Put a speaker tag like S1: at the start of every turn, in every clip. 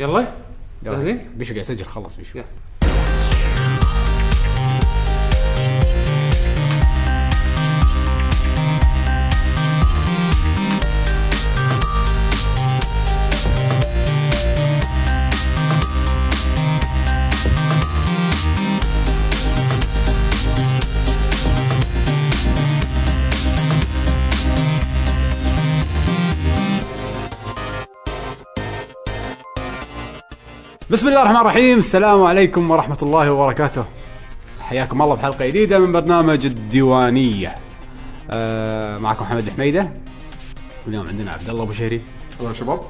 S1: يلا جاهزين؟
S2: بيشو قاعد يسجل خلص بيشو
S1: يلا.
S2: بسم الله الرحمن الرحيم السلام عليكم ورحمة الله وبركاته حياكم الله بحلقة جديدة من برنامج الديوانية آه معكم محمد الحميدة واليوم عندنا عبد الله ابو شهري
S3: هلا شباب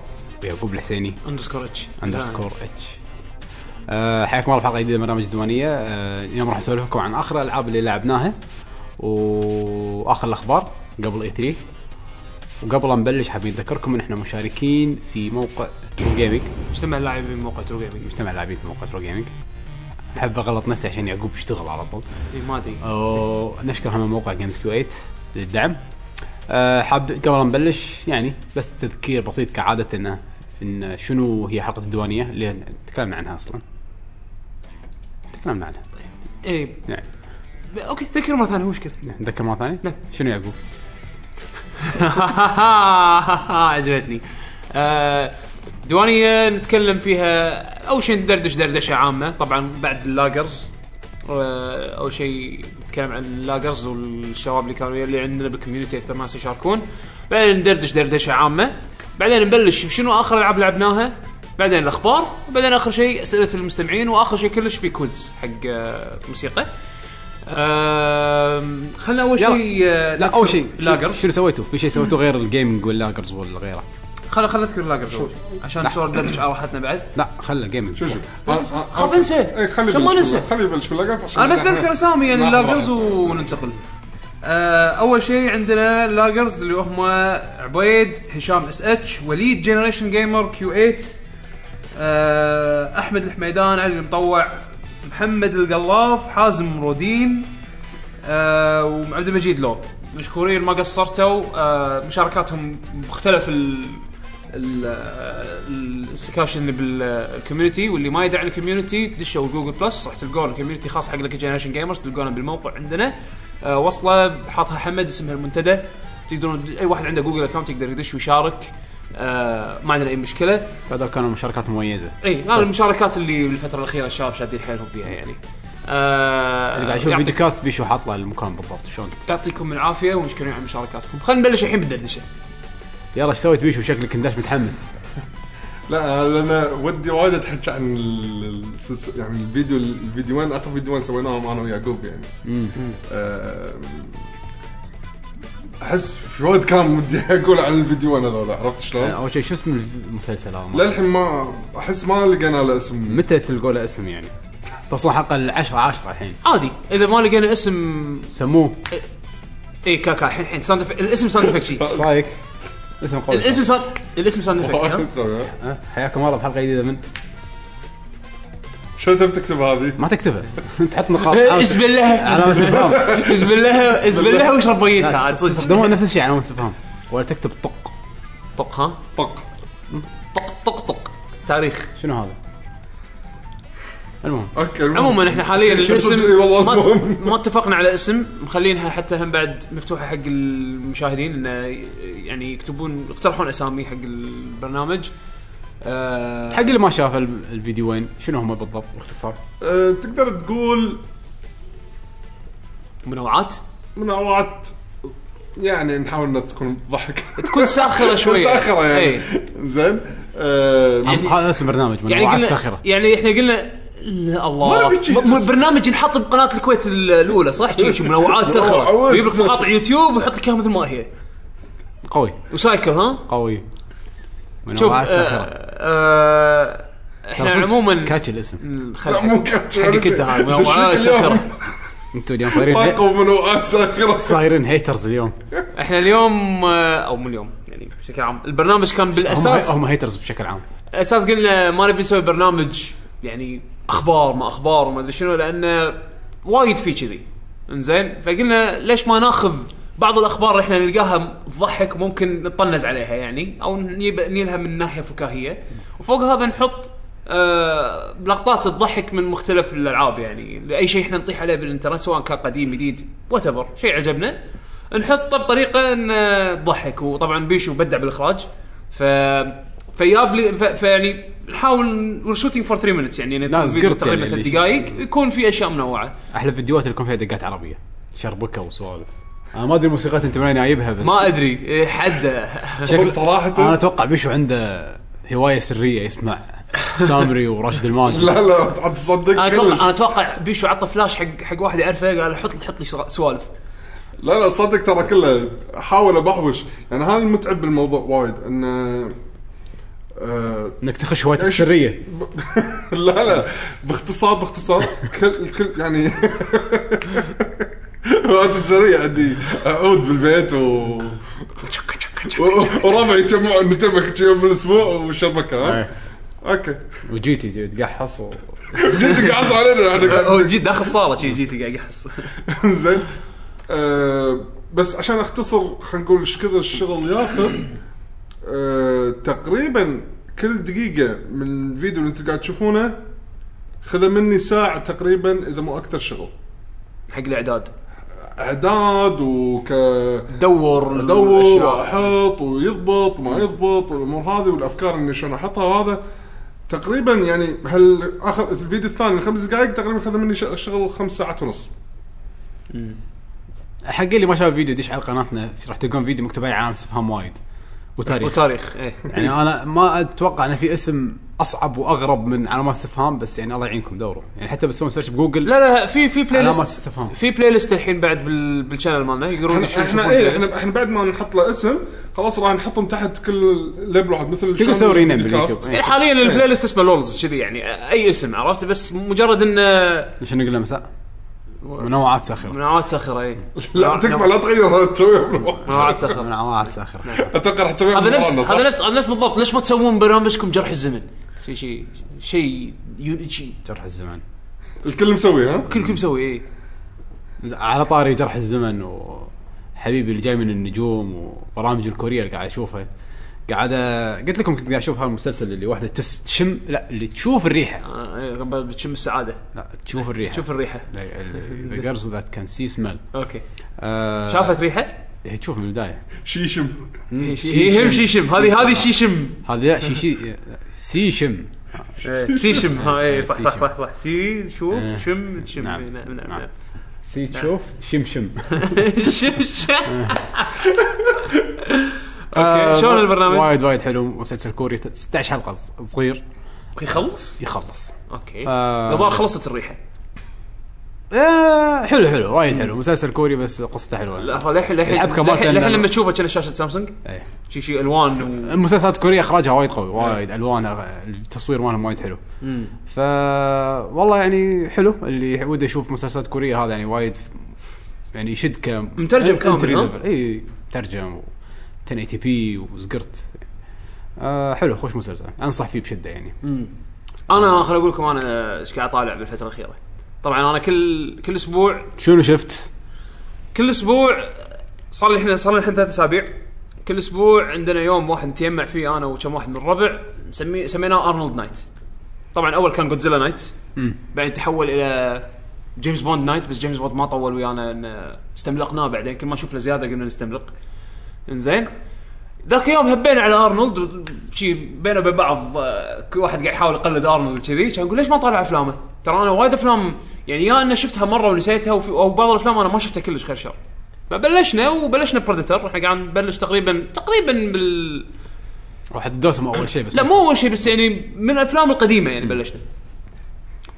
S2: ويعقوب الحسيني
S1: اندرسكور اتش
S2: اندرسكور اتش آه، حياكم الله بحلقه جديده من برنامج الديوانيه آه، اليوم راح نسولف لكم عن اخر الالعاب اللي لعبناها واخر الاخبار قبل اي 3 وقبل لا نبلش حابين نذكركم ان احنا مشاركين في موقع ترو جيمنج
S1: مجتمع اللاعبين موقع ترو جيمنج
S2: مجتمع لاعبين في موقع ترو جيمنج احب اغلط نفسي عشان يعقوب يشتغل على طول
S1: إي، إيه، ما
S2: آه.
S1: ادري
S2: أو نشكر هم موقع جيمز كيو 8 للدعم أه، حاب قبل ما نبلش يعني بس تذكير بسيط كعاده انه ان شنو هي حلقه الديوانيه اللي تكلمنا عنها اصلا تكلمنا عنها
S1: اي
S2: نعم
S1: إيه. ب- اوكي ذكر مره ثانيه مو مشكله
S2: نتذكر مره ثانيه؟
S1: نعم.
S2: شنو يعقوب؟
S1: عجبتني آه، ديوانيه نتكلم فيها اول شيء ندردش دردشه عامه طبعا بعد اللاجرز آه، اول شيء نتكلم عن اللاجرز والشباب اللي كانوا اللي عندنا بالكوميونتي اكثر ناس يشاركون بعدين ندردش دردشه عامه بعدين نبلش بشنو اخر العاب لعبناها بعدين الاخبار وبعدين اخر شيء اسئله المستمعين واخر شيء كلش في كويز حق آه، موسيقى آم، خلنا اول
S2: يلا.
S1: شيء آه،
S2: لا
S1: نذكر
S2: اول شيء شنو-
S1: لاجرز
S2: شنو سويتوا؟ في شيء سويتوه غير الجيمنج واللاجرز والغيره؟
S1: خل خل اذكر لاجرز اول شيء عشان نسولف ندردش على راحتنا بعد
S2: لا خلى الجيمنج
S3: شو شو
S1: خاف انسى. عشان
S3: عشان
S1: ما ننسى.
S3: إيه، خلي يبلش باللاجرز عشان
S1: انا بس بذكر اسامي يعني
S3: ما أخبر.
S1: اللاجرز وننتقل آه اول شيء عندنا اللاجرز اللي هم عبيد هشام اس اتش وليد جنريشن جيمر كيو 8 آه احمد الحميدان علي المطوع محمد القلاف حازم رودين آه وعبد المجيد لو مشكورين ما قصرتوا آه مشاركاتهم مختلف ال ال- السكاشن اللي بالكوميونتي واللي ما يدعي الكوميونتي دشوا جوجل بلس راح تلقون الكوميونتي خاص حق لك جنريشن جيمرز تلقونه بالموقع عندنا آه وصله حاطها حمد اسمها المنتدى تقدرون اي واحد عنده جوجل اكونت يقدر يدش ويشارك آه ما عندنا اي مشكله
S2: هذول كانوا مشاركات مميزه
S1: اي انا المشاركات اللي بالفتره الاخيره الشباب شادين حيلهم فيها يعني آه
S2: اللي قاعد اشوف
S1: يعطيك-
S2: فيديو كاست بيشو حاط له المكان بالضبط شلون
S1: يعطيكم العافيه ومشكورين على مشاركاتكم خلينا نبلش الحين بالدردشه
S2: يلا ايش سويت بيشو شكلك انداش متحمس
S3: لا انا ودي وايد اتحكى عن ال- ال- السلس- يعني الفيديو الفيديوين اخر فيديوين سويناهم انا ويعقوب يعني آه، احس في وايد كان ودي اقول عن الفيديوين هذول عرفت
S1: أه؟ إيه.
S3: شلون؟
S2: اول شيء شو اسم المسلسل هذا؟
S3: للحين ما احس ما لقينا له اسم
S2: متى تلقوا له اسم يعني؟ توصلون حلقه ال 10 10 الحين
S1: عادي اذا ما لقينا اسم
S2: سموه
S1: اي كاكا الحين الحين ساوند إف- الاسم ساوند افكت شي.
S2: ايش رايك؟ اسم قوي
S1: الاسم ساوند الاسم ساوند افكت ها؟
S2: ها؟ حياكم الله بحلقه جديده من
S3: شو تبي تكتب هذه؟
S2: ما تكتبها تحط نقاط
S1: إيه، اسم الله
S2: علامة استفهام
S1: اسم الله اسم الله واشرب ميتها
S2: لا،
S1: عاد صدق
S2: تستخدمون نفس الشيء علامة استفهام ولا تكتب طق
S1: طق ها
S3: طق
S1: طق طق طق تاريخ
S2: شنو هذا؟ المهم
S3: اوكي المهم.
S1: عموما احنا حاليا
S3: شو- شو-
S1: الاسم
S3: شو- والله
S1: ما,
S3: المهم.
S1: ما اتفقنا على اسم مخلينها حتى هم بعد مفتوحه حق المشاهدين انه ي- يعني يكتبون يقترحون اسامي حق البرنامج آه،
S2: حق اللي ما شاف ال- الفيديوين شنو هم بالضبط باختصار؟
S3: أه، تقدر تقول
S1: منوعات
S3: منوعات يعني نحاول انها تكون ضحك
S1: تكون ساخره شويه
S3: ساخره يعني
S1: إيه.
S3: زين آه،
S2: هم- هذا اسم برنامج
S1: يعني
S2: منوعات
S1: قلنا
S2: ساخرة
S1: يعني احنا قلنا لا
S3: ما
S1: الله
S3: نبي شي.
S1: ب- ب- برنامج ينحط بقناه الكويت ال- الاولى صح شي- شي منوعات سخره
S3: منوعات.
S1: ويجيب لك مقاطع يوتيوب ويحط لك اياها مثل ما هي
S2: قوي
S1: وسايكل ها
S2: قوي
S1: شوف
S2: منوعات ساخرة
S1: آه، آه، احنا
S2: ترى صدق
S1: عموما
S2: كاتش الاسم
S1: الخلق-
S3: لا مو كاتش
S1: حقك انت هاي منوعات
S3: دشيت اليوم.
S1: ساخره
S2: انتوا اليوم صايرين هي-
S3: طاقه منوعات ساخره
S2: صايرين هيترز اليوم
S1: احنا اليوم آه، او مو اليوم يعني بشكل عام البرنامج كان
S2: هم,
S1: بالاساس
S2: هم هيترز بشكل عام
S1: اساس قلنا ما نبي نسوي برنامج يعني اخبار ما اخبار وما ادري شنو لان وايد في كذي انزين فقلنا ليش ما ناخذ بعض الاخبار اللي احنا نلقاها تضحك وممكن نطنز عليها يعني او نجيب- نجيلها من ناحيه فكاهيه وفوق هذا نحط آه، لقطات تضحك من مختلف الالعاب يعني اي شيء احنا نطيح عليه بالانترنت سواء كان قديم جديد وات ايفر شيء عجبنا نحطه بطريقه ان آه، تضحك وطبعا بيشو بدع بالاخراج ف فياب لي ف... فيعني نحاول وير شوتينج فور 3 مينتس يعني
S2: لا، زقرت
S1: تقريبا
S2: يعني
S1: ثلاث
S2: اللي-
S1: دقائق يكون في اشياء منوعه
S2: احلى فيديوهات اللي يكون فيها دقات عربيه شربكه وسوالف انا ما ادري الموسيقات انت من وين جايبها بس
S1: ما ادري إيه، حد
S3: هو صراحة-
S2: انا اتوقع بيشو عنده هوايه سريه يسمع سامري وراشد الماجد
S3: لا لا ت- تصدق
S1: انا
S3: كلش.
S1: اتوقع انا اتوقع بيشو عطى فلاش حق حق واحد يعرفه قال حط لي حط لي سوالف
S3: لا لا صدق ترى كله احاول ابحوش يعني هذا المتعب بالموضوع وايد انه آه،
S2: انك تخش هوايتك
S3: إيش؟
S2: السريه
S3: لا لا باختصار باختصار كل كل يعني وقت السريع عندي اعود بالبيت و و- وربعي يجمعوا نتبك يوم بالاسبوع وشبكه ها؟
S2: إيه.
S3: اوكي
S2: وجيتي جي- تقحص و-
S3: جيت قاعد علينا احنا قاعد-
S1: هو جيت داخل الصاله شي جيت قاعد احس
S3: زين آه، بس عشان اختصر خلينا نقول ايش كثر الشغل ياخذ آه، تقريبا كل دقيقة من الفيديو اللي انتم قاعد تشوفونه خذ مني ساعة تقريبا اذا مو اكثر شغل
S1: حق الاعداد
S3: اعداد وك
S1: دور
S3: ادور
S1: الأشياء.
S3: واحط ويضبط وما يضبط والامور هذه والافكار اني شلون احطها وهذا تقريبا يعني هل اخر الفيديو الثاني الخمس دقائق تقريبا خذ مني ش- شغل خمس ساعات ونص
S2: حق اللي ما شاف الفيديو دش على قناتنا راح تلقون فيديو مكتوب عليه علامه استفهام وايد وتاريخ
S1: وتاريخ ايه
S2: يعني انا ما اتوقع ان في اسم اصعب واغرب من علامات استفهام بس يعني الله يعينكم دوروا يعني حتى بتسوون سيرش بجوجل
S1: لا لا في في بلاي
S2: علامات
S1: ليست
S2: استفهام
S1: في بلاي ليست الحين بعد بال... بالشانل مالنا يقدرون
S3: احنا
S1: يشوفون
S3: احنا,
S1: البلاي
S3: ايه
S2: إيه،
S3: احنا,
S1: ليست.
S3: احنا بعد ما نحط له اسم خلاص راح نحطهم تحت كل ليبل واحد مثل شلون
S2: تسوي رينيم
S3: الفيديو
S2: باليوتيوب.
S3: كاست.
S2: ايه.
S1: يعني حاليا البلاي ليست اسمه لولز كذي يعني اي اسم عرفت بس مجرد انه
S2: ليش نقول له مساء منوعات ساخره
S1: منوعات ساخره اي
S3: لا تكفى لا تغير تسويها
S1: منوعات ساخره
S2: منوعات ساخره
S3: اتوقع راح تسويها
S1: هذا نفس
S3: بالمقارنة، صح؟
S1: هذا نفس هذا نفس بالضبط ليش ما تسوون برنامجكم جرح الزمن؟ شيء شيء شيء يونيتشي
S2: جرح الزمن
S3: الكل مسوي ها
S1: كلكم مسوي ايه
S2: على طاري جرح الزمن وحبيبي اللي جاي من النجوم وبرامج الكوريه اللي قاعد اشوفها قاعد أ- قلت لكم كنت قاعد اشوف هالمسلسل اللي واحده تس تشم لا اللي تشوف الريحه
S1: أنا- إيه، بتشم السعاده
S2: لا تشوف الريحه
S1: تشوف الريحه
S2: ذا جيرلز ذات كان سي سمل
S1: اوكي شافت ريحه؟
S2: تشوف آه، من البدايه
S3: شيشم
S1: هم شيشم هذه هذه شيشم
S2: هذا لا شي شي سي شم
S1: سيشم إيه، ها اي صح
S2: سيشم.
S1: صح صح صح سي شوف
S2: إيه.
S1: شم شم
S2: نعم.
S1: إيه، نعم
S2: نعم.
S1: نعم
S2: سي تشوف شم شم
S1: شم شم اوكي شلون البرنامج؟
S2: آه، وايد وايد حلو مسلسل كوري 16 حلقه صغير
S1: يخلص؟
S2: يخلص
S1: اوكي
S2: آه.
S1: غبار خلصت الريحه
S2: آه، حلو حلو وايد حلو مسلسل كوري بس قصته حلوه
S1: لا للحين
S2: الحبكة
S1: للحين
S2: مالته
S1: للحين-
S2: إن-
S1: للحين لما تشوفها كان شاشه سامسونج
S2: إيه.
S1: شي شي الوان و...
S2: المسلسلات الكوريه اخراجها وايد قوي وايد الوانها التصوير مالهم وايد حلو ف والله يعني حلو اللي وده يشوف مسلسلات كوريه هذا يعني وايد يعني يشد ك
S1: مترجم كامل، ها؟
S2: اي مترجم و 1080 تي بي وزقرت آه حلو خوش مسلسل انصح فيه بشده يعني
S1: انا خل اقول لكم انا ايش قاعد اطالع بالفتره الاخيره طبعا انا كل كل اسبوع
S2: شنو شفت؟
S1: كل اسبوع صار لي احنا صار لي الحين ثلاث اسابيع كل اسبوع عندنا يوم واحد نتيمع فيه انا وكم واحد من الربع مسمي سميناه ارنولد نايت طبعا اول كان جودزيلا نايت بعدين تحول الى جيمس بوند نايت بس جيمس بوند ما طول ويانا ان استملقناه بعدين كل ما نشوف له زياده قلنا نستملق انزين ذاك اليوم هبينا على ارنولد شي بينا وبين بعض آه، كل واحد قاعد يحاول يقلد ارنولد كذي كان يقول ليش ما طالع افلامه؟ ترى انا وايد افلام يعني يا انا شفتها مره ونسيتها وفي او بعض الافلام انا ما شفتها كلش خير شر. فبلشنا وبلشنا بريدتر احنا قاعد نبلش تقريبا تقريبا بال
S2: راح تدوسهم اول شيء بس
S1: لا مو اول شيء بس يعني من الافلام القديمه يعني بلشنا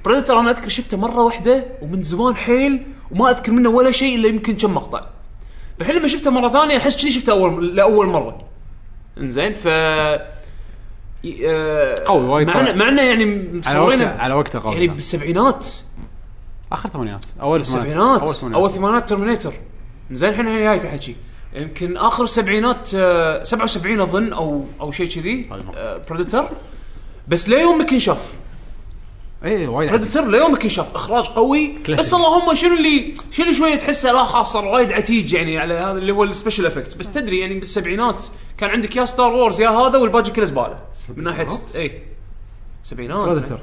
S1: بريدتر انا اذكر شفته مره واحده ومن زمان حيل وما اذكر منه ولا شيء الا يمكن كم مقطع الحين لما شفته مره ثانيه احس كذي شفته اول لاول مره انزين ف ي- آه،
S2: قوي وايد
S1: معنا
S2: قوي.
S1: معنا يعني
S2: على وقته
S1: مصورينه
S2: على وقته قوي
S1: يعني
S2: يعني
S1: بالسبعينات
S2: اخر ثمانينات اول
S1: السبعينات
S2: اول
S1: اول
S2: ثمانينات
S1: ثمانينات ترمينيتر زين الحين انا جاي احكي يمكن اخر سبعينات آه، 77 اظن او او شيء كذي
S2: هذا المقطع.
S1: بريدتر بس ليومك ينشاف
S2: اي إيه، وايد عديد.
S1: بريدتر ليومك ينشاف اخراج قوي
S2: كلاسيك.
S1: بس اللهم شنو اللي شنو اللي شويه تحسه لا خلاص صار وايد عتيج يعني على هذا اللي هو السبيشل افكت بس تدري يعني بالسبعينات كان عندك يا ستار وورز يا هذا والباقي كله زباله من ناحيه
S3: سبعينات؟
S1: اي سبعينات إيه،
S2: بروجكتر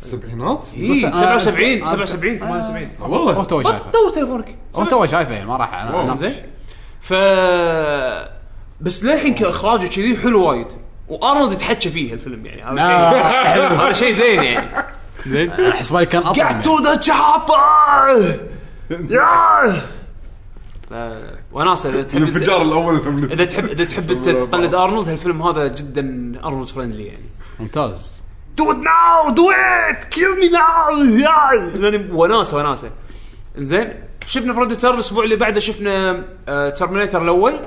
S3: سبعينات؟
S1: اي
S2: بس أنا-
S1: 77
S2: أنا-
S1: 77 78
S3: آه،
S2: هو
S3: والله
S2: تو
S1: بط-
S2: شايفه
S1: دور تليفونك
S2: هو تو شايفه يعني ما راح
S3: واو،
S2: انا
S1: زين ف بس للحين كاخراج وكذي حلو وايد وارنولد يتحكى فيه الفيلم يعني هذا
S2: نعم.
S1: شيء- هذا شيء زين يعني
S2: آه، زين احس بالي كان اطول
S1: get
S2: يعني.
S1: to the chopper يا ف- وناسه اذا تحب
S3: الانفجار الاول من-
S1: اذا تحب اذا تحب أنت تقلد ارنولد هالفيلم هذا جدا ارنولد فريندلي يعني
S2: ممتاز
S1: دو ات ناو دو ات كيل مي ناو يعني وناسه وناسه انزين شفنا بريدتر الاسبوع اللي بعده شفنا ترمينيتر الاول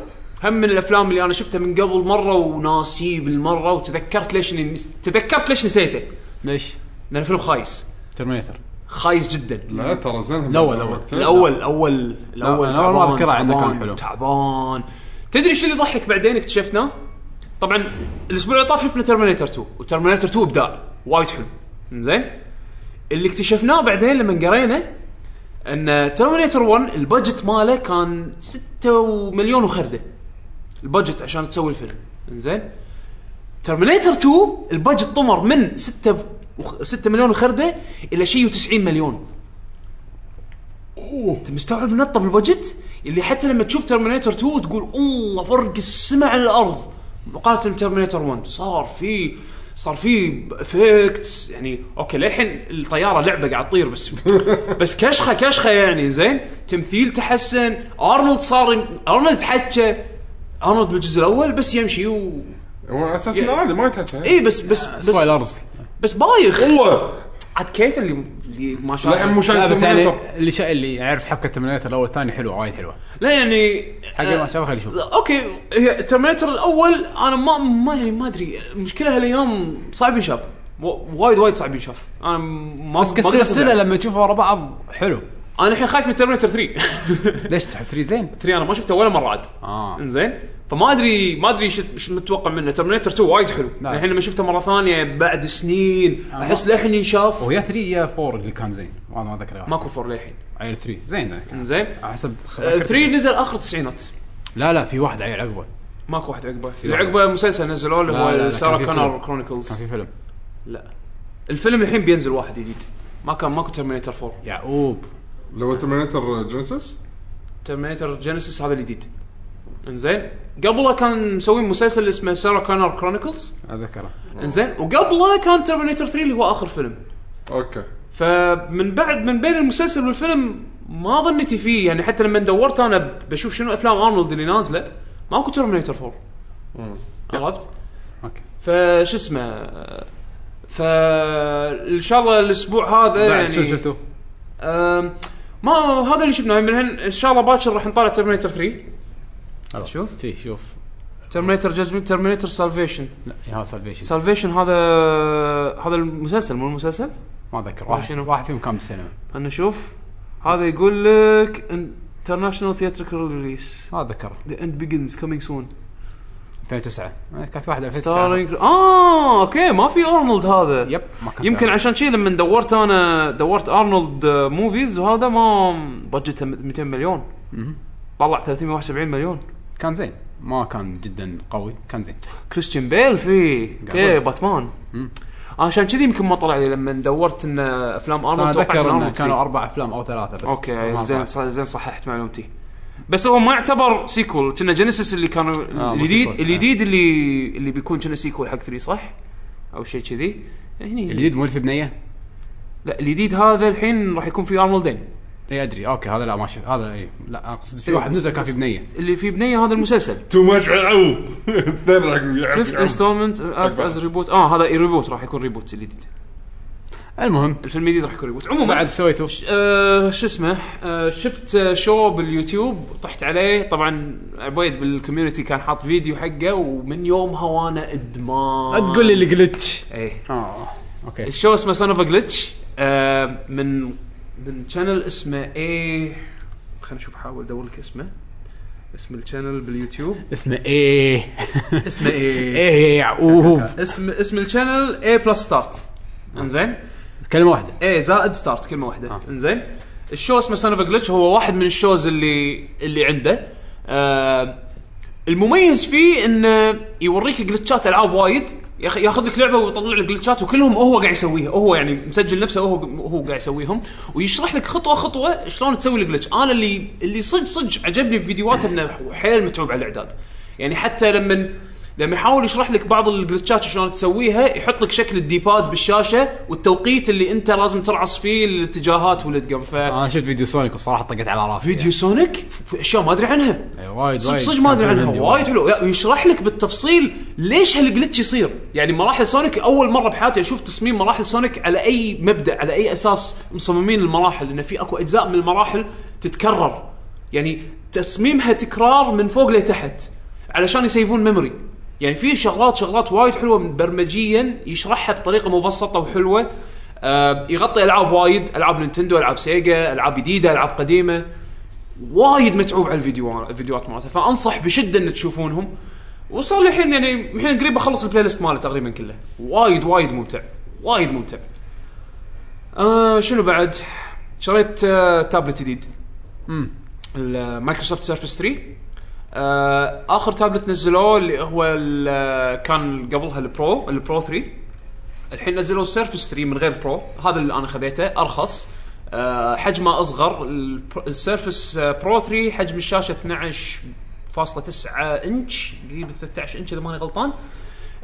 S1: هم من الافلام اللي انا شفتها من قبل مره وناسيه بالمره وتذكرت ليش إني- تذكرت ليش نسيته
S2: ليش؟
S1: لان الفيلم خايس
S2: ترمينيتر
S1: خايس جدا
S3: لا ترى زين
S2: الأول، الأول.
S1: الاول الاول الاول
S2: أنا أول مرة
S1: تعبان،
S2: أذكره عنده كان
S1: تعبان،
S2: حلو.
S1: تعبان تدري شو اللي ضحك بعدين اكتشفناه؟ طبعا الاسبوع اللي طاف شفنا ترمينيتر 2 وترمينيتر 2 ابداع وايد حلو زين اللي اكتشفناه بعدين لما قرينا ان ترمينيتر 1 البادجت ماله كان 6 مليون وخرده البادجت عشان تسوي الفيلم زين ترمينيتر 2 البادجت طمر من 6 6 مليون وخرده الى شيء و90 مليون اوه انت مستوعب نطه بالبادجت اللي حتى لما تشوف ترمينيتر 2 تقول الله فرق السماء عن الارض مقارنه بترمينيتر 1 صار في صار في افكتس يعني اوكي للحين الطياره لعبه قاعد تطير بس بس كشخه كشخه يعني زين تمثيل تحسن ارنولد صار يم- ارنولد حكى ارنولد بالجزء الاول بس يمشي و
S3: هو على اساس انه عادي ما يتحكى
S1: اي بس بس بس
S2: سبويلرز
S1: بس بايخ
S3: والله
S1: عاد كيف اللي اللي ما شاف
S3: للحين مو
S2: لا
S3: شايف
S2: بس
S3: Terminator.
S2: يعني اللي شا... اللي يعرف حبكه ترمينيتر الاول الثاني حلوه وايد حلوه
S1: لا يعني
S2: حق اللي ما شافه خليه يشوف
S1: لا، اوكي هي ترمينيتر الاول انا ما ما يعني ما ادري المشكله هالايام صعب ينشاف و- وايد وايد صعب ينشاف انا ما
S2: بس
S1: ما أقدر
S2: كسلسله
S1: أتابع.
S2: لما تشوفها ورا بعض حلو
S1: انا الحين خايف من ترمينيتر 3
S2: ليش تحب ثري زين؟
S1: 3 انا ما شفته ولا مره عاد
S2: اه
S1: انزين فما ادري ما ادري شو- شو متوقع منه ترمينيتر 2 وايد حلو
S2: نعم. آه.
S1: الحين لما شفته مره ثانيه بعد سنين احس للحين ينشاف
S2: ويا 3 يا 4 اللي كان زين والله ما اذكر
S1: ماكو فور للحين
S2: عيل 3 زين ذاك.
S1: انزين
S2: على حسب
S1: آه، 3
S2: ذكرت.
S1: نزل اخر التسعينات
S2: لا لا في واحد عيل عقبه
S1: ماكو واحد عقبه اللي
S2: لا.
S1: عقبه مسلسل نزلوه اللي
S2: لا، لا، لا،
S1: هو
S2: كان
S1: سارة
S2: في
S1: كونر
S2: فيلم. كان
S1: كرونيكلز
S2: في فيلم
S1: لا الفيلم الحين بينزل واحد جديد ما كان ماكو ترمينيتر 4
S2: يعقوب
S3: لو ترمينيتر جينيسيس
S1: ترمينيتر جينيسيس هذا الجديد انزين قبله كان مسوين مسلسل اسمه سارة كونر كرونيكلز
S2: اذكره
S1: انزين وقبله كان ترمينيتر 3 اللي هو اخر فيلم
S3: اوكي
S1: فمن بعد من بين المسلسل والفيلم ما ظنيتي فيه يعني حتى لما دورت انا بشوف شنو افلام ارنولد اللي نازله ماكو ترمينيتر 4 عرفت؟
S2: اوكي
S1: فش اسمه فان شاء الله الاسبوع هذا
S2: بعد
S1: يعني
S2: شو شفتوا؟
S1: أم، ما هذا اللي شفناه من هن ان شاء الله باكر راح نطالع ترمينيتر 3 إيه، شوف.
S2: شي شوف
S1: ترمينيتر جادجمنت ترمينيتر سالفيشن
S2: لا يا سالفيشن
S1: سالفيشن هذا هذا المسلسل مو المسلسل
S2: ما اذكر واحد
S1: شنو؟
S2: واحد فيهم كان بالسينما
S1: خلينا نشوف هذا يقول لك انترناشونال ثياتريكال ريليس
S2: ما اتذكره
S1: ذا اند بيجنز كومينج سون
S2: 2009 آه، كان في واحد 2009
S1: ستارينج اه اوكي ما في ارنولد هذا
S2: يب ما كان
S1: يمكن
S2: في
S1: عشان شي لما دورت انا دورت ارنولد آه، موفيز وهذا ما بجته 200 مليون
S2: مهم.
S1: طلع 371 مليون
S2: كان زين ما كان جدا قوي كان زين
S1: كريستيان بيل فيه اوكي
S2: قاعد.
S1: باتمان آه،
S2: مم.
S1: عشان كذي يمكن ما طلع لي لما دورت ان افلام
S2: انا
S1: ارنولد توقعت
S2: اتذكر
S1: إن
S2: انه
S1: أرنولد
S2: كانوا
S1: فيه.
S2: اربع افلام او ثلاثه بس ما
S1: اوكي زين
S2: أتذكر.
S1: صح- زين صححت معلومتي بس هو ما يعتبر سيكول كنا جينيسيس اللي كانوا
S2: آه، مو
S1: الجديد
S2: سيكول.
S1: الجديد اللي اللي بيكون كنا سيكول حق 3 صح؟ او شيء كذي هني
S2: الجديد مو اللي في بنيه؟
S1: لا الجديد هذا الحين راح يكون فيه ارنولدين
S2: اي ادري اوكي إيه، هذا لا ما شفت هذا اي لا أنا اقصد في
S1: إيه،
S2: واحد
S1: بس-
S2: نزل كان في
S1: بس-
S2: بنيه
S1: اللي فيه بنيه هذا المسلسل
S3: تو ماتش عو الثاني راح يلعب
S1: فيفث انستولمنت اكت
S3: أكبر.
S1: از ريبوت اه هذا ريبوت راح يكون ريبوت الجديد
S2: المهم
S1: الفيلم الجديد راح يكون ريبوت عموما
S2: بعد سويته
S1: ش- آه، شو اسمه آه، شفت آه، شو باليوتيوب طحت عليه طبعا عبيد بالكوميونتي كان حاط فيديو حقه ومن يومها وانا ادمان
S2: لا تقول لي الجلتش
S1: ايه
S2: اه اوكي
S1: الشو اسمه سون اوف جلتش آه، من من شانل اسمه اي خلينا نشوف احاول ادور لك اسمه اسم الشانل باليوتيوب
S2: اسمه ايه
S1: اسمه اي
S2: ايه يعقوب
S1: اسم اسم الشانل اي بلس ستارت
S2: آه.
S1: انزين
S2: كلمه واحده
S1: ايه زائد ستارت كلمه واحده آه.
S2: آه.
S1: انزين الشو اسمه سان اوف جلتش هو واحد من الشوز اللي اللي عنده آه المميز فيه انه يوريك جلتشات العاب وايد يا اخي ياخذ لك لعبه ويطلع لك جلتشات وكلهم هو قاعد يسويها هو يعني مسجل نفسه هو هو قاعد يسويهم ويشرح لك خطوه خطوه شلون تسوي الجلتش انا اللي اللي صدق صدق عجبني في فيديوهاته انه حيل متعوب على الاعداد يعني حتى لما لما يحاول يشرح لك بعض الجلتشات شلون تسويها يحط لك شكل الديباد بالشاشه والتوقيت اللي انت لازم ترعص فيه الاتجاهات والاتجاه ف
S2: انا شفت فيديو سونيك وصراحه طقت على راسي
S1: فيديو سونيك في اشياء ما ادري عنها
S2: يعني. وايد
S1: صدق
S2: وايد
S1: صدق ما ادري
S2: كان
S1: عنها
S2: عندي
S1: وايد حلو لا، يشرح لك بالتفصيل ليش هالجلتش يصير يعني مراحل سونيك اول مره بحياتي اشوف تصميم مراحل سونيك على اي مبدا على اي اساس مصممين المراحل لان في اكو اجزاء من المراحل تتكرر يعني تصميمها تكرار من فوق لتحت علشان يسيفون ميموري يعني في شغلات شغلات وايد حلوه من برمجيا يشرحها بطريقه مبسطه وحلوه آه، يغطي العاب وايد العاب نينتندو العاب سيجا العاب جديده العاب قديمه وايد متعوب على الفيديو الفيديوهات مالته فانصح بشده ان تشوفونهم وصار لي الحين يعني الحين قريب اخلص البلاي ليست ماله تقريبا كله وايد وايد ممتع وايد ممتع آه شنو بعد شريت آه تابلت جديد
S2: مم.
S1: المايكروسوفت سيرفس 3 آه اخر تابلت نزلوه اللي هو ال- كان قبلها البرو البرو 3 الحين نزلوا السيرفس 3 من غير برو هذا اللي انا خذيته ارخص آه حجمه اصغر البر- السيرفس آه، برو 3 حجم الشاشه 12.9 انش قريب ال 13 انش اذا ماني غلطان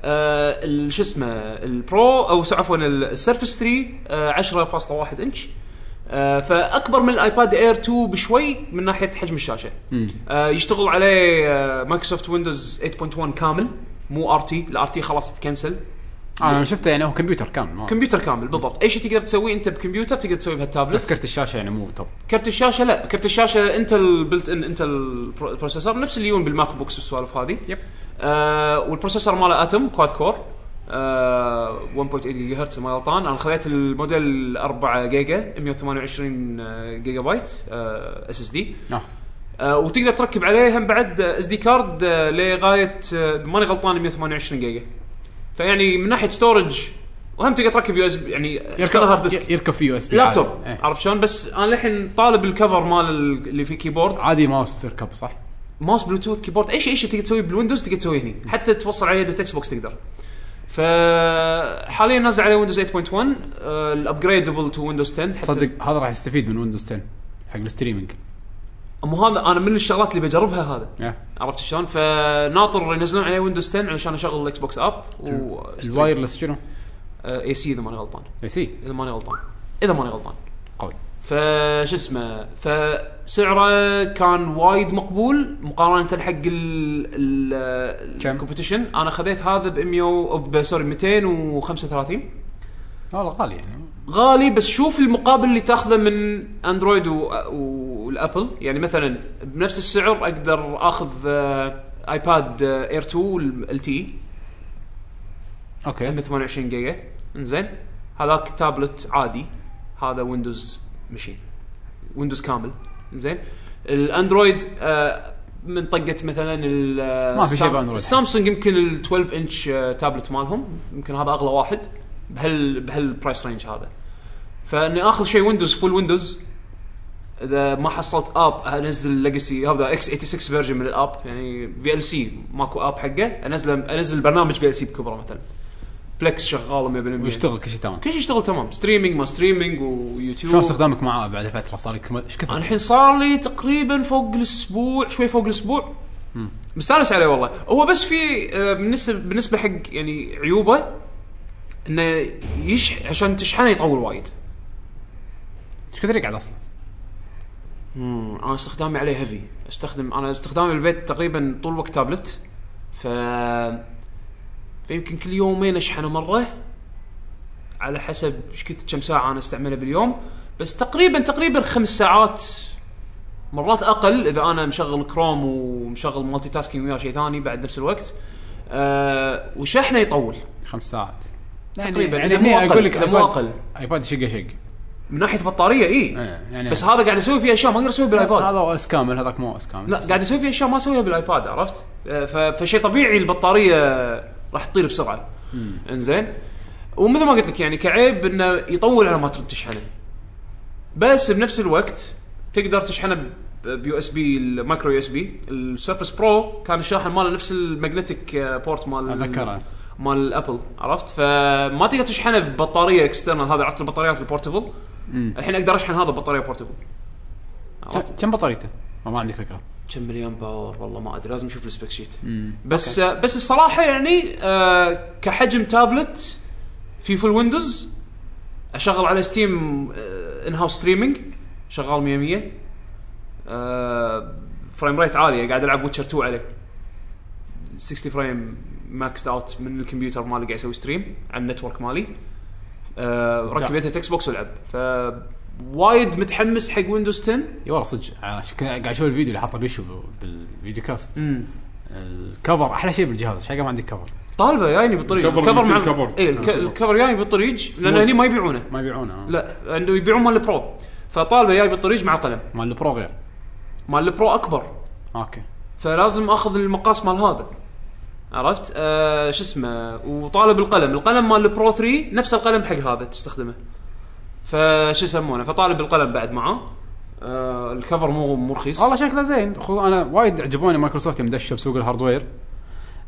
S1: آه ال- شو اسمه البرو او س- عفوا السيرفس 3 آه 10.1 انش آه فاكبر من الايباد اير 2 بشوي من ناحيه حجم الشاشه آه يشتغل عليه آه مايكروسوفت ويندوز 8.1 كامل مو ار تي الار تي خلاص تكنسل
S2: انا شفته يعني هو كمبيوتر كان ما-
S1: كمبيوتر كامل بالضبط اي شيء تقدر تسويه انت بكمبيوتر تقدر تسويه
S2: بس
S1: بهالتابلت
S2: كرت الشاشه يعني مو توب
S1: كرت الشاشه لا كرت الشاشه انت البلت ان انت البروسيسور نفس اللي يجون بالماك بوكس والسوالف هذه
S2: يب.
S1: آه والبروسيسور ماله اتم كواد كور آه 1.8 جيجا هرتز ما غلطان انا خذيت الموديل 4 جيجا 128 جيجا بايت اس اس دي
S2: اه
S1: آه، وتقدر تركب عليه هم بعد اس دي كارد آه، لغايه آه، إذا ماني غلطان 128 جيجا فيعني من ناحيه ستورج وهم تقدر تركب يو اس يعني external hard disk.
S2: يركب في يو اس بي
S1: لابتوب
S2: عادي. إيه.
S1: عرفت شلون بس انا للحين طالب الكفر مال ال- اللي في كيبورد
S2: عادي ماوس تركب صح؟
S1: ماوس بلوتوث كيبورد اي شيء اي شيء تقدر تسويه بالويندوز تقدر تسويه هني حتى توصل على يد اكس بوكس تقدر ف حاليا نازل على ويندوز 8.1 آه، الابجريدبل تو ويندوز 10 حتى
S2: تصدق هذا راح يستفيد من ويندوز 10 حق الستريمنج
S1: مو هذا انا من الشغلات اللي بجربها هذا
S2: يا.
S1: عرفت شلون؟ فناطر ينزلون عليه ويندوز 10 علشان اشغل الاكس بوكس اب و آه،
S2: الوايرلس شنو؟
S1: اي سي اذا ماني غلطان
S2: اي سي
S1: اذا ماني غلطان اذا ماني غلطان
S2: قوي
S1: فش اسمه فسعره كان وايد مقبول مقارنه حق ال
S2: كم؟
S1: الكومبيتيشن انا خذيت هذا ب 100 ب- سوري 235
S2: والله غالي يعني
S1: غالي بس شوف المقابل اللي تاخذه من اندرويد و... والابل يعني مثلا بنفس السعر اقدر اخذ آه، ايباد آه، اير 2 ال تي
S2: اوكي
S1: 128 جيجا انزين هذاك تابلت عادي هذا ويندوز مشين ويندوز كامل انزين الاندرويد آه، من طقه مثلا ال-
S2: ما في شيء
S1: السام-
S2: باندرويد.
S1: السامسونج يمكن ال 12 انش آه، تابلت مالهم يمكن هذا اغلى واحد بهال بهالبرايس رينج هذا فاني اخذ شيء ويندوز فول ويندوز اذا ما حصلت اب انزل ليجسي هذا اكس 86 فيرجن من الاب يعني في ال سي ماكو اب حقه انزله انزل برنامج في ال سي بكبره مثلا بلكس شغال 100%
S2: ويشتغل كل شيء تمام
S1: كل شيء يشتغل تمام ستريمينج ما ستريمينج ويوتيوب
S2: شلون استخدامك معاه بعد فتره صار لك ايش
S1: انا
S2: كثر؟
S1: الحين صار لي تقريبا فوق الاسبوع شوي فوق الاسبوع مستانس عليه والله هو بس في آه، بالنسبه بالنسبه حق يعني عيوبه انه يش عشان تشحنه يطول وايد
S2: ايش كثر يقعد اصلا؟
S1: مم، انا استخدامي عليه هيفي استخدم انا استخدامي بالبيت تقريبا طول الوقت تابلت ف فيمكن كل يومين اشحنه مره على حسب ايش كنت كم ساعه انا استعمله باليوم بس تقريبا تقريبا خمس ساعات مرات اقل اذا انا مشغل كروم ومشغل مالتي تاسكينج ويا شيء ثاني بعد نفس الوقت أه وشحنه يطول
S2: خمس ساعات
S1: تقريبا،
S2: يعني
S1: إذا مو
S2: هني
S1: أقل،
S2: اقول لك
S1: إذا مو
S2: ايباد-
S1: أقل.
S2: ايباد شقه شق
S1: من ناحيه بطاريه اي
S2: إيه، يعني
S1: بس هذا قاعد اسوي فيه اشياء ما اقدر اسويها بالايباد
S2: هذا او اس كامل هذاك مو او اس كامل
S1: لا
S2: بس-
S1: قاعد يسوي في اشياء ما اسويها بالايباد عرفت؟ آه، ف- فشيء طبيعي البطاريه راح تطير بسرعه. انزين ومثل ما قلت لك يعني كعيب انه يطول على ما ترد تشحنه. بس بنفس الوقت تقدر تشحنه بيو اس بي المايكرو يو اس بي السيرفس برو كان الشاحن ماله نفس الماجنتيك آه، بورت مال
S2: أتذكره.
S1: مال ابل عرفت فما تقدر تشحنه ببطاريه اكسترنال هذا عرفت البطاريات البورتبل الحين اقدر اشحن هذا ببطاريه بورتبل عرفت
S2: كم بطاريته؟ ما, ما عندي فكره
S1: كم مليون باور والله ما ادري لازم اشوف السبيك شيت بس آه بس الصراحه يعني آه كحجم تابلت في فول ويندوز اشغل على ستيم آه ان هاوس ستريمينج شغال 100 100 آه فريم ريت عاليه قاعد العب ويتشر 2 عليه 60 فريم ماكس اوت من الكمبيوتر مالي قاعد يسوي ستريم على النتورك مالي آه ركبتها تكس بوكس والعب ف وايد متحمس حق ويندوز 10
S2: اي والله صدق عش- كنت قاعد اشوف الفيديو اللي حاطه بيشو ب- بالفيديو كاست الكفر احلى شيء بالجهاز شقة ما عندي كفر
S1: طالبه جايني يعني بالطريق
S3: الكفر
S1: الكفر
S3: في
S1: مع إيه،
S3: الكفر.
S1: اي الك... الكفر جاي يعني بالطريق لان هني ما يبيعونه
S2: ما يبيعونه
S1: لا عنده يبيعون مال البرو فطالبه جاي بالطريق مع قلم
S2: مال البرو غير
S1: مال البرو اكبر
S2: اوكي
S1: فلازم اخذ المقاس مال هذا عرفت آه شو اسمه وطالب القلم القلم مال البرو 3 نفس القلم حق هذا تستخدمه فشو يسمونه فطالب القلم بعد معاه آه الكفر مو مو رخيص
S2: والله شكله زين خو- انا وايد عجبوني مايكروسوفت يوم دشوا بسوق الهاردوير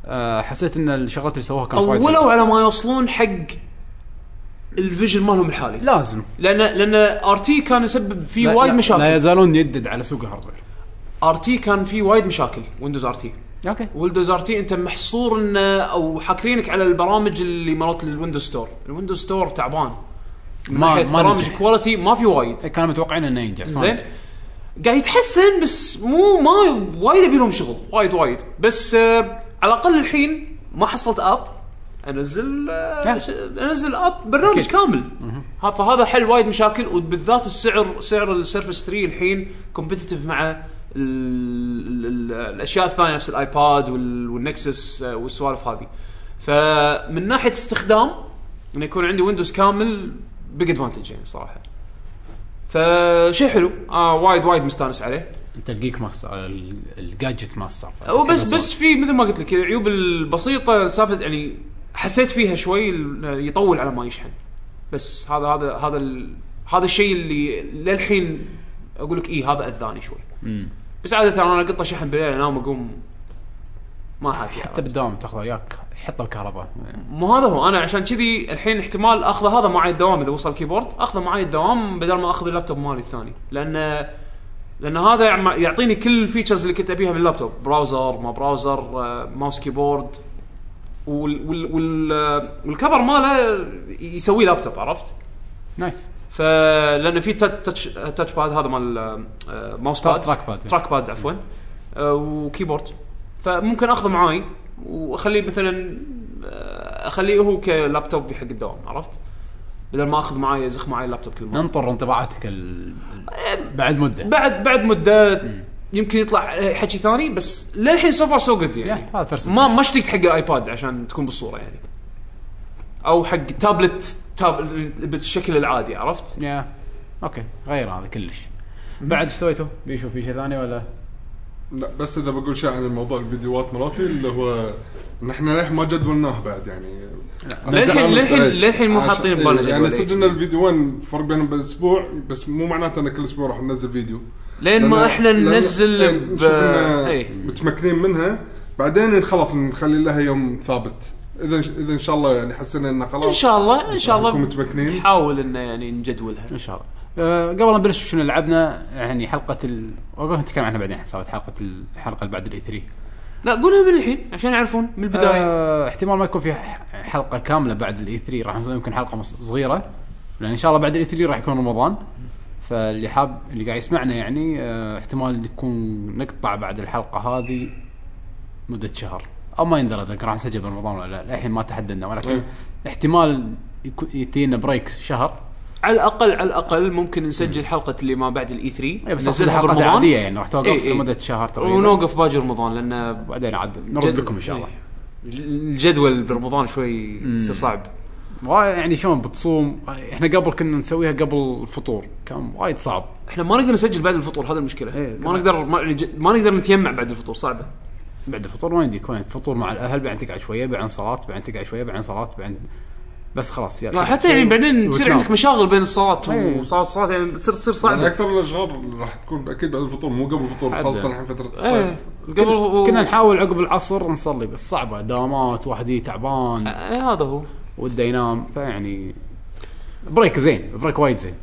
S2: أه حسيت ان الشغلات اللي سووها كانت وايد
S1: طولوا
S2: حلوة.
S1: على ما يوصلون حق الفيجن مالهم الحالي
S2: لازم
S1: لان لان ار تي كان يسبب فيه
S2: لا-
S1: وايد
S2: لا- لا
S1: مشاكل
S2: يزالون يدد على سوق الهاردوير
S1: ار تي كان فيه وايد مشاكل ويندوز ار تي
S2: اوكي
S1: ويندوز ار تي انت محصور ان او حاكرينك على البرامج اللي مرات الويندوز ستور الويندوز ستور تعبان من
S2: ما-
S1: ناحيه
S2: ما
S1: برامج
S2: نجح.
S1: كواليتي ما في وايد
S2: كانوا متوقعين انه ينجح صح؟
S1: زين قاعد يتحسن بس مو ما وايد ابي لهم شغل وايد وايد بس آه على الاقل الحين ما حصلت اب انزل آه
S2: نعم.
S1: ش- انزل اب برنامج
S2: أكيد.
S1: كامل ها فهذا حل وايد مشاكل وبالذات السعر سعر السيرفس 3 الحين كومبتتف مع ال- ال- ال- الاشياء الثانيه نفس الايباد وال- والنكسس آه، والسوالف هذه فمن ناحيه استخدام انه يكون عندي ويندوز كامل بيج ادفانتج يعني صراحه فشيء حلو آه وايد وايد مستانس عليه
S2: انت الجيك ماستر ال- الجادجت ماستر
S1: وبس بس في مثل ما قلت لك العيوب البسيطه سالفه يعني حسيت فيها شوي ال- يطول على ما يشحن بس هذا هذا هذا ال- هذا الشيء اللي للحين اقول لك اي هذا اذاني شوي
S2: مم.
S1: بس عاده انا اقطه شحن بالليل انام اقوم ما حاتي
S2: حتى بالدوام تاخذه وياك حطه الكهرباء
S1: مو هذا هو انا عشان كذي الحين احتمال اخذه هذا معي الدوام اذا وصل الكيبورد اخذه معي الدوام بدل ما اخذ اللابتوب مالي الثاني لان لان هذا يعم- يعطيني كل الفيتشرز اللي كنت ابيها من اللابتوب براوزر ما براوزر آه، ماوس كيبورد وال وال وال آه، والكفر ماله يسويه لابتوب عرفت؟
S2: نايس
S1: فلان في تا- تاتش تاتش باد هذا مال آه، ماوس باد
S2: تراك باد.
S1: تراك باد عفوا آه، وكيبورد فممكن اخذه معاي واخليه مثلا آه، اخليه هو كلابتوب حق الدوام عرفت؟ بدل ما اخذ معاي ازخ معاي اللابتوب كل مره
S2: ننطر انطباعاتك ال... ال- بعد مده
S1: بعد بعد مده يمكن يطلع حكي ثاني بس للحين سو فار سو جود يعني
S2: Yeah, هذا first
S1: ما
S2: impression.
S1: ما اشتقت حق الايباد عشان تكون بالصوره يعني او حق تابلت تاب بالشكل العادي عرفت؟
S2: يا اوكي غير هذا كلش بعد ايش سويتوا؟ بيشوف في شيء ثاني ولا؟
S3: لا بس اذا بقول شيء عن موضوع الفيديوهات مراتي اللي هو ان احنا للحين ما جدولناه بعد يعني
S1: للحين- للحين- للحين مو حاطين ببالنا
S3: ببالنا يعني
S1: جدول أي
S3: سجلنا الفيديوين فرق بينهم باسبوع بس مو معناته ان كل اسبوع راح ننزل فيديو
S1: لين ما
S3: لأن-
S1: احنا
S3: لأن-
S1: ننزل
S3: لأن
S1: ب...
S3: نشوف إنه
S1: ايه
S3: متمكنين منها بعدين خلاص نخلي لها يوم ثابت اذا اذا ان شاء الله يعني حسينا انه خلاص
S1: ان شاء الله ان شاء
S3: نكون
S1: الله
S3: متمكنين.
S1: نحاول انه يعني نجدولها
S2: ان شاء الله أه قبل لا نبلش شنو لعبنا يعني حلقه ال... والله نتكلم عنها بعدين حسابات حلقه الحلقه اللي بعد E الاي 3
S1: لا قولها من الحين عشان يعرفون من البدايه
S2: أه احتمال ما يكون في ح- حلقه كامله بعد الاي 3 راح نسوي يمكن حلقه مص- صغيره لان ان شاء الله بعد الاي 3 راح يكون رمضان فاللي حاب اللي قاعد يسمعنا يعني أه احتمال يكون نقطع بعد الحلقه هذه مده شهر او ما يندرى اذا كان راح نسجل برمضان ولا لا الحين ما تحددنا ولكن
S1: طيب.
S3: إيه.
S2: احتمال يكون يتينا بريك شهر
S1: على الاقل على الاقل ممكن نسجل حلقه اللي ما بعد E الاي 3
S2: إيه، بس أقصد الحلقات العاديه يعني راح توقف
S1: إيه، إيه.
S2: لمده شهر تقريبا
S1: ونوقف باجي رمضان لان
S2: وبعدين عاد نرد
S1: جد-
S2: لكم ان شاء الله
S1: الجدول برمضان شوي يصير صعب
S2: وايد يعني شلون بتصوم احنا قبل كنا نسويها قبل الفطور كان وايد صعب
S1: احنا ما نقدر نسجل بعد الفطور هذا المشكله
S2: إيه،
S1: ما نقدر ما, يعني ج- ما نقدر نتيمع بعد الفطور صعبه
S2: بعد الفطور ما يمديك وين فطور مع الاهل بعدين تقعد شويه بعدين صلاه بعدين تقعد شويه بعدين صلاه بعدين بس خلاص يلا
S1: آه، حتى يعني بعدين تصير
S2: وتنام.
S1: عندك مشاغل بين الصلاه
S2: إيه.
S1: وصلاه الصلاه يعني بتصير تصير
S3: يعني
S1: صعبه
S3: اكثر الاشغال راح تكون اكيد بعد الفطور مو قبل الفطور
S2: عدل.
S3: خاصه الحين فتره
S1: إيه،
S3: الصيف
S1: قبل هو-
S2: كنا نحاول عقب العصر نصلي بس صعبه دوامات واحد يجي تعبان
S1: إيه، هذا هو
S2: وده ينام فيعني بريك زين بريك وايد زين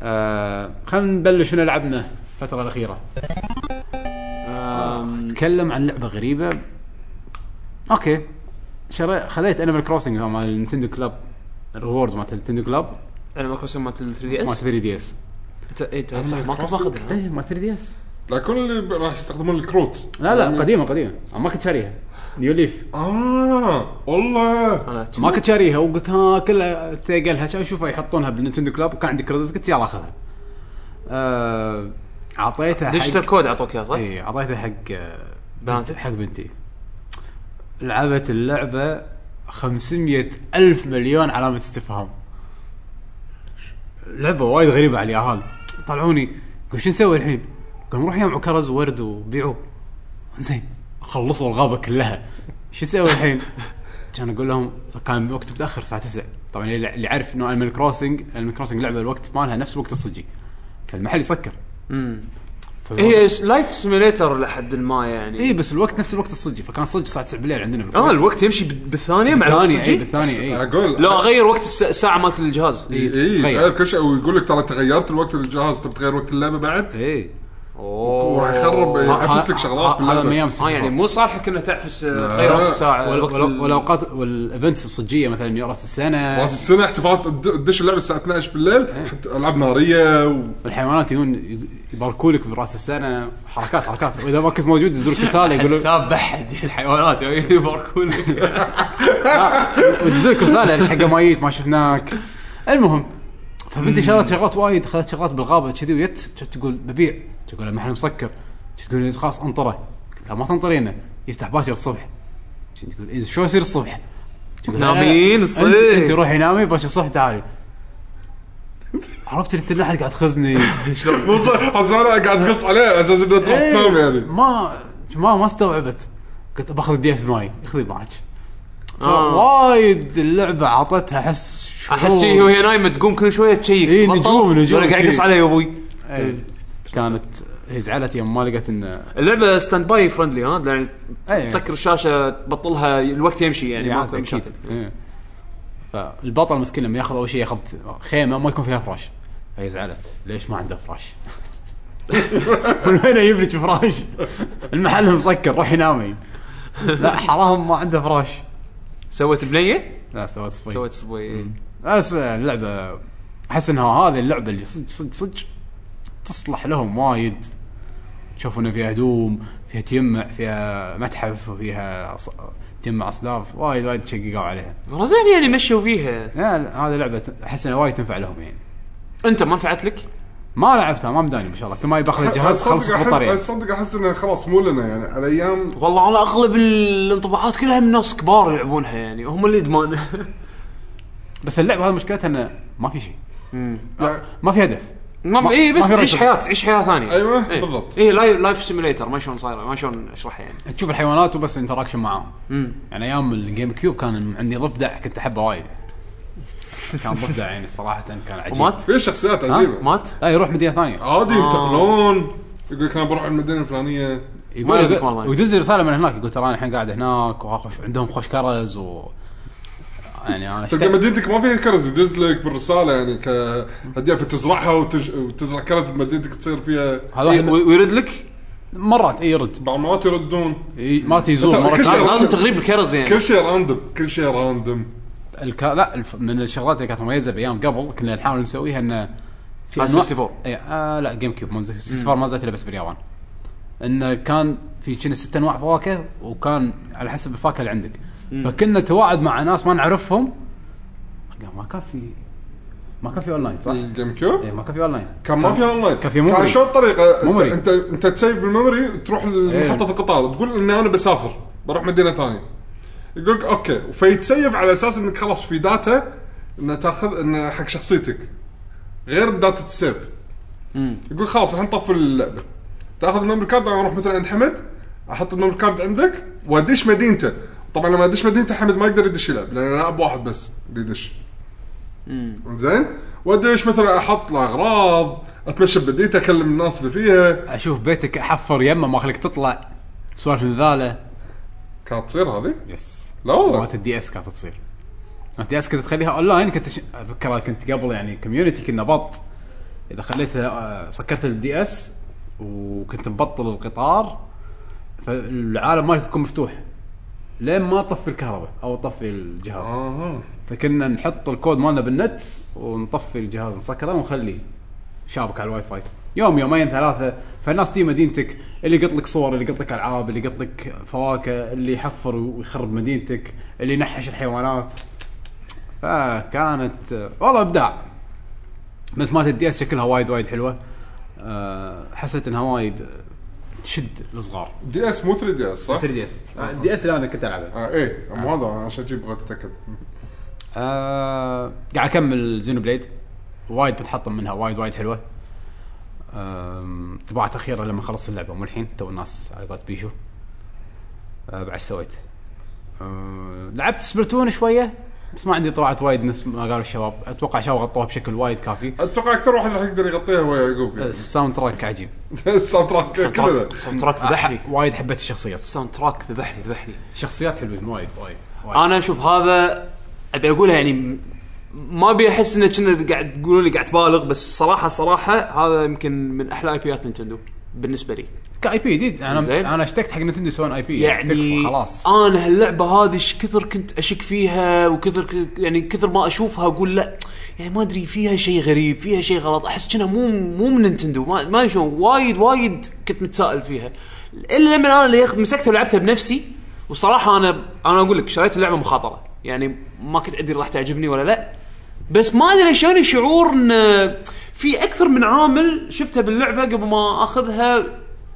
S2: آه خلينا نبلش شنو لعبنا الفتره الاخيره
S4: آم،
S2: نتكلم عن لعبه غريبه اوكي شري خليت انيمال كروسنج مال النتندو كلاب الريوردز مالت النتندو كلاب
S1: انا ما كنت مالت ال إيه، 3 دي
S2: مالت
S1: اس
S2: 3 دي اس
S1: صح ما كنت ماخذها
S2: ايه مالت 3 دي اس
S3: لكن اللي راح يستخدمون الكروت
S2: لا لا قديمه قديمه أنا ما كنت شاريها نيو ليف
S3: اه والله
S1: انا
S2: ما كنت شاريها وقلت ها كلها ثقلها شو اشوفها يحطونها بالنينتندو كلاب وكان عندي كريدت قلت يلا اخذها. آه، اعطيتها
S1: ديجيتال
S2: حق إيه.
S1: كود اعطوك اياه صح؟
S2: اي اعطيتها حق آه،
S1: بناتك؟
S2: حق بنتي. لعبت اللعبه 500 الف مليون علامه استفهام. لعبه وايد غريبه على اليهال طلعوني قلت شو نسوي الحين؟ قالوا نروح يجمعوا كرز وورد وبيعوه. زين خلصوا الغابه كلها شو نسوي الحين؟ كان اقول لهم كان الوقت متاخر الساعه 9 طبعا اللي اللي عارف انه المال كروسنج المال كروسنج لعبه الوقت مالها نفس وقت الصجي فالمحل يسكر
S1: امم
S2: فالوقت-
S1: هي لايف سيميليتر لحد ما يعني
S2: اي إيه، بس الوقت نفس الوقت الصجي فكان صجي الساعه 9 بالليل عندنا إيه،
S1: اه الوقت يمشي بال- بالثانيه مع الوقت
S2: بالثانيه اي
S1: الصجي؟
S2: بالثانيه اي
S3: اقول
S1: لو اغير وقت الس- الساعه مالت الجهاز
S2: إيه.
S3: اي
S2: تغير.
S3: تغير كل شيء ويقول لك ترى تغيرت الوقت الجهاز تبي تغير وقت اللعبه بعد
S1: إيه.
S2: اي
S1: اوه
S3: وراح يخرب إيه، يحفز لك شغلات
S2: هذا من
S3: باللعبه
S2: ايام
S1: اه
S2: الصجي
S1: يعني مو صالحك انه تعفس آه، تغير وقت الساعه
S2: وال-
S1: وقت
S2: وال-
S1: ال-
S2: والاوقات والايفنتس الصجيه مثلا يا راس السنه
S3: راس السنه احتفالات تد- تدش اللعبه الساعه 12 بالليل حتى العاب ناريه و...
S2: والحيوانات يجون يباركوا لك براس السنه حركات حركات واذا ما كنت موجود يزورك رساله يقولون
S4: حساب بحد الحيوانات يعني يباركون لك
S2: وتزلك رساله آه، ليش حق مايت ما شفناك المهم فبنتي شرت شغلات وايد خذت شغلات بالغابه كذي ويت كانت تقول ببيع تقول المحل مسكر كانت تقول لي خلاص انطره قلت لها ما تنطرينا يفتح باكر الصبح كانت تقول إيه شو يصير الصبح؟ تقول لا، لا،
S1: نامين
S2: أنت-
S1: الصبح.
S2: انت روحي نامي باكر الصبح تعالي عرفت انت اللحد قاعد تخزني
S3: مو صح حس انا قاعد اقص عليه على اساس انه تروح
S2: إيه،
S1: طيب،
S3: تنام يعني
S2: ما ما ما استوعبت قلت باخذ الدي اس معي خذي معك
S1: آه.
S2: وايد اللعبه عطتها احس
S1: احس شي وهي نايمه تقوم كل شويه تشيك
S2: إيه، نجوم- نجوم
S1: انا قاعد
S2: شي.
S1: اقص عليه يا ابوي
S2: أي. إيه، كانت هي زعلت يوم ما لقت انه
S1: اللعبه ستاند باي فرندلي ها يعني
S2: أي.
S1: تسكر الشاشه تبطلها الوقت يمشي يعني ماكو
S2: يعني
S1: مشاكل
S2: اكيد إيه. فالبطل مسكين لما ياخذ اول شيء ياخذ خيمه ما يكون فيها فراش فهي زعلت ليش ما عنده فراش؟ من وين اجيب لك فراش؟ المحل مسكر روحي نامي لا حرام ما عنده فراش
S1: سوت بنيه
S2: لا سويت صفي
S1: سوت صبي إيه.
S2: بس اللعبه احس انها هذه اللعبه اللي صدق صدق صدق تصلح لهم وايد تشوف انه فيها هدوم فيها تجمع فيها متحف وفيها ص- تجمع اصداف وايد وايد شققوا عليها
S1: والله زين يعني مشوا فيها
S2: لا لا، هذه لعبه احس انها وايد تنفع لهم يعني
S1: انت ما نفعت لك
S2: ما لعبتها ما مداني ما شاء الله كل ما باخذ الجهاز
S3: صدق
S2: خلص يعني.
S3: أحس-
S2: البطاريه
S3: صدق احس انه خلاص مو لنا يعني على ايام
S1: والله انا اغلب الانطباعات كلها من ناس كبار يلعبونها يعني هم اللي ادمان
S2: بس اللعبه هذه مشكلتها انه ما في شيء
S3: لا،
S2: ما في هدف
S1: ما اي
S2: ما
S1: بس
S2: في
S1: تعيش
S2: رسم.
S1: حياه تعيش حياه ثانيه
S3: أيوة،
S1: إيه.
S3: بالضبط.
S1: اي لايف لايف سيميليتر ما شلون صايره ما شلون اشرحها يعني
S2: تشوف الحيوانات وبس انتراكشن معاهم
S1: امم
S2: يعني ايام الجيم كيوب كان عندي ضفدع كنت احبه وايد كان ضفدع يعني صراحه كان عجيب
S1: ومات
S3: في شخصيات
S2: آه،
S3: عجيبه
S1: مات
S2: لا إيه، يروح مدينه ثانيه
S3: عادي ينتقلون يقول لك انا بروح المدينه الفلانيه
S1: ما
S2: يقول
S1: يوديك مرة ثانية.
S2: ويدز لي رساله من هناك يقول ترى انا الحين قاعد هناك وخش عندهم خوش كرز و يعني انا
S3: تلقى
S2: اشتقت
S3: مدينتك ما فيها كرز يدز لك بالرساله يعني كهديه فتزرعها وتج... وتزرع كرز بمدينتك تصير فيها
S1: إيه،
S2: هذول
S1: وي- ويرد لك
S2: مرات اي يرد
S3: بعض المرات يردون
S2: ي- مرات يزور
S3: كل
S2: مرات
S3: شيء-
S1: لازم-
S2: يرد.
S1: لازم تغريب الكرز يعني
S3: كل شيء راندوم كل شيء راندوم
S2: الك... لا الف... من الشغلات اللي كانت مميزه بايام قبل كنا نحاول نسويها انه في
S1: على
S2: أنواع-
S1: 64.
S2: اي آه لا جيم كيوب ما نزل- 64 ما زالت الا بس باليابان انه كان في كنا ست انواع فواكه وكان على حسب الفاكهه اللي عندك فكنا نتواعد مع ناس ما نعرفهم ما كان في ما كان في اونلاين صح؟
S3: الجيم كيوب
S2: اي ما كان في اونلاين
S3: كان ما في اونلاين
S2: كان في ميموري.
S3: كان شلون الطريقه
S2: ميموري.
S3: انت انت أنت تسيف بالميموري وتروح لمحطه القطار تقول ان انا بسافر بروح مدينه ثانيه يقول لك اوكي فيتسيف على اساس انك خلاص في داتا انه تاخذ انه حق شخصيتك غير داتا السيف يقول خلاص الحين طفي اللعبه تاخذ الميموري كارد انا اروح مثلا عند حمد احط الميموري كارد عندك وادش مدينته طبعا لما ادش مدينته حمد ما يقدر يدش يلعب لان انا اب واحد بس اللي يدش زين وادش مثلا احط له اغراض اتمشى بمدينته اكلم الناس اللي فيها
S2: اشوف بيتك احفر يمه ما اخليك تطلع سوالف نذاله
S3: كانت تصير هذه
S2: يس
S3: لا والله.
S2: مالت الدي اس كانت تصير الدي اس كنت تخليها اونلاين كنت ش... اذكرها كنت قبل يعني كوميونتي كنا بط اذا خليتها آه، سكرت الدي اس وكنت مبطل القطار فالعالم مالك يكون مفتوح لين ما تطفي الكهرباء او تطفي الجهاز
S3: اها
S2: فكنا نحط الكود مالنا بالنت ونطفي الجهاز نسكره ونخليه شابك على الواي فاي يوم يومين ثلاثه فالناس تي مدينتك اللي يقط لك صور اللي يقط لك العاب اللي يقط لك فواكه اللي يحفر ويخرب مدينتك اللي ينحش الحيوانات فكانت والله ابداع بس مالت الدي اس شكلها وايد وايد حلوه أه، حسيت انها وايد تشد الصغار
S3: دي اس مو 3 دي اس صح؟
S2: 3 دي اس الدي اس اللي انا كنت العبها
S3: آه ايه مو هذا عشان جيب بغيت اتاكد
S2: آه قاعد اكمل زينو بليد وايد بتحطم منها وايد وايد حلوه آم، طباعة اخيرا لما خلصت اللعبه مو الحين تو الناس على قولت بيشو آه بعد إيش سويت آه لعبت سبلتون شويه بس ما عندي طبعات وايد نفس ما قالوا الشباب اتوقع شباب غطوها بشكل وايد كافي
S3: اتوقع اكثر واحد راح يقدر يغطيها هو يعقوب يعني.
S2: الساوند تراك عجيب
S3: الساوند تراك كله
S1: ساوند تراك ذبحني
S2: وايد حبيت الشخصيات
S1: الساوند تراك ذبحني ذبحني
S2: شخصيات حلوين وايد وايد, وايد.
S1: انا اشوف هذا ابي اقولها يعني م- ما ابي احس انه كنا قاعد تقولون لي قاعد تبالغ بس صراحه صراحه هذا يمكن من احلى اي بيات نينتندو بالنسبه لي
S2: كاي بي جديد
S1: زين.
S2: انا انا اشتقت حق نتندو يسوون اي بي
S1: يعني
S2: تكفى خلاص
S1: انا هاللعبه هذه ايش كثر كنت اشك فيها وكثر ك- يعني كثر ما اشوفها اقول لا يعني ما ادري فيها شيء غريب فيها شيء غلط احس كأنها مو مو من نينتندو ما ما أدري شلون وايد وايد كنت متسائل فيها الا لما انا اللي مسكتها ولعبتها بنفسي وصراحه انا انا اقول لك شريت اللعبه مخاطره يعني ما كنت ادري راح تعجبني ولا لا بس ما ادري شلون شعور ان في اكثر من عامل شفته باللعبه قبل ما اخذها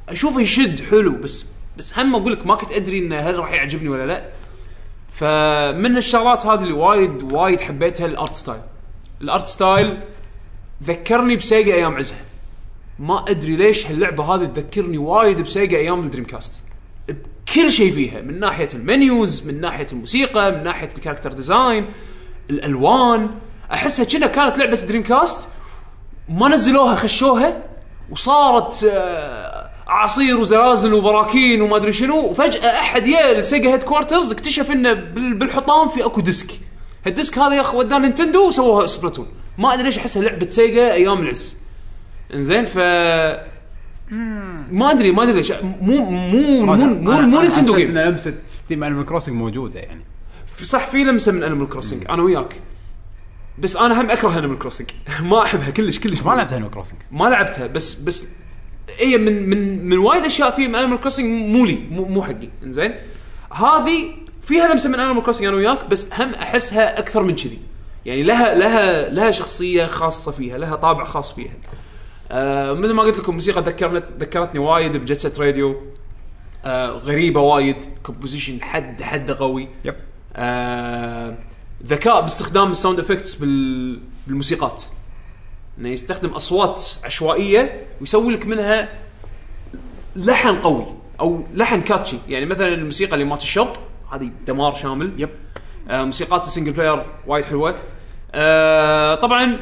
S1: اشوفه يشد حلو بس بس هم اقول لك ما كنت ادري انه هل راح يعجبني ولا لا فمن الشغلات هذه اللي وايد وايد حبيتها الارت ستايل الارت ستايل ذكرني بسيجا ايام عزها ما ادري ليش هاللعبه هذه تذكرني وايد بسيجا ايام الدريم كاست بكل شيء فيها من ناحيه المنيوز من ناحيه الموسيقى من ناحيه الكاركتر ديزاين الالوان احسها كأنها كانت لعبه دريم كاست ما نزلوها خشوها وصارت آه، اعاصير وزلازل وبراكين وما ادري شنو وفجاه احد يا لسيجا هيد كوارترز اكتشف انه بال- بالحطام في اكو ديسك هالديسك هذا يا اخي وداه نينتندو وسووها سبلاتون ما ادري ليش احسها لعبه سيجا ايام العز انزين ف ما ادري ما ادري ليش مو مو مو مو, مو نينتندو جيم
S2: انا لمسه ستيم انيمال كروسنج موجوده يعني
S1: صح في لمسه من انيمال كروسنج انا وياك بس انا هم اكره انيمال كروسنج ما احبها كلش كلش
S2: ما لعبت انيمال كروسنج
S1: ما لعبتها بس بس هي من من من وايد اشياء في من انيمال كروسنج مو لي مو, مو حقي انزين هذه فيها لمسه من انيمال كروسنج انا وياك بس هم احسها اكثر من كذي يعني لها لها لها شخصيه خاصه فيها لها طابع خاص فيها آه مثل ما قلت لكم موسيقى ذكرت ذكرتني وايد بجتسة راديو آه غريبه وايد كومبوزيشن حد حد قوي
S2: يب
S1: آه، ذكاء باستخدام الساوند افكتس بال... بالموسيقات انه يستخدم اصوات عشوائيه ويسوي لك منها لحن قوي او لحن كاتشي يعني مثلا الموسيقى اللي مالت الشوب هذه دمار شامل
S2: يب
S1: آه، موسيقات السنجل بلاير وايد حلوه آه، طبعا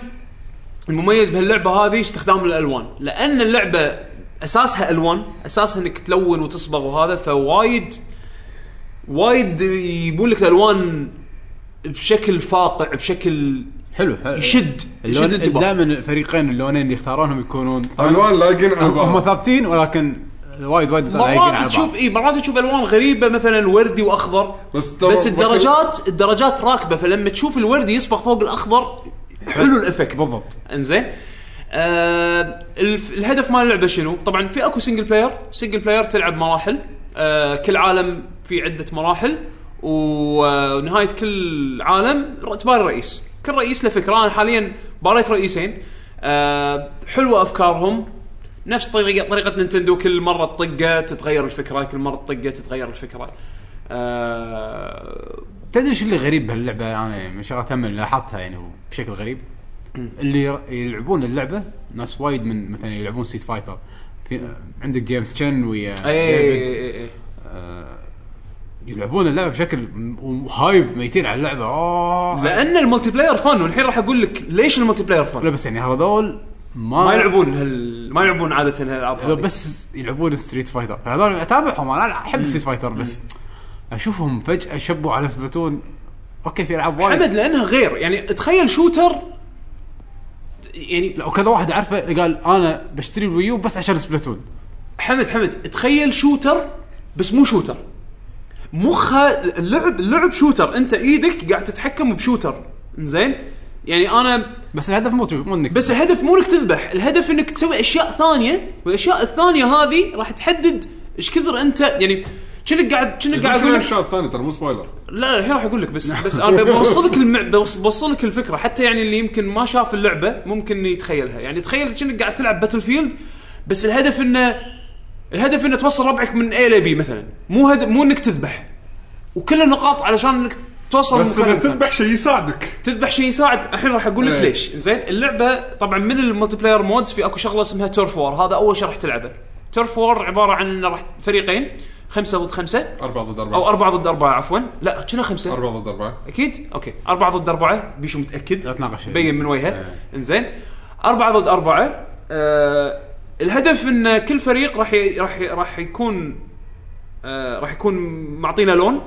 S1: المميز بهاللعبه هذه استخدام الالوان لان اللعبه اساسها الوان اساسها انك تلون وتصبغ وهذا فوايد وايد يبون لك الالوان بشكل فاقع بشكل
S2: حلو حلو
S1: يشد يشد
S2: اللون
S1: انتباه
S2: دائما الفريقين اللونين اللي يختارونهم يكونون
S3: الوان لايقين على
S2: هم هم
S3: بعض
S2: ثابتين ولكن وايد وايد لايقين على بعض.
S1: مرات تشوف اي مرات تشوف الوان غريبه مثلا وردي واخضر
S3: بس ترى-
S1: بس الدرجات الدرجات راكبه فلما تشوف الوردي يصبغ فوق الاخضر حلو الافكت
S2: بالضبط
S1: انزين آه الف- الهدف مال اللعبه شنو؟ طبعا في اكو سنجل بلاير، سنجل بلاير تلعب مراحل آه كل عالم في عده مراحل و- آه، ونهايه كل عالم ر- تباري رئيس، كل رئيس له فكره انا حاليا باريت رئيسين آه حلوه افكارهم نفس طريقه طريقه نينتندو كل مره تطقه تتغير الفكره، كل مره تطقه تتغير الفكره. آه
S2: تدري شو اللي غريب بهاللعبه انا من شغلات هم اللي لاحظتها يعني هو بشكل غريب اللي ير- يلعبون اللعبه ناس وايد من مثلا يلعبون سيت
S1: إيه،
S2: فايتر في عندك جيمس تشن ويا
S1: اي
S2: ديفيد
S1: اي اي
S2: آه، يلعبون اللعبه بشكل م- وهايب ميتين على آه، اللعبه اوه
S1: لان الملتي بلاير فن والحين راح اقول لك ليش الملتي بلاير فن
S2: لا بس يعني هذول ما
S1: ما يلعبون هال... ما يلعبون عاده هالالعاب
S2: هذول
S1: هذه.
S2: بس يلعبون ستريت فايتر هذول اتابعهم انا احب ستريت فايتر بس اشوفهم فجاه شبوا على سبلاتون اوكي في العاب وايد
S1: حمد لانها غير يعني تخيل شوتر يعني
S2: لا وكذا واحد اعرفه قال انا بشتري الويو بس عشان سبلاتون
S1: حمد حمد تخيل شوتر بس مو شوتر مخها اللعب اللعب شوتر انت ايدك قاعد تتحكم بشوتر زين يعني انا
S2: بس الهدف مو مو انك
S1: بس الهدف مو انك تذبح الهدف انك تسوي اشياء ثانيه والاشياء الثانيه هذه راح تحدد ايش كثر انت يعني كأنك قاعد كأنك قاعد اقول لك
S3: الاشياء الثانيه ترى مو سبويلر
S1: لا لا الحين راح اقول لك بس بس انا بوصلك المع... بوص- بوصلك الفكره حتى يعني اللي يمكن ما شاف اللعبه ممكن يتخيلها يعني تخيل كأنك قاعد تلعب باتل فيلد بس الهدف انه الهدف انه توصل ربعك من A ل B مثلا مو هد... مو انك تذبح وكل النقاط علشان انك توصل
S3: بس
S1: مكان
S3: اذا
S1: مثلاً.
S3: تذبح شيء يساعدك
S1: تذبح شيء يساعد الحين راح اقول لك
S3: إيه.
S1: ليش زين اللعبه طبعا من الملتي بلاير مودز في اكو شغله اسمها تورف وور هذا اول شيء راح تلعبه تورف وور عباره عن إنه راح فريقين خمسه ضد خمسه
S3: أربعة ضد
S1: او
S3: أربعة
S1: اربعه ضد اربعه عفوا لا كنا خمسه
S3: أربعة ضد أربعة
S1: اكيد اوكي أربعة ضد أربعة بيشو متاكد
S2: لا تناقش
S1: بين من وجهه
S2: إيه.
S1: انزين أربعة ضد أربعة آه الهدف ان كل فريق راح ي- راح ي- راح يكون آه راح يكون معطينا لون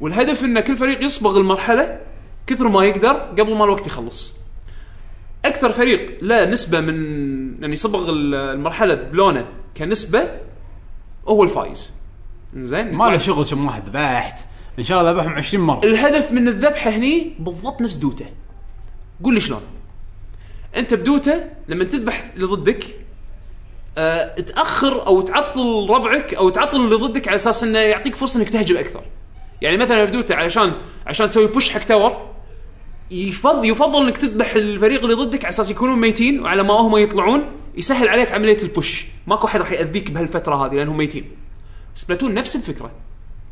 S1: والهدف ان كل فريق يصبغ المرحله كثر ما يقدر قبل ما الوقت يخلص اكثر فريق له نسبه من يعني صبغ ال- المرحله بلونه كنسبه هو الفايز زين
S2: ما له شغل كم واحد ذبحت ان شاء الله ذبحهم 20 مره
S1: الهدف من الذبحه هني بالضبط نفس دوته قول لي شلون انت بدوته لما تذبح اللي ضدك آه، تاخر او تعطل ربعك او تعطل اللي ضدك على اساس انه يعطيك فرصه انك تهجم اكثر يعني مثلا بدوته علشان عشان تسوي بوش حق تاور يفضل يفضل انك تذبح الفريق اللي ضدك على اساس يكونون ميتين وعلى ما هم يطلعون يسهل عليك عمليه البوش ماكو احد راح ياذيك بهالفتره هذه لانهم ميتين سبلاتون نفس الفكره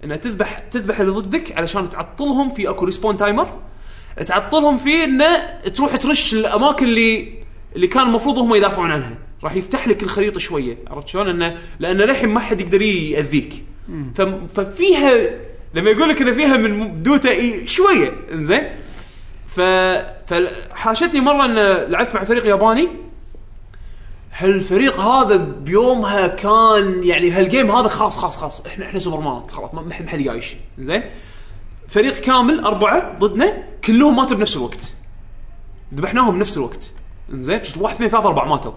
S1: انها تذبح تذبح اللي ضدك علشان تعطلهم في اكو ريسبون تايمر تعطلهم فيه انه تروح ترش الاماكن اللي اللي كان المفروض هم يدافعون عنها راح يفتح لك الخريطه شويه عرفت شلون انه لان للحين ما حد يقدر ياذيك فم- ففيها لما يقول لك ان فيها من دوتا إي شويه انزين ف فحاشتني مره ان لعبت مع فريق ياباني هالفريق هذا بيومها كان يعني هالجيم هذا خلاص خلاص خلاص احنا احنا سوبر مان خلاص ما ما حد ما حد قايش زين فريق كامل اربعه ضدنا كلهم ماتوا بنفس الوقت ذبحناهم بنفس الوقت زين واحد اثنين ثلاثه اربعه ماتوا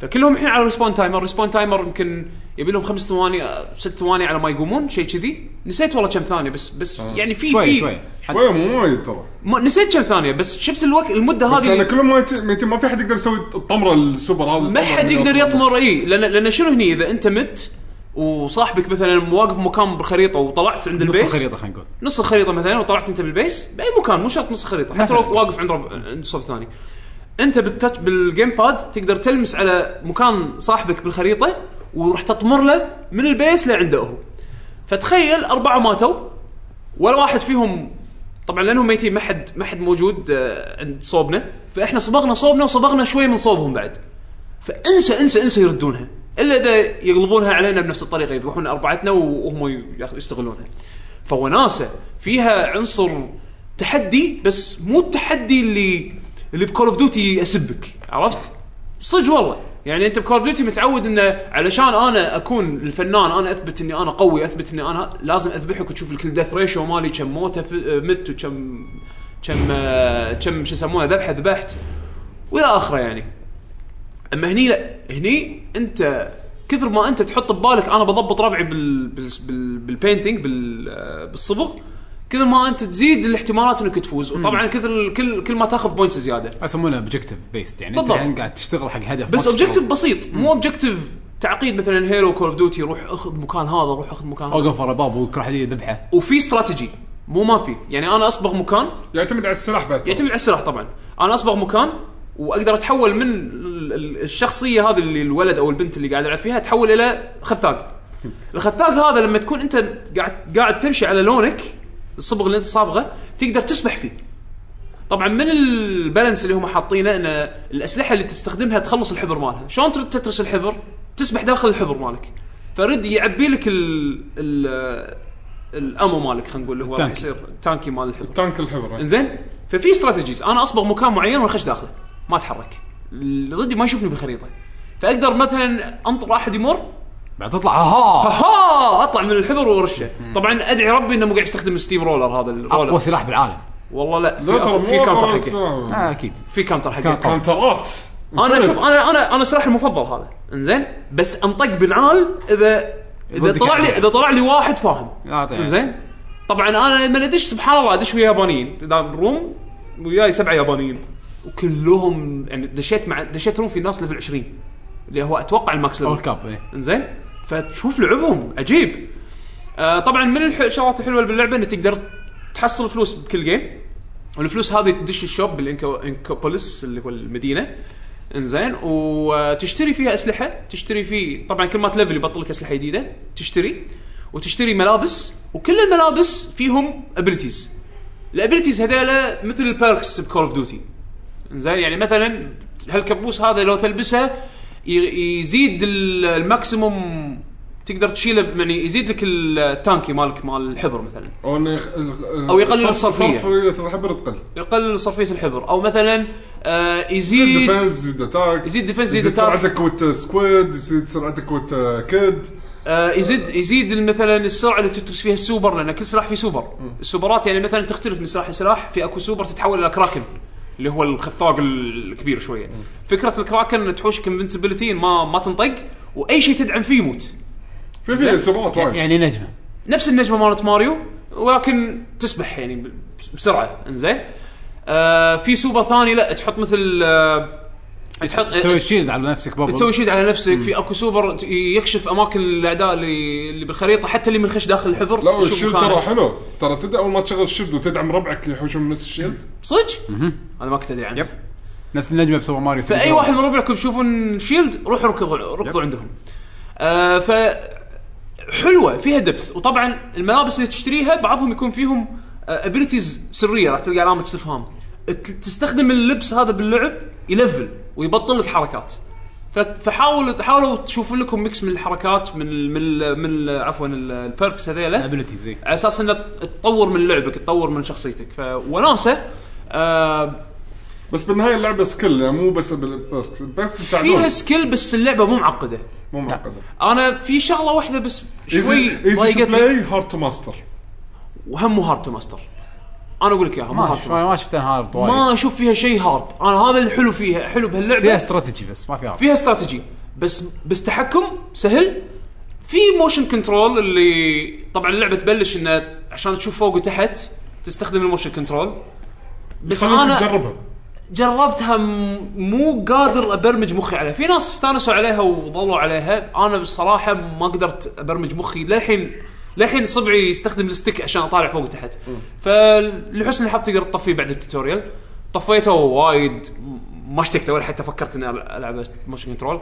S1: فكلهم الحين على ريسبون تايمر ريسبون تايمر يمكن يبي لهم خمس ثواني آه، ست ثواني على ما يقومون شيء كذي نسيت والله كم ثانيه بس بس يعني في
S2: آه. شوي
S1: في
S2: شوي
S3: شوية مو وايد ترى
S1: ما نسيت كم ثانيه بس شفت الوقت المده
S3: بس
S1: هذه
S3: لان كلهم ميت- ميتين ما في حد يقدر يسوي الطمره السوبر هذه
S1: ما حد يقدر يطمر اي لان لان شنو هني اذا انت مت وصاحبك مثلا واقف مكان بالخريطه وطلعت عند
S2: نص
S1: البيس
S2: الخريطه خلينا نقول
S1: نص الخريطه مثلا وطلعت انت بالبيس باي مكان مو شرط نص الخريطه حتى لو واقف عند رب... عند صف ثاني انت بالتاتش بالجيم باد تقدر تلمس على مكان صاحبك بالخريطه وراح تطمر له من البيس لعنده هو فتخيل اربعه ماتوا ولا واحد فيهم طبعا لانهم ميتين ما حد ما حد موجود آه، عند صوبنا فاحنا صبغنا صوبنا وصبغنا شوي من صوبهم بعد فانسى انسى انسى يردونها الا اذا يقلبونها علينا بنفس الطريقه يذبحون اربعتنا وهم ياخ- يستغلونها فوناسه فيها عنصر تحدي بس مو التحدي اللي اللي بكول اوف ديوتي اسبك عرفت؟ صدق والله يعني انت بكول اوف ديوتي متعود انه علشان انا اكون الفنان انا اثبت اني انا قوي اثبت اني انا لازم اذبحك وتشوف الكل ديث ريشو مالي كم موته في- آه، مت وكم كم آه، كم شو يسمونه ذبحه ذبحت والى اخره يعني اما هني لا هني انت كثر ما انت تحط ببالك انا بضبط ربعي بال بال بال بالبينتنج بال آه، بالصبغ كثر ما انت تزيد الاحتمالات انك تفوز وطبعا كثر كل كل ما تاخذ بوينتس زياده
S2: يسمونه اوبجيكتيف بيست يعني
S1: بالضبط.
S2: انت الحين قاعد تشتغل حق هدف
S1: بس
S2: ما تشتغل-
S1: اوبجيكتيف بسيط مو اوبجيكتيف تعقيد مثلا هيلو كول اوف ديوتي روح اخذ مكان هذا روح اخذ مكان هذا
S2: اوقف ورا باب وكل واحد يذبحه
S1: وفي استراتيجي مو ما في يعني انا اصبغ مكان
S3: يعتمد على السلاح بعد ترى.
S1: يعتمد على السلاح طبعا انا اصبغ مكان واقدر اتحول من ال- ال- الشخصيه هذه اللي الولد او البنت اللي قاعد العب فيها تحول الى خثاق الخثاق هذا لما تكون انت قاعد قاعد تمشي على لونك الصبغ اللي انت صابغه تقدر تسبح فيه طبعا من البالانس اللي هم حاطينه ان الاسلحه اللي تستخدمها تخلص الحبر مالها شلون ترد تترس الحبر تسبح داخل الحبر مالك فرد يعبي لك ال, ال الامو مالك خلينا نقول اللي هو راح
S2: التانكي.
S1: يصير تانكي مال الحلو
S3: تانك الحبره
S1: انزين ففي استراتيجيز انا اصبغ مكان معين واخش داخله ما اتحرك اللي ضدي ما يشوفني بالخريطه فاقدر مثلا انطر احد يمر
S2: بعد تطلع آه، ها
S1: ها اطلع من الحبر وارشه طبعا ادعي ربي انه مو قاعد يستخدم الستيم رولر هذا
S2: اقوى
S1: الرولر
S2: سلاح بالعالم
S1: والله لا
S3: لا ترى
S1: في, في كاونتر حقه
S2: آه اكيد
S1: في كاونتر حقه
S2: كان-
S3: كانترات
S1: انا شوف انا انا انا سلاحي المفضل هذا انزين بس انطق بالعال اذا اذا
S2: ضدك
S1: طلع لي
S2: يعني.
S1: اذا طلع لي واحد فاهم
S2: لا طيب.
S1: زين طبعا انا لما ادش سبحان الله ادش ويا يابانيين دام روم وياي سبعه يابانيين وكلهم يعني دشيت مع دشيت روم في ناس ليفل 20 اللي هو اتوقع الماكس
S2: اول
S1: ليفل
S2: كاب إيه.
S1: انزين فتشوف لعبهم عجيب آه طبعا من الح- الشغلات الحلوه اللي باللعبه انك تقدر تحصل فلوس بكل جيم والفلوس هذه تدش الشوب بالانكوبوليس اللي هو المدينه انزين وتشتري فيها اسلحه تشتري فيه طبعا كل ما تلفل يبطل لك اسلحه جديده تشتري وتشتري ملابس وكل الملابس فيهم ابيلتيز الابيلتيز هذيلا مثل البيركس بكول اوف ديوتي زين يعني مثلا هالكبوس هذا لو تلبسه ي- يزيد ال- الماكسيموم تقدر تشيله ب- يعني يزيد لك التانكي مالك مال الحبر مثلا
S3: او انه يخ- ال- ال-
S1: أو يقلل
S3: صرف-
S1: الصرفية.
S3: صرفيه الحبر تقل
S1: يقلل صرفيه الحبر او مثلا آه يزيد
S3: ديفنس يزيد اتاك
S1: يزيد ديفنس، يزيد
S3: يزيد
S1: attack.
S3: سرعتك ويت سكويد يزيد سرعتك ويت كيد
S1: آه يزيد يزيد مثلا السرعه اللي تدرس فيها السوبر لان كل سلاح فيه سوبر السوبرات يعني مثلا تختلف من سلاح لسلاح في اكو سوبر تتحول الى كراكن اللي هو الخفاق الكبير شويه فكره الكراكن إن تحوشك انفنسبيلتي ما ما تنطق واي شيء تدعم فيه يموت
S3: في في سرعات وايد
S2: يعني نجمه
S1: نفس النجمه مالت ماريو ولكن تسبح يعني ب- بسرعه انزين آه في سوبر ثاني لا تحط مثل آه تحط
S2: تسوي شيلد على نفسك بابا
S1: إيه. تسوي شيد على نفسك في اكو سوبر ت- يكشف اماكن الاعداء اللي, اللي بالخريطه حتى اللي منخش داخل الحبر
S3: لا
S1: يشوف
S3: والشيلد
S1: مكانه.
S3: ترى حلو ترى تدري اول ما تشغل الشيلد وتدعم ربعك يحوشون نفس الشيلد
S1: صدق؟ انا ما كنت ادري عنه
S2: يب. نفس النجمه بسوبر ماريو
S1: فاي واحد من ربعكم يشوفون شيلد روحوا ركضوا ركضوا عندهم. آه ف حلوه فيها دبث وطبعا الملابس اللي تشتريها بعضهم يكون فيهم ابيلتيز سريه راح تلقى علامه استفهام. ت- تستخدم اللبس هذا باللعب يلفل ويبطل لك حركات. ف- فحاولوا تحاولوا تشوفون لكم ميكس من الحركات من ال من ال من ال- عفوا ال- البيركس هذيلا
S2: ابيلتيز
S1: على اساس انه تطور من لعبك تطور من شخصيتك فوناسه آه
S3: بس بالنهايه اللعبه سكيل يعني مو بس بالبيركس البيركس
S1: فيها
S3: يساعدون
S1: سكيل بس اللعبه مو معقده
S3: مو معقده
S1: انا في شغله واحده بس شوي
S3: ايزي ايزي تو
S1: ضايقتني
S3: بلاي هارد تو ماستر
S1: وهم مو هارد تو ماستر انا اقول لك اياها مو
S2: ما
S1: هارد
S2: شف-
S1: تو ماستر
S2: ما شفت انهار
S1: ما
S2: طوال
S1: اشوف فيها شيء هارد انا هذا الحلو فيها حلو
S2: فيها
S1: بهاللعبه
S2: استراتيجي بس ما فيها
S1: فيها استراتيجي بس بس تحكم سهل في موشن كنترول اللي طبعا اللعبه تبلش انه عشان تشوف فوق وتحت تستخدم الموشن كنترول بس
S3: خلينا
S1: انا
S3: نجربها
S1: جربتها م- مو قادر ابرمج مخي عليها، في ناس استانسوا عليها وظلوا عليها، انا بصراحه ما قدرت ابرمج مخي للحين للحين صبعي يستخدم الستيك عشان اطالع فوق وتحت. فلحسن الحظ تقدر تطفيه بعد التوتوريال. طفيته وايد م- ما اشتقت ولا حتى فكرت اني ألع- العب موشن كنترول.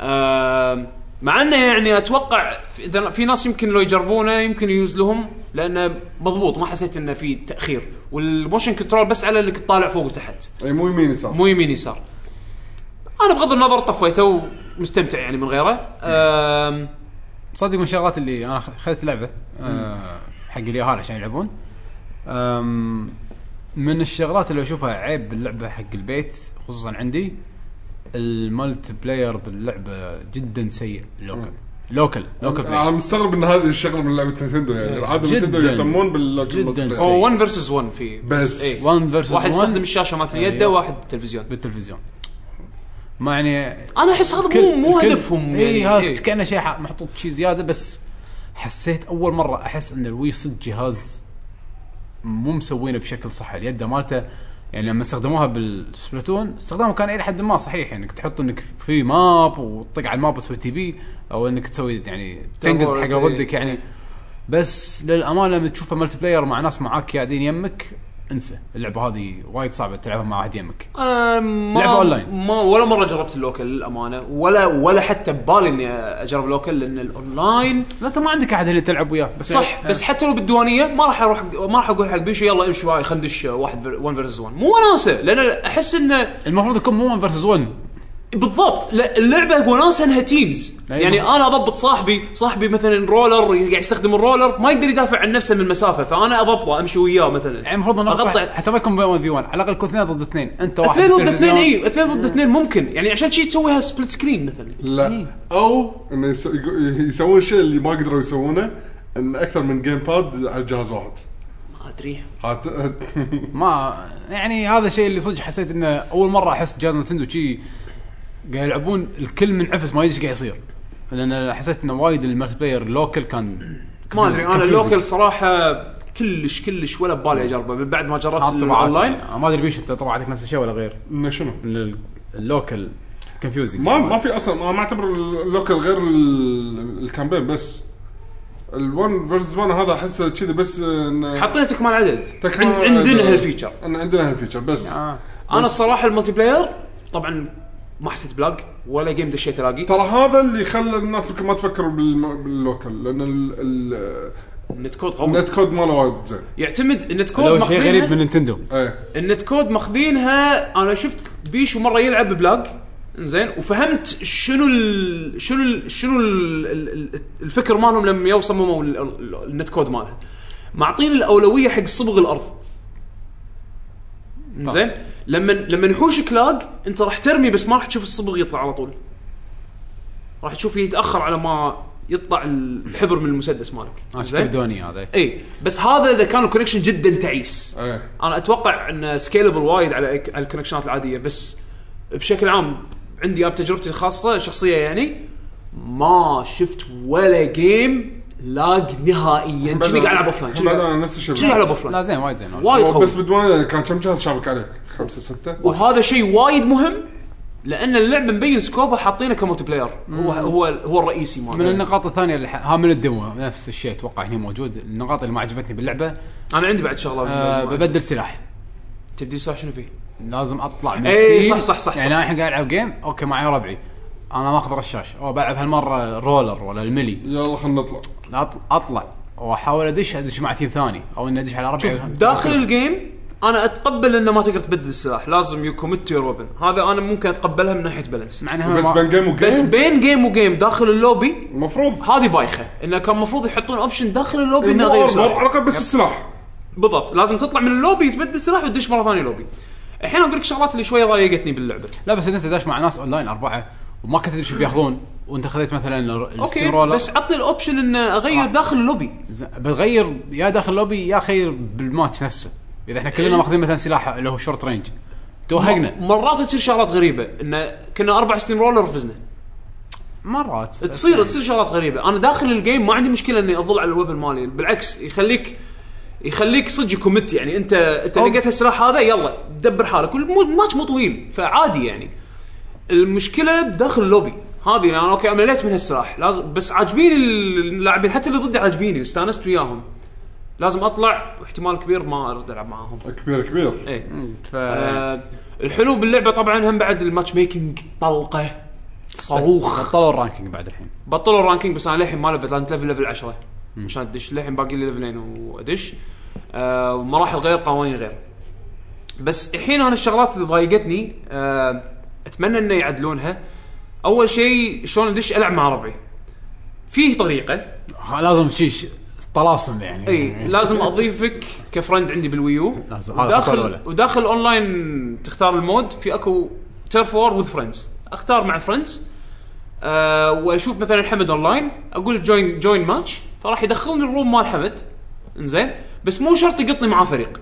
S1: آم، مع انه يعني اتوقع في- اذا في ناس يمكن لو يجربونه يمكن يوز لهم لانه مضبوط ما حسيت انه في تاخير والموشن كنترول بس على انك تطالع فوق وتحت.
S3: اي مو يمين يسار
S1: مو يمين يسار انا بغض النظر طفيته ومستمتع يعني من غيره أم،
S2: صدق من الشغلات اللي انا خ- خذت لعبه آه، حق اليهال عشان يلعبون أم، من الشغلات اللي اشوفها عيب باللعبه حق البيت خصوصا عندي الملتي بلاير باللعبه جدا سيء اللوكل لوكل لوكل
S3: انا
S2: بلاير
S3: مستغرب ان هذه الشغله من لعبه نتندو يعني العاده
S2: جداً.
S3: نتندو يهتمون باللوجيك
S2: جداً
S3: مالتي
S2: سيء.
S3: بلاير.
S1: هو 1 فيرسز 1 في
S3: بس.
S1: إيه.
S2: 1 versus
S1: واحد
S2: 1.
S1: يستخدم الشاشه مالت يده
S2: أيوه.
S1: واحد التلفزيون
S2: بالتلفزيون ما يعني
S1: انا احس هذا مو مو هدفهم
S2: اي
S1: يعني
S2: هذا
S1: إيه.
S2: كانه شيء ح- محطوط شيء زياده بس حسيت اول مره احس ان الوي صدق جهاز مو مسوينه بشكل صح اليد مالته يعني لما استخدموها بالسبلاتون استخدامه كان الى حد ما صحيح يعني انك تحط انك في ماب وتطق على الماب وتسوي تي بي او انك تسوي يعني تنقز حق
S1: إيه.
S2: ضدك يعني بس للامانه لما تشوفها ملتي بلاير مع ناس معاك قاعدين يمك انسى اللعبه هذه وايد صعبه تلعبها مع واحد يمك
S1: أنا ما
S2: لعبة أونلاين.
S1: ما ولا مره جربت اللوكل للامانه ولا ولا حتى ببالي اني اجرب لوكل لان الاونلاين
S2: لا انت ما عندك احد اللي تلعب وياه بس إيه.
S1: صح بس حتى لو بالديوانيه ما راح اروح ما راح اقول حق بيشو يلا امشي وياي خندش واحد 1 فيرسز 1 مو وناسه لان احس انه
S2: المفروض يكون مو 1 فيرسز 1
S1: بالضبط لا اللعبه وناسه انها تيمز
S2: أيوة.
S1: يعني انا اضبط صاحبي صاحبي مثلا رولر قاعد يستخدم الرولر ما يقدر يدافع عن نفسه من المسافه فانا اضبطه امشي وياه مثلا
S2: يعني المفروض انه
S1: اقطع
S2: واحد- حتى ما يكون 1 في 1 على الاقل يكون اثنين ضد اثنين انت واحد
S1: اثنين ضد
S2: بالتلفزيون.
S1: اثنين اي اثنين ضد اثنين ممكن يعني عشان شي تسويها سبليت سكرين مثلا
S3: لا
S1: إيه.
S3: او انه يس- يقو- يسوون الشيء اللي ما قدروا يسوونه ان اكثر من جيم باد على جهاز واحد
S1: ما ادري
S3: هات
S2: ما يعني هذا الشيء اللي صدق حسيت انه اول مره احس جهاز نتندو شي قاعد يلعبون الكل منعفس ما يدري ايش قاعد يصير لان حسيت انه وايد الملتي بلاير اللوكل كان
S1: ما ادري انا
S2: confusing.
S1: اللوكل صراحه كلش كلش ولا ببالي اجربه من بعد ما جربت
S2: حاط طبعات
S1: الاونلاين
S2: ما ادري بيشو انت طبعاتك نفس الشيء ولا غير
S3: انه شنو؟
S2: من ال- اللوكل كونفيوزنج
S3: ما ما في اصلا ما ما اعتبر اللوكل غير ال- الكامبين بس ال1 فيرسز 1 هذا احسه كذي بس
S2: أيوة.
S3: إنه
S1: حطيت كمان عدد
S3: تكمل
S1: عن- عندنا
S3: عدد.
S1: هالفيتشر آه.
S3: إن عندنا هالفيتشر بس
S1: انا الصراحه الملتي بلاير طبعا ما حسيت بلاج ولا جيم دشيت الاقي
S3: ترى هذا اللي خلى الناس يمكن ما تفكر بالم- باللوكل لان ال- ال-
S1: النت كود قوي
S3: النت كود ماله وايد زين
S1: يعتمد النت كود
S2: لو شيء غريب
S1: ماخذينها
S2: من نينتندو
S3: ايه
S1: النت كود ماخذينها انا شفت بيشو مره يلعب بلاج زين وفهمت شنو ال شنو ال شنو ال ال الفكر مالهم لما يو صمموا ال- ال- النت كود ماله معطين الاولويه حق صبغ الارض
S2: طيب.
S1: زين لما لما يحوشك لاج انت راح ترمي بس ما راح تشوف الصبغ يطلع على طول راح تشوف يتاخر على ما يطلع الحبر من المسدس مالك زين
S2: تبدوني آه، هذا
S1: اي إيه، بس هذا اذا كان الكونكشن جدا تعيس
S3: ايه
S1: انا اتوقع انه سكيلبل وايد على على الكونكشنات العاديه بس بشكل عام عندي اب تجربتي الخاصه الشخصيه يعني ما شفت ولا جيم لاج نهائيا كني قاعد العب اوف لاين
S3: بعد أنا نفس الشيء
S1: كني قاعد العب اوف
S2: لا
S1: لاين
S2: زين وايد زين
S1: وايد قوي
S3: بس بدون كان كم جهاز شابك عليك؟ خمسه سته؟
S1: وهذا شيء وايد مهم لان اللعبه مبين سكوبها حاطينه كملتي بلاير هو هو هو الرئيسي
S2: من
S1: ماله
S2: النقاط الثانيه اللي ح- ها من الدمو نفس الشيء اتوقع هنا موجود النقاط اللي ما عجبتني باللعبه
S1: انا عندي بعد شغله
S2: آه،
S1: بالموضوع.
S2: ببدل سلاح
S1: تبدي صح شنو فيه؟
S2: لازم اطلع من
S1: إيه، صح-
S2: التيم.
S1: صح- صح-
S2: يعني
S1: صح.
S2: انا الحين قاعد العب جيم اوكي معي ربعي انا ماخذ رشاش او بلعب هالمره رولر ولا الملي
S3: يلا خلينا نطلع
S2: لا أط- اطلع واحاول ادش ادش مع تيم ثاني او اني ادش على ربعي
S1: شوف داخل الجيم انا اتقبل انه ما تقدر تبدل السلاح لازم يو كوميت يور ويبن هذا انا ممكن اتقبلها من ناحيه بالانس
S2: مع انها
S3: بس
S2: ما-
S3: بين جيم
S1: بس
S3: وجيم
S1: بين جيم وجيم داخل اللوبي
S3: المفروض
S1: هذه بايخه انه كان المفروض يحطون اوبشن داخل اللوبي انه
S3: مو
S1: غير
S3: أرمر، على
S1: سلاح
S3: الاقل بس السلاح
S1: بالضبط لازم تطلع من اللوبي تبدل سلاح وتدش مره ثانيه لوبي الحين اقول لك شغلات اللي شوي ضايقتني باللعبه
S2: لا بس إن انت داش مع ناس اونلاين اربعه وما كنت تدري شو بياخذون وانت خذيت مثلا ال-
S1: اوكي
S2: الستيم رولر
S1: بس عطني الاوبشن انه اغير داخل اللوبي
S2: ز- بتغير يا داخل اللوبي يا خير بالماتش نفسه اذا احنا كلنا ماخذين مثلا سلاح اللي هو شورت رينج توهقنا
S1: مرات تصير شغلات غريبه انه كنا اربع ستيم رولر رفزنا
S2: مرات
S1: تصير تصير شغلات غريبه انا داخل الجيم ما عندي مشكله اني اظل على الويبن مالي بالعكس يخليك يخليك صدق كوميت يعني انت انت
S2: أو-
S1: لقيت السلاح هذا يلا دبر حالك والماتش مو طويل فعادي يعني المشكله بداخل اللوبي هذه يعني انا اوكي مليت من هالسلاح لازم بس عاجبيني اللاعبين حتى اللي ضدي عاجبيني واستانست وياهم لازم اطلع واحتمال كبير ما ارد العب معاهم
S3: كبير كبير
S1: ايه
S2: ف...
S1: آه الحلو باللعبه طبعا هم بعد الماتش ميكنج طلقه صاروخ
S2: بطلوا الرانكينج بعد الحين
S1: بطلوا الرانكينج بس انا للحين ما لعبت لعبت ليفل ليفل 10 عشان ادش للحين باقي لي ليفلين وادش آه ومراحل غير قوانين غير بس الحين انا الشغلات اللي ضايقتني آه اتمنى انه يعدلونها اول شيء شلون ادش العب مع ربعي فيه طريقه
S2: آه، لازم شيء ش- طلاسم يعني
S1: اي لازم اضيفك كفرند عندي بالويو
S2: لازم، هذا خطوة
S1: وداخل
S2: الأولى.
S1: وداخل اونلاين تختار المود في اكو تيرف وور وذ فريندز اختار مع فريندز أه واشوف مثلا حمد اونلاين اقول جوين جوين ماتش فراح يدخلني الروم مال حمد انزين بس مو شرط يقطني معاه فريق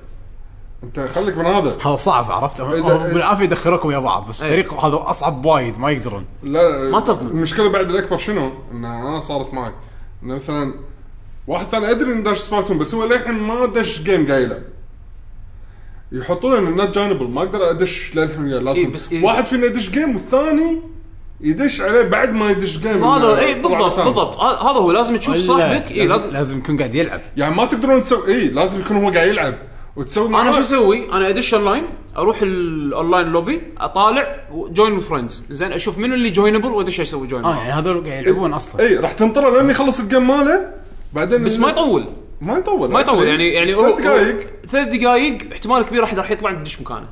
S3: انت خليك من هذا
S2: هذا صعب عرفت هم-
S3: إذا-
S2: هم بالعافيه يدخلوكم ويا بعض بس فريق هذا اصعب وايد ما يقدرون
S3: لا
S1: ما تضمن.
S3: المشكله بعد الاكبر شنو؟ ان انا صارت معي انه مثلا واحد ثاني ادري انه داش سبارتون بس هو للحين ما دش جيم قاعد يلعب يحطون لنا النت جانبل ما اقدر ادش للحين وياه لازم
S1: إيه، بس إيه.
S3: واحد فينا يدش جيم والثاني يدش عليه بعد ما يدش جيم
S1: هذا اي
S3: إنه طلع
S1: بالضبط
S3: لسانه.
S1: بالضبط ه- هذا هو لازم تشوف
S2: ولا
S1: صاحبك اي لازم
S2: إيه، لازم يكون قاعد يلعب
S3: يعني ما تقدرون تسوي اي لازم يكون هو قاعد يلعب وتسوي معاه
S1: انا شو اسوي؟ انا ادش اونلاين اروح الاونلاين لوبي اطالع جوين فريندز زين اشوف منو اللي جوينبل وادش اسوي جوين
S2: اه يعني هذول قاعد يلعبون
S1: إيه.
S2: اصلا
S3: اي راح تنطره لين يخلص الجيم ماله بعدين
S1: بس ما يطول
S3: ما يطول
S1: ما يطول يعني يعني
S3: إيه. ثلاث دقائق
S1: ثلاث دقائق احتمال كبير احد راح يطلع تدش مكانه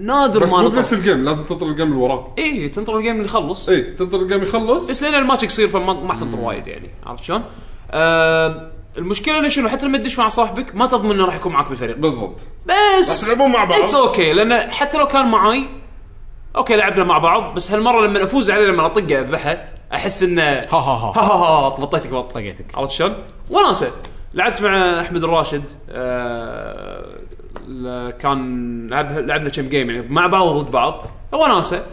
S1: نادر
S3: بس
S1: ما
S3: مو بنفس إيه.
S1: نطرت
S3: الجيم لازم تنطر الجيم اللي وراه
S1: اي تنطر الجيم اللي يخلص
S3: اي تنطر الجيم يخلص
S1: بس لين الماتش يصير فما ما تنطر وايد يعني عرفت شلون؟ آه المشكله انه شنو حتى لما تدش مع صاحبك ما تضمن انه راح يكون معك بالفريق
S3: بالضبط
S1: بس
S5: تلعبون مع بعض.
S1: اتس اوكي لان حتى لو كان معاي اوكي لعبنا مع بعض بس هالمره لما افوز عليه لما اطقه اذبحه احس انه
S2: ها ها
S1: ها
S2: ها
S1: ها ها بطيتك بط
S2: طقيتك
S1: عرفت شلون؟ وناسه لعبت مع احمد الراشد آه ل- كان لعب لعبنا كم جيم يعني مع بعض وضد بعض وناسه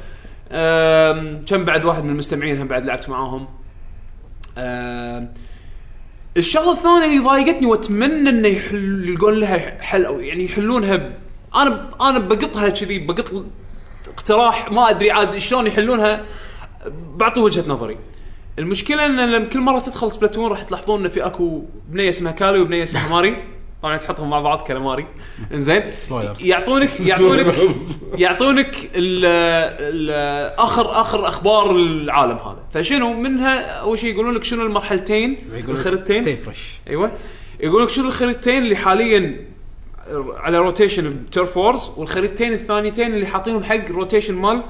S1: آم، كم بعد واحد من المستمعين هم بعد لعبت معاهم آم، الشغله الثانيه اللي ضايقتني واتمنى انه يحل يلقون لها حل او يعني يحلونها ب... انا انا بقطها كذي بقط اقتراح ما ادري عاد شلون يحلونها بعطي وجهه نظري المشكله ان لما كل مره تدخل سبلاتون راح تلاحظون ان في اكو بنيه اسمها كالي وبنيه اسمها ماري طبعا تحطهم مع بعض كالماري انزين
S2: Spoilers.
S1: يعطونك يعطونك يعطونك ال ال اخر اخر اخبار العالم هذا فشنو منها اول شيء يقولون لك شنو المرحلتين
S2: ستي
S1: الخريطتين
S2: فريش
S1: ايوه يقول لك شنو الخريطتين اللي حاليا على روتيشن بتيرف وورز والخريطتين الثانيتين اللي حاطينهم حق روتيشن مال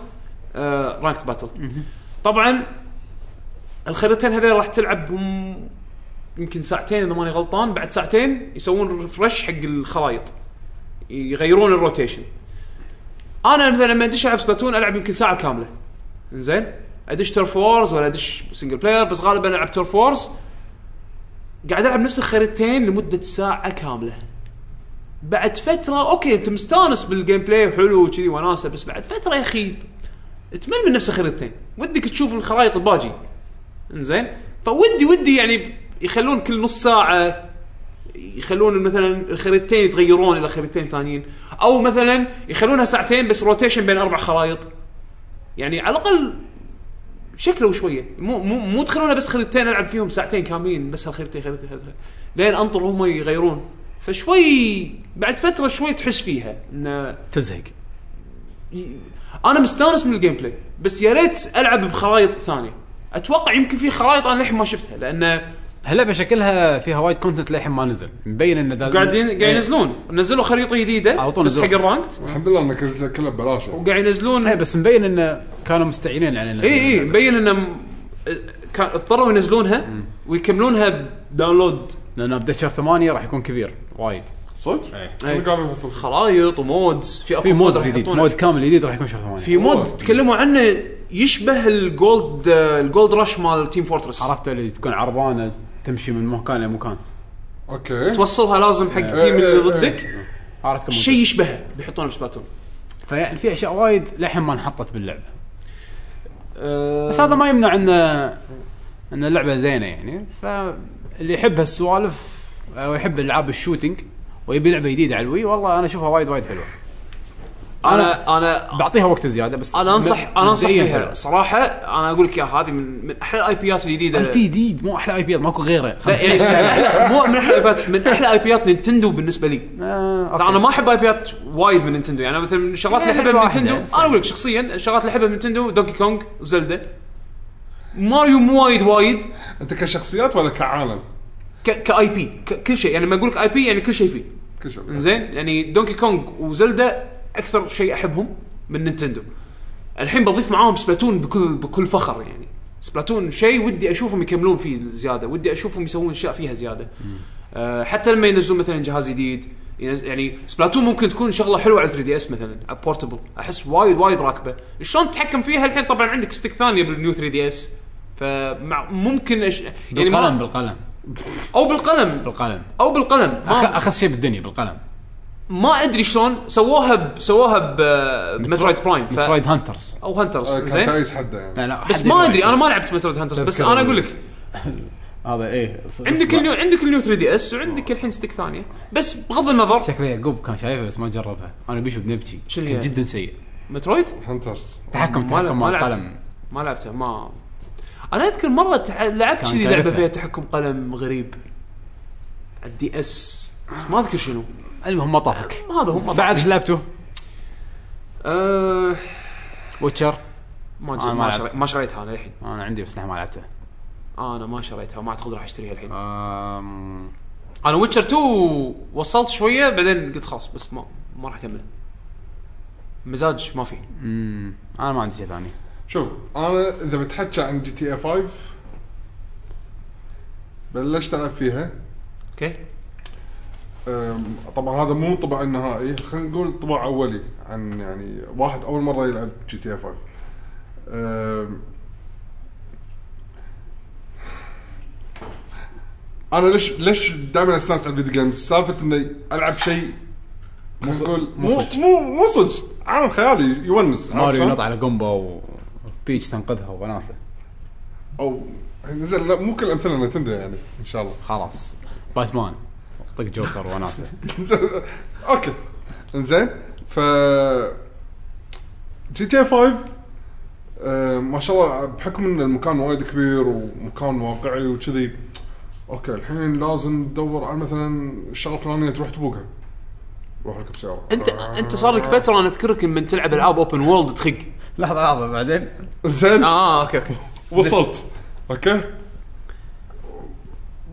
S1: آه رانكت باتل طبعا الخريطتين هذول راح تلعب بهم يمكن ساعتين اذا ماني غلطان بعد ساعتين يسوون ريفرش حق الخرائط يغيرون الروتيشن انا مثلا لما ادش العب سبلاتون العب يمكن ساعه كامله زين ادش تور فورز ولا ادش سنجل بلاير بس غالبا العب تور فورز قاعد العب نفس الخريطتين لمده ساعه كامله بعد فتره اوكي انت مستانس بالجيم بلاي وحلو وكذي وناسه بس بعد فتره يا اخي تمل من نفس الخريطتين ودك تشوف الخرائط الباجي انزين فودي ودي يعني يخلون كل نص ساعه يخلون مثلا الخريطتين يتغيرون الى خريطتين ثانيين او مثلا يخلونها ساعتين بس روتيشن بين اربع خرائط يعني على الاقل شكله شويه مو مو مو تخلونا بس خريطتين العب فيهم ساعتين كاملين بس هالخريطتين خريطتين خريطتين لين انطر هم يغيرون فشوي بعد فتره شوي تحس فيها انه
S2: تزهق
S1: ي- انا مستانس من الجيم بلاي بس يا ريت العب بخرائط ثانيه اتوقع يمكن في خرائط انا للحين ما شفتها لان
S2: هاللعبه شكلها فيها وايد كونتنت للحين ما نزل مبين انه دا-
S1: قاعدين قاعد
S2: إيه.
S1: ينزلون نزلوا خريطه جديده
S2: على طول
S1: بس حق
S2: نزلوا.
S1: الرانكت
S3: الحمد لله انك جبت لك كلها ببلاش يعني.
S1: وقاعد ينزلون
S2: ايه
S1: اي
S2: بس مبين انه كانوا مستعينين يعني
S1: اي مبين انه م- كان اضطروا ينزلونها ويكملونها بداونلود
S2: لان ابديت شهر 8 راح يكون كبير وايد
S3: صدق؟
S2: إيه.
S3: شنو قاعد يحطون؟
S1: خرائط ومودز في
S2: في
S1: اكو
S2: مود
S1: راح
S2: جديد
S1: يحطونه.
S2: مود كامل جديد راح يكون شهر 8
S1: في مود تكلموا عنه يشبه الجولد الجولد رش مال تيم فورترس
S2: عرفت اللي تكون عربانه تمشي من مكان لمكان
S3: اوكي
S1: توصلها لازم حق التيم
S3: إيه،
S1: اللي
S3: إيه،
S1: ضدك
S2: عرفت كم
S1: شيء يشبهه بيحطونه بسباتون
S2: فيعني في اشياء وايد للحين ما انحطت باللعبه
S1: أه،
S2: بس هذا ما يمنع ان ان اللعبه زينه يعني فاللي يحب هالسوالف او يحب العاب الشوتينج ويبي لعبه جديده على الوي والله انا اشوفها وايد وايد حلوه
S1: انا انا
S2: بعطيها وقت زياده بس
S1: انا انصح انا انصح
S2: مبدئياً
S1: فيها
S2: حلوة.
S1: صراحه انا اقول لك اياها هذه من من احلى الاي بيات الجديده
S2: اي بي دي مو احلى اي بيات ماكو غيره
S1: لا، يعني مو من احلى ايبيات من احلى ايبيات نينتندو بالنسبه لي طبعا انا ما احب ايبيات وايد من نينتندو يعني أنا مثلا من الشغلات اللي
S2: يعني
S1: احبها من
S2: واحدة.
S1: نينتندو انا اقول لك شخصيا الشغلات اللي احبها من نينتندو دونكي كونغ وزلدا ماريو مو وايد وايد
S3: انت كشخصيات ولا كعالم؟
S1: ك- كاي بي ك- كل شيء يعني لما اقول لك اي بي يعني كل شيء فيه
S3: كل شيء
S1: زين يعني دونكي كونغ وزلدا اكثر شيء احبهم من نينتندو الحين بضيف معاهم سبلاتون بكل بكل فخر يعني سبلاتون شيء ودي اشوفهم يكملون فيه زياده ودي اشوفهم يسوون اشياء فيها زياده أه حتى لما ينزلون مثلا جهاز جديد ينز- يعني سبلاتون ممكن تكون شغله حلوه على 3 دي اس مثلا على بورتبل احس وايد وايد راكبه شلون تتحكم فيها الحين طبعا عندك ستيك ثانيه بالنيو 3 دي اس فممكن أش... يعني ما-
S2: بالقلم بالقلم
S1: او بالقلم
S2: بالقلم
S1: او بالقلم ما-
S2: أخ- اخس شيء بالدنيا بالقلم
S1: ما ادري شلون سووها ب... سووها ب مترويد برايم ف...
S2: مترويد هانترز
S1: او هانترز
S3: آه، كان
S1: زين
S3: تعيس حده يعني
S2: لا لا
S1: بس
S2: حد
S1: ما
S2: يبغى
S1: ادري انا
S2: يجي.
S1: ما لعبت مترويد هانترز بس
S2: تذكر
S1: انا اقول لك
S2: هذا ايه
S1: عندك النيو عندك النيو 3 دي اس
S2: آه.
S1: وعندك الحين ستيك ثانيه بس بغض النظر
S2: شكله يعقوب كان شايفها بس ما جربها انا بيشو بنبكي
S1: شنو
S2: كان
S1: هي؟
S2: جدا سيء
S1: مترويد
S3: هانترز
S2: تحكم
S1: ما-
S2: تحكم
S1: ما
S2: مال
S1: لعبت.
S2: القلم
S1: ما لعبته ما انا اذكر مره تع... لعبت
S2: كان
S1: كذي لعبه
S2: تعرفها.
S1: فيها تحكم قلم غريب على الدي اس بس ما اذكر شنو
S2: المهم ما طافك
S1: هذا هو
S2: بعد ايش لعبته؟
S1: أه...
S2: ويتشر
S1: ما
S2: أنا
S1: جر...
S2: آه، ما
S1: ما,
S2: لعبت.
S1: شري... ما شريتها انا الحين
S2: انا عندي بس للحين ما لعبته
S1: انا ما شريتها ما اعتقد راح اشتريها الحين
S2: أم،
S1: انا ويتشر 2 وصلت شويه بعدين قلت خلاص بس ما ما راح اكمل
S4: مزاج ما في
S2: امم انا ما عندي شيء ثاني
S3: شوف انا اذا بتحكى عن جي تي اي 5 بلشت العب فيها
S4: اوكي
S3: أم، طبعا هذا مو طبع النهائي خلينا نقول طبع اولي عن يعني واحد اول مره يلعب جي تي اي 5 أم، انا ليش ليش دائما استانس على الفيديو جيمز سالفه اني العب شيء خلينا نقول
S2: مو
S3: مو
S2: صج.
S3: مو مو صج عالم خيالي يونس عرفت
S2: ماريو
S3: شلون؟
S2: ينط على قنبه و- وبيتش تنقذها ووناسه
S3: او زين لا مو كل امثله نتندو يعني ان شاء الله
S2: خلاص باتمان طق جوكر وناسه
S3: اوكي انزين ف جي تي 5 آه، ما شاء الله بحكم ان المكان وايد كبير ومكان واقعي وكذي اوكي الحين لازم تدور على مثلا الشغله الفلانيه تروح تبوقها روح اركب سياره
S4: انت انت صار لك فتره انا اذكرك من تلعب العاب اوبن وورلد تخق
S2: لحظه لحظه بعدين
S1: آه،
S3: زين
S4: اه اوكي اوكي
S3: وصلت اوكي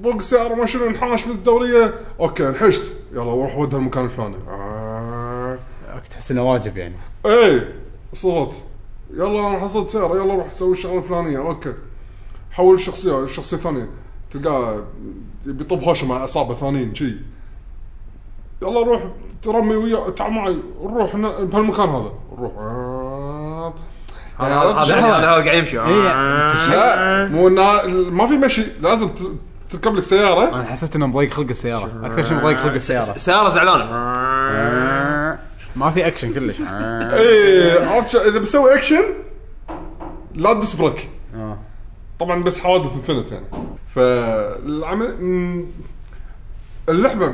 S3: بوق السيارة ما شنو انحاش من الدورية اوكي انحشت يلا روح ودها المكان الفلاني آه.
S2: تحس انه واجب يعني
S3: ايه وصلت يلا انا حصلت سيارة يلا روح سوي الشغلة الفلانية اوكي حول الشخصية الشخصية الثانية تلقاه بيطب هوشة مع اصابة ثانيين شي يلا روح ترمي ويا تعال معي نروح هنا- بهالمكان هذا نروح آه. يعني
S1: هذا
S3: عرفت
S1: هذا
S3: شلون؟
S1: هذا هو قاعد يمشي
S4: إيه،
S3: لا مو إنها- ما في مشي لازم ت- تركب لك سياره
S2: انا حسيت انه مضايق خلق السياره اكثر شيء مضايق خلق السياره
S1: سياره زعلانه
S2: ما في اكشن كلش آه.
S3: ايه عرفت شو- اذا بسوي اكشن لا تدوس بريك
S2: آه.
S3: طبعا بس حوادث انفنت يعني فالعمل مم، اللعبه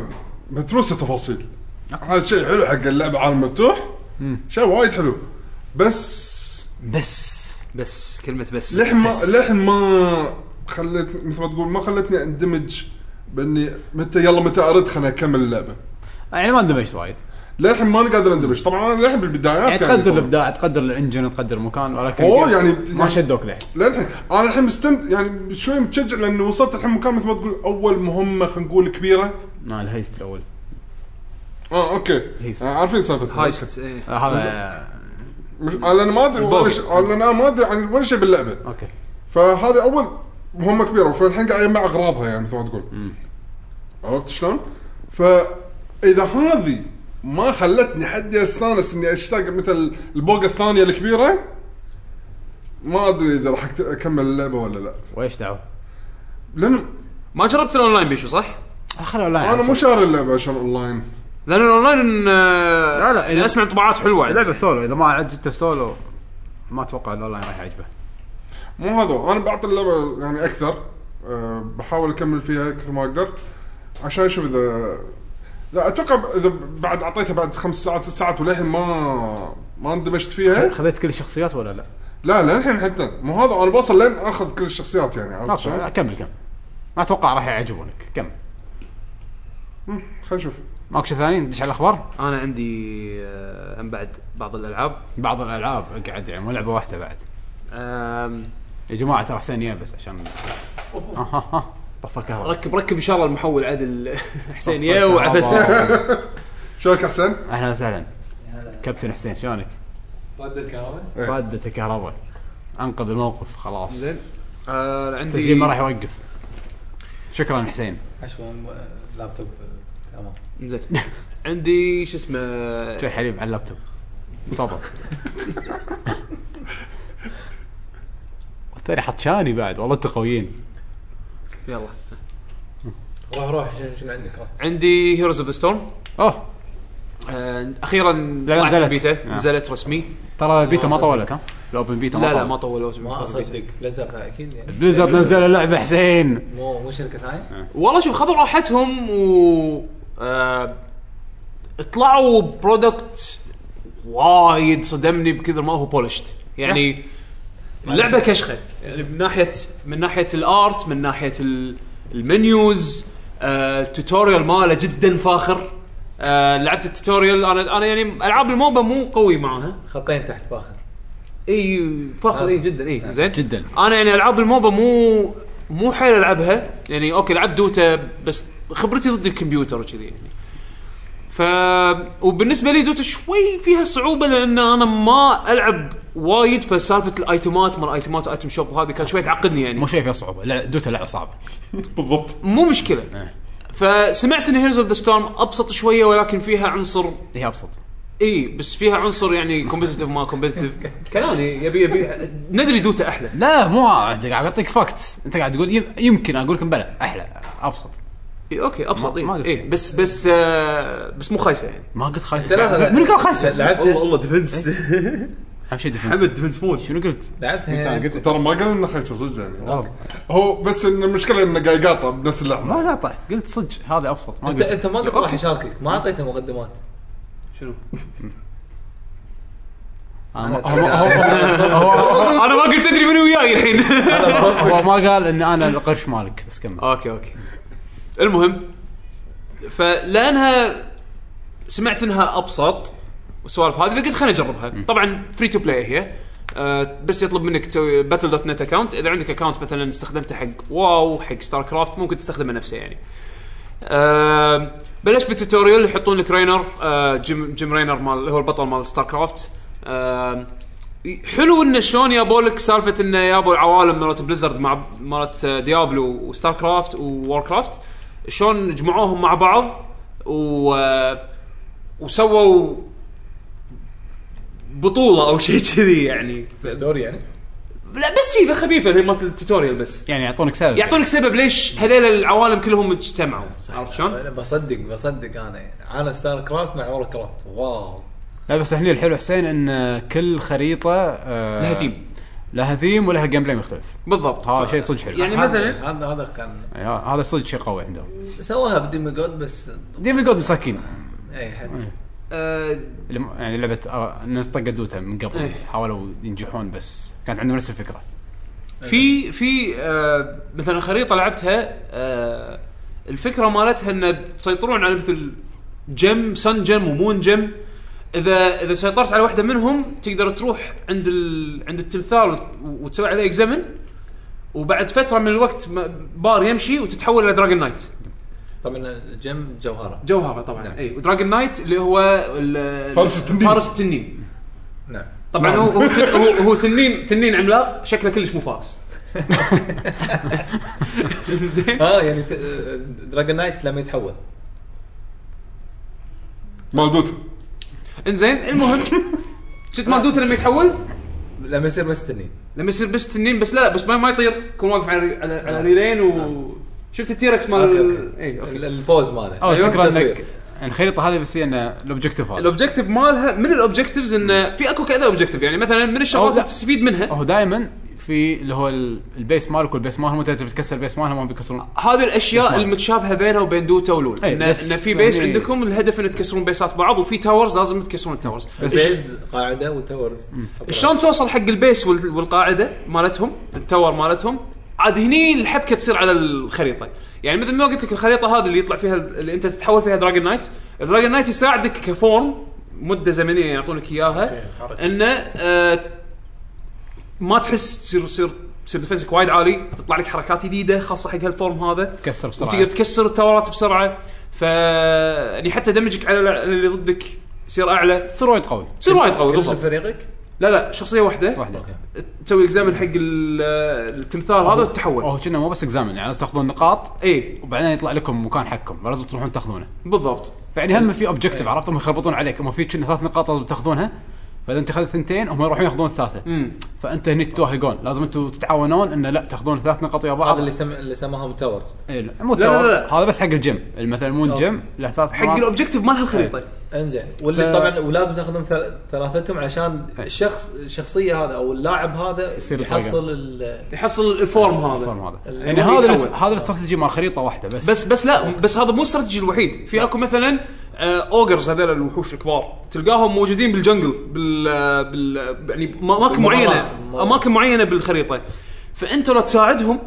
S3: متروسه تفاصيل
S2: نعم.
S3: هذا شيء حلو حق اللعبه عالم مفتوح شيء وايد حلو بس
S2: بس
S1: بس كلمه بس
S3: لحن ما لحن ما خلت مثل ما تقول ما خلتني اندمج باني متى يلا متى ارد خليني اكمل اللعبه
S2: يعني ما اندمجت وايد
S3: للحين ماني قادر اندمج طبعا انا للحين
S2: يعني
S3: بالبدايات
S2: تقدر
S3: طبعاً.
S2: الابداع تقدر الانجن تقدر المكان ولكن
S3: أوه،
S2: كيف-
S3: يعني-
S2: ما شدوك لحين
S3: للحين انا الحين مستمتع يعني شوي متشجع لانه وصلت الحين مكان مثل ما تقول اول مهمه خلينا نقول كبيره
S2: ما الهيست الاول
S3: اه اوكي
S2: هيست.
S3: آه عارفين سالفتها
S1: هايست إيه.
S2: آه، هذا
S3: مش انا ما ادري ولا
S1: الباقي.
S3: شيء أنا- انا ما ادري عن ولا شيء باللعبه
S2: اوكي
S3: فهذه اول مهمه كبيره فالحين قاعد يجمع اغراضها يعني مثل ما تقول عرفت شلون؟ فاذا هذه ما خلتني حدي استانس اني اشتاق مثل البوقه الثانيه الكبيره ما ادري اذا راح أكت- اكمل اللعبه ولا لا
S2: وايش دعوه؟
S3: لان
S1: ما جربت الاونلاين بيشو صح؟
S2: خلوا لا
S3: انا مو شاري اللعبه عشان اونلاين
S1: لان الاونلاين لا
S2: لا، لا، إذا-
S1: اسمع آه، انطباعات حلوه يعني
S2: لعبه سولو اذا ما عجبته سولو ما اتوقع الاونلاين راح يعجبه
S3: مو هذا انا بعطي اللعبه يعني اكثر أه بحاول اكمل فيها كثر ما اقدر عشان اشوف اذا لا اتوقع اذا بعد اعطيتها بعد خمس ساعات ست ساعات وللحين ما ما اندمجت فيها
S2: خذيت كل الشخصيات ولا لا؟
S3: لا للحين حتى مو هذا انا بوصل لين اخذ كل الشخصيات يعني عرفت
S2: اوكي
S3: شلون؟
S2: لا، كمل كمل ما اتوقع راح يعجبونك كمل
S3: مم، خلينا نشوف
S2: ماكو شيء ثاني ندش على الاخبار
S1: انا عندي آه، هم بعد بعض الالعاب
S2: بعض الالعاب قاعد يعني مو لعبه واحده بعد
S1: آم،
S2: يا جماعه ترى حسين يا بس عشان آه، آه، آه. طفى الكهرباء
S1: ركب ركب ان شاء الله المحول عدل حسين يا
S2: طفى
S1: وعفسنا
S2: الكهرباء.
S3: شلونك احسن؟
S2: اهلا وسهلا كابتن حسين شلونك؟
S3: إيه.
S2: ردت الكهرباء انقذ الموقف خلاص
S1: زين آه، عندي
S2: التسجيل ما راح يوقف شكرا حسين
S6: عشان لابتوب تمام
S1: زين عندي شو اسمه
S2: شوي حليب على اللابتوب تفضل والثاني حط شاني بعد والله انتم قويين
S1: يلا
S6: روح روح شنو شنو عندك روح
S1: عندي هيروز اوف ذا ستورم
S2: اوه
S1: اخيرا
S2: لا،
S1: آه، طلعت
S2: نزلت.
S1: البيتا
S2: آه.
S1: نزلت رسمي
S2: ترى البيتا ما طولت ها الاوبن بيتا ما
S1: لا لا
S2: طولت.
S1: ما طولوا
S6: ما اصدق بليزر اكيد يعني
S2: بليزرد نزل اللعبه حسين
S6: مو مو شركه ثانيه
S1: والله شوف خذوا راحتهم و آه، طلعوا برودكت وايد صدمني بكثر ما هو بولشت يعني اللعبه كشخه يعني من ناحيه من ناحيه الارت من ناحيه ال- المنيوز آه، التوتوريال ماله جدا فاخر آه، لعبت التوتوريال انا انا يعني العاب الموبا مو قوي معاها
S6: خطين تحت فاخر
S1: اي فاخر اي جدا اي زين
S2: جداً.
S1: انا يعني العاب الموبا مو مو حيل العبها يعني اوكي لعبت دوتا بس خبرتي ضد الكمبيوتر وكذي يعني ف ف وبالنسبه لي دوتا شوي فيها صعوبه لان انا ما العب وايد فسالفه الايتمات مال ايتمات ايتم شوب وهذه كان شوي تعقدني يعني
S2: مو شيء فيها صعوبه لا دوتا لعبه صعبه
S3: بالضبط
S1: مو مشكله
S2: إيه.
S1: فسمعت ان هيرز اوف ذا ستورم ابسط شويه ولكن فيها عنصر
S2: هي ابسط
S1: اي بس فيها عنصر يعني كومبتتف ما كومبتتف كلامي يبي يبي ندري دوتا احلى
S2: لا مو انت قاعد اعطيك فاكتس انت قاعد تقول يم- يمكن اقول لكم بلا احلى ابسط
S1: اي اوكي ابسط
S2: ما- ما
S1: اي
S2: قلت
S1: إيه
S2: شيء.
S1: بس بس آه بس مو خايسه يعني
S2: ما قلت خايس
S6: ثلاثة
S2: من قال خايس
S6: لعبت
S7: والله والله ديفنس
S2: اهم شيء defense.
S7: حمد ديفنس مود
S2: شنو قلت؟ آه.
S6: لعبتها يعني-
S3: ترى ما قال انه خيسه صدق يعني هو بس ان المشكله انه قاعد يقاطع بنفس اللحظه
S2: ما قاطعت قلت صدق هذا ابسط ما
S6: انت
S2: قلت
S6: انت ما كنت راح
S1: أوكي.
S6: اشاركك ما اعطيته مقدمات
S7: شنو؟
S2: أنا ما- هو هو- هو-
S1: انا ما قلت ادري من وياي الحين
S2: هو ما قال ان انا القرش مالك بس كمل
S1: اوكي اوكي المهم فلانها سمعت انها ابسط والسوالف هذه فقلت خليني اجربها طبعا فري تو بلاي هي أه بس يطلب منك تسوي باتل دوت نت اكونت اذا عندك اكونت مثلا استخدمته حق واو حق ستار كرافت ممكن تستخدمه نفسه يعني أه بلش بالتوتوريال يحطون لك رينر أه جيم جيم رينر مال هو البطل مال ستار كرافت أه حلو انه شلون يابوا لك سالفه انه يابوا العوالم مالت بليزرد مع مالت آه، ديابلو وستار كرافت وور كرافت شلون جمعوهم مع بعض و آه، وسووا بطوله او شيء كذي يعني
S6: ستوري يعني
S1: لا بس هي خفيفه هي مالت التوتوريال بس
S2: يعني يعطونك سبب
S1: يعطونك سبب ليش هذيل العوالم كلهم اجتمعوا عرفت شلون؟
S6: انا بصدق بصدق انا عالم ستار كرافت مع وور كرافت واو
S2: لا بس هني الحلو حسين ان كل خريطه آه،
S1: لها ثيم
S2: لها ثيم ولها جيم بلاي مختلف
S1: بالضبط
S2: هذا شيء صدق حلو
S1: يعني
S2: يعني
S1: مثلا
S6: هذا هذا كان
S2: هذا صدق شيء قوي عندهم
S6: سواها بديمي جود بس إيه،
S2: ديمي جود مساكين
S6: اي حد
S1: آه،
S2: اللي م- يعني لعبه آه، الناس طقت دوتا من قبل
S1: إيه.
S2: حاولوا ينجحون بس كانت عندهم نفس الفكره
S1: في في آه مثلا خريطه لعبتها آه الفكره مالتها ان تسيطرون على مثل جم سن جم ومون جم اذا اذا سيطرت على واحده منهم تقدر تروح عند ال... عند التمثال وت- وتسوي عليه اكزمن وبعد فتره من الوقت م- بار يمشي وتتحول الى دراجون نايت
S6: طبعا الجيم جوهره
S1: جوهره طبعا
S6: نعم.
S1: اي ودراجون نايت اللي هو ال-
S3: فارس التنين.
S1: فارس التنين
S6: نعم
S1: طبعا يعني هو هو تن- هو- هو تنين تنين عملاق شكله كلش مو فارس زين
S6: اه يعني ت... دراجون نايت لما يتحول
S3: مال دوت
S1: انزين المهم شفت مال دوتا لما يتحول
S6: لما يصير بس تنين
S1: لما يصير بس تنين بس لا بس ما, ما يطير يكون واقف على ري- على, على ريلين و شفت التيركس مال إيه،
S6: اوكي اوكي
S1: اي اوكي
S6: ال- البوز ماله يعني
S2: اول
S1: أيوة،
S2: فكره انك
S6: تصوير.
S2: الخريطه يعني هذه بس هي ان الاوبجيكتيف هذا
S1: الاوبجيكتيف مالها من الاوبجيكتيفز انه في اكو كذا اوبجيكتيف يعني مثلا من الشغلات
S2: أو لا.
S1: اللي تستفيد منها
S2: هو دائما في اللي هو ال- البيس مالك والبيس مالهم انت تبي تكسر البيس مالهم هم بيكسرون
S1: هذه الاشياء
S2: بس ما-
S1: المتشابهه بينها وبين دوتا ولول
S2: أي،
S1: ان إن
S2: إيه، بس
S1: في بيس
S2: يعني-
S1: عندكم الهدف ان تكسرون بيسات بعض وفي تاورز لازم تكسرون التاورز
S6: بيز قاعده وتورز
S1: شلون توصل حق البيس وال- والقاعده مالتهم التاور مالتهم عاد هني الحبكه تصير على الخريطه يعني مثل ما قلت لك الخريطه هذه اللي يطلع فيها اللي انت تتحول فيها دراجون نايت دراجون نايت يساعدك كفورم مده زمنيه يعطونك اياها
S6: حركة.
S1: انه آه، ما تحس تصير تصير تصير ديفنسك وايد عالي تطلع لك حركات جديده خاصه حق هالفورم هذا
S2: تكسر بسرعه
S1: وتقدر تكسر التاورات بسرعه ف يعني حتى دمجك على على اللي ضدك يصير اعلى
S2: تصير وايد قوي
S1: تصير وايد قوي
S6: كل
S1: بالضبط
S6: فريقك
S1: لا لا شخصيه واحده
S2: واحده
S1: تسوي اكزامن حق ال- التمثال هذا إيه. وتتحول
S2: هو كنا مو بس اكزامن يعني لازم تاخذون نقاط
S1: اي
S2: وبعدين يطلع لكم مكان حقكم لازم تروحون تاخذونه
S1: بالضبط
S2: فيعني هم في
S1: إيه.
S2: اوبجيكتيف عرفتهم يخربطون عليك هم في كنا ثلاث نقاط لازم تاخذونها فاذا انت اخذت ثنتين هم يروحون ياخذون الثالثه
S1: امم
S2: فانت هني تتوهقون لازم انتم تتعاونون انه لا تاخذون ثلاث نقاط ويا بعض
S6: هذا اللي سم... اللي سماهم تورز
S2: إيه، لا، مو
S1: لا، لا، لا.
S2: التوارز. هذا بس حق الجيم مثلا مو الجيم له ثلاث
S1: حق
S2: مرات.
S1: الاوبجيكتيف مال
S2: إيه.
S1: هالخريطه
S6: انزين واللي
S2: ف-
S6: طبعا ولازم تاخذهم ثل... ثلاثتهم عشان
S2: أي.
S6: الشخص الشخصيه هذا او اللاعب هذا
S2: يصير
S6: يحصل ال...
S1: يحصل الفورم هذا
S2: الفورم هذا
S6: اللي
S2: يعني
S1: هو
S2: هذا الاس-
S1: يتحول.
S2: هذا الاستراتيجي مال خريطه واحده بس آه،
S1: بس بس لا بس هذا مو الاستراتيجي الوحيد في اكو مثلا آه، اوجرز هذول الوحوش الكبار تلقاهم موجودين بالجنجل بال آه، بال آه، يعني م- اماكن معينه
S6: بالممرات، بالممرات.
S1: اماكن معينه بالخريطه فانت لو تساعدهم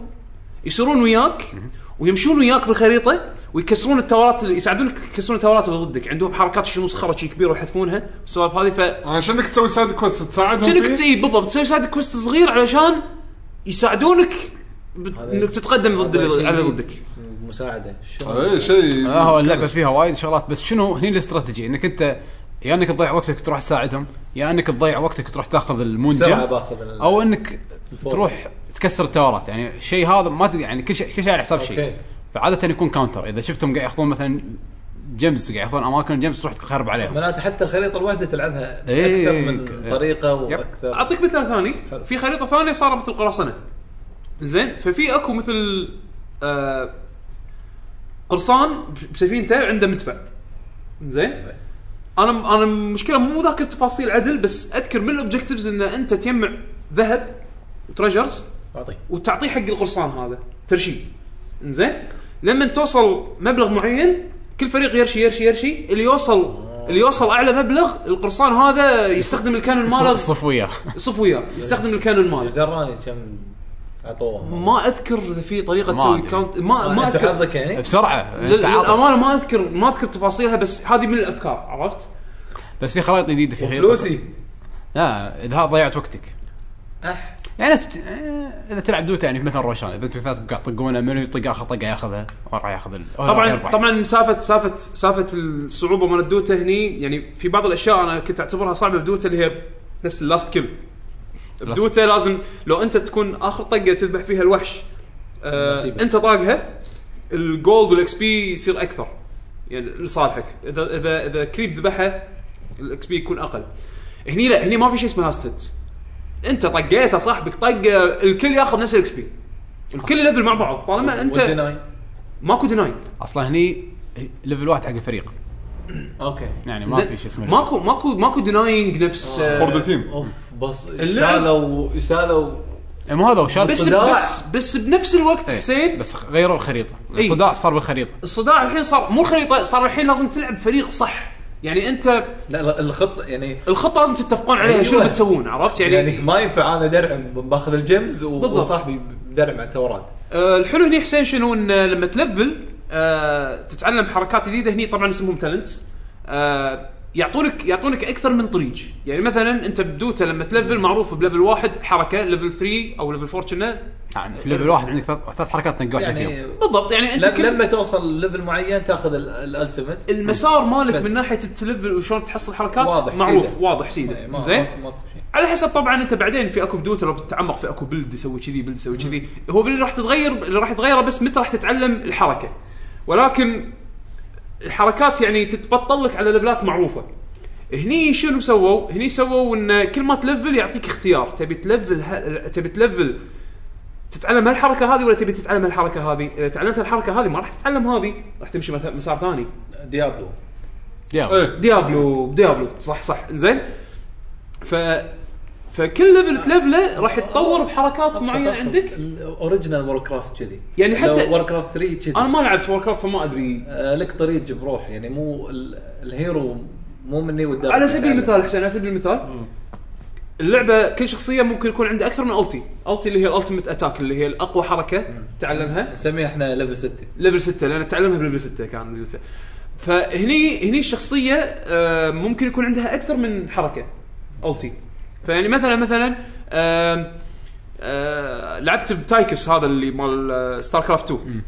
S1: يصيرون وياك ويمشون وياك بالخريطه ويكسرون التورات اللي يساعدونك يكسرون التورات اللي ضدك عندهم حركات شي مسخره شي كبيره يحذفونها السوالف هذه ف
S3: عشانك تسوي سايد كويست تساعدهم
S1: كأنك
S3: فيه؟
S1: تسوي بالضبط تسوي سايد كويست صغير علشان يساعدونك ب-
S6: هذا-
S1: انك تتقدم ضد
S6: هذا
S1: اللي-
S6: شيء
S1: على
S6: جديد.
S1: ضدك
S6: مساعده
S3: اي شيء
S2: آه هو اللعبه فيها وايد شغلات بس شنو هني الاستراتيجي انك انت يا انك تضيع وقتك تروح تساعدهم يا انك تضيع وقتك تروح تاخذ
S6: سرعه
S2: المونجا
S6: باخذ ال-
S2: او انك
S6: الفور.
S2: تروح تكسر التورات يعني شيء هذا ما تدري يعني كل شيء كل شيء على حساب
S6: أوكي.
S2: شيء فعاده يكون كاونتر اذا شفتهم قاعد ياخذون مثلا جيمز قاعد ياخذون اماكن جيمز تروح تخرب عليهم
S6: معناته حتى الخريطه الواحده تلعبها
S2: إيه،
S6: اكثر من
S2: إيه.
S6: طريقه
S2: يب.
S6: واكثر
S1: اعطيك مثال ثاني في خريطه ثانيه صار مثل قراصنه زين ففي اكو مثل آه قرصان بسفينته عنده مدفع زين انا انا المشكله مو ذاكر تفاصيل عدل بس اذكر من الاوبجكتيفز ان انت تجمع ذهب وتريجرز
S6: اعطيك
S1: وتعطيه حق القرصان هذا ترشي زين لما توصل مبلغ معين كل فريق يرشي يرشي يرشي اللي يوصل اللي يوصل اعلى مبلغ القرصان هذا يستخدم الكانون ماله
S2: صف وياه
S1: صف وياه يستخدم الكانون
S6: ايش
S1: ماله
S6: دراني كم عطوه
S1: ما اذكر اذا في طريقه
S2: ما
S1: تسوي
S2: أدري.
S1: كاونت ما ما
S6: انت
S1: اذكر
S6: حظك يعني
S2: بسرعه
S1: لل-
S2: أنت عاطل.
S1: للامانه ما اذكر ما اذكر تفاصيلها بس هذه من الافكار عرفت؟
S2: بس في خرائط جديده في خريطه
S6: فلوسي
S2: لا اذا ضيعت وقتك
S6: اح
S2: يعني نفس آه، اذا تلعب دوتا يعني مثلا روشان اذا انتم ثلاث قاعد تطقونه منو يطق اخر طقه ياخذها وراح ياخذ ال- أو راح
S1: طبعا
S2: يربح.
S1: طبعا مسافه سافه سافه الصعوبه مال الدوتا هني يعني في بعض الاشياء انا كنت اعتبرها صعبه بدوتا اللي هي نفس اللاست كل بدوتا لازم لو انت تكون اخر طقه تذبح فيها الوحش آه
S6: نصيبك.
S1: انت طاقها الجولد والاكس بي يصير اكثر يعني لصالحك اذا اذا اذا كريب ذبحها الاكس بي يكون اقل هني لا هني ما في شيء اسمه لاست هيت انت طقيته صاحبك طقه الكل ياخذ نفس الاكس بي الكل ليفل مع بعض طالما انت
S6: وديناي.
S1: ماكو ديناي
S2: اصلا هني ليفل واحد حق الفريق
S6: اوكي
S2: يعني ما
S1: زين.
S2: في شيء اسمه
S1: ماكو ماكو ماكو ديناينج نفس
S3: فور ذا
S1: آه،
S3: تيم
S6: اوف بس
S1: اللعب-
S6: شالوا شالوا
S2: إيه، مو هذا هو شال
S1: بس
S6: الصداع.
S1: بس بس بنفس الوقت
S2: إيه،
S1: حسين
S2: بس غيروا الخريطه
S1: إيه.
S2: الصداع صار بالخريطه
S1: الصداع الحين صار مو الخريطه صار الحين لازم تلعب فريق صح يعني انت
S6: لا لا الخط يعني
S1: الخطه لازم تتفقون عليها
S6: أيوة.
S1: شو بتسوون عرفت يعني,
S6: يعني ما ينفع انا درعم باخذ الجيمز و-
S1: بالضبط.
S6: وصاحبي درعم على التورات
S1: آه الحلو هني حسين شنو ان آه، لما تلفل آه تتعلم حركات جديده هني طبعا اسمهم تالنتس آه يعطونك يعطونك اكثر من طريق يعني مثلا انت بدوتا لما تلفل معروف بليفل واحد حركه ليفل 3 او ليفل 4 كنا
S2: يعني في ليفل واحد عندك ثلاث ثلاث حركات تنقح
S6: يعني
S2: يعني
S1: بالضبط يعني انت
S6: ل-
S1: كل-
S6: لما توصل ليفل معين تاخذ ال- الالتيميت
S1: المسار مالك
S6: بس.
S1: من ناحيه التلفل وشلون تحصل حركات
S6: واضح،
S1: معروف
S6: سيدة.
S1: واضح
S6: إيه،
S1: سيده
S6: ما-
S1: زين
S6: ما- ماكو شيء
S1: على حسب طبعا انت بعدين في اكو بدوت لو بتتعمق في اكو بلد يسوي كذي بلد يسوي كذي هو اللي راح تتغير اللي راح يتغيره بس متى راح تتعلم الحركه ولكن الحركات يعني تتبطل لك على ليفلات معروفه هني شنو سووا؟ هني سووا ان كل ما تلفل يعطيك اختيار تبي تلفل ه... تبي تلفل تتعلم هالحركه هذه ولا تبي تتعلم هالحركه هذه؟ اذا تعلمت الحركه هذه ما راح تتعلم هذه راح تمشي مثلا مسار ثاني
S6: ديابلو
S2: يلا
S3: ايه
S1: ديابلو ديابلو صح صح زين ف فكل ليفل تلفله راح يتطور بحركات معينه عندك
S6: اوريجنال وور كرافت كذي
S1: يعني حتى-
S6: وور كرافت 3 كذي
S1: انا ما لعبت وور كرافت فما ادري
S6: آه، لك طريق بروح يعني مو ال- الهيرو مو مني يعني والدار
S1: على سبيل المثال حسين على سبيل المثال اللعبه كل شخصيه ممكن يكون عندها اكثر من التي التي اللي هي الالتيميت اتاك اللي هي الاقوى حركه تعلمها
S6: نسميها احنا ليفل 6
S1: ليفل 6 لان تعلمها بليفل 6 كان ليفل 6 فهني هني الشخصيه آه، ممكن يكون عندها اكثر من حركه التي فيعني مثلا مثلا آم، آه، لعبت بتايكس هذا اللي مال آه، ستار كرافت 2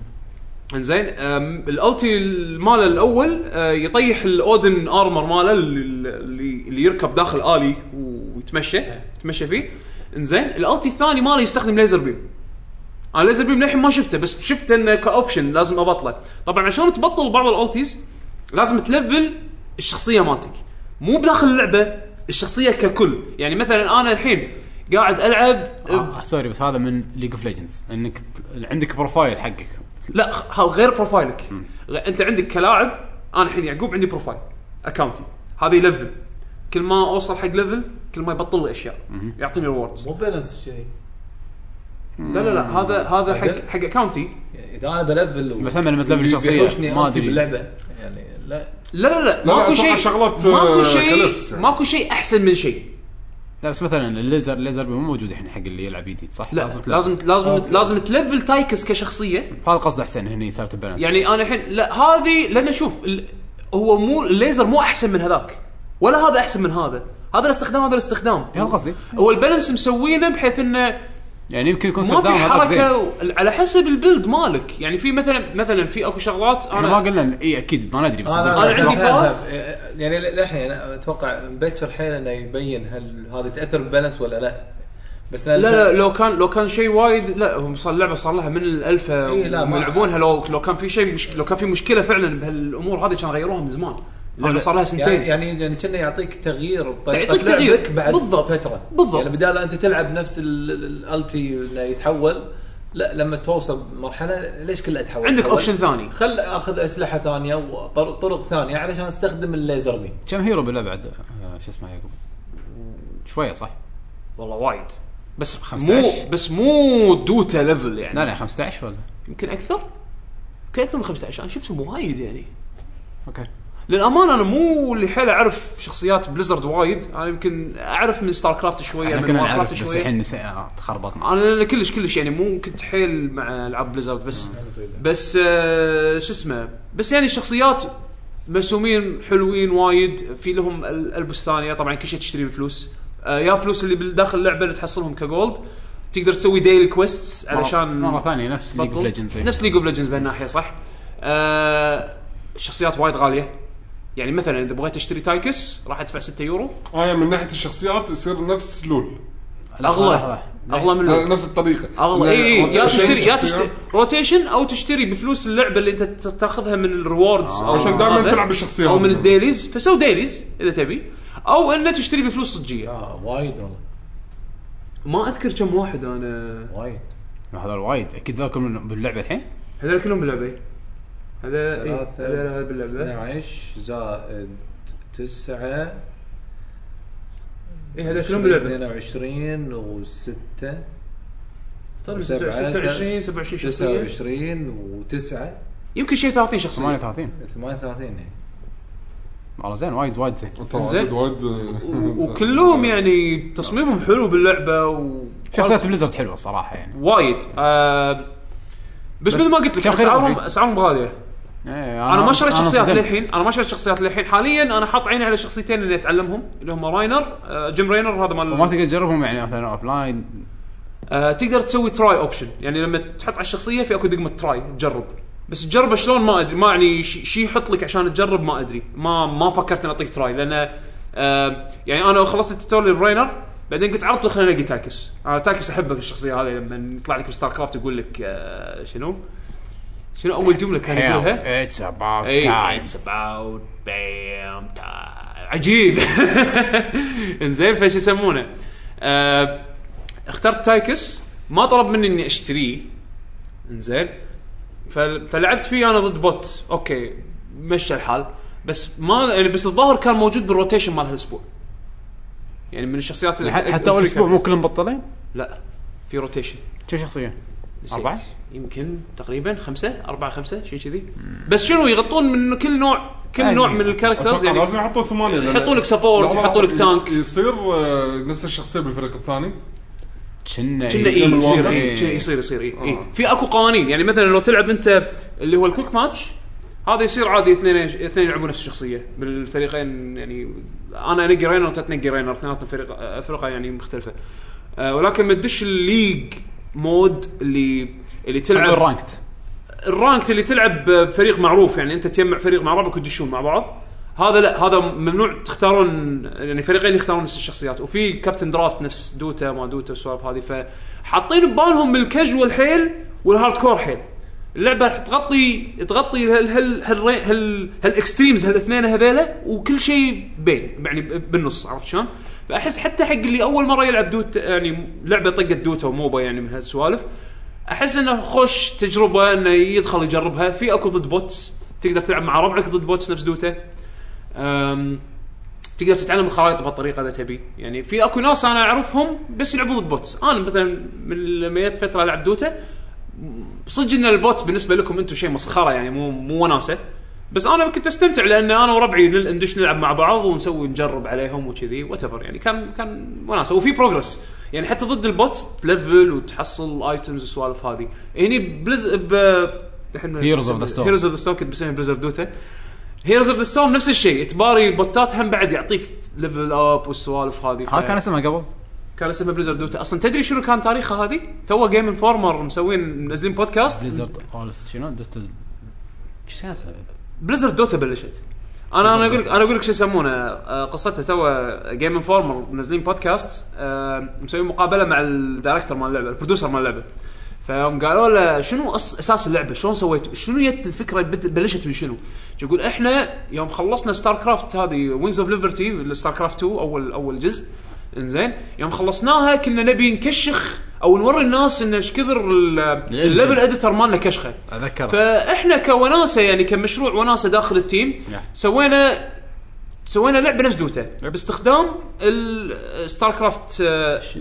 S1: انزين آم، الالتي ماله الاول آه، يطيح الاودن ارمر ماله اللي, اللي اللي يركب داخل الي ويتمشى يتمشى فيه انزين الالتي الثاني ماله يستخدم ليزر بيم انا ليزر بيم للحين ما شفته بس شفته انه كاوبشن لازم ابطله طبعا عشان تبطل بعض الالتيز لازم تلفل الشخصيه مالتك مو بداخل اللعبه الشخصيه ككل يعني مثلا انا الحين قاعد العب
S2: آه سوري بس هذا من ليج اوف ليجندز انك ت- عندك بروفايل حقك
S1: لا خ- هو غير بروفايلك غ- انت عندك كلاعب انا الحين يعقوب عندي بروفايل اكونتي هذا يلفل كل ما اوصل حق ليفل كل ما يبطل لي اشياء يعطيني ريوردز
S6: مو بالانس شيء
S1: لا لا لا هذا هذا
S6: بعدين؟
S1: حق حق اكونتي
S6: يعني اذا انا بلفل و-
S2: بس أما لما تلفل
S6: بي-
S2: شخصية،
S6: بيحوشني
S2: ما
S6: أنتي
S2: أدري.
S6: باللعبه يعني لا
S1: لا لا لا
S3: لا،
S1: ماكو
S3: أتوقع
S1: شيء
S3: شغلات،
S1: ماكو
S3: آه،
S1: شيء
S3: كلبس يعني.
S1: ماكو شيء احسن من شيء
S2: لا بس مثلا الليزر الليزر مو موجود الحين حق اللي يلعب جديد صح؟
S1: لا لازم
S2: تلفل.
S1: لازم لازم, لازم تلفل تايكس كشخصيه
S2: هذا قصد احسن هني سالفه البالانس
S1: يعني انا الحين لا هذه لان شوف ال- هو مو الليزر مو احسن من هذاك ولا هذا احسن من هذا هذا الاستخدام هذا الاستخدام
S2: هذا قصدي
S1: هو البالانس مسوينه بحيث انه
S2: يعني يمكن يكون
S1: ما في
S2: استخدام هذا زين
S1: حركه و- على حسب البيلد مالك يعني في مثلا مثلا في اكو شغلات
S2: احنا يعني ما
S1: انا
S2: قلنا اي اكيد ما ندري بس
S6: انا
S1: أنا عندي
S6: أتوقع-
S1: فاز.
S6: يعني للحين اتوقع مبكر حيل انه يبين هل هذا تاثر بالبالانس ولا لا بس
S1: لا لا لو كان لو كان شيء وايد لا هم صار اللعبه صار لها من الالفا
S6: إي، إيه، لا، ما-
S1: ويلعبونها لو لو كان في شيء مش لو كان في مشكله فعلا بهالامور هذه كان غيروها من زمان هذا صار لها سنتين
S6: يعني يعني يعني كنا يعطيك تغيير بطريقه
S1: يعطيك تغيير.
S6: لعبك بعد
S1: بالضبط.
S6: فتره
S1: بالضبط.
S6: يعني بدال انت تلعب نفس ال- ال- الالتي انه يتحول لا لما توصل مرحله ليش كله يتحول
S1: عندك
S6: يتحول؟
S1: اوبشن ثاني
S6: خل اخذ اسلحه ثانيه وطرق ثانيه علشان استخدم الليزر بيم
S2: كم هيرو بالله بعد آه، شو اسمه يعقوب شويه صح؟
S1: والله وايد بس مو
S2: 15.
S1: بس مو دوتا ليفل يعني
S2: لا لا 15 ولا
S1: يمكن اكثر يمكن اكثر من 15 انا شفت وايد يعني
S2: اوكي
S1: للامانه انا مو اللي حيل اعرف شخصيات بليزرد وايد انا يمكن اعرف من ستار كرافت شويه
S2: احنا
S1: من
S2: كنا
S1: وار كرافت
S2: نعرف بس
S1: شويه
S2: الحين نسي... آه، تخربطنا
S1: انا لأن كلش كلش يعني مو كنت حيل مع العاب بليزرد بس بس آه شو اسمه بس يعني الشخصيات مرسومين حلوين وايد في لهم ال- البس ثانيه طبعا كل شيء تشتري بفلوس آه يا فلوس اللي داخل اللعبه اللي تحصلهم كجولد تقدر تسوي ديلي كويستس
S2: آه،
S1: علشان
S2: مره ثانيه نفس ليج اوف
S1: بطل.
S2: ليجندز
S1: نفس ليج اوف ليجندز بهالناحيه صح آه الشخصيات وايد غاليه يعني مثلا اذا بغيت اشتري تايكس راح ادفع 6 يورو
S3: اه يعني من ناحيه الشخصيات يصير نفس لول
S1: اغلى اغلى من
S3: آه،
S1: لول.
S3: نفس الطريقه
S1: اغلى اي
S3: إنه
S1: اي إيه، يا
S3: rotation
S1: تشتري يا
S3: شخصيات.
S1: تشتري روتيشن او تشتري بفلوس اللعبه اللي انت ت- تاخذها من الريوردز او
S3: عشان
S1: من
S3: دائما
S1: هذا،
S3: تلعب بالشخصيات.
S1: او من الديليز فسو ديليز اذا تبي او انه تشتري بفلوس صجيه
S6: اه وايد والله
S1: ما اذكر كم واحد انا
S6: وايد
S2: هذا وايد اكيد ذاك من- باللعبه الحين
S1: هذول كلهم باللعبه هذا إي،
S6: ثلاثة،
S1: هذول باللعبه
S6: 12 زائد 9
S1: اي هذول إيه، كلهم باللعبه
S6: 22 و6
S1: طيب
S6: وسبعة،
S1: 26 27 شخصيه
S6: 29 و9
S1: يمكن شيء 30 شخصيه
S2: 38
S6: 38 يعني.
S2: والله زين وايد وايد زين
S3: ترى
S1: زين.
S3: عدد وايد
S1: و- وكلهم يعني تصميمهم حلو باللعبه و
S2: شخصيات بليزرد حلوه صراحه يعني
S1: وايد آه بس,
S2: بس
S1: مثل ما قلت لك
S2: كم خيار
S1: اسعارهم
S2: في؟
S1: اسعارهم غاليه
S2: ايه
S1: انا ما شريت شخصيات
S2: انصدمت.
S1: للحين انا ما شريت شخصيات للحين حاليا انا حاط عيني على شخصيتين اللي اتعلمهم اللي هم راينر آه جيم راينر هذا
S2: وما
S1: مال
S2: تقدر تجربهم يعني مثلا اوف لاين
S1: آه تقدر تسوي تراي اوبشن يعني لما تحط على الشخصيه في اكو دقمه تراي تجرب بس تجربه شلون ما ادري ما يعني ش- شي يحط لك عشان تجرب ما ادري ما ما فكرت اني اعطيك تراي لان آه يعني انا خلصت التوتوريال براينر بعدين قلت عرض خلينا نلاقي تاكس انا تاكس احبك الشخصيه هذه لما يطلع لك ستار كرافت يقول لك آه شنو شنو اول جمله كان يقولها
S2: اتس اباوت
S1: اي
S2: تايم
S1: اتس اباوت بام عجيب انزين فايش يسمونه؟ آه، اخترت تايكس ما طلب مني اني اشتريه انزين فل- فلعبت فيه انا ضد بوت اوكي مشى الحال بس ما يعني بس الظاهر كان موجود بالروتيشن مال هالاسبوع يعني من الشخصيات اللي
S2: حتى اول اسبوع مو كلهم بطلين
S1: لا في روتيشن
S2: كم شخصيه؟
S1: نسيت.
S2: أربعة؟
S1: يمكن تقريبا خمسة أربعة خمسة شيء كذي بس شنو يغطون من كل نوع
S2: يعني
S1: كل نوع من
S3: أتوقع
S1: الكاركترز يعني
S3: لازم يحطون ثمانيه لأن-
S1: يحطوا لك support،
S3: لحظة،
S1: يحطوا لك
S3: لحظة،
S1: tank.
S3: يصير آه، نفس الشخصيه بالفريق الثاني
S2: كنا
S1: كنا
S2: إيه.
S1: اي يصير اي
S2: إيه.
S1: يصير يصير اي إيه. في اكو قوانين يعني مثلا لو تلعب انت اللي هو الكويك ماتش هذا يصير عادي اثنين اثنين يلعبون نفس الشخصيه بالفريقين يعني انا انقي رينر وانت تنقي رينر اثنيناتهم فريق آه، فرقه يعني مختلفه أه ولكن ما تدش الليج مود اللي اللي
S2: خلونا نقول
S1: تلعب
S2: رانكت
S1: الرانكت اللي تلعب بفريق معروف يعني انت تجمع فريق مع بعضك وتدشون مع بعض هذا لا هذا ممنوع تختارون يعني فريقين يختارون نفس الشخصيات وفي كابتن درافت نفس دوتا ما دوتا والسوالف هذه فحاطين ببالهم الكاجوال حيل والهارد كور حيل اللعبه راح تغطي تغطي هال هال هال هال هالاكستريمز هالاثنين هذيلا وكل شيء بين يعني ب- بالنص عرفت شلون؟ فاحس حتى حق اللي اول مره يلعب دوتا يعني لعبه طقت دوتا وموبا يعني من هالسوالف احس انه خوش تجربه انه يدخل يجربها في اكو ضد بوتس تقدر تلعب مع ربعك ضد بوتس نفس دوتا أم، تقدر تتعلم الخرائط بهالطريقه اذا تبي يعني في اكو ناس انا اعرفهم بس يلعبون ضد بوتس انا مثلا من لما جت فتره العب دوتا صدق ان البوتس بالنسبه لكم انتم شيء مسخره يعني مو مو وناسه بس انا كنت استمتع لان انا وربعي نل- ندش نلعب مع بعض ونسوي نجرب عليهم وكذي وات يعني كان كان وناسه وفي بروجرس يعني حتى ضد البوتس تلفل وتحصل ايتمز والسوالف هذه هني بلز ب
S2: Heroes of the Storm.
S1: هيروز اوف ذا ستورم كنت بسميها بليزرد دوتا هيروز اوف ذا ستورم نفس الشيء تباري بوتات هم بعد يعطيك ليفل اب والسوالف هذه
S2: هذا كان اسمها قبل
S1: كان اسمها بليزرد دوتا اصلا تدري شنو كان تاريخها هذه؟ تو جيم انفورمر مسوين منزلين بودكاست
S2: بليزرد اول شنو دوت شو كان اسمه؟
S1: بليزرد دوتا بلشت انا انا اقول لك انا اقول لك شو يسمونه آه، قصتها تو جيم انفورمر منزلين بودكاست آه، مسويين مقابله مع الدايركتور مال اللعبه البرودوسر مال اللعبه فهم قالوا له شنو أص... اساس اللعبه؟ شلون سويتوا؟ شنو جت الفكره بد- بلشت من شنو؟ يقول احنا يوم خلصنا ستار كرافت هذه وينز اوف ليبرتي ستار كرافت 2 اول اول جزء انزين يوم خلصناها كنا نبي نكشخ او نوري الناس ان ايش كثر الليفل اديتر مالنا كشخه
S2: اتذكره
S1: فاحنا كوناسه يعني كمشروع وناسه داخل التيم
S2: نعم.
S1: سوينا سوينا لعبه نفس دوتا باستخدام الستار كرافت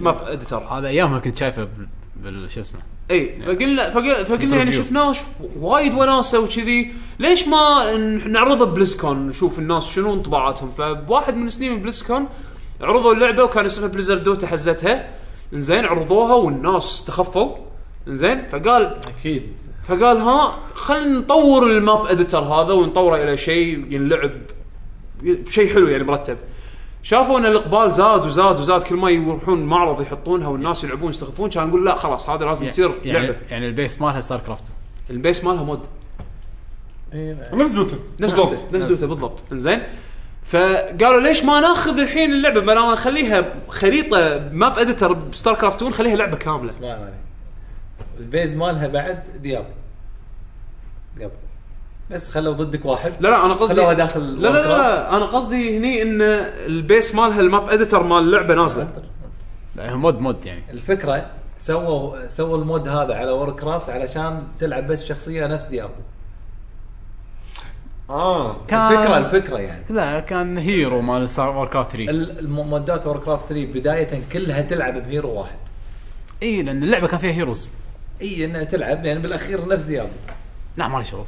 S1: ماب اديتر
S2: هذا ايامها كنت شايفه بال- بال شو اسمه
S1: اي فقلنا فقلنا, فقلنا يعني
S2: Preview.
S1: شفناه ش- وايد وناسه وكذي ليش ما ن- نعرضه ببليزكون نشوف الناس شنو انطباعاتهم فواحد من سنين بليزكون عرضوا اللعبه وكان اسمها بليزر دوتا حزتها انزين عرضوها والناس استخفوا انزين فقال
S6: اكيد
S1: فقال ها خلينا نطور الماب اديتر هذا ونطوره الى شيء ينلعب شيء حلو يعني مرتب شافوا ان الاقبال زاد وزاد وزاد كل ما يروحون معرض يحطونها والناس يلعبون يستخفون كان نقول لا خلاص هذا لازم تصير
S2: يعني
S1: لعبه
S2: يعني البيس مالها ستار كرافت
S1: البيس مالها مود
S3: نفس دوتا
S1: نفس دوتا نفس دوتا بالضبط انزين فقالوا ليش ما ناخذ الحين اللعبه بدل ما نخليها خريطه ماب اديتر بستار كرافت 2 نخليها لعبه كامله
S6: اسمع مالي البيز مالها بعد دياب دياب بس خلوا ضدك واحد
S1: لا لا انا قصدي
S6: خلوها داخل
S1: لا لا, لا لا انا قصدي هني ان البيس مالها الماب اديتر مال اللعبه نازله
S2: لا هي مود مود يعني
S6: الفكره سووا سووا المود هذا على وور كرافت علشان تلعب بس شخصيه نفس ديابلو
S3: اه
S6: الفكره الفكره يعني
S2: لا كان هيرو مال ستار وور كرافت 3
S6: ال- المودات وور كرافت 3 بدايه كلها تلعب بهيرو واحد
S2: اي لان اللعبه إيه، كان فيها هيروز
S6: اي انها تلعب يعني بالاخير نفس ديابلو
S2: لا ما لي شغل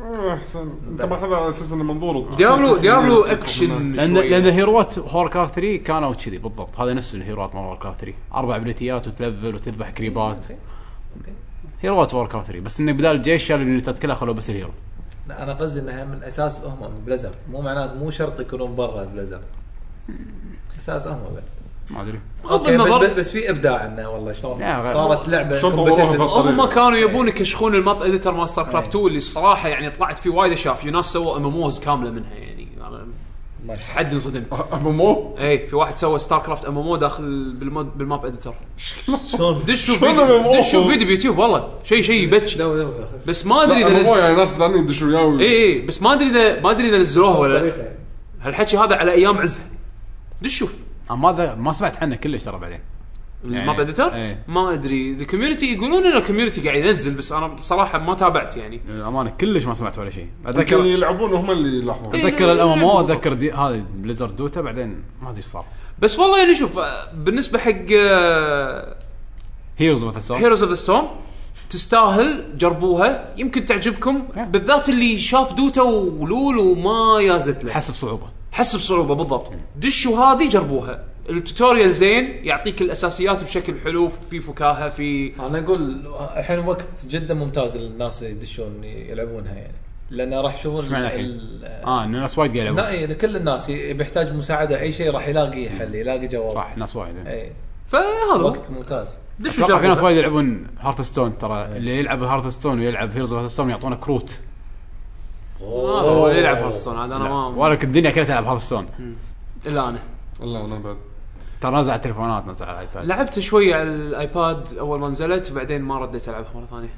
S3: آه، احسن انت ماخذها على اساس انه منظور
S1: ديابلو ديابلو اكشن
S2: لان
S1: شوي.
S2: لان هيروات هور كرافت 3 كانوا كذي بالضبط هذا نفس الهيروات مال وور كرافت 3 اربع ابيليتيات وتلفل وتذبح كريبات هيروات وور كرافت 3 بس انه بدال الجيش شالوا اليونتات كلها خلوا بس الهيرو
S6: لا انا قصدي انها من اساس هم من بليزرد مو معناته مو شرط يكونون برا بليزرد اساس هم بعد
S2: ما ادري
S1: بغض
S6: اوكي بس,
S1: النظر
S6: بس في ابداع انه والله شلون
S2: لا، غير-
S6: صارت لعبه
S3: شلون طوروها
S6: competitive.
S3: بهالطريقة؟
S1: هم كانوا يبون يكشخون الماب اديتر مال ستار
S3: إيه.
S1: كرافت 2 اللي الصراحه يعني طلعت فيه وايد اشياء في ناس سووا امموز كامله منها يعني أنا
S6: ما شاء
S1: حد انصدمت
S3: مو
S1: اي إيه، في واحد سوى ستار كرافت اممو داخل بالمود بالماب اديتر
S6: شلون؟
S1: دش شوف
S3: شلون
S1: فيديو
S3: MMO؟
S1: دش شوف فيديو بيوتيوب والله شيء شيء يبتش
S8: دو دو دو.
S1: بس ما ادري
S3: لا،
S1: اذا
S3: أنا مو
S1: نز-
S3: يعني ناس ثانيين يدشون وياي
S1: اي اي بس ما ادري اذا ما ادري اذا نزلوها ولا لا
S8: طريقة يعني.
S1: هالحكي هذا على ايام عزها دش شوف
S2: أنا ما ذا- ما سمعت عنه كلش ترى بعدين
S1: الماب اديتر
S2: إيه.
S1: ما ادري الكوميونتي يقولون ان الكوميونتي قاعد ينزل بس انا بصراحه ما تابعت يعني
S2: للامانه إيه، كلش ما سمعت ولا شيء
S3: يمكن
S2: اتذكر
S3: يلعبون هم اللي يلاحظون
S1: إيه.
S2: اتذكر الام ام اتذكر دي- هذه بليزرد دوتا بعدين ما ادري ايش صار
S1: بس والله يعني شوف آه، بالنسبه حق آه،
S2: هيروز مثل سؤال
S1: هيروز اوف ذا ستورم تستاهل جربوها يمكن تعجبكم
S2: Yeah.
S1: بالذات اللي شاف دوتا ولول وما يازت له
S2: حسب صعوبه
S1: حس بصعوبه بالضبط دشوا هذه جربوها التوتوريال زين يعطيك الاساسيات بشكل حلو في فكاهه في
S6: انا اقول الحين وقت جدا ممتاز للناس يدشون يلعبونها يعني لان راح يشوفون
S2: إيش معنى الحين؟
S6: ال-
S2: اه إن الناس وايد قاعد
S6: لا
S2: يلعبون
S6: يعني كل الناس ي- بيحتاج مساعده اي شيء راح يلاقي حل يلاقي جواب
S2: صح ناس وايد
S6: اي
S1: فهذا
S6: وقت ممتاز
S1: دشوا
S2: اتوقع في ناس
S1: جربوها
S2: وايد يلعبون هارثستون ترى اللي يلعب هارثستون ويلعب هيروز اوف ستون يعطونه كروت
S1: هذا هو اللي يلعب هارثستون عاد انا ما
S2: ولا كنت الدنيا كلها تلعب هارثستون
S1: الا انا
S3: والله انا بعد
S2: ترى نازل على التليفونات نازل على الايباد
S1: لعبت شوي على الايباد اول ما نزلت وبعدين ما رديت العبها مره ثانيه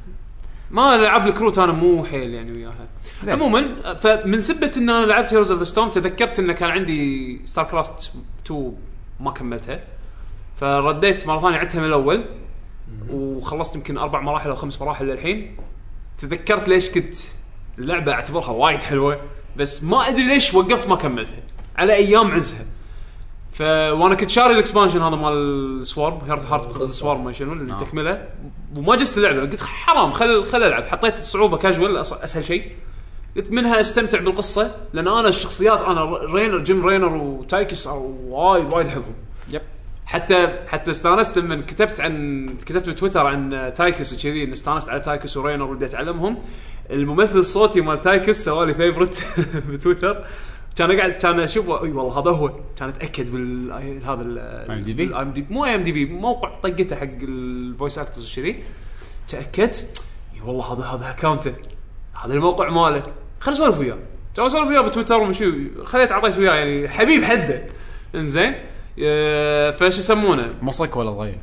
S1: ما العاب الكروت انا مو حيل يعني وياها
S2: زين.
S1: عموما فمن سبه ان انا لعبت هيروز اوف ذا ستورم تذكرت ان كان عندي ستار كرافت 2 ما كملتها فرديت مره ثانيه عدتها من الاول وخلصت يمكن اربع مراحل او خمس مراحل للحين تذكرت ليش كنت اللعبه اعتبرها وايد حلوه بس ما ادري ليش وقفت ما كملتها على ايام عزها ف وانا كنت شاري الاكسبانشن هذا مال السوارم هارت هارت السوارم ما شنو اللي تكمله وما جست اللعبه قلت حرام خل خل العب حطيت الصعوبه كاجوال أص- اسهل شيء قلت منها استمتع بالقصه لان انا الشخصيات انا ر- رينر جيم رينر وتايكس وايد وايد احبهم
S2: يب.
S1: حتى حتى استانست لما كتبت عن كتبت بتويتر عن تايكس وكذي ان استانست على تايكس ورينر ودي اتعلمهم الممثل الصوتي مال تايكس سوالي فيفرت بتويتر كان اقعد كان اشوف اي والله هذا هو كان اتاكد بال هذا ال
S2: IMDb
S1: اي ام دي مو اي ام دي بي موقع طقته حق الفويس اكترز وشذي تاكدت اي والله هذا هذا اكونته هذا الموقع ماله خليني اسولف وياه كان اسولف وياه بتويتر ومشي خليت اعطيت وياه يعني حبيب حده انزين آه، فشو يسمونه
S2: مصك ولا صغير؟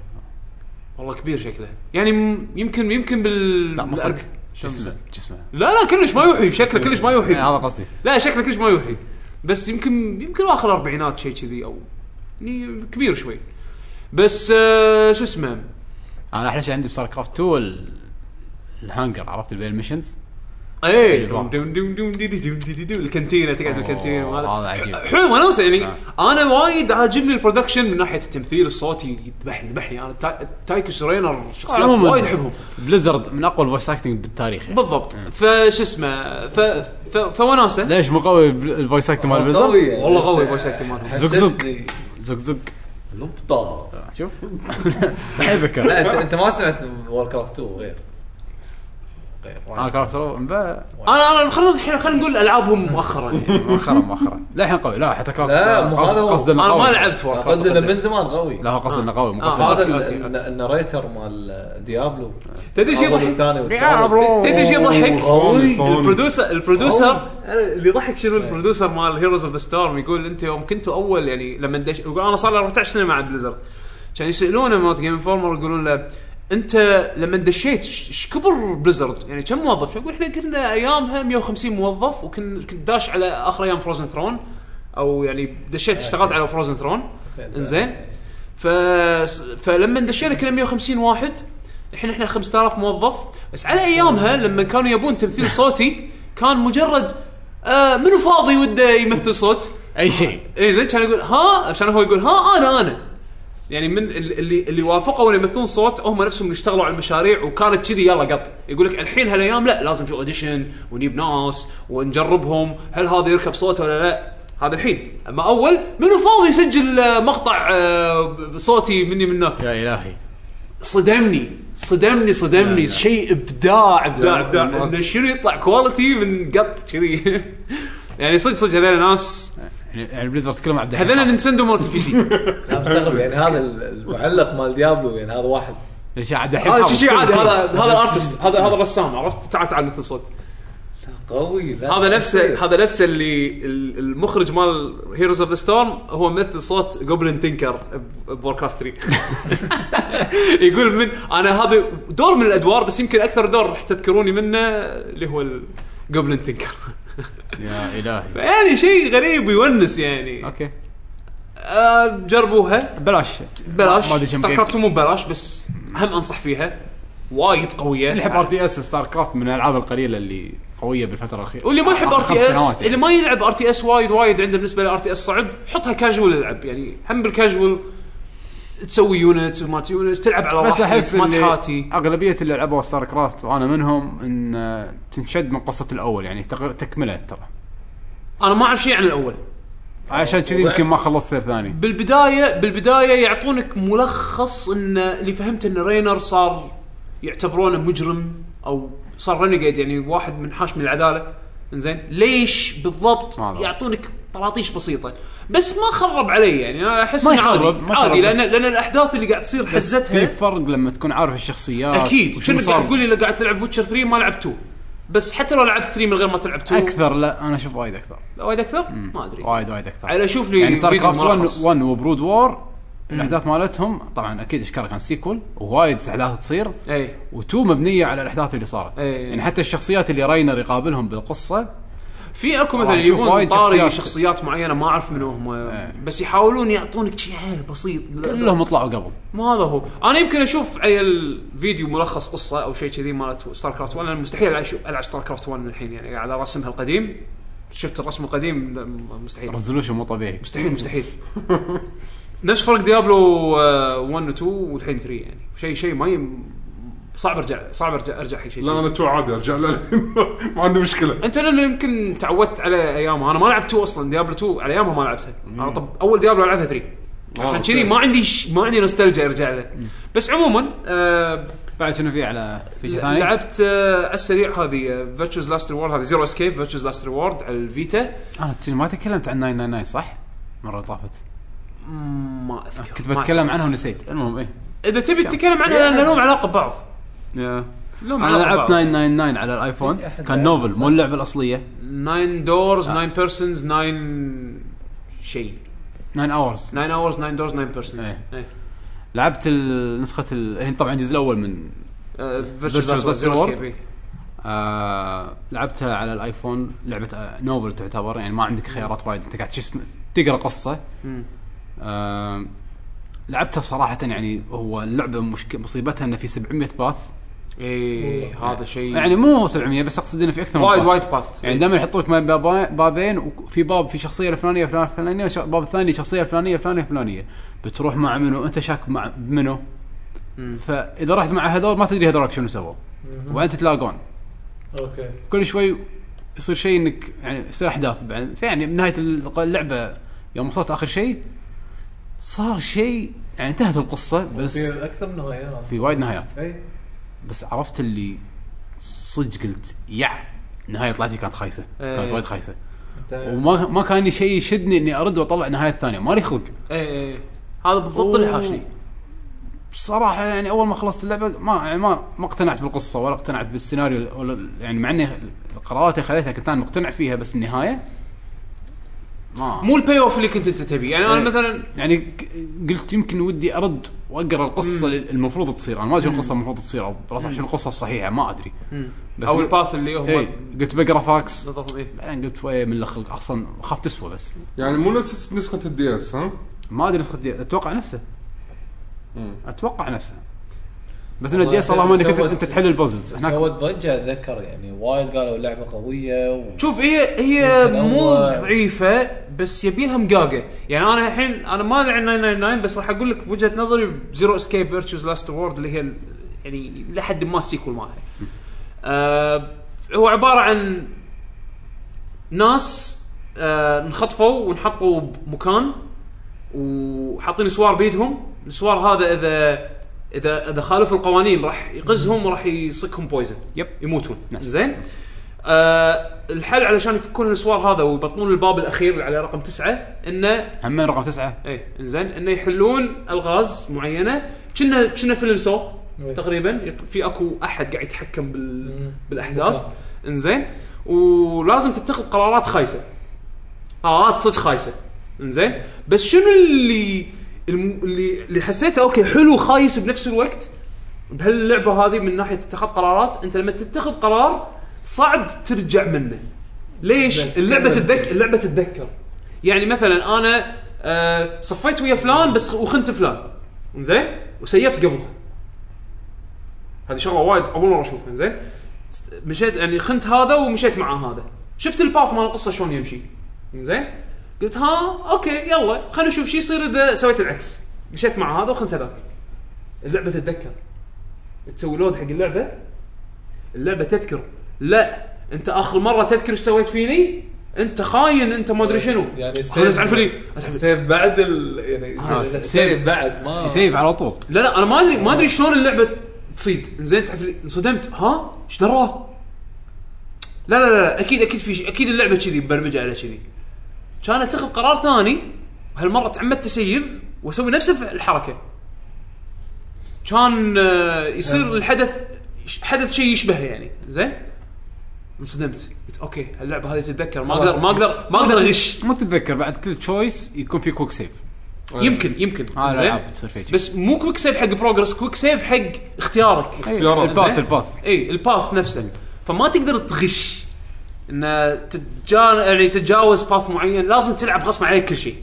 S1: والله كبير شكله يعني م- يمكن يمكن بال
S2: لا
S1: بالأرب-
S2: مصك
S1: شو
S2: جسمه
S1: اسمه؟
S2: جسمه
S1: لا لا كلش ما يوحي شكله كلش ما
S2: إيه،
S1: يوحي
S2: هذا قصدي
S1: لا شكله كلش ما يوحي بس يمكن يمكن اخر اربعينات شيء كذي او يعني كبير شوي بس آه شو اسمه
S2: انا احلى شيء عندي بسار كرافت 2 ال- الهانجر عرفت اللي بين المشنز
S1: اي دم دم دم دم دي دي دم دي دي دم. الكنتينه تقعد بالكنتينه
S2: إيه، أوه،
S1: وهذا
S2: هذا عجيب
S1: حلو وناسه يعني
S2: آه.
S1: انا وايد عاجبني البرودكشن من ناحيه التمثيل الصوتي يذبحني يذبحني انا تا- تايكو سورينر شخصيات
S2: عموماً،
S1: وايد احبهم
S2: بليزرد من اقوى الفويس اكتنج بالتاريخ يعني.
S1: بالضبط فش اسمه ف... ف... فوناسه
S2: ليش مو قوي بل- الفويس اكتنج مال بليزرد؟
S6: آه، قوي
S1: والله قوي voice acting مالهم.
S2: زق زق.
S6: حسسني
S2: زق زق
S6: لبطة
S2: شوف الحين
S6: لا
S2: ذكر
S6: انت انت ما سمعت وور كرافت 2 غير غير
S2: انا كرافت مبا-
S1: انا انا خلينا الحين خلينا نقول العابهم مؤخرا يعني
S2: مؤخرا مؤخرا لا الحين قوي لا حتى كرافت
S6: لا، مو
S2: قصد-
S6: هذا هو.
S2: قصد انه
S1: انا
S2: قوي
S1: ما لعبت وور
S6: قصدي انه من زمان قوي
S2: لا هو قصد انه قوي مو
S1: آه،
S2: قصد
S6: هذا
S1: أوكي،
S6: ال-
S1: أوكي،
S6: ال- الناريتر مال ديابلو
S1: تدري شي
S6: الأول
S1: يضحك؟
S6: والثاني والثالث.
S1: تدري شو يضحك؟
S6: قوي.
S1: البرودوسر البرودوسر
S6: أوه.
S1: أنا اللي ضحك شنو البرودوسر مال هيروز اوف ذا ستورم يقول انت يوم كنتوا اول يعني لما دش يقول انا صار لي 14 سنه مع بليزرد كان يسالونه مالت جيم انفورمر يقولون له انت لما دشيت ش- ايش كبر بليزرد يعني كم موظف؟ يقول احنا كنا ايامها 150 موظف وكنت كنت داش على اخر ايام فروزن ثرون او يعني دشيت اشتغلت على فروزن ثرون انزين ف... فلما دشينا كنا 150 واحد الحين احنا 5000 موظف بس على ايامها لما كانوا يبون تمثيل صوتي كان مجرد آه منو فاضي وده يمثل صوت
S2: اي شيء
S1: اي إيه، زين كان يقول ها عشان هو يقول ها انا انا يعني من ال- اللي اللي وافقوا انه يمثلون صوت هم نفسهم اللي اشتغلوا على المشاريع وكانت كذي يلا قط يقول لك الحين هالايام لا لازم في اوديشن ونجيب ناس ونجربهم هل هذا يركب صوته ولا لا هذا الحين اما اول منو فاضي يسجل آه، مقطع آه، صوتي مني من هناك
S2: يا الهي
S1: صدمني صدمني
S2: لا، لا.
S1: صدمني شيء ابداع ابداع
S3: لا،
S1: ابداع
S3: لا.
S1: انه شنو يطلع كواليتي من قط كذي يعني صدق صدق هذول ناس
S2: يعني يعني بليزرد كلهم عبد الحليم.
S1: هذول نينتندو مالت البي سي
S6: لا مستغرب يعني هذا ال- المعلق مال ديابلو يعني هذا واحد
S2: ليش عبد الحليم
S1: هذا
S2: حافظ.
S1: شيء شيء آه، عادي هذا هذا الارتست هذا هذا الرسام عرفت تعال تعال مثل صوت
S6: قوي لا
S1: هذا نفسه هذا نفسه اللي ال- المخرج مال هيروز اوف ذا ستورم هو مثل صوت جوبلين تنكر بور كرافت 3 يقول من انا هذا دور من الادوار بس يمكن اكثر دور راح تذكروني منه اللي هو جوبلين تنكر
S2: يا الهي
S1: يعني شيء غريب ويونس يعني
S2: اوكي
S1: آه، جربوها
S2: بلاش
S1: بلاش
S2: ما ادري كم
S1: ستار
S2: جيج.
S1: كرافت مو ببلاش بس هم انصح فيها وايد قويه
S2: اللي يحب ار تي اس ستار كرافت من الالعاب القليله اللي قويه بالفتره الاخيره
S1: واللي ما يحب ار
S2: آخر
S1: تي
S2: خمس سنوات
S1: اس
S2: يعني.
S1: اللي ما يلعب ار تي اس وايد وايد عنده بالنسبه لار تي اس صعب حطها كاجوال العب يعني هم بالكاجوال تسوي يونت وما يونت تلعب على
S2: بس
S1: راحتك
S2: احس
S1: ما
S2: اللي
S1: تحاتي
S2: اغلبيه اللي لعبوا ستار كرافت وانا منهم ان آه، تنشد من قصه الاول يعني تقر- تكمله ترى
S1: انا ما اعرف شيء عن الاول
S2: عشان كذي
S6: وبعد-
S2: يمكن ما خلصت الثاني
S1: بالبدايه بالبدايه يعطونك ملخص ان اللي فهمت ان رينر صار يعتبرونه مجرم او صار رينيجيد يعني واحد من حاشم العداله انزين ليش بالضبط
S2: ما أدري.
S1: يعطونك طراطيش بسيطه بس ما خرب علي يعني انا احس
S2: ما
S1: إنه عادي
S2: يخرب، ما يخرب
S1: عادي
S2: بس-
S1: لان لان الاحداث اللي قاعد تصير
S2: في
S1: حزتها
S2: فرق لما تكون عارف الشخصيات
S1: اكيد
S2: وشنو
S1: شنو قاعد
S2: آه، صار.
S1: تقول لي لو قاعد تلعب ويتشر 3 ما لعب 2 بس حتى لو لعبت 3 من غير ما تلعب 2
S2: اكثر لا انا اشوف وايد اكثر
S1: لا، وايد اكثر ما ادري
S2: وايد وايد اكثر
S1: على شوف لي
S2: يعني صار
S1: فيديو
S2: كرافت 1
S1: ملخص.
S2: 1 وبرود وور الاحداث مالتهم طبعا اكيد اشكال كان سيكول ووايد احداث تصير
S1: اي
S2: وتو مبنيه على الاحداث اللي صارت
S1: إيه.
S2: يعني حتى الشخصيات اللي راينر يقابلهم بالقصه
S1: في اكو
S2: راح
S1: مثلا
S2: تشوف
S1: يجيبون
S2: وايد
S1: طاري
S2: شخصيات. إيه.
S1: شخصيات معينه ما اعرف من هم بس يحاولون يعطونك شيء ها بسيط
S2: كلهم طلعوا قبل
S1: ما هذا هو انا يمكن اشوف عيل فيديو ملخص قصه او شيء كذي مالت ستار كرافت 1 انا مستحيل أشوف- العب ستار كرافت 1 الحين يعني على رسمها القديم شفت الرسم القديم لا، م- مستحيل
S2: ريزولوشن مو طبيعي
S1: مستحيل مستحيل نفس فرق ديابلو آه، 1 و 2 والحين 3 يعني شيء شيء ما يم... صعب ارجع صعب ارجع ارجع حق شيء
S3: لا انا تو عادي ارجع له ما عندي مشكله
S1: انت لانه يمكن تعودت على ايامها انا ما لعبت 2 اصلا ديابلو 2 على ايامها ما لعبتها انا طب اول ديابلو العبها 3
S3: آه،
S1: عشان
S3: أوكي.
S1: كذي ما عندي ش... ما عندي نوستالجيا ارجع له بس عموما آه
S2: بعد شنو في على في شيء ثاني؟
S1: لعبت آه، على السريع هذه آه، فيرتشوز لاست ريورد هذه زيرو اسكيب فيرتشوز لاست ريورد على الفيتا
S2: انا تشيل- آه، ما تكلمت عن 999 صح؟ المره اللي طافت
S1: ما اذكر
S2: كنت
S1: ما
S2: بتكلم
S1: أذكر.
S2: عنها ونسيت المهم ايه
S1: اذا تبي تتكلم عنها لان لهم علاقه ببعض
S2: يا.
S1: لهم
S2: انا
S1: علاقه ببعض
S2: لعبت 999 على الايفون
S6: في أحد
S2: كان
S6: لعبها،
S2: نوفل
S6: صح؟
S2: مو اللعبه الاصليه
S1: 9 دورز 9 بيرسونز 9 شيء
S2: 9 اورز
S1: 9 اورز 9 دورز 9 بيرسونز
S2: إيه. لعبت ال- نسخه ال... هي طبعا الجزء الاول من
S1: آه،
S2: Virtuous
S1: فيرتشوز لاست
S2: Last Reward.
S1: ريورد
S2: آه... لعبتها على الايفون لعبه آه... نوفل تعتبر يعني ما عندك خيارات وايد انت قاعد شو اسمه تقرا قصه آه... لعبتها صراحه يعني هو اللعبه مشك... مصيبتها انه في 700 باث
S1: اي إيه، هذا شيء
S2: يعني مو 700 بس اقصد انه في اكثر من
S1: وايد
S2: path.
S1: وايد باث
S2: يعني دائما يحطوا لك بابا- بابين وفي باب في شخصيه الفلانيه فلانيه فلانيه وباب الثاني شخصيه فلانيه فلانيه فلانيه بتروح مع منو انت شاك مع منو
S1: مم.
S2: فاذا رحت مع هذول ما تدري هذول شنو سووا وبعدين تتلاقون
S6: اوكي
S2: كل شوي يصير شيء انك يعني يصير احداث بعدين فيعني بنهايه اللعبه يوم وصلت اخر شيء صار شيء يعني انتهت القصه بس
S6: في اكثر من نهايات
S2: في وايد نهايات
S6: اي
S2: بس عرفت اللي صدق قلت يع النهايه طلعتي كانت خايسه كانت
S1: إيه.
S2: وايد خايسه
S6: انت
S2: وما ما كان لي شيء يشدني اني ارد واطلع النهايه الثانيه مالي خلق
S1: اي اي إيه، هذا بالضبط اللي
S2: أوه.
S1: حاشني
S2: بصراحه يعني اول ما خلصت اللعبه ما يعني ما ما اقتنعت بالقصه ولا اقتنعت بالسيناريو ولا يعني مع اني القرارات اللي خذيتها كنت انا مقتنع فيها بس النهايه ما
S1: مو البي اوف اللي كنت انت تبيه يعني انا
S2: إيه.
S1: مثلا
S2: يعني ك- قلت يمكن ودي ارد واقرا القصه اللي المفروض تصير انا ما ادري شنو القصه المفروض تصير او راس شنو القصه الصحيحه ما ادري بس إيه.
S1: او الباث اللي هم
S2: اي قلت بقرا فاكس
S1: بالضبط إيه. اي
S2: بعدين قلت ويا من الخلق اصلا خاف تسوى بس
S3: يعني مو نفس نسخه الدي اس ها؟
S2: ما ادري نسخه دي اتوقع نفسه
S3: مم.
S2: اتوقع نفسه بس ان
S6: والله
S2: الدي اس اللهم انك انت
S6: سوت-
S2: انت تحل البازلز هناك
S6: سوت ضجه اتذكر يعني وايد قالوا لعبه قويه و...
S1: شوف هي هي
S6: يمكن
S1: مو
S6: أول-
S1: ضعيفه بس يبيلها مقاقه يعني انا الحين انا ما ادري عن 999 بس راح اقول لك بوجهه نظري بزيرو اسكيب فيرتشوز لاست وورد اللي هي ال- يعني لحد ما السيكول مالها آه هو عباره عن ناس آه انخطفوا ونحطوا بمكان وحاطين سوار بيدهم السوار هذا اذا اذا اذا خالفوا القوانين راح يقزهم وراح يصكهم بويزن
S2: يب.
S1: يموتون
S2: نعم.
S1: زين آه الحل علشان يفكون السوار هذا ويبطلون الباب الاخير اللي على رقم تسعه انه
S2: هم رقم تسعه
S1: ايه انزين انه يحلون الغاز معينه كنا كنا فيلم سو
S6: إيه.
S1: تقريبا يط- في اكو احد قاعد يتحكم بال...
S6: مم.
S1: بالاحداث
S6: بالقرار.
S1: انزين ولازم تتخذ قرارات خايسه قرارات صدق خايسه انزين بس شنو اللي الم... اللي اللي حسيته اوكي حلو خايس بنفس الوقت بهاللعبه هذه من ناحيه اتخاذ قرارات انت لما تتخذ قرار صعب ترجع منه ليش
S6: بس.
S1: اللعبه تتذكر اللعبه تتذكر يعني مثلا انا آه صفيت ويا فلان بس وخنت فلان زين وسيفت قبلها هذه شغله وايد اول مره اشوفها زين مشيت يعني خنت هذا ومشيت مع هذا شفت الباث مال القصه شلون يمشي زين قلت ها اوكي يلا خلينا نشوف شو يصير اذا سويت العكس مشيت مع هذا وخنت هذاك اللعبه تتذكر تسوي لود حق اللعبه اللعبه تذكر لا انت اخر مره تذكر ايش سويت فيني انت خاين انت ما ادري شنو
S6: يعني
S1: خلنا تعرف لي
S6: سيف بعد ال... يعني
S2: آه،
S6: سيف-
S2: سيف.
S6: سيف بعد ما
S2: يسيف على طول
S1: لا لا انا ما ادري ما ادري شلون اللعبه تصيد زين تعرف لي انصدمت ها ايش دراه لا لا لا اكيد اكيد في شيء اكيد اللعبه كذي مبرمجه على كذي كان اتخذ قرار ثاني وهالمره تعمدت تسيف واسوي نفس الف- الحركه كان آه، يصير الحدث ش- حدث شيء يشبهه يعني زين انصدمت قلت اوكي هاللعبه هذه تتذكر ما
S6: خلاص.
S1: اقدر ما اقدر ما اقدر اغش
S2: ما تتذكر بعد كل تشويس يكون في كويك سيف
S1: يمكن يمكن
S2: هذا
S1: زين؟
S2: الالعاب تصير فيك
S1: بس مو كويك سيف حق بروجرس كويك سيف حق اختيارك
S3: اختيارات.
S2: الباث
S1: زين.
S2: الباث
S1: اي الباث نفسه فما تقدر تغش ان تتجا يعني تتجاوز باث معين لازم تلعب غصب عليك كل شيء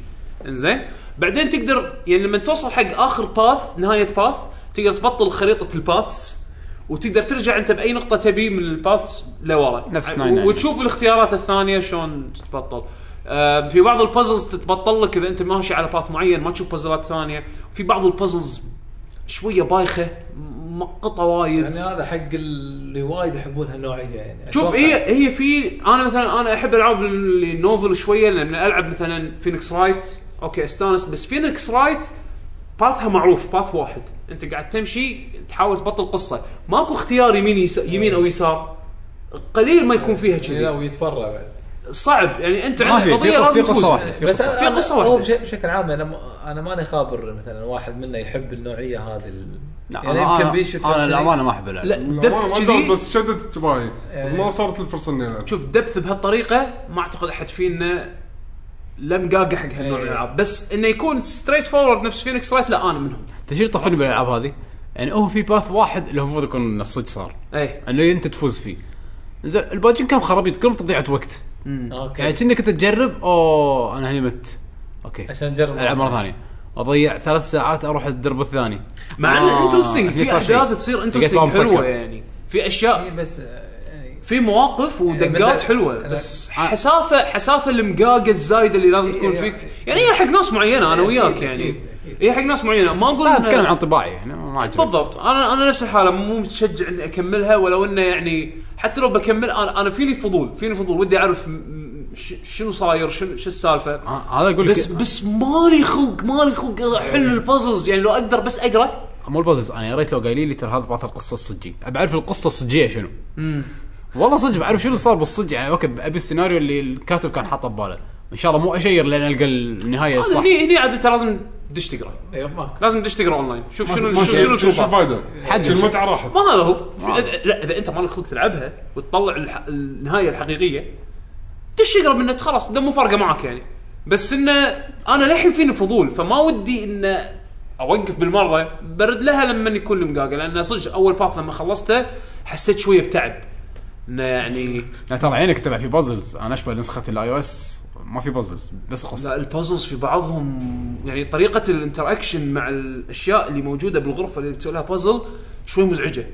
S1: انزين بعدين تقدر يعني لما توصل حق اخر باث نهايه باث تقدر تبطل خريطه الباثس وتقدر ترجع انت باي نقطه تبي من الباثس لورا
S2: نفس
S1: ع-
S2: 99.
S1: وتشوف الاختيارات الثانيه شلون تتبطل آه، في بعض البازلز تتبطل لك اذا انت ماشي على باث معين ما تشوف بازلات ثانيه في بعض البازلز شويه بايخه م- مقطه وايد
S6: يعني هذا حق اللي وايد يحبون هالنوعيه يعني
S1: شوف
S6: أتوقع.
S2: إيه.
S1: هي هي في انا مثلا انا احب العاب اللي نوفل شويه لان العب مثلا فينيكس رايت اوكي استانس بس فينيكس رايت باثها معروف باث واحد انت قاعد تمشي تحاول تبطل قصه ماكو اختيار يمين يس... يمين او يسار قليل ما يكون فيها
S6: لا
S1: كذي
S6: ويتفرع يعني بعد
S1: صعب يعني انت
S2: ما
S1: عندك
S2: في في
S1: قضيه
S2: قصة-
S1: لازم
S2: في قصه
S1: تفوز
S2: واحده في
S6: بس
S2: قصة.
S6: أنا
S1: في قصة واحدة.
S6: هو بش- بشكل عام انا ما- انا ماني خابر مثلا واحد منا يحب النوعيه هذه ال-
S2: لا،
S6: يعني
S2: أنا-
S6: يمكن
S2: أنا-
S6: بيش يتكلم
S2: انا
S6: كذي.
S2: للامانه ما احب العب
S1: لا دبث
S3: كذي
S1: كذي
S3: بس
S1: بس
S3: شدت انتباهي بس ما
S6: إيه.
S3: صارت الفرصه اني العب
S1: شوف دبث بهالطريقه ما اعتقد احد فينا لم قاقع حق هالنوع من
S6: إيه.
S1: الالعاب بس انه يكون ستريت فورورد نفس فينيكس رايت لا انا منهم
S2: انت شو طفلني بالالعاب هذه؟ يعني هو في باث واحد اللي هو المفروض يكون إنه الصج صار
S1: اي
S2: انه انت تفوز فيه زين الباجين كم خرابيط كلهم تضيعه وقت يعني
S6: اوكي
S2: كأنك انت تجرب اوه انا هني مت اوكي
S6: عشان نجرب
S2: العب مره ثانيه اضيع ثلاث ساعات اروح الدرب الثاني
S1: مع
S2: آه،
S1: انه انترستنج في
S2: هني صار شيء.
S1: احداث تصير
S2: لقيت باب
S1: انترستنج
S2: مسكر.
S1: حلوه يعني في اشياء
S6: إيه بس آه، يعني
S1: في مواقف ودقات
S6: مثل-
S1: حلوه بس حسافه حسافه المقاقه الزايده اللي لازم تكون
S6: إيه،
S1: فيك يعني هي حق ناس معينه انا
S6: أكيد،
S1: وياك
S6: أكيد،
S1: يعني
S6: أكيد.
S1: هي حق ناس معينه ما اقول
S2: بس انا
S1: إنها-
S2: اتكلم عن طباعي يعني ما عجبني
S1: بالضبط انا انا نفس الحاله مو متشجع اني اكملها ولو انه يعني حتى لو بكمل انا انا فيني فضول فيني فضول ودي اعرف م- م- ش- شنو صاير شنو شو السالفه
S2: آه، هذا اقول لك
S1: بس بس مالي خلق مالي خلق احل البازلز يعني لو اقدر بس اقرا
S2: مو البازلز انا يا ريت لو قايلين لي ترى هذا بعض القصه الصجي ابي اعرف القصه الصجيه شنو والله صدق بعرف شنو صار بالصج يعني اوكي ابي السيناريو اللي الكاتب كان حاطه بباله ان شاء الله مو اشير لين القى النهايه
S1: انا
S2: الصح
S1: هني هني عاده لازم تدش تقرا
S6: ايوه ماكو
S1: لازم تدش تقرا اونلاين شوف شنو شنو شنو
S2: ما-
S3: شو
S1: الجروبات.
S3: الفائده؟
S2: حد-
S3: شو المتعه راحت
S1: ما هذا هو إذا- لا اذا انت مالك خلق تلعبها وتطلع الح... النهايه الحقيقيه دش اقرب من النت خلاص ده مو فارقه معك يعني بس انه انا للحين فيني فضول فما ودي انه اوقف بالمره برد لها لما يكون المقاقه لان صدق اول باث لما خلصته حسيت شويه بتعب انه يعني
S2: لا ترى عينك تبع في بازلز انا اشبه نسخه الاي او اس ما في بازلز بس
S1: لا
S2: قصه
S1: البازلز في بعضهم يعني طريقه الانتراكشن مع الاشياء اللي موجوده بالغرفه اللي بتسوي لها بازل شوي مزعجه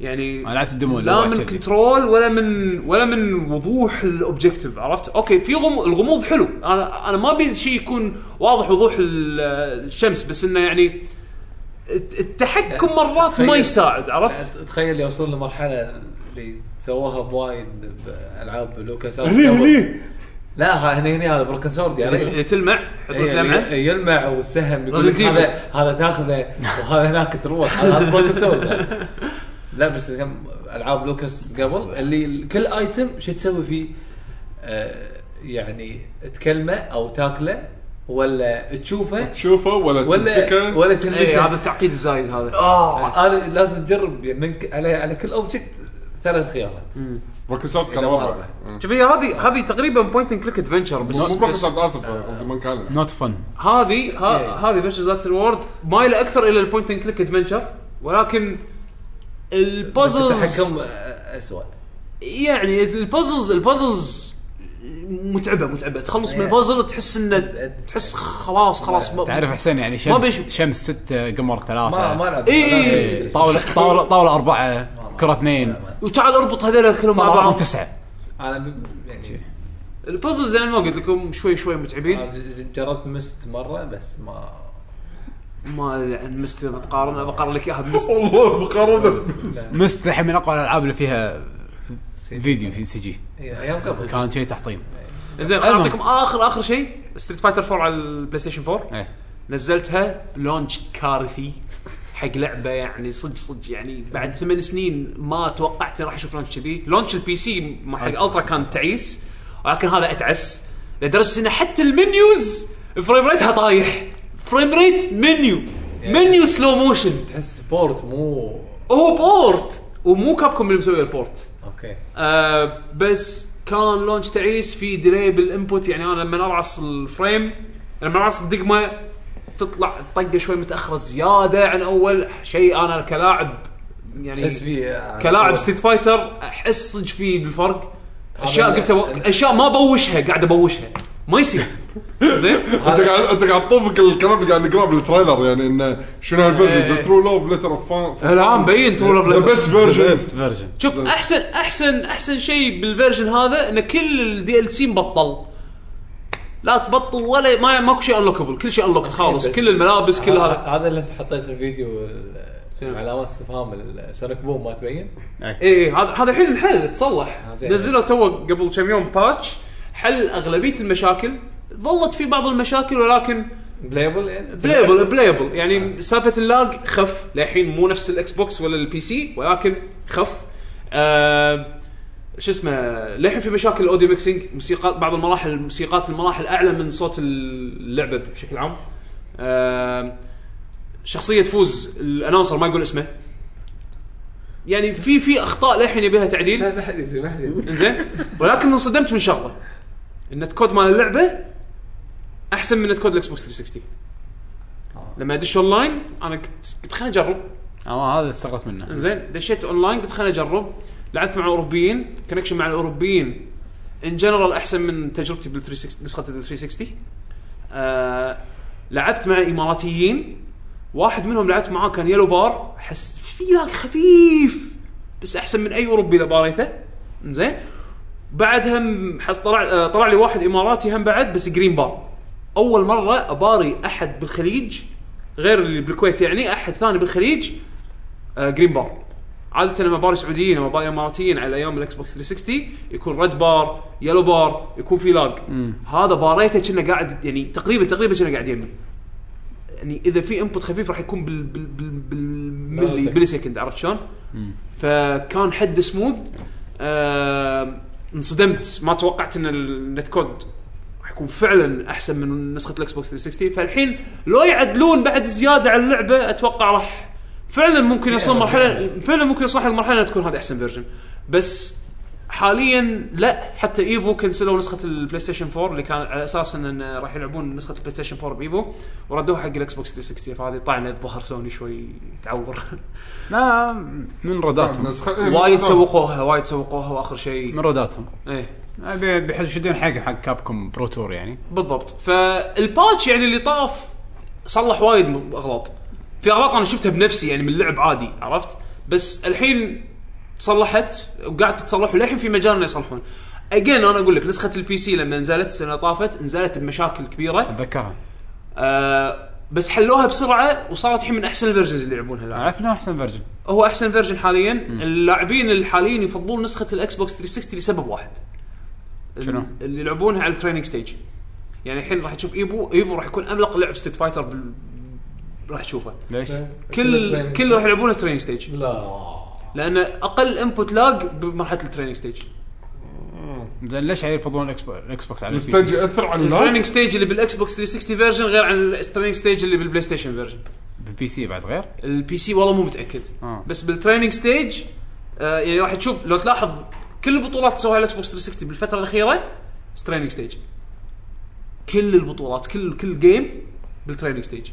S1: يعني
S2: انا لعبت الدمو اللي
S1: لا
S2: هو
S1: من
S2: عجبني.
S1: كنترول ولا من ولا من وضوح الاوبجيكتيف عرفت؟ اوكي في غم الغموض حلو انا انا ما ابي شيء يكون واضح وضوح ال- الشمس بس انه يعني الت- التحكم مرات ما
S6: تخيل.
S1: يساعد عرفت؟
S6: تخيل يوصلون لمرحله اللي سووها بوايد بالعاب لوكاس آرت
S3: هني
S6: قبل.
S3: هني
S6: لا ها- هني هني هذا بروكن سورد يعني
S1: اللي اللي تلمع يحط لك
S6: إيه،
S1: لمعه
S6: اللي يلمع والسهم يقول
S1: Resident
S6: لك
S1: Evil.
S6: هذا هذا تاخذه وهذا هناك تروح هذا هذا بروكن سورد لا بس كم العاب لوكاس قبل اللي كل ايتم شو تسوي فيه؟ آه، يعني تكلمه او تاكله ولا تشوفه
S3: تشوفه ولا
S6: ولا
S3: تمسكه
S6: ولا
S1: إيه، هذا
S6: تلمسه
S1: التعقيد الزايد هذا
S6: اه انا لازم تجرب من ك- على على كل اوبجكت ثلاث خيارات
S3: بروكن
S1: إيه،
S3: سوفت كان
S6: إذا ما
S3: رابع
S6: أربعة.
S1: شوف هي هذه هذه تقريبا بوينت اند كليك ادفنشر بس
S3: مو بروكن
S1: بس
S3: سوفت اسف قصدي من كان
S2: نوت فن
S1: هذه ها-
S6: إيه.
S1: هذه فيرتشوز ذات الورد مايله اكثر الى البوينت اند كليك ادفنشر ولكن
S6: بس
S1: البازلز
S6: التحكم آه، اسوء
S1: يعني البازلز البازلز متعبه متعبه تخلص من
S6: إيه.
S1: البازل تحس انه تحس خلاص خلاص ما
S2: تعرف حسين يعني
S1: ما
S2: شمس
S1: بيش-
S2: شمس ستة قمر
S6: ما ما
S2: ثلاثة
S6: العب
S1: إيه، إيه، إيه.
S6: إيه.
S2: طاولة طاولة طاولة أربعة كرة اثنين
S1: وتعال اربط هذول كلهم مع
S2: طاولة
S1: بعض
S2: تسعة
S6: انا ب- يعني
S1: البازلز يعني ما قلت لكم شوي شوي
S6: أنا
S1: متعبين
S6: ج- جربت مست مره بس ما
S1: ما أدري عن مست اذا بتقارن أبى اقارن لك اياها بمست
S3: والله مقارنه
S2: مست الحين من أقوى الألعاب اللي فيها فيديو في سي جي
S6: إيه، ايام قبل
S2: كان شيء تحطيم
S1: زين خليني
S2: المهم.
S1: اعطيكم اخر اخر شيء ستريت فايتر 4 على البلاي ستيشن 4
S2: إيه.
S1: نزلتها لونش كارثي حق لعبه يعني صدق صدق يعني بعد ثمان سنين ما توقعت إني راح اشوف لونش كذي لونش البي سي مع حق الترا كان تعيس ولكن هذا اتعس لدرجه انه حتى المنيوز فريم ريتها طايح فريم ريت منيو منيو سلو موشن
S6: تحس سبورت مو
S1: هو بورت ومو كابكم اللي مسوي البورت
S6: اوكي
S1: آه بس كان لونش تعيس في ديلي بالانبوت يعني انا لما ارعص الفريم لما ارعص الدقمه تطلع الطقه شوي متاخره زياده عن اول شيء انا كلاعب يعني
S6: تحس فيه
S1: كلاعب ستيت فايتر احس صدق فيه بالفرق
S6: هذا
S1: اشياء
S6: لا-
S1: قلتها اشياء ما بوشها قاعد ابوشها ما يصير زين
S3: انت قاعد انت قاعد تطوفك الكلام اللي قاعد نقراه بالتريلر يعني انه شنو هالفيرجن ذا ترو لوف ليتر اوف فان
S1: الان إيه. مبين تقول
S3: ذا بيست فيرجن
S2: بيست فيرجن
S1: شوف احسن احسن احسن شيء بالفيرجن هذا ان كل الدي ال سي مبطل لا تبطل ولا ما ماكو شيء انلوكبل كل شيء انلوكت خالص
S6: إيه، بس-
S1: كل الملابس كل
S6: ه-
S1: هذا
S6: هذا اللي انت حطيت الفيديو ال-
S1: شنو؟
S6: علامات استفهام ال- سونيك بوم ما تبين
S1: اي إيه، هذا هذا الحين انحل تصلح
S6: آه، زين.
S1: نزلوا تو قبل كم يوم باتش حل اغلبيه المشاكل ظلت في بعض المشاكل ولكن
S6: بلايبل يعني
S1: بلايبل بلايبل يعني سالفه اللاج خف للحين مو نفس الاكس بوكس ولا البي سي ولكن خف آه شو اسمه للحين في مشاكل الاوديو ميكسينج موسيقى بعض المراحل موسيقات المراحل اعلى من صوت اللعبه بشكل عام آه شخصيه فوز الانونسر ما يقول اسمه يعني في في اخطاء للحين يبيها تعديل
S6: لا ما حد يدري ما حد يدري
S1: انزين ولكن انصدمت من شغله ان الكود مال اللعبه احسن من الكود الاكس بوكس 360 لما ادش اونلاين انا كنت قلت خليني اجرب
S2: اه هذا استغربت منه
S1: انزين دشيت اونلاين قلت خليني اجرب لعبت مع اوروبيين كونكشن مع الاوروبيين ان جنرال احسن من تجربتي بال 360 نسخه ال 360 آه لعبت مع اماراتيين واحد منهم لعبت معاه كان يلو بار حس في لاك خفيف بس احسن من اي اوروبي اذا باريته زين بعد هم حس طلع آه، طلع لي واحد اماراتي هم بعد بس جرين بار اول مره اباري احد بالخليج غير اللي بالكويت يعني احد ثاني بالخليج آه جرين بار عاده لما باري سعوديين او باري اماراتيين على ايام الاكس بوكس 360 يكون ريد بار يلو بار يكون في لاج هذا باريته كنا قاعد يعني تقريبا تقريبا كنا قاعد يمي يعني اذا في انبوت خفيف راح يكون بال بال بال بالملي
S6: نانوسكند.
S1: بلي سكند عرفت شلون؟ فكان حد سموث آه انصدمت ما توقعت ان النت كود راح يكون فعلا احسن من نسخه الاكس بوكس 360 فالحين لو يعدلون بعد زياده على اللعبه اتوقع راح فعلا ممكن يصل مرحله فعلا ممكن يصل حق مرحله إنها تكون هذا احسن فيرجن بس حاليا لا حتى ايفو كنسلوا نسخه البلاي ستيشن 4 اللي كان على اساس ان إن راح يلعبون نسخه البلاي ستيشن 4 بايفو وردوها حق الاكس بوكس 360 فهذه طعنه بظهر سوني شوي تعور
S2: لا من رداتهم
S3: نسخة-
S1: وايد سوقوها وايد سوقوها واخر شيء
S2: من رداتهم
S1: ايه
S2: بي- بيحشدون حق حق كابكم برو تور يعني
S1: بالضبط فالباتش يعني اللي طاف صلح وايد م- اغلاط في اغلاط انا شفتها بنفسي يعني من اللعب عادي عرفت بس الحين صلحت وقاعد تتصلح وللحين في مجال انه يصلحون اجين انا اقول لك نسخه البي سي لما نزلت السنه طافت نزلت بمشاكل كبيره
S2: اتذكرها
S1: آه بس حلوها بسرعه وصارت الحين من احسن الفيرجنز اللي يلعبونها اللاعبين
S2: عرفنا احسن فيرجن
S1: هو احسن فيرجن حاليا اللاعبين الحاليين يفضلون نسخه الاكس بوكس 360 لسبب واحد
S2: شنو؟
S1: اللي يلعبونها على التريننج ستيج يعني الحين راح تشوف ايفو ايفو راح يكون املق لعب ستيت فايتر بال... راح تشوفه
S2: ليش؟
S1: كل
S6: training
S1: كل راح يلعبونه تريننج ستيج
S6: لا
S1: لان اقل انبوت لاج بمرحله التريننج ستيج
S2: زين ليش عيل يفضلون الإكس بو- الاكس بوكس على البي
S3: مستنج
S2: سي؟
S3: ياثر على
S1: التريننج
S3: اللايك
S1: ستيج اللي بالاكس بوكس 360 فيرجن غير عن التريننج ستيج اللي بالبلاي ستيشن فيرجن
S2: بالبي سي بعد غير؟
S1: البي سي والله مو متاكد
S2: آه.
S1: بس بالتريننج ستيج آه يعني راح تشوف لو تلاحظ كل البطولات تسويها الاكس بوكس 360 بالفتره الاخيره تريننج ستيج كل البطولات كل كل جيم بالتريننج ستيج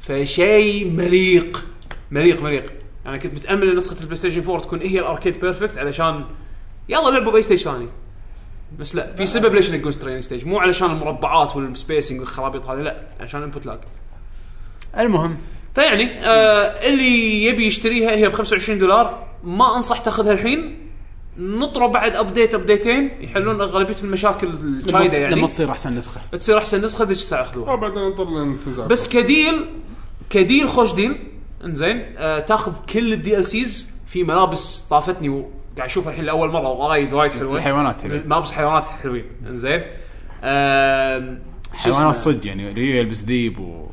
S1: فشيء مليق مليق مليق انا كنت متامل ان نسخه البلاي ستيشن 4 تكون هي الاركيد بيرفكت علشان يلا لعبوا باي ستيج ثاني بس لا في سبب ليش نقول تريننج ستيج مو علشان المربعات والسبيسنج والخرابيط هذه لا عشان الانبوت لاج
S2: المهم
S1: فيعني آه اللي يبي يشتريها هي ب 25 دولار ما انصح تاخذها الحين نطره بعد ابديت ابديتين يحلون اغلبيه المشاكل الشايده
S2: لما
S1: يعني
S2: تصير احسن نسخه
S1: تصير احسن نسخه ذيك الساعه خذوها
S3: آه، بعدين انطر لين تنزل
S1: بس كديل كديل خوش ديل انزين آه تاخذ كل الدي ال سيز في ملابس طافتني وقاعد اشوفها الحين لاول مره وايد وايد حلوه
S2: الحيوانات يعني.
S1: ملابس حيوانات حلوين انزين آه شو
S2: حيوانات
S1: اسمه؟
S2: صدق يعني اللي يلبس ذيب و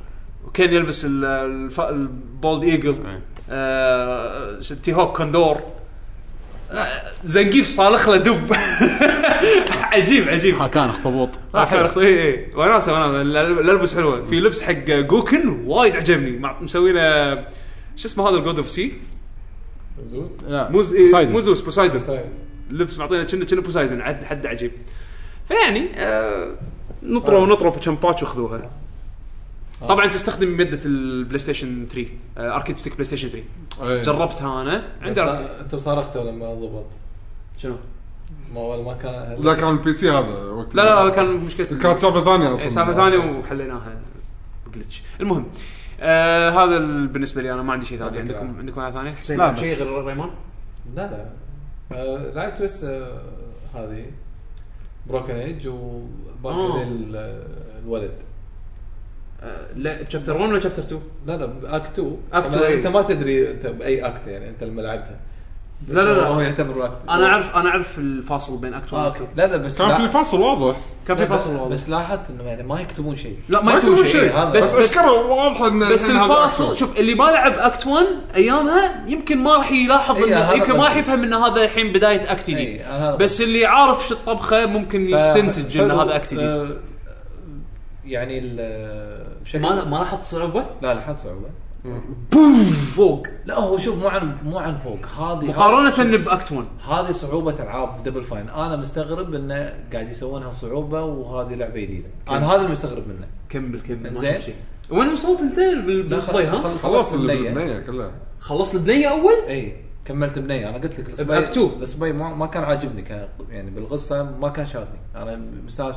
S1: وكان يلبس ال- الف... البولد ايجل
S2: إيه.
S1: آه... ش- تي هوك كوندور آه... زنقيف صالخ له دب عجيب عجيب
S2: ها كان اخطبوط
S1: آه، حلو. اي اي وناسه وناسه الالبس حلوه في لبس حق جوكن وايد عجبني مع... مسوي له شو اسمه هذا الجود اوف سي
S6: زوز
S2: لا
S1: موز
S2: بوسايدن.
S1: مو زوس بوسايدن
S6: سايد.
S1: لبس معطينا كنا كنا بوسايدن عد حد عجيب فيعني آه نطروا نطروا بكم باتش وخذوها طبعا تستخدم ماده البلاي ستيشن 3 آه اركيد ستيك بلاي ستيشن 3
S3: إيه.
S1: جربتها انا عندي أركيد.
S6: انت صارخته لما ضبط
S1: شنو؟
S6: ما ولا ما كان
S3: لا كان البي سي هذا وقت
S1: لا لا لا كان مشكلته
S3: كانت سالفه ثانيه اصلا
S1: إيه، سالفه ثانيه وحليناها بجلتش المهم آه هذا ال- بالنسبه لي انا ما عندي شيء ثاني عندكم عندكم اي ثاني حسين
S2: لا،
S1: عندك
S2: بس.
S1: شيء غير ريمان
S6: لا لا آه، لعبت بس آه، هذه بروكن ايج وباكر
S1: آه.
S6: الولد
S1: آه لا شابتر 1 ولا شابتر 2
S6: لا لا اكت 2
S1: Act
S6: طبعاً
S1: two، إيه.
S6: انت ما تدري انت باي اكت يعني انت لما لعبتها
S1: لا لا
S6: هو
S1: لا
S6: يعتبر اكت
S1: انا اعرف انا اعرف الفاصل بين اكت
S6: آه،
S1: 1
S6: اوكي لا لا بس
S3: كان
S6: لا-
S3: في فصل واضح
S1: كان في
S6: لا، بس-
S1: فاصل والله
S6: بس لاحظت انه يعني ما يكتبون شيء
S1: لا ما
S3: ما
S1: يكتبون
S3: يكتبون
S1: شيء
S3: شيء،
S6: هذا.
S1: بس
S3: بس
S1: بس
S3: اشكره واضح ان
S1: بس
S3: الحين هذا
S1: الفاصل
S3: أكثر.
S1: شوف اللي ما لعب اكت 1 ايامها يمكن ما راح يلاحظ
S6: إيه،
S1: إنه-
S6: هذا
S1: يمكن ما
S6: بس.
S1: راح يفهم ان هذا الحين بدايه اكت جديد
S6: إيه، هذا
S1: بس اللي عارف شو الطبخه ممكن يستنتج ان
S6: حلو.
S1: هذا اكت جديد
S6: آه، يعني ال- بشكل
S1: ما ما لاحظت صعوبه
S6: لا لاحظت صعوبه
S1: فوق
S6: لا هو شوف مو عن مو عن فوق هذه
S1: مقارنه باكت 1
S6: هذه صعوبة العاب دبل فاين، انا مستغرب انه قاعد يسوونها صعوبة وهذه لعبة جديده، انا هذا اللي مستغرب منه.
S1: كمل كمل ما
S6: زين.
S1: شفت شيء طيب، وين وصلت انت بال-
S6: لا،
S1: بالصدي ها؟
S6: خل-
S3: خلاص
S6: خلصت
S3: اللي
S6: البنية
S3: بالبنية كلها
S1: خلصت البنيه اول؟
S6: اي كملت بنية انا قلت لك
S1: بأكت تو.
S6: السباي ما, ما كان عاجبني كان يعني بالقصة ما كان شادني، انا مستانس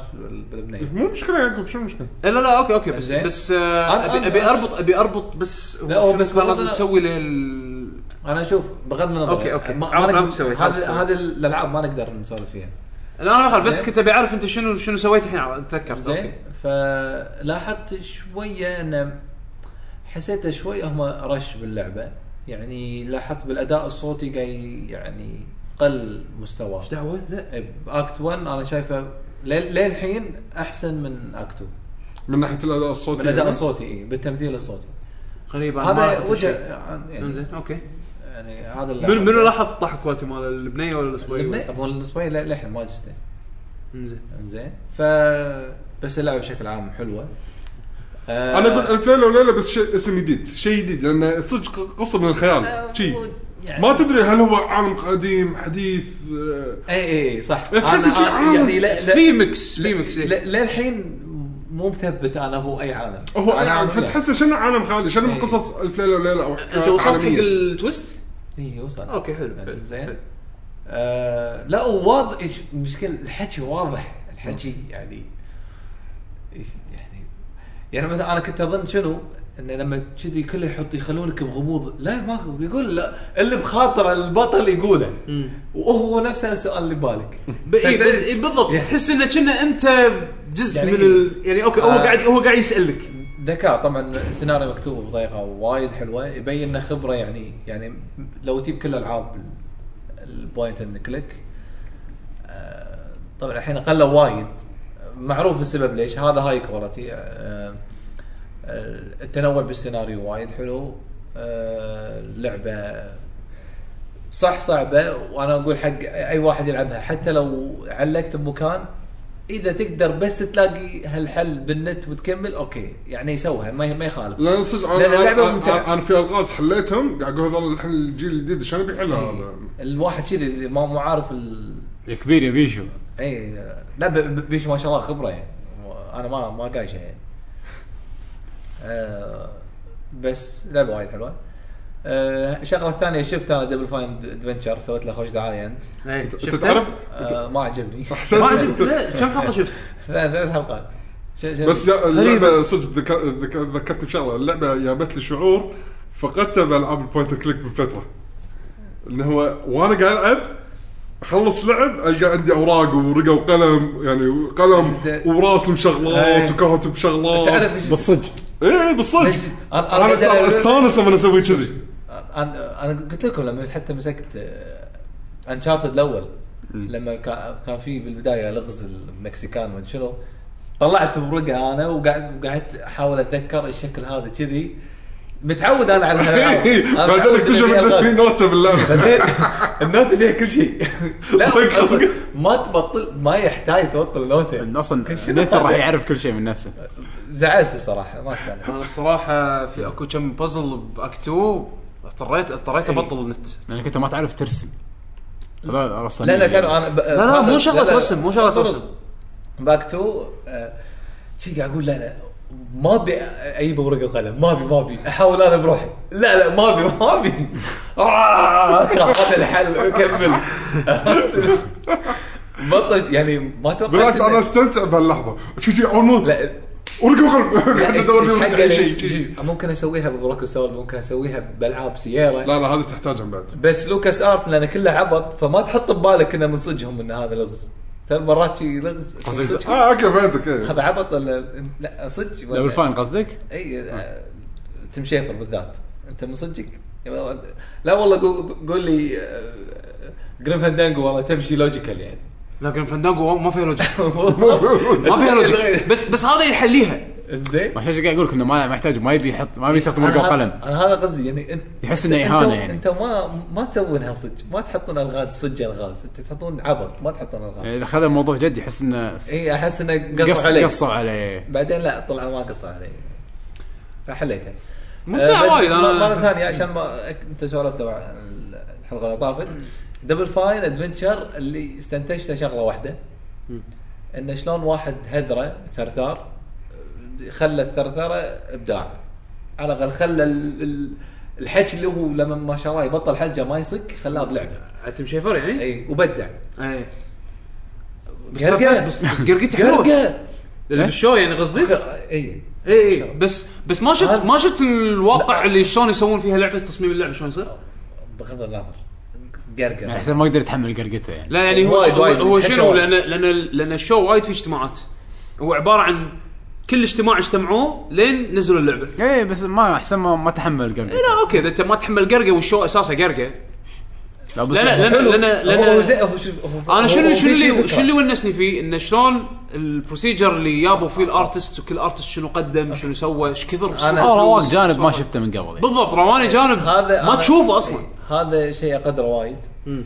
S6: بالبنية.
S3: مو يعني، مشكله يعقوب شو المشكله؟
S1: إيه لا لا اوكي اوكي بس
S6: زين.
S1: بس آه،
S6: أنا-
S1: ابي
S6: أنا-
S1: ابي اربط ابي اربط بس
S6: لا، هو
S1: في
S6: بس
S1: مقارنة
S6: بغض النظر-
S1: تسوي لل
S6: انا اشوف بغض النظر
S1: أوكي، أوكي.
S6: ما-
S1: عرفت-
S6: ما
S1: عرفت تسوي،
S6: نقدر-
S1: عرفت
S6: هذه
S1: تسوي.
S6: هذه الالعاب ما نقدر نسولف فيها.
S1: لا انا ما أخالف، بس
S6: زين.
S1: كنت ابي اعرف انت شنو شنو سويت الحين اتذكرت
S6: زين
S1: اوكي
S6: فلاحظت شويه ان حسيت شوي هم رش باللعبه يعني لاحظت بالاداء الصوتي قاي يعني قل مستواه إيه،
S1: ايش دعوه؟ لا.
S6: باكت 1 انا شايفه لل- للحين احسن من اكت 2
S3: من ناحيه الاداء الصوتي
S6: بالاداء
S3: يعني.
S6: الصوتي إيه، بالتمثيل الصوتي
S1: غريب أنا ما
S6: هذا
S1: لاحظت
S6: وجه
S1: هالشيء.
S6: يعني,
S1: انزين اوكي
S6: يعني هذا
S1: منو منو لاحظ الضحك مالته مال البنيه ولا الاسبوعي؟
S6: ابو الاسبوعي للحين ما جسته
S1: انزين
S6: انزين ف بس اللعبه بشكل عام حلوه آه،
S3: انا اقول الف ليله وليله بس شيء اسم جديد شيء جديد لان صدق قصه من الخيال شي
S6: يعني-
S3: ما تدري هل هو عالم قديم حديث آه،
S6: اي اي اي إيه، صح
S3: لا تحس
S6: أنا-
S3: شي
S6: أنا-
S3: عام.
S6: يعني لا لا
S1: في ميكس في إيه.
S6: لا-
S1: ميكس
S6: لا- للحين مو مثبت انا هو اي عالم
S3: هو
S6: انا
S3: عالم
S6: عارف
S3: فتحس شنو عالم خالي شنو من
S6: إيه.
S3: قصص الف ليله وليله او
S1: انت
S3: حكايات
S1: وصلت حق
S3: عالمية.
S1: التويست؟
S6: اي إيه، وصل
S1: اوكي حلو حلو.
S6: زين آه لا وواضح إيش- المشكله الحكي واضح الحكي يعني إيش يعني يعني مثلا انا كنت اظن شنو انه لما كذي كله يحط يخلونك بغموض لا ما يقول لا اللي بخاطر البطل يقوله
S1: مم.
S6: وهو نفسه السؤال اللي بالك
S1: ب- إيه، بس- إيه، بالضبط
S6: يعني-
S1: تحس انه كنا انت جزء
S6: يعني-
S4: إيه.
S1: من ال... يعني اوكي هو
S6: آه.
S1: قاعد هو قاعد يسالك
S6: ذكاء طبعا السيناريو مكتوب بطريقه وايد حلوه يبين انه خبره يعني يعني لو تجيب كل العاب ال- البوينت اند كليك آه، طبعا الحين قلوا وايد معروف السبب ليش هذا هاي كواليتي آه، آه، التنوع بالسيناريو وايد حلو آه، اللعبه صح صعبه وانا اقول حق اي واحد يلعبها حتى لو علقت بمكان اذا تقدر بس تلاقي هالحل بالنت وتكمل اوكي يعني يسوها ما ما يخالف
S3: لان صدق أنا-
S6: لأن اللعبة
S3: أنا-
S6: ممتعة.
S3: أنا- انا في الغاز حليتهم قاعد اقول هذول الحين الجيل الجديد شنو بيحلها
S6: إيه.
S3: هذا
S6: الواحد كذي ما مو عارف ال...
S2: كبير يا بيشو
S6: اي إيه، لا ب- ب- بيش ما شاء الله خبره يعني انا ما ما قايشه يعني آه بس لعبه وايد حلوه آه الشغله الثانيه شفت انا دبل فاين ادفنشر سويت له خوش دعايه انت
S1: إيه،
S3: انت
S1: شفته؟
S3: تعرف
S6: آه ما عجبني
S1: ما
S3: حسيت
S1: عجبت لا، كم حلقه شفت؟
S6: ثلاث ثلاث حلقات ش- ش-
S3: بس جا-
S1: غريبة.
S3: اللعبه صدق ذك- ذك- ذكرتني بشغله اللعبه جابت لي شعور فقدته بالعاب البوينت كليك من فتره انه هو وانا قاعد العب اخلص لعب القى عندي اوراق ورقه وقلم يعني قلم
S6: أنت-
S3: وراسم شغلات
S6: إيه.
S3: وكاتب شغلات
S6: تعرف إيش-
S2: بالصدق
S3: ايه بالصدق
S6: ليش- أنا- أنا
S3: انا
S6: قاعد
S3: ترى
S6: ألعب-
S3: استانس لما اسوي كذي
S6: انا انا قلت لكم لما حتى مسكت انشارتد الاول لما كان كان في بالبدايه لغز المكسيكان من شنو طلعت ورقه انا وقعدت قعدت احاول اتذكر الشكل هذا كذي متعود انا على هالألعاب. أنا
S3: إيه، بعدين
S6: متعود إن
S3: اكتشف
S6: فيها
S3: انه
S6: غاز.
S3: في نوته باللعبه
S6: بعدين النوتة فيها كل شيء لا أصلاً ما تبطل ما يحتاج تبطل النوتة
S2: اصلا نيثر راح يعرف كل شيء من نفسه
S6: زعلت الصراحه ما استانست
S1: انا الصراحه في اكو كم بازل باكتو اضطريت اضطريت ابطل النت
S2: لانك انت ما تعرف ترسم هذا يعني اصلا
S6: لا لا كانوا انا
S1: لا لا مو شغله رسم مو شغله رسم
S6: باك تو uh, شي قاعد اقول لا لا ما ابي اجيب ورقه وقلم ما ابي ما ابي احاول انا بروحي لا لا ما ابي ما ابي آه، اكره هذا الحل كمل بطل يعني ما توقعت
S3: بالعكس
S6: إنه-
S3: انا استمتع بهاللحظه شي شي اول مو
S6: لا
S3: ورقه وقلم
S6: لا،
S3: قاعد
S6: إيش-
S3: ادور
S6: إيش
S3: لي
S6: حقه
S3: ورقة، شي-
S6: ليش؟
S3: شي.
S6: ممكن اسويها ببروكو سولد ممكن اسويها بالعاب سيارة
S3: لا لا هذه تحتاجهم بعد
S6: بس لوكاس ارت لانه كله عبط فما تحط ببالك انه من صجهم ان هذا لغز ثلاث مرات شي لغز صج.
S3: اه اوكي فهمتك ايه
S6: هذا عبط ولا لا صدق ولا-
S2: دبل فاين قصدك؟
S6: اي آه، تم شيفر بالذات انت من صدقك لا والله قو- قول لي آه، جرين فاندانجو والله تمشي لوجيكال يعني
S4: لكن فندانجو ما فيها لوجيك ما فيها
S1: إيه.
S4: لوجيك بس بس هذا يحليها
S6: زين
S2: ما عشان قاعد اقول لك انه ما محتاج ما يبي يحط ما يبي يستخدم ورقه وقلم
S6: انا هذا قصدي يعني انت
S2: يحس إنه
S6: أنت-
S2: إهانة يعني.
S6: انت ما ما تسوونها صدق ما تحطون الغاز صدق الغاز انت تحطون عبط ما تحطون
S2: يعني
S6: الغاز
S2: اذا خذ الموضوع جد يحس
S4: إيه،
S2: انه
S6: اي احس انه
S2: قص-
S6: قصوا علي
S2: قصوا عليه
S6: بعدين لا طلع ما قصوا علي فحليته
S1: ممتع
S6: آه، بس-
S1: وايد
S6: بس مره
S1: أنا-
S6: ثانيه عشان ما أك- انت سولفت مع الحلقه اللي طافت دبل فاين ادفنشر اللي استنتجته شغله واحده انه شلون واحد هذره ثرثار خلى الثرثره ابداع على الاقل خلى ال- ال- الحكي اللي هو لما ما شاء الله يبطل حلقه ما يصك خلاه بلعبه
S4: عتم شيفر يعني؟
S6: اي وبدع
S4: اي
S1: إيه.
S4: بس
S6: قرقة.
S4: بس بس قرقته حلوه
S6: قرقه
S1: إيه.
S4: بالشو يعني قصدك؟
S6: اي
S4: اي اي إيه، بس بس ما شفت
S6: هذا-
S4: ما شفت الواقع اللي شلون يسوون فيها لعبه تصميم اللعبه شلون يصير؟
S6: بغض النظر قرقه
S2: يعني احسن ما يقدر يتحمل قرقته يعني
S4: لا يعني هو
S6: وايد-
S4: هو-
S6: وايد
S4: هو
S6: يتحكى
S4: شنو
S6: وايد.
S4: لان لان لان الشو وايد فيه اجتماعات هو عباره عن كل اجتماع اجتمعوه لين نزلوا اللعبه
S2: اي إيه، بس ما احسن ما, ما تحمل قرقته
S4: لا اوكي اذا انت ما تحمل قرقه والشو اساسه قرقه
S2: لا بس
S4: لا لا لان
S6: حلو.
S4: لان
S6: هو- هو
S4: لان
S6: زي- هو شوف- هو-
S4: انا
S6: هو-
S4: شنو
S6: هو
S4: شنو
S6: في- في
S4: اللي
S6: فكرة.
S4: شنو اللي ونسني فيه انه شلون البروسيجر اللي يابوا فيه الارتست وكل ارتست شنو قدم شنو سوى ايش كثر
S6: أنا-
S2: أو
S4: فلوس.
S2: آه، رواق جانب ما شفته من قبل يعني.
S4: بالضبط رواني جانب
S6: هذا
S4: ما
S6: أنا-
S4: تشوفه اصلا
S6: هذا شيء اقدره وايد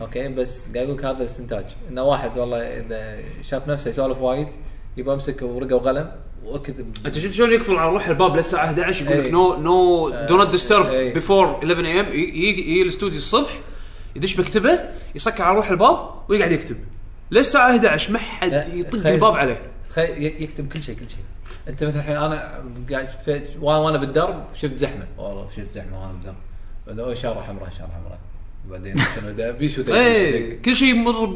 S6: اوكي بس قاعد اقول لك هذا استنتاج انه واحد والله اذا شاف نفسه يسولف وايد يبى امسك ورقه وقلم واكتب
S4: انت شفت شلون يقفل على روح الباب للساعه 11 يقول لك
S6: إي.
S4: نو نو
S6: إيه.
S4: دو نوت
S6: إي.
S4: ديسترب بيفور 11 ام يجي يجي الاستوديو الصبح يدش مكتبه يسكر على روح الباب ويقعد يكتب للساعه 11 ما حد
S6: لا،
S4: يطق
S6: تخيل.
S4: الباب عليه
S6: تخيل ي- يكتب كل شيء كل شيء انت مثلا الحين انا قاعد في- وانا وانا بالدرب شفت زحمه والله شفت زحمه وانا بالدرب بعدين أوه، اشاره حمراء اشاره حمراء بعدين شنو ده بيش ودق، بيش ودق.
S4: اي إيه. كل شيء يمر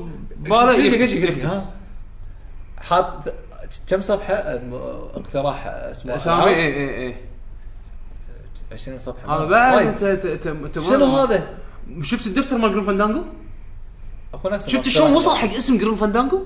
S4: بباله
S6: كل شيء- كل شيء
S4: يكتب.
S6: قلت ها حاط كم صفحه الم- اقتراح اسمه
S4: اسامي اي اي اي
S6: 20 صفحه
S4: إيه- هذا بعد
S6: وايد.
S4: انت انت انت
S6: طيب. شنو هذا؟
S4: شفت الدفتر مال جرين فاندانجو؟
S6: اخو نفسه
S4: شفت شلون وصل حق اسم جرين فاندانجو؟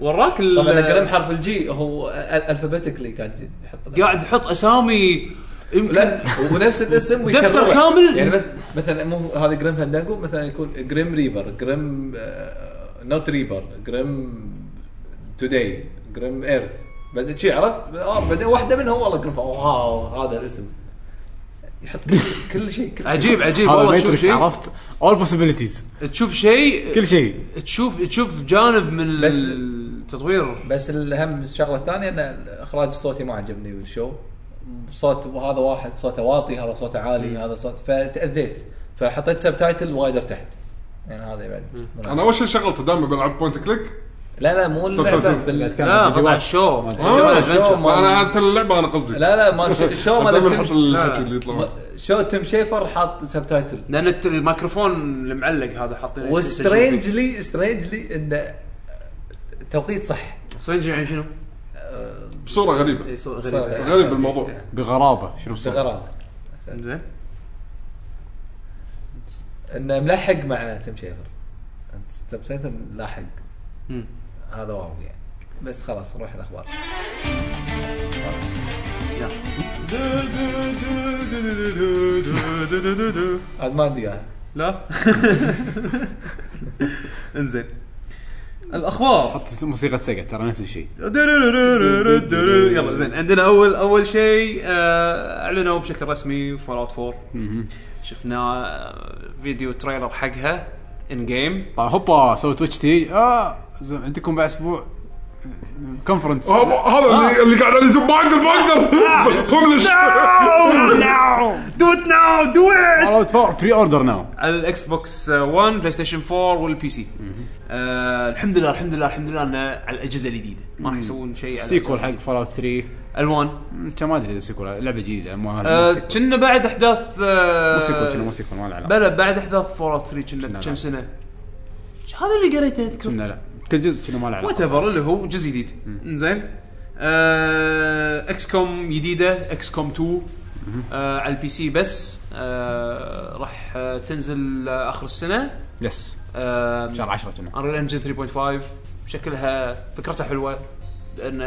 S4: وراك ال-
S6: طبعا القلم حرف الجي هو الفابيتيكلي قاعد يحط الأسماء.
S4: قاعد يحط اسامي يمكن
S6: لا ونفس الاسم
S4: دفتر
S6: ويكرره.
S4: كامل.
S6: يعني مث- مثلا مو هذا جريم فاندانجو مثلا يكون جريم ريبر جريم آه، نوت ريبر جريم توداي جريم ايرث بعدين شي عرفت آه، بعدين واحده منهم والله جريم واو هذا الاسم يحط كل شيء كل شيء كل شيء.
S4: عجيب عجيب
S2: هذا
S4: والله تشوف
S2: ماتريكس
S4: شيء
S2: عرفت اول بوسيبيليتيز
S4: تشوف شيء
S2: كل شيء
S4: تشوف تشوف جانب من
S6: بس-
S4: التطوير
S6: بس الاهم الشغله الثانيه ان الاخراج الصوتي ما عجبني بالشو صوت هذا واحد صوته واطي هذا صوته عالي هذا صوت فتاذيت فحطيت سب تايتل وايد ارتحت يعني هذا بعد
S3: انا اول شيء شغلته دائما بلعب بوينت كليك
S1: آه،
S6: لا لا مو اللعبه
S3: سبتايتل.
S6: بال...
S4: لا قصد على الشو
S6: الشو-
S3: آه،
S6: الشو مال-
S3: انا عاد اللعبه انا قصدي
S6: آه، لا لا ما شو- شو
S3: دائما
S6: مال
S3: احط
S6: تم...
S3: الحكي
S4: لا.
S3: اللي يطلع
S6: ما- شو تم شيفر حاط سب تايتل
S4: لان الت- الميكروفون المعلق هذا حاطينه
S6: وسترينجلي سترينجلي انه توقيت صح
S4: سترينج يعني شنو؟
S3: بصوره غريبه
S6: إيه،
S4: إي، صو-
S6: صار-
S4: غريب
S3: غريب الموضوع
S6: إيه،
S2: بغرابه شنو بصوت
S6: غرابه
S4: زين
S6: انه ملحق مع تم شيفر سب تايتل ملاحق
S4: مم.
S6: هذا واو يعني بس خلاص روح الاخبار
S4: يلا.
S6: عاد ما عندي اياها
S1: لا انزين الاخبار
S2: حط موسيقى سقا ترى نفس الشيء
S1: يلا زين عندنا اول اول شيء آه، اعلنوا بشكل رسمي فول اوت 4
S2: مهم.
S4: شفنا آه، فيديو تريلر حقها ان جيم
S2: طيب هوبا سوي تويتش تي اه زين، عندكم بعد اسبوع كونفرنس
S3: هذا هذا
S6: آه.
S3: اللي- اللي قاعد عليه ما اقدر ما اقدر ببلش
S1: دو ات ناو دو ات
S2: اوت فور بري اوردر ناو
S1: على الاكس بوكس آه، 1 بلاي ستيشن 4 والبي سي آه الحمد لله الحمد لله الحمد لله ان على الاجهزه الجديده ما راح يسوون شيء على
S2: سيكول حق فول اوت 3
S1: الوان
S2: مم، كان ما ادري اذا سيكول لعبه جديده مو
S1: آه،
S2: مو سيكول.
S1: كنا بعد احداث آه
S2: مو سيكول كنا مو سيكول ما له علاقه
S1: بلى بعد احداث فور اوت 3
S2: كنا
S1: كنا
S2: لا.
S1: كم سنه هذا اللي قريته اذكر
S2: كنا لا كل جزء كنا ما له علاقه
S1: وات ايفر اللي هو جزء جديد انزين آه اكس كوم جديده اكس كوم 2 آه على البي سي بس آه راح آه، تنزل آه، اخر السنه
S2: يس
S1: آه
S2: شهر 10 كنا
S1: انريل انجن 3.5 شكلها فكرتها حلوه ان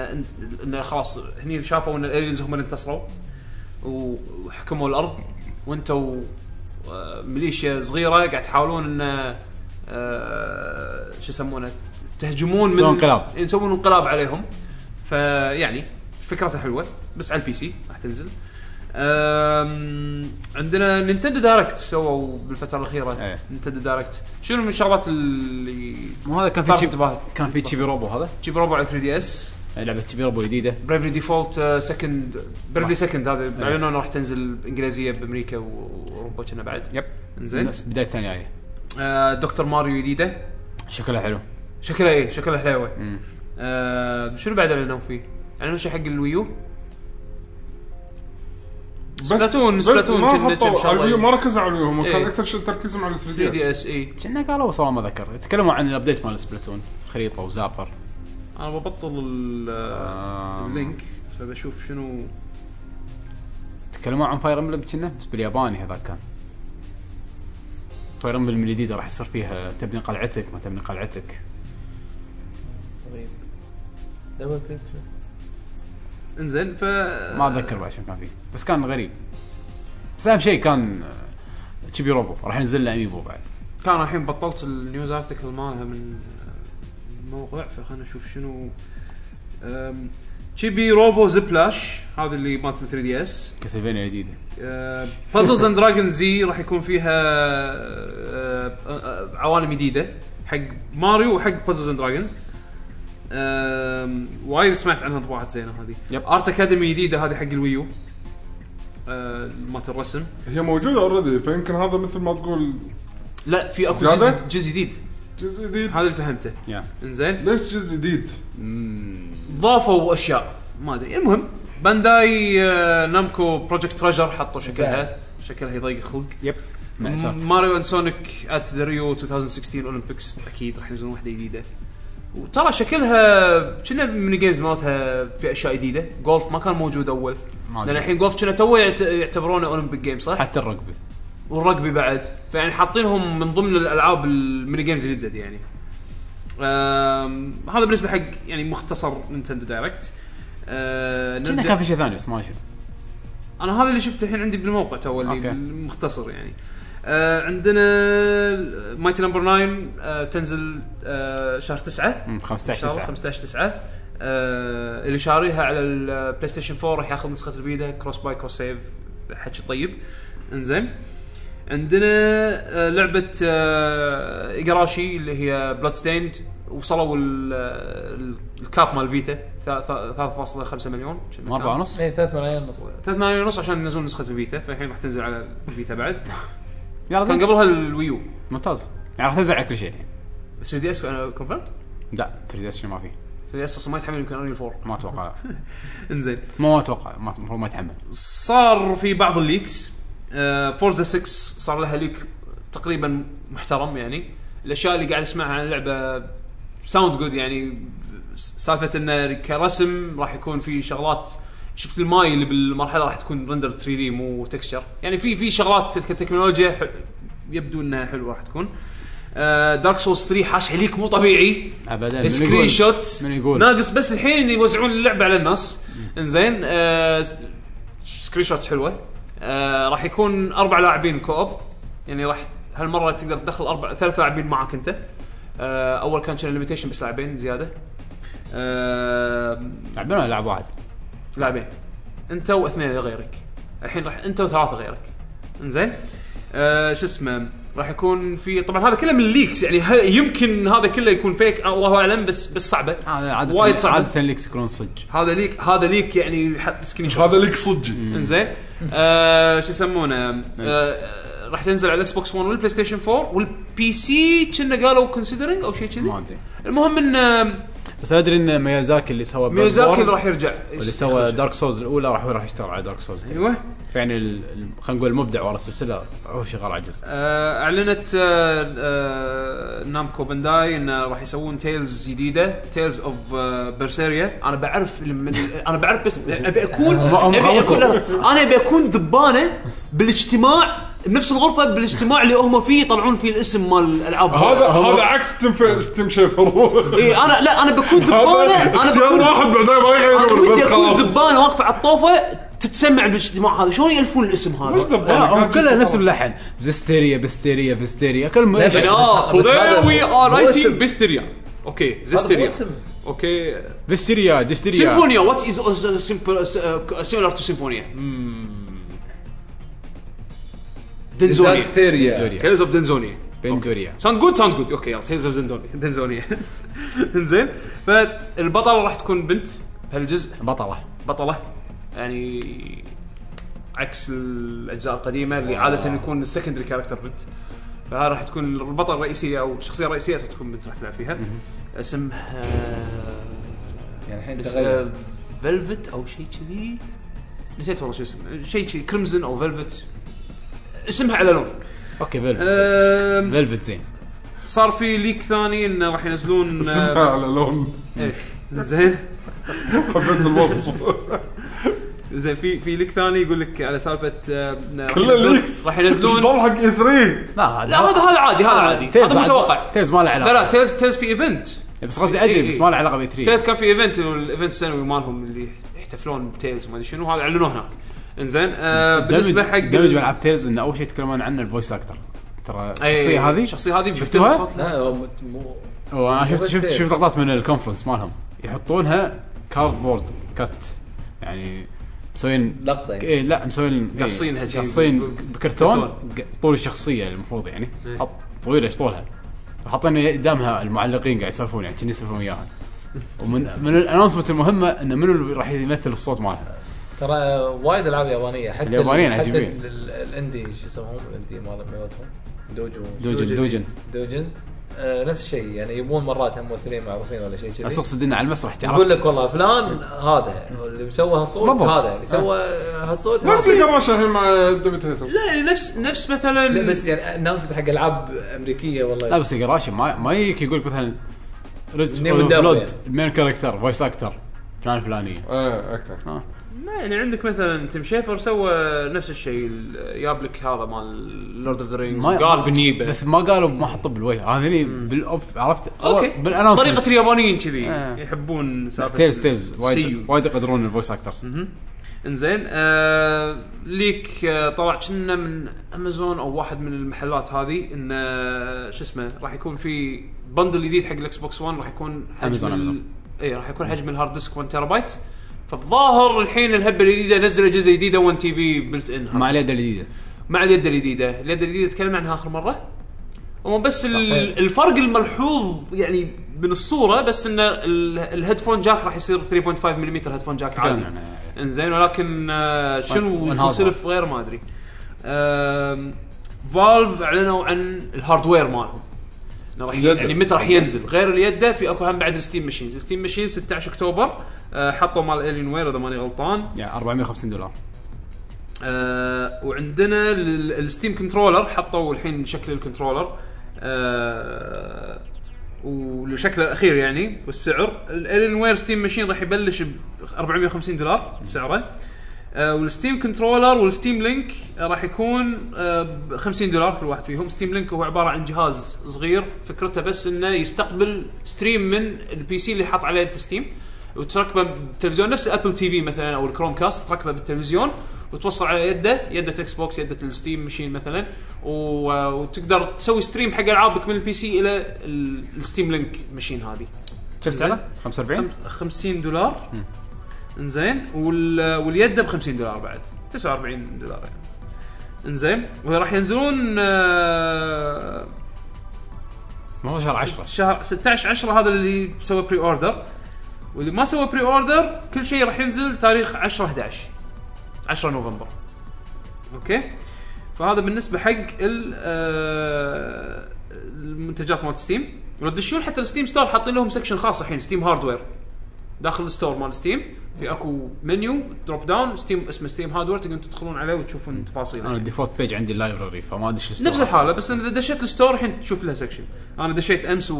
S1: ان خلاص هني شافوا ان الالينز هم اللي انتصروا وحكموا الارض وانتوا آه، ميليشيا صغيره قاعد تحاولون ان آه، شو يسمونه تهجمون من
S2: يسوون انقلاب.
S1: يسوون انقلاب عليهم فيعني فكرتها حلوه بس على البي سي راح تنزل آم، عندنا نينتندو دايركت سووا بالفتره الاخيره
S2: إيه.
S1: نينتندو دايركت شنو من الشغلات اللي
S2: مو هذا كان في
S1: طرف
S2: تشيب
S1: انتباهك.
S2: كان في تشيبي روبو هذا
S1: جيب ربع 3 دي اس
S2: لعبه تشيبي روبو جديده
S1: بريفري ديفولت سكند بريفري سكند هذا اعلنوا انه راح تنزل انجليزيه بامريكا و- واوروبا كنا بعد
S2: يب
S1: انزين
S2: نفس بدايه السنه الجايه
S1: آه، دكتور ماريو جديده
S2: شكلها حلو
S1: شكلها ايه شكلها حلاوه
S2: مم.
S1: آه شنو بعد اعلنوا فيه؟ اعلنوا شيء حق الويو سبلاتون-
S3: بس
S1: سبلاتون
S3: ما
S1: كنا- كنا
S3: حطوا
S1: شغلة.
S3: على الويو، ما ركزوا على الويو هم كان
S1: إيه.
S3: اكثر شيء تركيزهم على 3
S1: 3
S3: دي
S1: دي إيه.
S3: اس
S1: اس اي
S2: كنا قالوا بس والله ما ذكر تكلموا عن الابديت مال سبلاتون خريطه وزابر
S1: انا ببطل ال-
S2: آم.
S1: اللينك فبشوف شنو
S2: تكلموا عن فاير امبلم كنا بس بالياباني هذا كان فاير امبلم الجديده راح يصير فيها تبني قلعتك ما تبني قلعتك
S6: طيب. دبل كليك شو؟
S1: انزين ف
S2: ما اتذكر بعد شنو كان فيه بس كان غريب بس اهم شيء كان آه، تشيبي روبو راح ينزل له اميبو بعد
S1: كان الحين بطلت النيوز ارتكل مالها من آه، الموقع فخلنا نشوف شنو آم، تشيبي روبو زبلاش هذا اللي مالت 3 دي اس
S2: كاسلفينيا جديده
S1: بازلز اند دراجون زي راح يكون فيها آه، آه، عوالم جديده حق ماريو وحق بازلز اند دراجونز وايد سمعت عنها طبعات زينه هذه
S2: يب.
S1: ارت اكاديمي جديده هذه حق الويو آه، مالت الرسم
S3: هي موجوده اوريدي فيمكن هذا مثل ما تقول
S1: لا في اكو
S3: زيادة؟
S1: جزء جزء جديد
S3: جزء جديد
S1: هذا اللي فهمته
S2: يا
S1: انزين
S3: ليش جزء جديد؟
S1: ضافوا اشياء ما ادري المهم بانداي آه، نامكو بروجكت تريجر حطوا شكلها شكلها يضيق الخلق
S2: يب مأساة
S1: ماريو اند سونيك ات ذا ريو 2016 اولمبيكس اكيد راح ينزلون واحده جديده وترى شكلها كنا من جيمز مالتها في اشياء جديده جولف ما كان موجود اول
S2: ما
S1: لان
S2: أدري.
S1: الحين جولف كنا تو يعت- يعتبرونه اولمبيك جيم صح؟
S2: حتى الرقبه
S1: والرقبي بعد فيعني حاطينهم من ضمن الالعاب الميني جيمز الجدد يعني آم، هذا بالنسبه حق يعني مختصر نينتندو دايركت آه،
S2: كنا
S1: نبدأ-
S2: كان في شيء ثاني بس ما شنو
S1: انا هذا اللي شفته الحين عندي بالموقع تو
S2: أوكي.
S1: اللي مختصر يعني آه عندنا مايتي نمبر 9 آه تنزل آه شهر 9
S2: مم، 15
S1: شهر
S2: 9
S1: 15 9 آه اللي شاريها على البلاي ستيشن 4 راح ياخذ نسخه الفيدا كروس باي كروس سيف حكي طيب انزين عندنا آه لعبه آه ايجاراشي اللي هي بلاد ستيند وصلوا ال- ال- الكاب مال فيتا ثا- ثا- 3.5 مليون
S2: ما 4 ونص
S6: اي 3 إيه، ملايين ونص
S1: 3 ملايين ونص عشان ينزلون نسخه الفيتا فالحين راح تنزل على الفيتا بعد
S2: يلا
S1: كان
S2: زين.
S1: قبلها الويو
S2: ممتاز يعني راح تنزل على كل شيء الحين
S1: بس 3 دي اس كونفيرمد 3
S2: لا 3 دي ما في
S1: دي اس اصلا ما يتحمل يمكن اوني 4
S2: ما اتوقع لا.
S1: انزين
S2: ما اتوقع ما- المفروض ما يتحمل
S1: صار في بعض الليكس آه، فورزا 6 صار لها ليك تقريبا محترم يعني الاشياء اللي قاعد اسمعها عن اللعبه ساوند جود يعني سالفه انه كرسم راح يكون في شغلات شفت الماي اللي بالمرحله راح تكون رندر 3 دي مو تكستشر يعني في في شغلات تلك التكنولوجيا حل- يبدو انها حلوه راح تكون آه، دارك سولز 3 حاش عليك مو طبيعي
S2: ابدا من
S1: سكرين
S2: يقول-
S1: شوت
S2: من يقول؟
S1: ناقص بس الحين يوزعون اللعبه على الناس انزين آه س- سكرين شوتس حلوه آه راح يكون اربع لاعبين كوب يعني راح هالمره تقدر تدخل اربع ثلاث لاعبين معك انت آه اول كان كان ليميتيشن بس لاعبين زياده آه
S2: لعبنا ولا لعب واحد
S1: لاعبين انت واثنين غيرك الحين راح انت وثلاثه غيرك انزين آه شو اسمه راح يكون في طبعا هذا كله من الليكس يعني ه- يمكن هذا كله يكون فيك آه، الله اعلم بس بس صعبه
S2: هذا عاده
S1: وايد صعب.
S2: عاده ليكس يكونون صدق
S1: هذا ليك هذا ليك يعني حط سكرين شوت
S3: هذا ليك صدقي
S1: انزين آه شو يسمونه آه راح تنزل على الاكس بوكس 1 والبلاي ستيشن 4 والبي سي كنا قالوا كونسيدرينج او شيء كذي
S2: ما ادري
S1: المهم ان آه،
S2: بس ادري ان ميازاكي اللي سوى
S1: ميازاكي
S2: Bloodborne
S1: اللي راح يرجع
S2: واللي سوى دارك سولز الاولى راح راح يشتغل على دارك سولز
S1: ايوه
S2: يعني ال- ال- خلينا نقول المبدع ورا السلسله هو شغال على الجزء
S1: آه، اعلنت آه، آه، نامكو بانداي ان راح يسوون تيلز جديده تيلز اوف برسيريا انا آه، بعرف من انا بعرف بس ابي اكون
S2: هم- هم
S1: ابي
S2: خلصوا.
S1: اكون انا ابي اكون ذبانه بالاجتماع بنفس الغرفه بالاجتماع اللي هم فيه يطلعون فيه الاسم مال الالعاب
S3: هذا هذا عكس تم ف- تم شيفر
S1: اي انا لا انا بكون
S3: هذا
S1: ذبانه انا
S3: اختيار
S1: بكون
S3: واحد بعدين ما
S1: انا
S3: يغيرون
S1: ودي
S3: بس
S1: اكون
S3: خلاص
S1: ذبانه واقفه على الطوفه
S4: تتسمع بالاجتماع هذا شلون يالفون الاسم
S3: وش
S4: هذا؟
S3: ذا
S2: لا هم
S3: ببالك؟
S2: كلها نفس اللحن يعني زستيريا بستيريا بستيريا كلهم
S6: لا، بس-
S1: يعني
S2: إيش-
S1: اه
S6: بس هذا
S1: today
S6: مو-
S1: we
S6: مو
S1: are
S6: اسم.
S1: writing بستيريا اوكي
S6: هذا
S1: زستيريا
S6: مو اسم.
S1: اوكي
S2: بستيريا دستيريا
S4: سيمفونيا وات از
S1: uh,
S4: سيميلر تو سيمفونيا دنزونيا
S6: ديزاستيريا
S1: تيلز اوف دنزونيا
S2: بندوريا
S1: ساوند جود ساوند جود اوكي يلا تيلز اوف دنزونيا دنزونيا زين فالبطله راح تكون بنت بهالجزء
S2: بطلة
S1: بطله يعني عكس الاجزاء القديمه اللي عاده يكون السكندري كاركتر بنت فهذا راح تكون البطله الرئيسيه او الشخصيه الرئيسيه راح تكون بنت راح تلعب فيها آه، اسمها
S6: يعني الحين
S1: بس-
S6: تغير
S4: فلفت او شيء كذي
S1: نسيت والله شو اسمه شيء شيء كريمزن او فيلفت اسمها على لون
S2: اوكي فيلفت
S1: أم،
S2: فيلفت زين
S1: صار في ليك ثاني انه راح ينزلون
S3: اسمها
S1: أه،
S3: على لون
S1: إيه، زين
S3: حبيت الوصف
S1: زين في في ليك ثاني يقول لك على سالفه أه، إنه راح
S3: كل
S1: ينزلون-
S3: الليكس
S1: راح ينزلون
S3: شلون حق E اي 3
S2: لا هذا
S4: لا هذا هذا عادي هذا عادي
S2: آه، تيلز إيه.
S4: هذا متوقع
S2: تيلز ما له علاقة
S1: لا لا تيلز تيلز في ايفنت
S2: بس قصدي
S1: إي
S2: ادري
S1: إي.
S2: بس ما له علاقه ب 3
S1: تيلز كان في ايفنت الايفنت السنوي مالهم اللي يحتفلون بتيلز وما ادري شنو هذا اعلنوه هناك انزين آه بالنسبه حق
S2: دمج بالعاب تيلز انه اول شيء يتكلمون عنه الفويس اكتر ترى
S1: أي-
S2: الشخصيه هذه
S1: الشخصيه إيه، هذه
S2: شفتوها؟
S1: بيختلف صوتها.
S6: لا هو مت- مو
S2: وانا شفت
S6: بس
S2: شفت
S6: تيلز.
S2: شفت لقطات من الكونفرنس مالهم يحطونها كاردبورد كت يعني مسوين
S6: لقطة يعني.
S2: اي لا مسوين إيه،
S1: قصينها شي.
S2: قصين بكرتون
S1: كرتون.
S2: ق- طول الشخصيه المفروض يعني
S1: إيه.
S2: حط طويله ايش طولها حاطين قدامها المعلقين قاعد يسولفون يعني كنا يسولفون وياها ومن من الانونسمنت المهمه انه منو اللي راح يمثل الصوت مالها
S6: ترى وايد العاب يابانيه حتى
S2: اليابانيين
S6: ال- حتى
S2: عجيبين.
S6: ال- ال- الاندي شو يسمون الاندي مال مالتهم دوجو
S2: دوجن دوجن
S1: إيه.
S6: دوجنز آه نفس الشيء يعني يبون مرات هم ممثلين معروفين ولا شيء
S2: بس
S6: كذي
S2: اقصد انه على المسرح
S6: يقول
S2: تعرف
S6: لك والله فلان هذا اللي مسوى هالصوت
S2: بالضبط. آه.
S6: هذا اللي سوى هالصوت
S3: نفس
S6: هذا.
S3: اللي قبل الحين مع دوميتيتر
S1: لا يعني نفس نفس مثلا
S6: لا بس يعني ناس حق العاب امريكيه والله
S2: لا بس قراشي ما ما يجيك يقول لك مثلا ريتش
S6: Name and Dub يعني.
S2: بلود مين كاركتر فويس اكتر فلان فلانيه
S3: ايه اوكي
S2: ها
S1: لا يعني عندك مثلا تيم شيفر سوى نفس الشيء ال- جاب لك هذا مال لورد اوف ذا رينجز
S2: ما-
S1: قال بالنيبه
S2: بس ما قالوا ما حطوا بالوجه هذا هني بالاوب عرفت
S1: اوكي
S2: بالانونس
S1: طريقه اليابانيين كذي
S2: آه.
S1: يحبون سالفه
S2: تيلز تيلز
S1: سيو.
S2: وايد وايد يقدرون الفويس اكترز
S1: مهم. انزين آه ليك آه طلع كنا من امازون او واحد من المحلات هذه ان آه، شو اسمه راح يكون في بندل جديد حق الاكس بوكس 1 راح يكون
S2: أمازون،
S1: ال-
S2: أمازون.
S1: اي راح يكون حجم الهارد ديسك 1 تيرا بايت فالظاهر الحين الهبه الجديده نزلوا اجهزه جديده 1 تي بي بلت ان
S2: مع اليد الجديده
S1: مع اليد الجديده، اليد الجديده تكلمنا عنها اخر مره ومو بس ال-
S6: صحيح.
S1: الفرق الملحوظ يعني من الصوره بس ان ال- الهيدفون جاك راح يصير 3.5 ملم هيدفون جاك عادي
S2: تكلمنا عنها.
S1: انزين ولكن آه، شنو
S2: وانهضم.
S1: السلف غير ما ادري فالف اعلنوا عن الهاردوير مالهم إنه راح
S3: اليد.
S1: يعني متى راح ينزل غير اليده في اكو هم بعد الستيم ماشينز الستيم ماشين 16 اكتوبر آه، حطوا مال الين وير اذا ماني غلطان
S2: يعني 450 دولار
S1: آه وعندنا ال- الستيم كنترولر حطوا الحين شكل الكنترولر آه وشكله الاخير يعني والسعر الالين وير ستيم ماشين راح يبلش ب 450 دولار سعره آه والستيم كنترولر والستيم لينك آه، راح يكون آه ب 50 دولار كل واحد فيهم ستيم لينك هو عباره عن جهاز صغير فكرته بس انه يستقبل ستريم من البي سي اللي حاط عليه انت ستيم وتركبه بالتلفزيون نفس ابل تي في مثلا او الكروم كاست تركبه بالتلفزيون وتوصل على يده يده اكس بوكس يده الستيم مشين مثلا و- وتقدر تسوي ستريم حق العابك من البي سي الى ال- الستيم لينك مشين هذه
S2: كم
S1: سعره؟
S2: 45
S1: 50 دولار انزين وال... واليد ب 50 دولار بعد 49 دولار يعني انزين وراح ينزلون آه،
S2: ما هو شهر
S1: ست-
S2: 10
S1: شهر 16 10 هذا اللي سوى بري اوردر واللي ما سوى بري اوردر كل شيء راح ينزل تاريخ 10 11 10 نوفمبر اوكي فهذا بالنسبه حق ال آه، المنتجات مالت ستيم ولو تدشون حتى الستيم ستور حاطين لهم سكشن خاص الحين ستيم هاردوير داخل الستور مال ستيم في اكو منيو دروب داون ستيم اسمه ستيم هاردوير تقدرون تدخلون عليه وتشوفون تفاصيله
S2: انا الديفولت بيج عندي اللايبرري فما ادري شو
S1: نفس الحاله بس إن اذا دشيت الستور الحين تشوف لها سكشن انا دشيت امس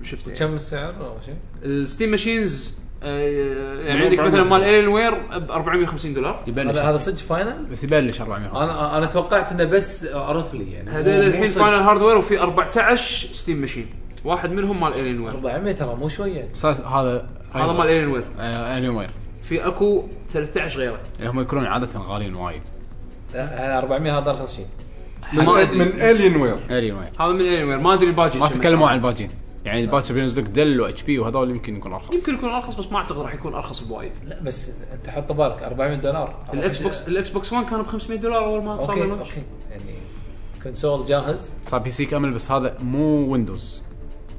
S1: وشفته يعني.
S6: كم السعر او شيء؟
S1: الستيم ماشينز آه، يعني
S2: من
S1: عندك
S2: 400.
S1: مثلا مال الين وير ب 450 دولار
S2: يبلش
S6: هذا هذا صدق فاينل؟
S2: بس يبلش 450
S6: انا انا توقعت انه بس عرف لي يعني
S1: هذول
S6: مو- مو
S1: الحين
S6: صدق.
S1: فاينل هاردوير وفي 14 ستيم ماشين
S6: أيوة.
S1: واحد منهم مال الين وير
S6: 400 ترى مو شويه
S2: بس هذا
S1: هذا مال الين وير
S2: آه، اليوم وير
S1: في اكو 13 غيره
S2: هم يكونون عاده غاليين وايد
S6: آه، 400 هذا ارخص شيء
S1: ما
S3: من,
S1: أدري.
S3: من الين وير
S2: غاليين وايد
S1: هذا من اني ما ادري الباجي
S2: ما
S1: كم
S2: تكلموا
S1: أسعار.
S2: عن الباجين يعني الباجي بينزل لك دل واتش بي وهذول يمكن يكون ارخص
S1: يمكن يكون ارخص بس ما اعتقد راح يكون ارخص بوايد
S6: لا بس انت حط بالك 400 دولار
S1: الاكس بوكس الاكس بوكس 1 كان ب 500 دولار اول ما صار
S6: اوكي
S1: اللونش
S6: اوكي يعني كونسول جاهز
S2: صار بي سي كامل بس هذا مو ويندوز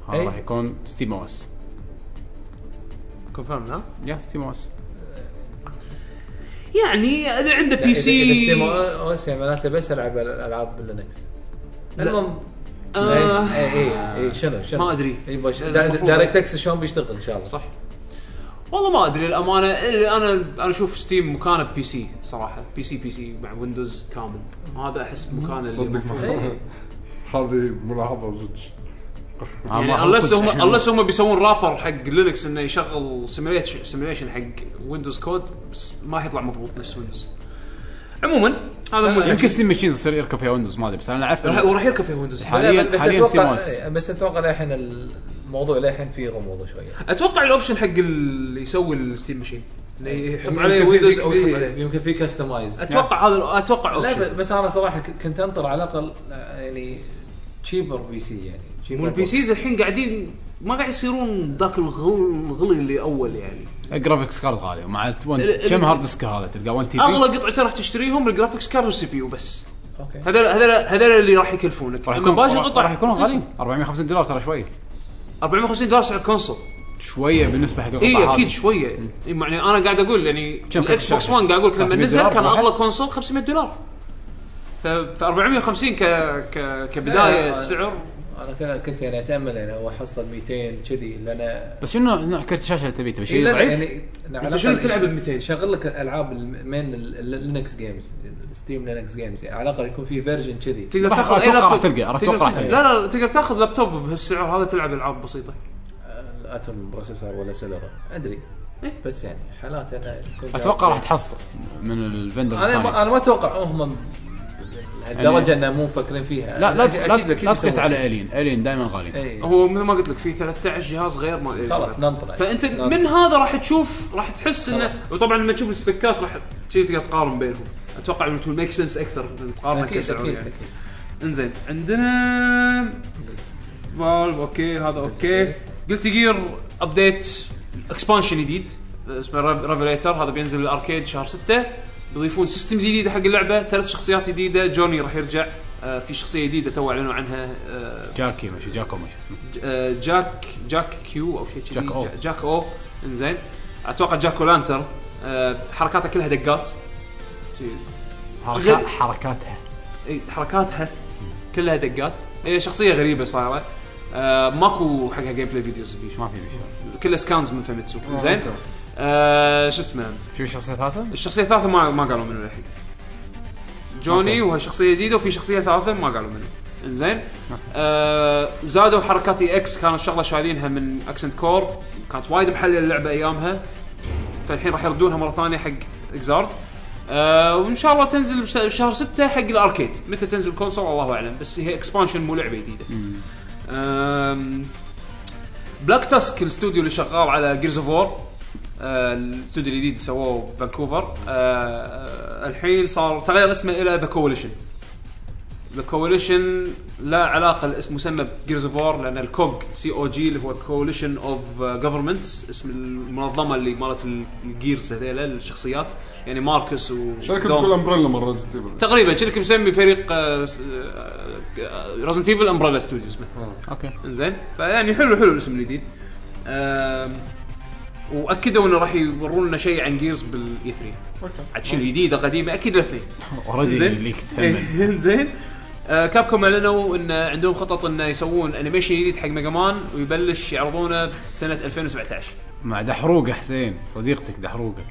S2: هذا
S6: أي.
S2: راح يكون ستيم او اس
S1: كونفيرم ها
S2: يا ستيم او اس
S1: يعني اذا عنده بي سي
S6: اوس يعني معناته بس العب الالعاب باللينكس
S1: لا.
S6: المهم
S1: آه.
S6: اي اي اي إيه، شنو شنو
S1: ما أدري.
S6: اي باش- دا-
S1: المفروض.
S6: دايركت اكس شلون بيشتغل ان شاء الله
S1: صح والله ما ادري الامانه إيه، انا انا اشوف ستيم مكانه بي سي صراحه بي سي بي سي مع ويندوز كامل هذا احس مكانه اللي
S3: صدق
S1: المفروض.
S3: ما- هذه ملاحظه صدق
S2: آه،
S1: يعني unless هم unless هم بيسوون رابر حق لينكس انه يشغل سيميليشن سيميليشن حق ويندوز كود بس ما حيطلع مضبوط نفس ويندوز عموما هذا مو
S2: آه، يمكن ستيم ماشينز يصير يركب فيها ويندوز ما ادري بس انا اعرف
S1: راح
S2: إنه-
S1: وراح يركب في ويندوز
S2: حال- حالياً-
S6: لا، بس
S2: حالياً
S6: اتوقع
S2: CMOS.
S6: بس اتوقع للحين الموضوع للحين فيه غموض شويه
S1: اتوقع الاوبشن حق اللي يسوي الستيم ماشين انه يحط
S6: إيه، يمكن
S1: عليه
S6: في-
S1: ويندوز
S6: في-
S1: او
S6: في-
S1: يحط عليه
S6: يمكن في كستمايز
S1: اتوقع هذا اتوقع
S6: لا
S1: اوبشن
S6: ب- بس انا صراحه ك- كنت انطر على الاقل آه، يعني تشيبر بي سي يعني cheaper
S1: مو البي سيز الحين قاعدين ما قاعد يصيرون ذاك الغل الغلي اللي اول يعني
S2: جرافيكس كارد غالي ومع ال-
S1: ال-
S2: كم
S1: ال-
S2: هارد ديسك هذا تلقى 1 تي بي
S1: اغلى قطعتين راح تشتريهم الجرافيكس كارد والسي بي يو بس
S6: اوكي
S1: هذول هذول هذول اللي راح يكلفونك
S2: راح
S1: اما
S2: يكون
S1: باقي
S2: راح
S1: القطع
S2: راح يكونون
S1: رخيصة.
S2: غاليين 450 دولار ترى شويه
S1: 450 دولار إيه، سعر كونسول
S2: شويه بالنسبه حق القطع
S1: اي
S2: هذه.
S1: اكيد شويه إي، يعني انا قاعد اقول يعني
S2: كم كنت
S1: الاكس بوكس 1
S2: شايف؟
S1: قاعد اقول لك لما
S2: 300
S1: نزل
S2: دولار
S1: كان
S2: واحد؟
S1: اغلى كونسول 500 دولار ف ف 450 ك ك كبدايه
S6: آه.
S1: سعر
S6: انا كان- كنت يعني اتامل يعني هو حصل 200 كذي لان
S2: بس شنو نوع كرت الشاشه اللي تبيه تبي
S6: إيه،
S2: شيء
S6: لا،
S2: ضعيف
S6: يعني أنا على
S1: أنت شنو
S6: الأقل
S1: تلعب
S6: يش-
S1: ب 200
S6: يشغل لك العاب المين لينكس جيمز ستيم لينكس جيمز يعني على الاقل يكون في فيرجن كذي
S1: تقدر
S2: راح-
S1: تاخذ اي
S2: أتوقع
S1: لابتوب
S2: راح تلقى- راح
S1: تقدر
S2: أتوقع راح
S1: تاخذ-
S2: تلقى.
S1: لا لا تقدر تاخذ لابتوب بهالسعر هذا تلعب العاب بسيطه
S6: الاتوم بروسيسور ولا سيلورا ادري
S1: إيه.
S6: بس يعني حالات انا يكون
S2: اتوقع راح
S6: فيها-
S2: تحصل من الفندرز
S6: انا ما انا ما اتوقع هم الدرجه انه مو مفكرين فيها
S2: يعني لا لا
S6: أكيد-
S2: لا
S6: أكيد- أكيد
S2: لا تقيس
S6: بيسوون
S2: على الين الين دائما غاليين
S6: شيء. إيه.
S1: هو مثل ما قلت لك في 13 جهاز غير مال
S6: خلاص ننطر
S1: فانت
S6: ننطر.
S1: من هذا راح تشوف راح تحس انه وطبعا لما تشوف السبيكات راح شي تقدر تقارن بينهم اتوقع انه ميك سنس اكثر من تقارن
S6: اكيد
S1: كسعر
S6: اكيد
S1: يعني
S6: اكيد
S1: انزين عندنا فالف اوكي هذا اوكي قلت جير ابديت اكسبانشن جديد آه، اسمه ريفليتر هذا بينزل الاركيد شهر 6 بيضيفون سيستمز جديده حق اللعبه ثلاث شخصيات جديده جوني راح يرجع آه، في شخصيه جديده تو اعلنوا عنها آه،
S2: جاكي ماشي جاكو ماشي اسمه.
S1: ج- آه، جاك جاك كيو او شيء كذي
S2: جاك أو.
S1: جا- جاك او انزين اتوقع جاك لانتر آه، حركاته كلها دقات شي- غير-
S2: حركات حركاتها
S1: إي، حركاتها كلها دقات هي شخصيه غريبه صايره آه، ماكو حقها جيم بلاي فيديوز بيشوف.
S2: ما في بشيء
S1: كلها سكانز من فيميتسو زين آه، شو اسمه
S2: شو الشخصيه الثالثه؟
S1: الشخصيه الثالثه ما ما قالوا منو الحين جوني وهالشخصيه جديده وفي شخصيه ثالثه ما قالوا منو انزين آه زادوا حركات اي اكس كانت شغله شايلينها من اكسنت كور كانت وايد محلله اللعبه ايامها فالحين راح يردونها مره ثانيه حق اكزارد آه وان شاء الله تنزل بش- بشهر 6 حق الاركيد متى تنزل كونسول الله اعلم بس هي اكسبانشن مو لعبه جديده آم، بلاك تاسك الاستوديو اللي شغال على جيرز اوف وور آه، الاستوديو الجديد اللي سووه بفانكوفر آه، الحين صار تغير اسمه الى ذا كواليشن ذا كواليشن لا علاقه الاسم مسمى بجيرز اوف وور لان الكوج سي او جي اللي هو كواليشن اوف جفرمنتس اسم المنظمه اللي مالت الجيرز هذيلا الشخصيات يعني ماركس و
S3: شركه
S1: دوم.
S3: تقول امبريلا مره زي
S1: تقريبا شركه مسمي فريق آه، رزنت ايفل امبريلا ستوديوز مثلا
S2: اوكي
S1: انزين فيعني حلو حلو الاسم الجديد آم، واكدوا انه راح يورون لنا شيء عن جيرز بالاي 3 عاد شنو جديده قديمه اكيد الاثنين
S2: اوريدي
S1: زين.
S2: ليك تهمل
S1: انزين كاب كوم اعلنوا ان عندهم خطط انه يسوون انيميشن جديد حق ميجا مان ويبلش يعرضونه سنه 2017
S2: مع دحروقه حسين صديقتك دحروقه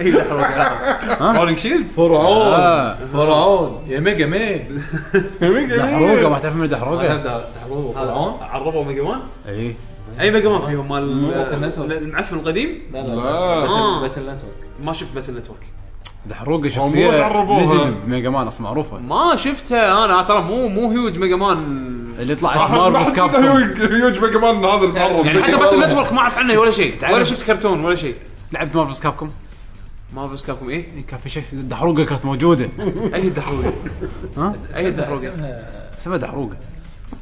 S1: اي لحظه رولينج شيلد
S6: فرعون
S2: آه،
S6: فرعون يا ميجا مان
S2: دحروقه ما تعرف من دحروقه
S6: فرعون
S1: عربوا ميجا مان
S2: اي
S1: اي ميجا مان فيهم مال
S6: باتل نتورك.
S1: المعفن القديم
S6: لا
S3: لا.
S1: آه.
S6: لا باتل نتورك
S1: ما شفت باتل نتورك
S2: دحروقه
S3: مو
S2: شخصيه
S3: تعرفوها.
S2: ليجند ميجا مان اصلا معروفه
S1: ما شفتها انا ترى مو مو هيوج ميجا مان
S2: اللي طلعت مارفلز كاب كوم.
S3: يوجبه كمان هذا المعرض
S1: يعني حتى باتل نتورك ما اعرف عنه ولا شيء ولا
S2: تعرف.
S1: شفت كرتون ولا شيء
S2: لعبت مارفلز كاب كوم إيه،
S1: ما بس كابكم ايه
S2: كان في شيء دحروقه كانت موجوده
S1: اي دحروقه
S2: ها
S1: اي دحروقه
S2: اسمها دحروقه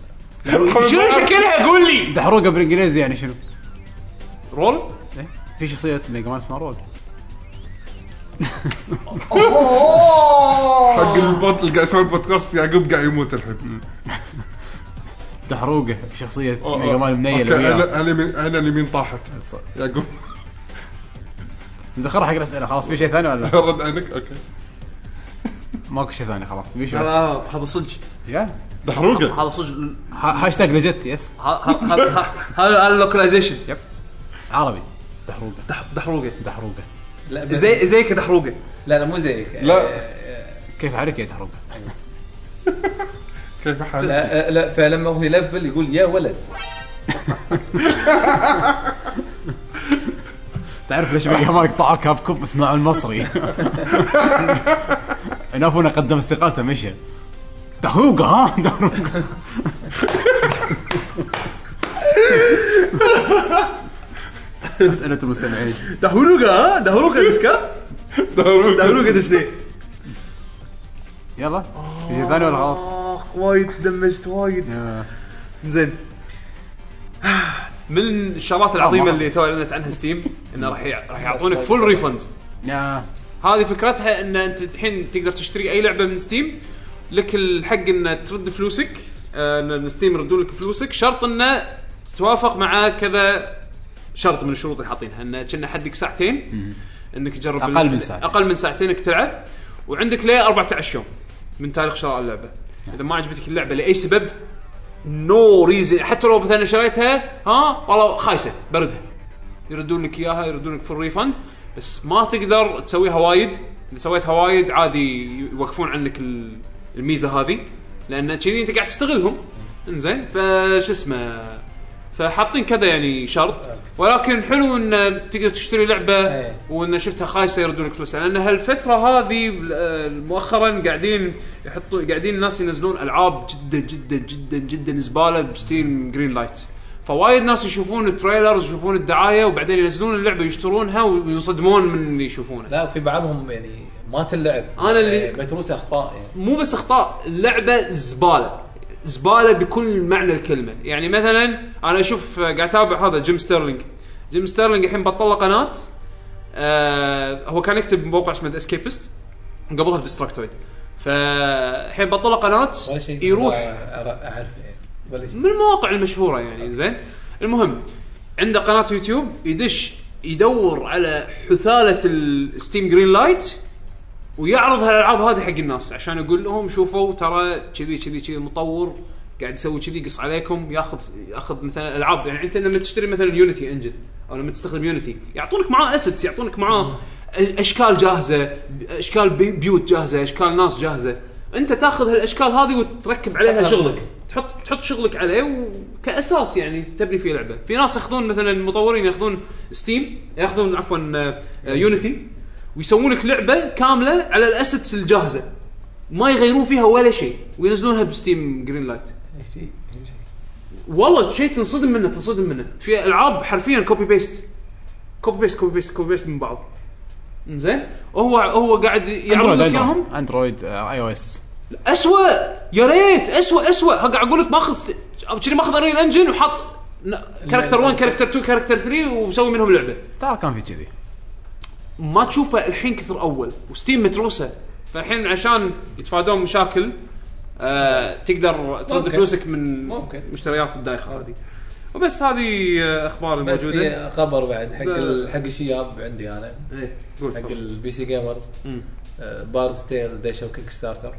S1: شنو شكلها قول لي
S2: دحروقه بالانجليزي يعني شنو؟
S1: رول
S2: إيه؟ في شخصيه ميجا مان اسمها رول
S3: حق البوت اللي قاعد يسمع البودكاست يعقوب قاعد يموت الحين
S2: دحروقه شخصيه ميجا مان منيله
S3: أوكي،
S2: وياه.
S3: انا انا من انا اليمين طاحت يعقوب
S2: زين خلنا حق الاسئله خلاص في شيء ثاني ولا لا؟
S3: رد عينك اوكي
S2: ماكو شيء ثاني خلاص في شيء بس
S4: هذا صدق
S2: يا.
S3: دحروقه
S4: هذا صدق
S2: ها- هاشتاج لجت يس
S4: ه- ه- ه- ه- هذا هذا لوكلايزيشن
S2: عربي دحروقه
S4: دحروقه
S2: دحروقه
S6: لا بس-
S4: زي زيك دحروقه
S6: لا لا مو زيك
S3: لا
S2: كيف حالك يا دحروقه؟
S3: كيف حالك؟
S6: لا, لا فلما هو يلفل يقول يا ولد
S2: تعرف ليش ميجا مان قطعوا كاب كوب اسمه المصري انافونا قدم استقالته مشى دحروقه ها دحروقه اسئله المستمعين
S4: دحروقه ها دحروقه تذكر
S3: دحروقه
S4: ديزني
S2: يلا في شيء ثاني ولا خلاص؟
S4: آه، وايد دمجت وايد
S2: يا.
S4: زين
S1: من الشغلات العظيمه
S2: مرة.
S1: اللي تو اعلنت عنها ستيم انه راح يع- راح يعطونك فول ريفندز
S2: يا
S1: هذه فكرتها ان انت الحين تقدر تشتري اي لعبه من ستيم لك الحق ان ترد فلوسك آه، ان ستيم يردون لك فلوسك شرط انه تتوافق مع كذا شرط من الشروط اللي حاطينها انه كنا حدك ساعتين انك تجرب
S2: أقل
S1: ال-
S2: من ساعتين.
S1: اقل من ساعتين انك تلعب وعندك ليه 14 يوم من تاريخ شراء اللعبه اذا ما عجبتك اللعبه لاي سبب نو ريزن حتى لو مثلا شريتها ها والله خايسه بردها يردون لك اياها يردون لك في الريفند بس ما تقدر تسويها وايد اذا سويتها وايد عادي يوقفون عنك ال- الميزه هذه لان كذي انت قاعد تستغلهم انزين فش اسمه فحاطين كذا يعني شرط ولكن حلو ان تقدر تشتري لعبه
S6: إيه.
S1: وان شفتها خايسه يردون لك فلوسها لان هالفتره هذه آه، مؤخرا قاعدين يحطوا قاعدين الناس ينزلون العاب جدا جدا جدا جدا زباله بستيم جرين لايت فوايد ناس يشوفون التريلرز يشوفون الدعايه وبعدين ينزلون اللعبه يشترونها وينصدمون من اللي يشوفونها
S6: لا في بعضهم يعني ما تلعب
S1: أنا اللي-
S6: آه، متروس اخطاء يعني
S1: مو بس اخطاء اللعبه زباله زباله بكل معنى الكلمه يعني مثلا انا اشوف آه، قاعد اتابع هذا جيم ستيرلينج جيم ستيرلينج الحين بطل له قناه آه هو كان يكتب بموقع اسمه اسكيبست قبلها بدستراكتويد فالحين بطل له قناه
S6: ولا شيء
S1: يروح
S6: أرا- اعرفه يعني ولا شيء
S1: من المواقع المشهوره يعني زين المهم عنده قناه يوتيوب يدش يدور على حثاله الستيم جرين لايت ويعرض هالالعاب هذه حق الناس عشان يقول لهم شوفوا ترى كذي كذي كذي المطور قاعد يسوي كذي يقص عليكم ياخذ ياخذ مثلا العاب يعني انت لما تشتري مثلا يونيتي انجن او لما تستخدم يونيتي يعطونك معاه اسيتس يعطونك معاه اشكال جاهزه اشكال بي- بيوت جاهزه اشكال ناس جاهزه انت تاخذ هالاشكال هذه وتركب عليها شغلك تحط تحط شغلك عليه وكاساس يعني تبني فيه لعبه في ناس ياخذون مثلا مطورين ياخذون ستيم ياخذون عفوا آه، آه، يونيتي ويسوون لك لعبه كامله على الاسيتس الجاهزه ما يغيرون فيها ولا شيء وينزلونها بستيم جرين لايت
S6: شيء- شيء.
S1: والله شيء تنصدم منه تنصدم منه في العاب حرفيا كوبي بيست كوبي بيست كوبي بيست كوبي بيست من بعض زين هو هو قاعد يعرض
S2: اندرويد
S1: لك اياهم
S2: اندرويد, أندرويد آه، اي او اس
S1: اسوء يا ريت اسوء اسوء ها قاعد اقول لك ماخذ او كذي ماخذ اريل انجن وحط كاركتر 1 كاركتر 2 كاركتر 3 ومسوي منهم لعبه
S2: ترى كان في كذي
S1: ما تشوفه الحين كثر اول وستيم متروسه فالحين عشان يتفادون مشاكل آه تقدر ترد
S6: ممكن.
S1: فلوسك من
S6: ممكن. آه.
S1: مشتريات الدايخه هذه وبس هذه آه، اخبار
S6: بس
S1: الموجوده
S6: في خبر بعد حق
S1: لا.
S6: ال- حق الشياب عندي انا
S1: ايه قول
S6: حق
S1: تفضل.
S6: البي سي جيمرز
S1: مم.
S6: باردز تيل دشوا كيك ستارتر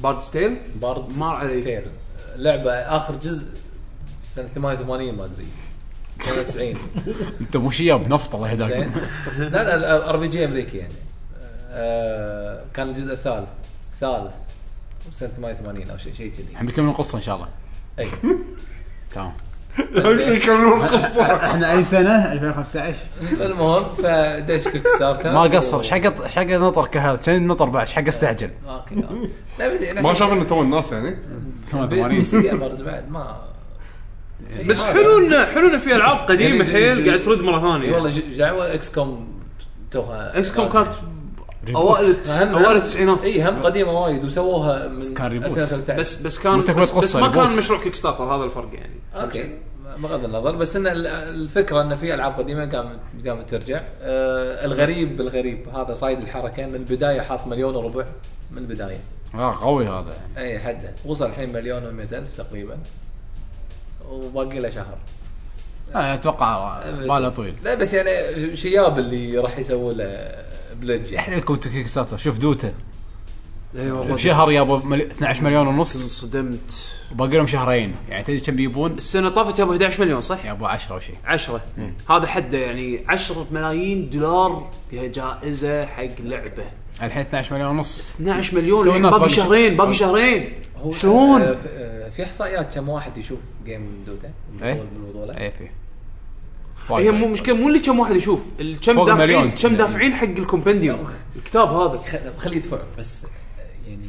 S1: باردز تيل
S6: باردز
S1: مر علي.
S6: تيل لعبه اخر جزء سنه 88 ما ادري 98
S2: انت مو شياب نفط الله
S6: زين
S2: يهداك
S6: لا لا ار بي جي امريكي يعني آه، كان الجزء الثالث ثالث سنه 88 او شيء شيء كذي
S2: الحين بيكمل القصه ان شاء الله
S6: اي
S2: تمام
S3: يكملون القصه
S2: احنا اي سنه 2015
S6: المهم فدش كيك ستارتر
S2: ما قصر ايش حق ايش حق نطر كهذا كان نطر بعد ايش حق استعجل
S6: اوكي أوكي. لا بس يعني
S3: ما شاف انه تو الناس يعني
S6: بيس جيمرز بعد ما
S1: بس حلو انه حلو انه في العاب قديمه
S6: يعني-
S1: حيل قاعد ترد مره ثانيه
S6: والله ج- دعوه اكس كوم توها
S1: اكس كوم كانت اوائل التس-
S6: أهم-
S1: اوائل التسعينات
S6: اي هم قديمه وايد وسووها من
S2: كان ريبوت.
S6: 2013
S1: بس بس كان
S2: مرتكبة
S1: بس, بس
S2: قصة،
S1: ما كان
S2: ريبوت.
S1: مشروع كيك ستارتر هذا الفرق يعني
S6: اوكي بغض النظر بس ان ال- الفكره ان في العاب قديمه قامت قامت ترجع آه الغريب بالغريب هذا صايد الحركه من البدايه حاط مليون وربع من البدايه
S2: اه قوي هذا يعني
S6: اي حده وصل الحين مليون و ألف تقريبا وباقي له شهر
S2: آه، اتوقع باله طويل
S6: لا بس يعني شياب اللي راح يسووا له يعني. بلج
S2: احنا لكم كيك ستارتر شوف دوتا
S1: اي والله
S2: بشهر يابا ملي- 12 مليون ونص
S1: انصدمت
S2: وباقي لهم شهرين يعني تدري كم بيبون
S1: السنه طافت يابا 11 مليون صح؟
S2: يابا 10 او شيء
S1: 10 هذا حده يعني 10 ملايين دولار كجائزه حق لعبه
S2: الحين 12 مليون ونص
S1: 12 مليون
S2: تو
S1: الحين
S2: الناس
S1: باقي
S2: باقي-
S1: شهرين باقي شهرين
S6: هو
S1: شلون؟
S6: آه، ف- آه، في احصائيات كم واحد يشوف جيم دوتا
S2: إيه.
S6: بالبطولة- بالبطوله
S2: اي في
S1: هي مو مشكله مو اللي كم واحد يشوف ال- كم
S2: فوق
S1: دافعين
S2: مليون.
S1: كم دافعين حق الكومبنديوم الكتاب هذا
S6: خ- خليه يدفع بس آه، يعني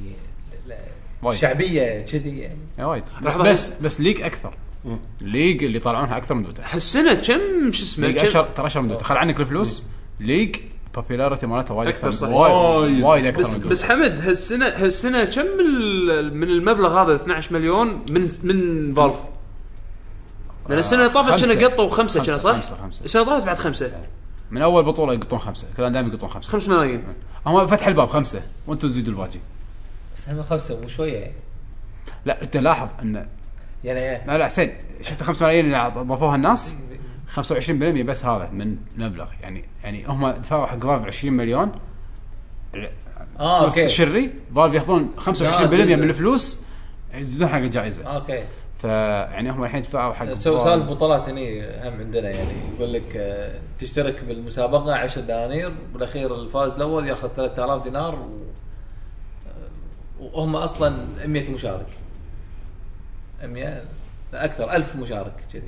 S6: لا-
S2: وايد.
S6: شعبيه كذي يعني
S2: إيه، وايد
S1: لحظة.
S2: بس بس ليج اكثر ليج اللي يطلعونها اكثر من دوتا
S1: هالسنه كم شو اسمه
S2: ليج
S1: كم-
S2: اشهر ترى اشهر من دوتا خل عنك الفلوس ليج بوبيلاريتي مالتها وايد
S1: أكثر
S2: اكثر
S1: صحيح.
S2: وايد وايد اكثر
S1: بس
S2: من دوتا
S1: بس حمد هالسنه هالسنه كم ال- من المبلغ هذا 12 مليون من من فالف؟ لان السنه اللي طافت
S2: خمسة.
S1: كنا قطوا خمسه كنا صح؟
S2: خمسة- خمسة.
S1: السنه اللي طافت بعد خمسه
S2: من اول بطوله يقطون خمسه كلهم دائما يقطون خمسه
S1: 5 ملايين
S2: هم فتح الباب خمسه وانتم تزيدوا الباقي
S6: بس هم خمسه وشويه يعني
S2: لا انت لاحظ ان
S6: يعني
S2: لا لا حسين شفت 5 ملايين اللي اضافوها الناس 25% بس هذا من المبلغ يعني يعني هم دفعوا حق فالف 20 مليون
S6: اه
S2: فلوس
S6: اوكي
S2: تشري فالف ياخذون 25%
S6: لا، جزء.
S2: من الفلوس يزيدون حق الجائزه
S6: اوكي
S2: فيعني هم الحين دفعوا حق
S6: سو
S2: Valve.
S6: سؤال البطولات هني هم عندنا يعني يقول لك آه، تشترك بالمسابقه 10 دنانير بالاخير الفاز الاول ياخذ 3000 دينار و... آه، وهم اصلا 100 مشارك 100 لا اكثر 1000 مشارك كذي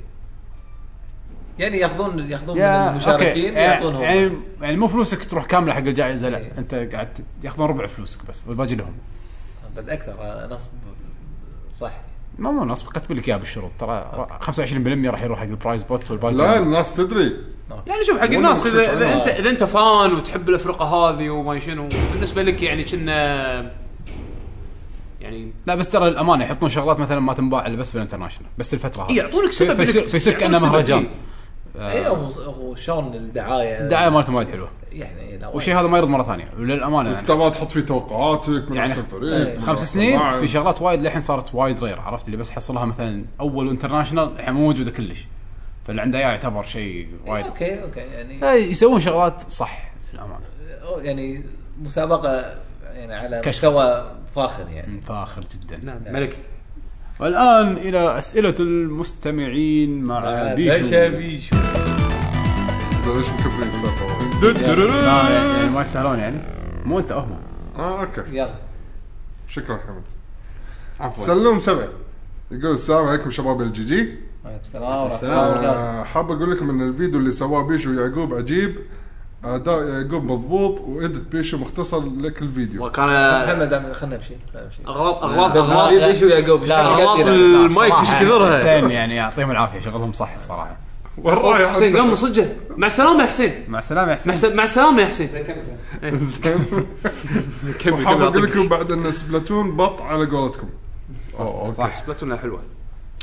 S6: يعني ياخذون ياخذون من
S2: يا
S6: المشاركين
S2: أوكي.
S6: يعطونهم
S2: يعني يعني مو فلوسك تروح كامله حق الجائزه
S6: إيه.
S2: لا انت قاعد ياخذون ربع فلوسك بس والباقي لهم
S6: بعد اكثر آه، نصب صح
S2: ما مو نص كاتب لك اياها بالشروط ترى 25% راح يروح حق البرايز بوت والباقي
S3: لا الناس تدري
S1: يعني شوف حق
S3: والله
S1: الناس
S3: مخصص
S1: اذا اذا
S6: أنا.
S1: انت اذا انت فان وتحب الفرقه هذه وما شنو بالنسبه لك يعني كنا يعني
S2: لا بس ترى الامانه يحطون شغلات مثلا ما تنباع الا بس بالانترناشونال بس الفتره هذه
S1: إيه، يعطونك سبب
S2: فيصير
S1: إنك-
S2: فيصير
S1: يعطونك
S2: كانه
S1: سبب، إيه.
S2: مهرجان آه.
S6: اي إيه، هو هو شلون الدعايه
S2: الدعايه مالتهم وايد حلوه
S6: يعني لا
S2: والشيء هذا ما يرد مره ثانيه وللامانه يعني
S3: انت ما تحط فيه توقعاتك من
S2: يعني
S3: احسن فريق من
S2: خمس
S3: أحسن
S2: سنين
S3: لاعب.
S2: في شغلات وايد للحين صارت وايد رير عرفت اللي بس حصلها مثلا اول انترناشونال الحين مو موجوده كلش فاللي عنده إياه يعتبر شيء وايد
S6: اوكي اوكي يعني
S2: يسوون شغلات صح للامانه
S6: أو يعني مسابقه يعني على
S2: كشف.
S6: مستوى فاخر يعني
S2: من فاخر جدا
S1: نعم ملك
S2: والان الى اسئله المستمعين مع
S6: باشا
S2: بيشو
S6: بيشو
S3: زين ليش مكبرين آه، السالفه؟
S2: لا يعني ما يسالون يعني مو انت هم
S3: اه اوكي
S6: يلا
S3: شكرا حمد سلوم سبع يقول السلام عليكم شباب الجي جي
S6: وعليكم السلام ورحمه الله وبركاته
S3: آه، حاب اقول لكم ان الفيديو اللي سواه بيشو ويعقوب عجيب اداء يعقوب مضبوط وادت بيشو مختصر لك الفيديو
S1: وكان
S2: آه.
S6: محمد دام خلنا نمشي خلنا نمشي آه.
S1: اغلاط اغلاط اغلاط
S6: لا، بيشو يعقوب
S2: لا،
S1: اغلاط المايك ايش كثرها
S2: زين يعني يعطيهم العافيه شغلهم صح الصراحه
S3: وين
S1: أوه،
S3: رايح
S1: حسين
S3: أنت؟
S1: قام صجه مع السلامه يا حسين
S2: مع السلامه يا
S1: مع
S2: حسين
S1: الس- مع السلامه يا حسين كمل
S3: حاب اقول لكم بعد ان سبلاتون بط على قولتكم أوه، أوكي.
S2: صح
S1: سبلاتون حلوه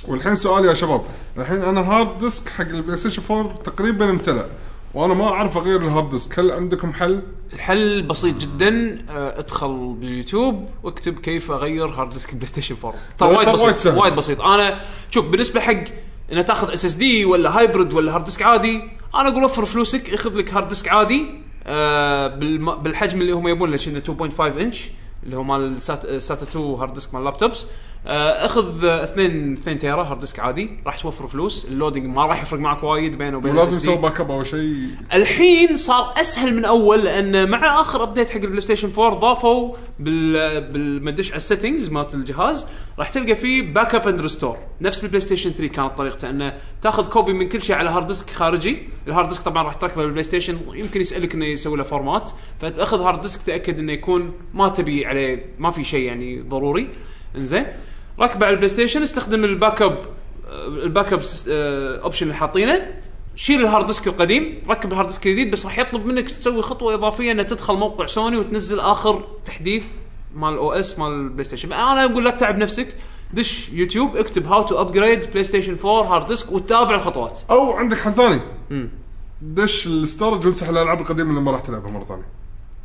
S3: والحين سؤال يا شباب الحين انا هارد ديسك حق البلاي ستيشن 4 تقريبا امتلأ وانا ما اعرف اغير الهارد ديسك هل عندكم حل؟
S1: الحل بسيط جدا آه، ادخل باليوتيوب واكتب كيف اغير هارد ديسك بلاي ستيشن 4 ترى
S3: ترى
S1: وايد
S3: وايد
S1: بسيط
S3: سهل.
S1: وايد بسيط انا شوف بالنسبه حق انه تاخذ اس اس دي ولا هايبرد ولا هارد ديسك عادي انا اقول وفر فلوسك اخذ لك هارد ديسك عادي آه، بالم- آه، بالحجم اللي هم يبون له شنو 2.5 انش اللي هو مال سات- ساتا 2 هارد ديسك مال اللابتوبس آه، اخذ آه، اثنين اثنين تيرا هارد ديسك عادي راح توفر فلوس اللودنج ما راح يفرق معك وايد بينه وبين
S3: ولازم
S1: SSD.
S3: يسوي باك اب او شيء
S1: الحين صار اسهل من اول لان مع اخر ابديت حق البلاي ستيشن 4 ضافوا بال بالمدش على السيتنجز مالت الجهاز راح تلقى فيه باك اب اند ريستور نفس البلاي ستيشن 3 كانت طريقته انه تاخذ كوبي من كل شيء على هارد ديسك خارجي الهارد ديسك طبعا راح تركبه بالبلاي ستيشن ويمكن يسالك انه يسوي له فورمات فتاخذ هارد ديسك تاكد انه يكون ما تبي عليه ما في شيء يعني ضروري انزين ركبه على البلاي ستيشن استخدم آه، الباك اب الباك اب اوبشن آه، اللي حاطينه شيل الهارد ديسك القديم ركب الهارد ديسك الجديد بس راح يطلب منك تسوي خطوه اضافيه انك تدخل موقع سوني وتنزل اخر تحديث مال الاو اس مال البلاي ستيشن انا اقول لا تتعب نفسك دش يوتيوب اكتب هاو تو ابجريد بلاي ستيشن 4 هارد ديسك وتابع الخطوات
S3: او عندك حل ثاني
S1: مم.
S3: دش الستورج وامسح الالعاب القديمه اللي ما راح تلعبها مره ثانيه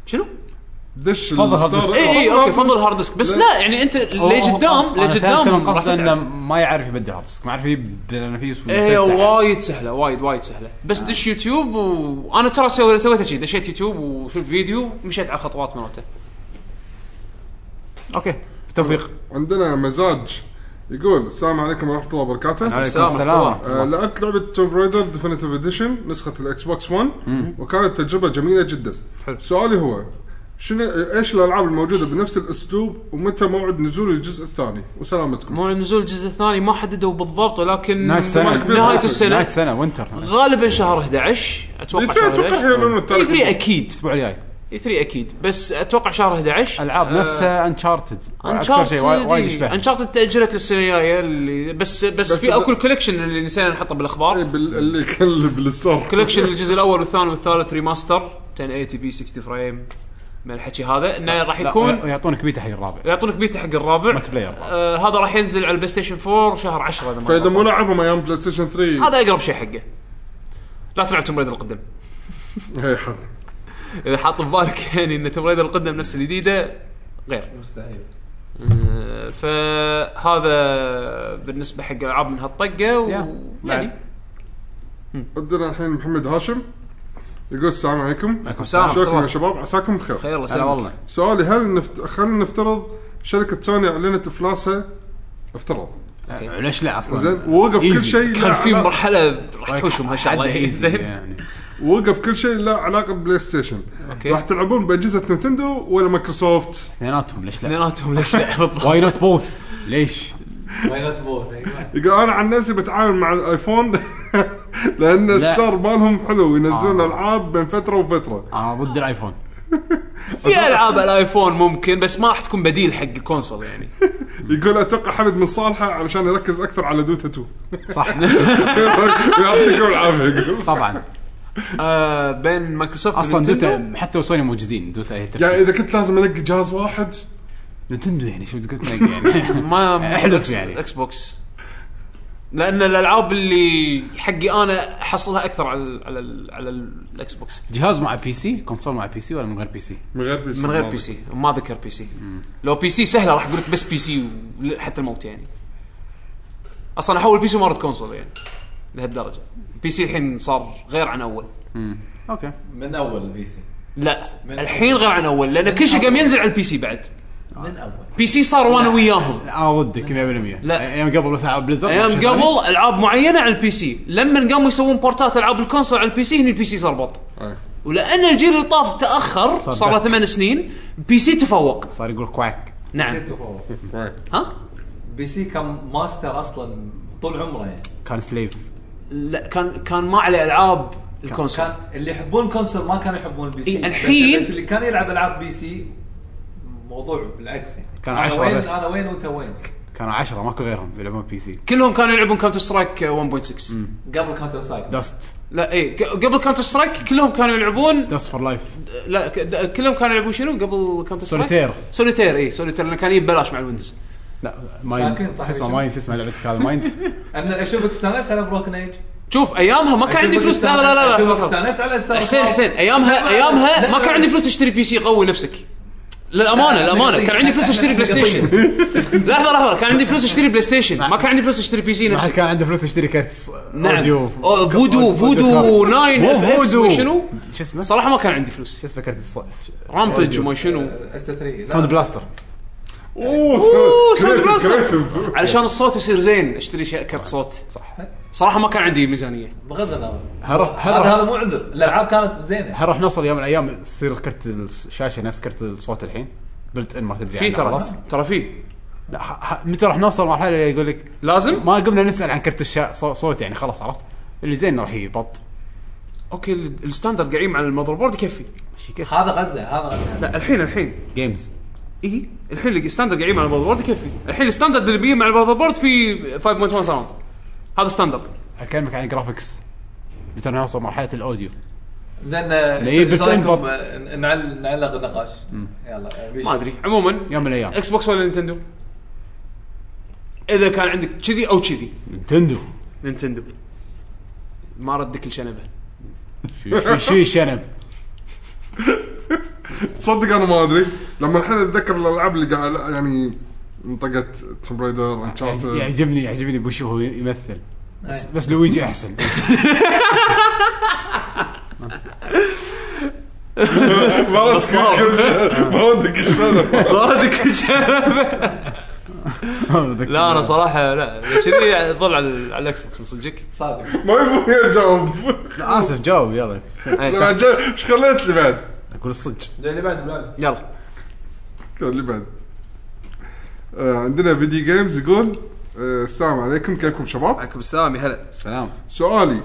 S1: شنو؟ إيه،
S3: دش
S2: تفضل إيه، هارد ديسك.
S3: الستورج
S1: اي اي اوكي فضل هارد ديسك بس لا يعني انت لقدام لقدام راح
S2: قصده انه
S1: تتعب
S2: ما يعرف يبدل هارد ديسك ما يعرف يبدل نفيس
S1: ايه وايد سهله وايد وايد سهله بس دش يوتيوب وانا ترى سوي- سويتها شي دشيت يوتيوب وشفت فيديو مشيت على الخطوات مالته
S2: اوكي بالتوفيق
S3: عندنا مزاج يقول السلام عليكم ورحمه الله وبركاته
S2: عليكم
S1: السلام
S2: السلام
S1: ورحمة
S3: آه، لعبت لعبه توم برايدر ديفينيتيف اديشن نسخه الاكس بوكس 1 وكانت تجربه جميله جدا
S1: حلو.
S3: سؤالي هو شنو ايش الالعاب الموجوده بنفس الاسلوب ومتى موعد نزول الجزء الثاني وسلامتكم
S1: موعد نزول الجزء الثاني ما حددوا بالضبط ولكن
S2: نهايه السنه
S1: نهاية السنة.
S2: نهايه السنه وينتر
S1: غالبا شهر 11
S3: إيه،
S1: اتوقع شهر إيه،
S3: اتوقع
S1: 11
S3: يعلنون
S1: اي 3
S2: إيه،
S3: التاريخ
S1: اكيد
S2: الاسبوع الجاي
S1: اي 3 اكيد إيه، بس اتوقع شهر آه، 11
S2: العاب نفسها انشارتد
S1: انشارتد
S2: وايد يشبه
S1: انشارتد تاجلت للسنه الجايه اللي- بس بس,
S3: بس
S1: في
S3: ب-
S1: اكو الكوليكشن اللي نسينا نحطه
S3: إي،
S1: بالاخبار
S3: إيه، بال- اللي كان اللي بالستور
S1: كوليكشن الجزء الاول والثاني والثالث ريماستر 1080 بي 60 فريم من الحكي هذا انه راح
S2: لا،
S1: يكون
S2: ويعطونك بيتا حق الرابع
S1: يعطونك بيتا حق الرابع
S2: Multiplayer.
S1: آه هذا راح ينزل على البلاي ستيشن 4 شهر 10 إذا ما
S3: فاذا مو
S1: غلطان.
S3: لعبهم ايام بلاي ستيشن 3
S1: هذا اقرب شيء حقه لا تلعب توم ريدر القدم
S3: هي حد
S1: اذا حاط في بالك يعني ان توم ريدر القدم نفس الجديده غير
S6: مستحيل
S1: آه، فهذا بالنسبه حق العاب من هالطقه و...
S2: يا،
S1: يعني
S2: بعد.
S3: عندنا الحين محمد هاشم يقول السلام عليكم
S1: عليكم السلام ورحمة
S3: شكرا يا
S1: الله.
S3: شباب عساكم بخير
S1: خير الله
S2: هلا
S1: يسلمك
S2: والله
S3: سؤالي هل نفت... خلينا نفترض شركه سوني اعلنت افلاسها افترض
S2: آه، ليش لا اصلا
S3: زين ووقف كل
S2: Easy.
S3: شيء له
S1: كان في
S3: علاقة-
S1: مرحله راح تحوشهم هالشغله
S2: حد easy
S1: زين
S2: يعني
S3: وقف كل شيء له علاقه ببلاي ستيشن
S1: أوكي.
S3: راح تلعبون باجهزه نينتندو ولا مايكروسوفت
S2: اثنيناتهم ليش لا
S1: اثنيناتهم ليش لا بالضبط
S2: واي نوت بوث ليش
S6: واي نوت بوث أيوة.
S3: يقول انا عن نفسي بتعامل مع الايفون لان
S2: لا.
S3: ستار بالهم حلو ينزلون
S2: آه.
S3: العاب بين فتره وفتره
S2: انا ضد الايفون
S1: في العاب الايفون ممكن بس ما راح تكون بديل حق الكونسول يعني
S3: يقول اتوقع حمد من صالحه علشان يركز اكثر على دوتا 2
S2: صح
S3: يعطيكم العافيه يقول
S2: طبعا
S1: آه بين مايكروسوفت
S2: اصلا
S1: ونينتندو.
S2: دوتا حتى سوني موجودين دوتا هي تركيز.
S3: يعني اذا كنت لازم انقي جهاز واحد
S2: نتندو يعني شو تقول تنقي يعني
S1: ما
S2: احلف
S1: اكس
S2: يعني.
S1: اكس بوكس لان الالعاب اللي حقي انا احصلها اكثر على ال على ال على ال- الاكس بوكس
S2: جهاز مع بي سي كونسول مع بي سي ولا من غير بي سي
S3: من غير بي سي
S1: من غير بي سي ما ذكر بي سي لو بي سي سهله راح اقول لك بس بي سي ول- حتى الموت يعني اصلا احول بي سي ومرة كونسول يعني لهالدرجه بي سي الحين صار غير عن اول
S2: اوكي
S6: من اول البي سي
S1: لا
S6: من-
S1: الحين غير عن اول لان كل شيء قام ينزل على البي سي بعد
S6: من اول
S1: بي سي صار وانا وياهم
S2: انا ضدك 100%
S1: لا.
S2: ايام قبل بس العاب بليزر
S1: ايام قبل العاب معينه على البي سي لما قاموا يسوون بورتات العاب الكونسول على البي سي هني البي سي صار بط
S3: أي.
S1: ولان الجيل اللي طاف تاخر صار له
S2: صدق.
S1: ثمان سنين بي سي تفوق
S2: صار يقول كواك
S1: نعم
S6: نسيت فوق
S1: ها
S6: بي سي كان ماستر اصلا طول عمره يعني
S2: كان سليف
S1: لا كان كان ما عليه العاب الكونسول
S6: كان اللي يحبون كونسول ما كانوا يحبون البي سي
S1: إيه، الحين-
S6: بس, بس اللي كان يلعب العاب بي سي موضوع بالعكس يعني
S2: كان
S6: انا
S2: عشرة
S6: وين
S2: بس.
S6: انا وين وانت وين
S2: كانوا 10 ماكو غيرهم يلعبون بي سي
S1: كلهم كانوا يلعبون كاونتر سترايك 1.6
S6: قبل كاونتر سترايك
S2: داست
S1: لا اي ق- قبل كاونتر سترايك كلهم كانوا يلعبون
S2: داست فور لايف
S1: لا ك- د- كلهم كانوا يلعبون شنو قبل كاونتر سترايك
S2: سوليتير.
S1: سوليتير اي سوليتير لانه إيه، كان يجي ببلاش مع الويندوز
S2: لا
S6: ساكن،
S2: ماين شو
S6: صح
S2: اسمه
S6: شو؟
S2: ماين شو اسمه لعبتك هذا مايند
S6: انا اشوفك استانست على بروكن ايج
S1: شوف ايامها ما كان عندي فلوس لا لا لا,
S6: اشوفك
S1: لا, لا.
S6: استانست على ستار
S1: حسين
S6: كراft.
S1: حسين ايامها
S6: لا،
S1: ايامها ما
S6: لا،
S1: كان عندي فلوس اشتري بي سي قوي نفسك للامانه
S6: لا،
S1: الامانه
S6: نقطيع.
S1: كان عندي فلوس اشتري بلاي ستيشن لحظه لحظه كان عندي فلوس اشتري بلاي ستيشن ما كان عندي فلوس اشتري بي سي
S2: ما حد
S1: نفسك
S2: كان عنده فلوس يشتري كرت ص-
S1: نعم
S2: اوديو
S1: أو فودو فودو 9 اف اكس شنو
S2: شو اسمه؟ شو
S1: صراحه ما كان عندي فلوس
S2: اسمه كرت الص-
S1: رامبج وما شنو
S6: اس 3
S2: ساوند بلاستر
S3: اوه
S4: أوه، ساوند
S3: creative-
S4: بلاستر.
S3: creative.
S4: علشان الصوت يصير زين اشتري شيء كرت صوت صح صراحه ما كان عندي ميزانيه
S6: بغض النظر
S2: هل راح- هل
S6: هذا
S2: راح-
S6: هذا مو عذر الالعاب كانت زينه
S2: هل راح نوصل يوم من الايام تصير كرت الشاشه نفس كرت الصوت الحين؟ بلت ان ما تدري
S6: يعني
S1: في ترى
S2: عنه خلاص
S1: ترى في
S2: لا، ح- ح- متى راح نوصل مرحله اللي يقول لك
S1: لازم
S2: ما قمنا نسال عن كرت الشا... صو- صوت يعني خلاص عرفت اللي زين راح يبط
S1: اوكي ال- الستاندرد قاعدين مع المذر بورد يكفي
S2: شي كيف
S6: هذا غزه هذا غزه
S1: لا الحين الحين
S2: جيمز
S1: اي إيه؟ الحين اللي الستاندرد قاعدين مع المذر بورد يكفي الحين الستاندرد اللي بيه مع المذر بورد في 5.1 ساوند هذا ستاندرد
S2: اكلمك عن الجرافكس متى نوصل مرحله الاوديو
S6: زين
S2: هي
S6: ايش
S2: بتنبط.
S6: رايكم آه، نعل- نعلق النقاش يلا آه، بيش.
S1: ما ادري عموما
S2: يوم من الايام
S1: اكس بوكس ولا نينتندو اذا كان عندك كذي او كذي
S2: نينتندو
S1: نينتندو ما ردك الشنبه
S2: شي- شي شي شنب
S3: تصدق انا ما ادري لما الحين اتذكر الالعاب اللي قاعد يعني منطقه توم رايدر انشارتد
S1: يعني-
S2: يعجبني يعجبني بوشو هو يمثل بس بس لويجي احسن
S3: ما ودك كل شيء. ما ودك شنو.
S1: ما ردك الشنبه لا انا صراحه لا كذي ظل على على الاكس بوكس من صدقك
S6: صادق
S3: ما يبون يجاوب
S2: اسف جاوب يلا
S1: أي،
S3: ايش خليت اللي بعد؟
S2: اقول الصدق
S6: زين، اللي بعد اللي بعد
S1: يلا
S3: كان اللي بعد آه، عندنا فيديو جيمز يقول آه، السلام عليكم كيفكم شباب؟
S1: عليكم السلام يا هلا
S2: سلام
S3: سؤالي